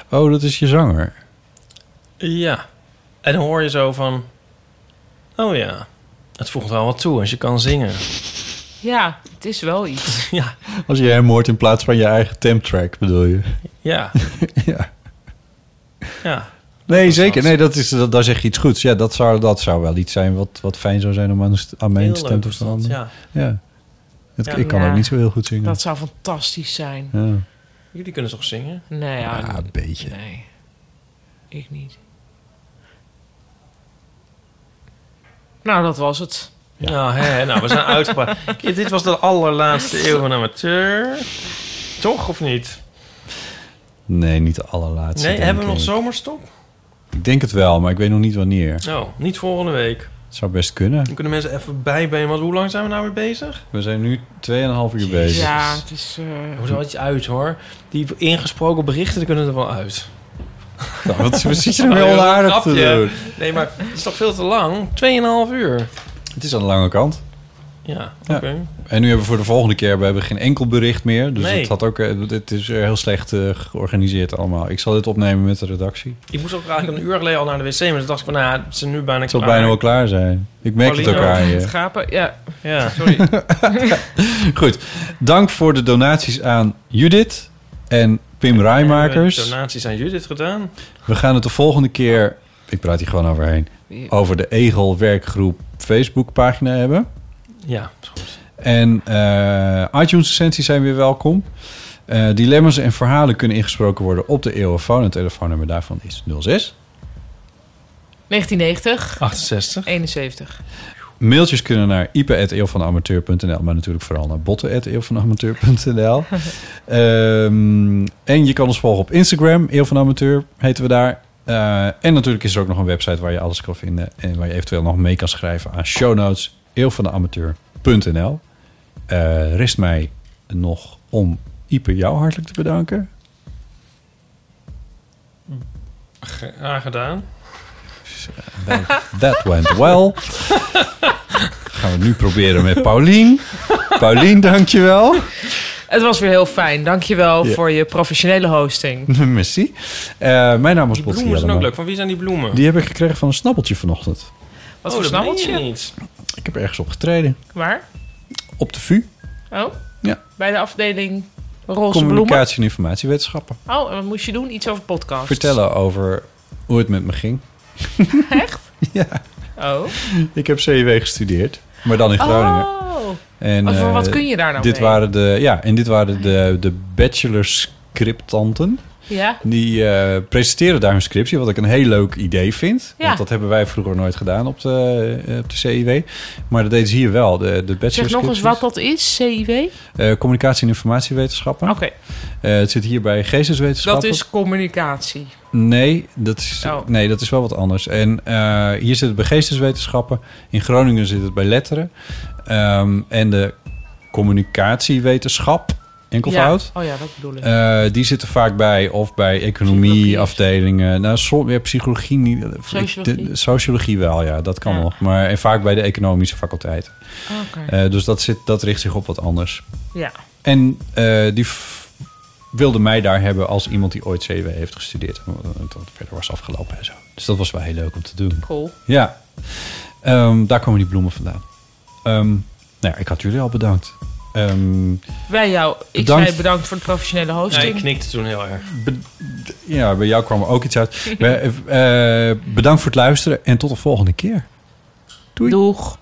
[SPEAKER 5] Oh, dat is je zanger.
[SPEAKER 6] Ja. En dan hoor je zo van... Oh ja, het voegt wel wat toe als je kan zingen.
[SPEAKER 4] Ja, het is wel iets.
[SPEAKER 6] ja.
[SPEAKER 5] Als je hem hoort in plaats van je eigen temtrack, bedoel je?
[SPEAKER 6] Ja.
[SPEAKER 5] ja.
[SPEAKER 6] Ja.
[SPEAKER 5] Nee, zeker. Nee, dat is, dat, daar zeg je iets goeds. Ja, dat zou, dat zou wel iets zijn wat, wat fijn zou zijn om aan, de st- aan mijn
[SPEAKER 4] Heel
[SPEAKER 5] stem
[SPEAKER 4] leuk
[SPEAKER 5] te
[SPEAKER 4] is dat,
[SPEAKER 5] staan.
[SPEAKER 4] ja.
[SPEAKER 5] Het,
[SPEAKER 4] Ja.
[SPEAKER 5] ik kan
[SPEAKER 4] Ja.
[SPEAKER 5] ook niet zo heel goed zingen.
[SPEAKER 4] Dat zou fantastisch zijn.
[SPEAKER 5] Ja.
[SPEAKER 6] Jullie kunnen toch zingen?
[SPEAKER 4] Nee, ja,
[SPEAKER 5] Ja, een beetje.
[SPEAKER 4] Nee, ik niet. Nou, dat was het.
[SPEAKER 6] Nou, hè, nou, we zijn uitgepraat. Ja, Dit was de allerlaatste eeuw van amateur. Toch, of niet?
[SPEAKER 5] Nee, niet de allerlaatste.
[SPEAKER 6] nee,
[SPEAKER 5] denk
[SPEAKER 6] hebben we nog
[SPEAKER 5] ik.
[SPEAKER 6] zomerstop?
[SPEAKER 5] Ik denk het wel, maar ik weet nog niet wanneer. Het
[SPEAKER 6] Nou, niet volgende week.
[SPEAKER 5] zou best kunnen.
[SPEAKER 6] Dan kunnen mensen even bijbenen, want hoe lang zijn we nou weer bezig?
[SPEAKER 5] We zijn nu 2,5 uur bezig.
[SPEAKER 4] Ja, het is... eh,
[SPEAKER 6] Hoe zal iets uit, hoor. Die ingesproken berichten, die kunnen er wel uit.
[SPEAKER 5] Nou, wat is precies een heel aardig te
[SPEAKER 6] Grapje.
[SPEAKER 5] doen.
[SPEAKER 6] Nee, maar het is toch veel te lang? 2,5 uur.
[SPEAKER 5] Het is aan de lange kant.
[SPEAKER 6] Ja, oké.
[SPEAKER 5] Ja. En nu hebben we voor de volgende keer we hebben geen enkel bericht meer. Dus
[SPEAKER 6] Nee.
[SPEAKER 5] het, had ook, eh, het is eh, heel slecht eh, georganiseerd allemaal. Ik zal dit opnemen met de redactie.
[SPEAKER 6] Ik moest ook eigenlijk een uur geleden al naar de wc, maar toen dacht ik van, nou, ja, het is nu bijna
[SPEAKER 5] Het zal
[SPEAKER 6] klaar.
[SPEAKER 5] bijna wel klaar zijn. Ik merk het ook
[SPEAKER 6] Paulino.
[SPEAKER 5] aan
[SPEAKER 4] Het
[SPEAKER 5] je.
[SPEAKER 4] gapen, ja.
[SPEAKER 6] Ja.
[SPEAKER 4] Sorry.
[SPEAKER 5] Goed. Dank voor de donaties aan Judith en Pim
[SPEAKER 6] Hebben
[SPEAKER 5] Rijmakers.
[SPEAKER 6] we donaties aan Judith gedaan.
[SPEAKER 5] We gaan het de volgende keer... Ik praat hier gewoon overheen. Over de Egel Werkgroep Facebook pagina hebben.
[SPEAKER 6] Ja.
[SPEAKER 5] En eh iTunes recensies zijn weer welkom. Eh, dilemma's en verhalen kunnen ingesproken worden op de eeuwenfoon. Het telefoonnummer daarvan is 06.
[SPEAKER 4] 1990.
[SPEAKER 6] Ah, 68.
[SPEAKER 4] 71.
[SPEAKER 5] Mailtjes kunnen naar ipe.eeuwvanamateur.nl, maar natuurlijk vooral naar botten.eeuwvanamateur.nl. Ehm en je kan ons volgen op Instagram, Eeuw van Amateur heten we daar. Eh, en natuurlijk is er ook nog een website waar je alles kan vinden en waar je eventueel nog mee kan schrijven aan show notes, eeuwvanamateur.nl. Eh rest mij nog om Ipe jou hartelijk te bedanken.
[SPEAKER 6] Graag gedaan.
[SPEAKER 5] That went well. Gaan we nu proberen met Paulien. Paulien, dankjewel.
[SPEAKER 4] Het was weer heel fijn. Dankjewel
[SPEAKER 5] Ja.
[SPEAKER 4] voor je professionele hosting.
[SPEAKER 5] Merci. Eh, mijn naam is Botti
[SPEAKER 6] Die bloemen zijn ook
[SPEAKER 5] Jellema.
[SPEAKER 6] leuk. Van wie zijn die bloemen?
[SPEAKER 5] Die heb ik gekregen van een snappeltje vanochtend.
[SPEAKER 4] Wat
[SPEAKER 6] oh,
[SPEAKER 4] voor
[SPEAKER 6] dat meen
[SPEAKER 4] snabbeltje?
[SPEAKER 6] je niet.
[SPEAKER 5] Ik heb ergens op getreden.
[SPEAKER 4] Waar?
[SPEAKER 5] Op de VU.
[SPEAKER 4] Oh?
[SPEAKER 5] Ja.
[SPEAKER 4] Bij de afdeling roze bloemen.
[SPEAKER 5] Communicatie en informatiewetenschappen.
[SPEAKER 4] Oh, en wat moest je doen? Iets over podcast.
[SPEAKER 5] Vertellen over hoe het met me ging.
[SPEAKER 4] Oh.
[SPEAKER 5] Ik heb CEW gestudeerd. Maar dan in
[SPEAKER 4] Oh.
[SPEAKER 5] Groningen. En,
[SPEAKER 4] Wat voor-
[SPEAKER 5] eh,
[SPEAKER 4] wat kun je daar nou
[SPEAKER 5] dit
[SPEAKER 4] mee?
[SPEAKER 5] Waren de, ja, en dit waren de, de bachelor scriptanten.
[SPEAKER 4] Ja.
[SPEAKER 5] Die eh, presenteren daar hun scriptie, wat ik een heel leuk idee vind.
[SPEAKER 4] Ja.
[SPEAKER 5] Want dat hebben wij vroeger nooit gedaan op de, eh, op de CIW. Maar dat deden ze hier wel, de, de bachelor
[SPEAKER 4] Zeg nog eens
[SPEAKER 5] scripties.
[SPEAKER 4] wat dat is, CIW.
[SPEAKER 5] Eh, communicatie- en informatiewetenschappen.
[SPEAKER 4] Oké.
[SPEAKER 5] Eh, het zit hier bij
[SPEAKER 4] Dat
[SPEAKER 5] geesteswetenschappen.
[SPEAKER 4] is communicatie.
[SPEAKER 5] Nee, dat is,
[SPEAKER 4] Oh.
[SPEAKER 5] nee, dat is wel wat anders. En eh, hier zit het bij geesteswetenschappen. In Groningen zit het bij letteren. Ehm, en de communicatiewetenschap, enkelvoud.
[SPEAKER 4] Ja. Oh ja, dat bedoel ik.
[SPEAKER 5] Eh, die zitten vaak bij of bij economieafdelingen. Nou, som, ja, psychologie niet.
[SPEAKER 4] Sociologie.
[SPEAKER 5] De- sociologie wel, ja, dat kan
[SPEAKER 4] Ja.
[SPEAKER 5] nog. Maar en vaak bij de economische faculteit.
[SPEAKER 4] Oké.
[SPEAKER 5] Eh, dus dat, zit, dat richt zich op wat anders.
[SPEAKER 4] Ja.
[SPEAKER 5] En eh, die f- wilde mij daar hebben als iemand die ooit CW heeft gestudeerd. En Dat verder was afgelopen en zo. Dus dat was wel heel leuk om te doen.
[SPEAKER 4] Cool.
[SPEAKER 5] Ja. Ehm, daar komen die bloemen vandaan. Ehm, nou ja, ik had jullie al bedankt. Ehm,
[SPEAKER 4] Wij jou. Ik
[SPEAKER 5] Bedankt.
[SPEAKER 4] zei bedankt voor de professionele hosting.
[SPEAKER 6] Ja, ik knikte toen heel erg.
[SPEAKER 5] be- d- ja, bij jou kwam er ook iets uit. Be- eh, bedankt voor het luisteren en tot de volgende keer.
[SPEAKER 4] Doeg.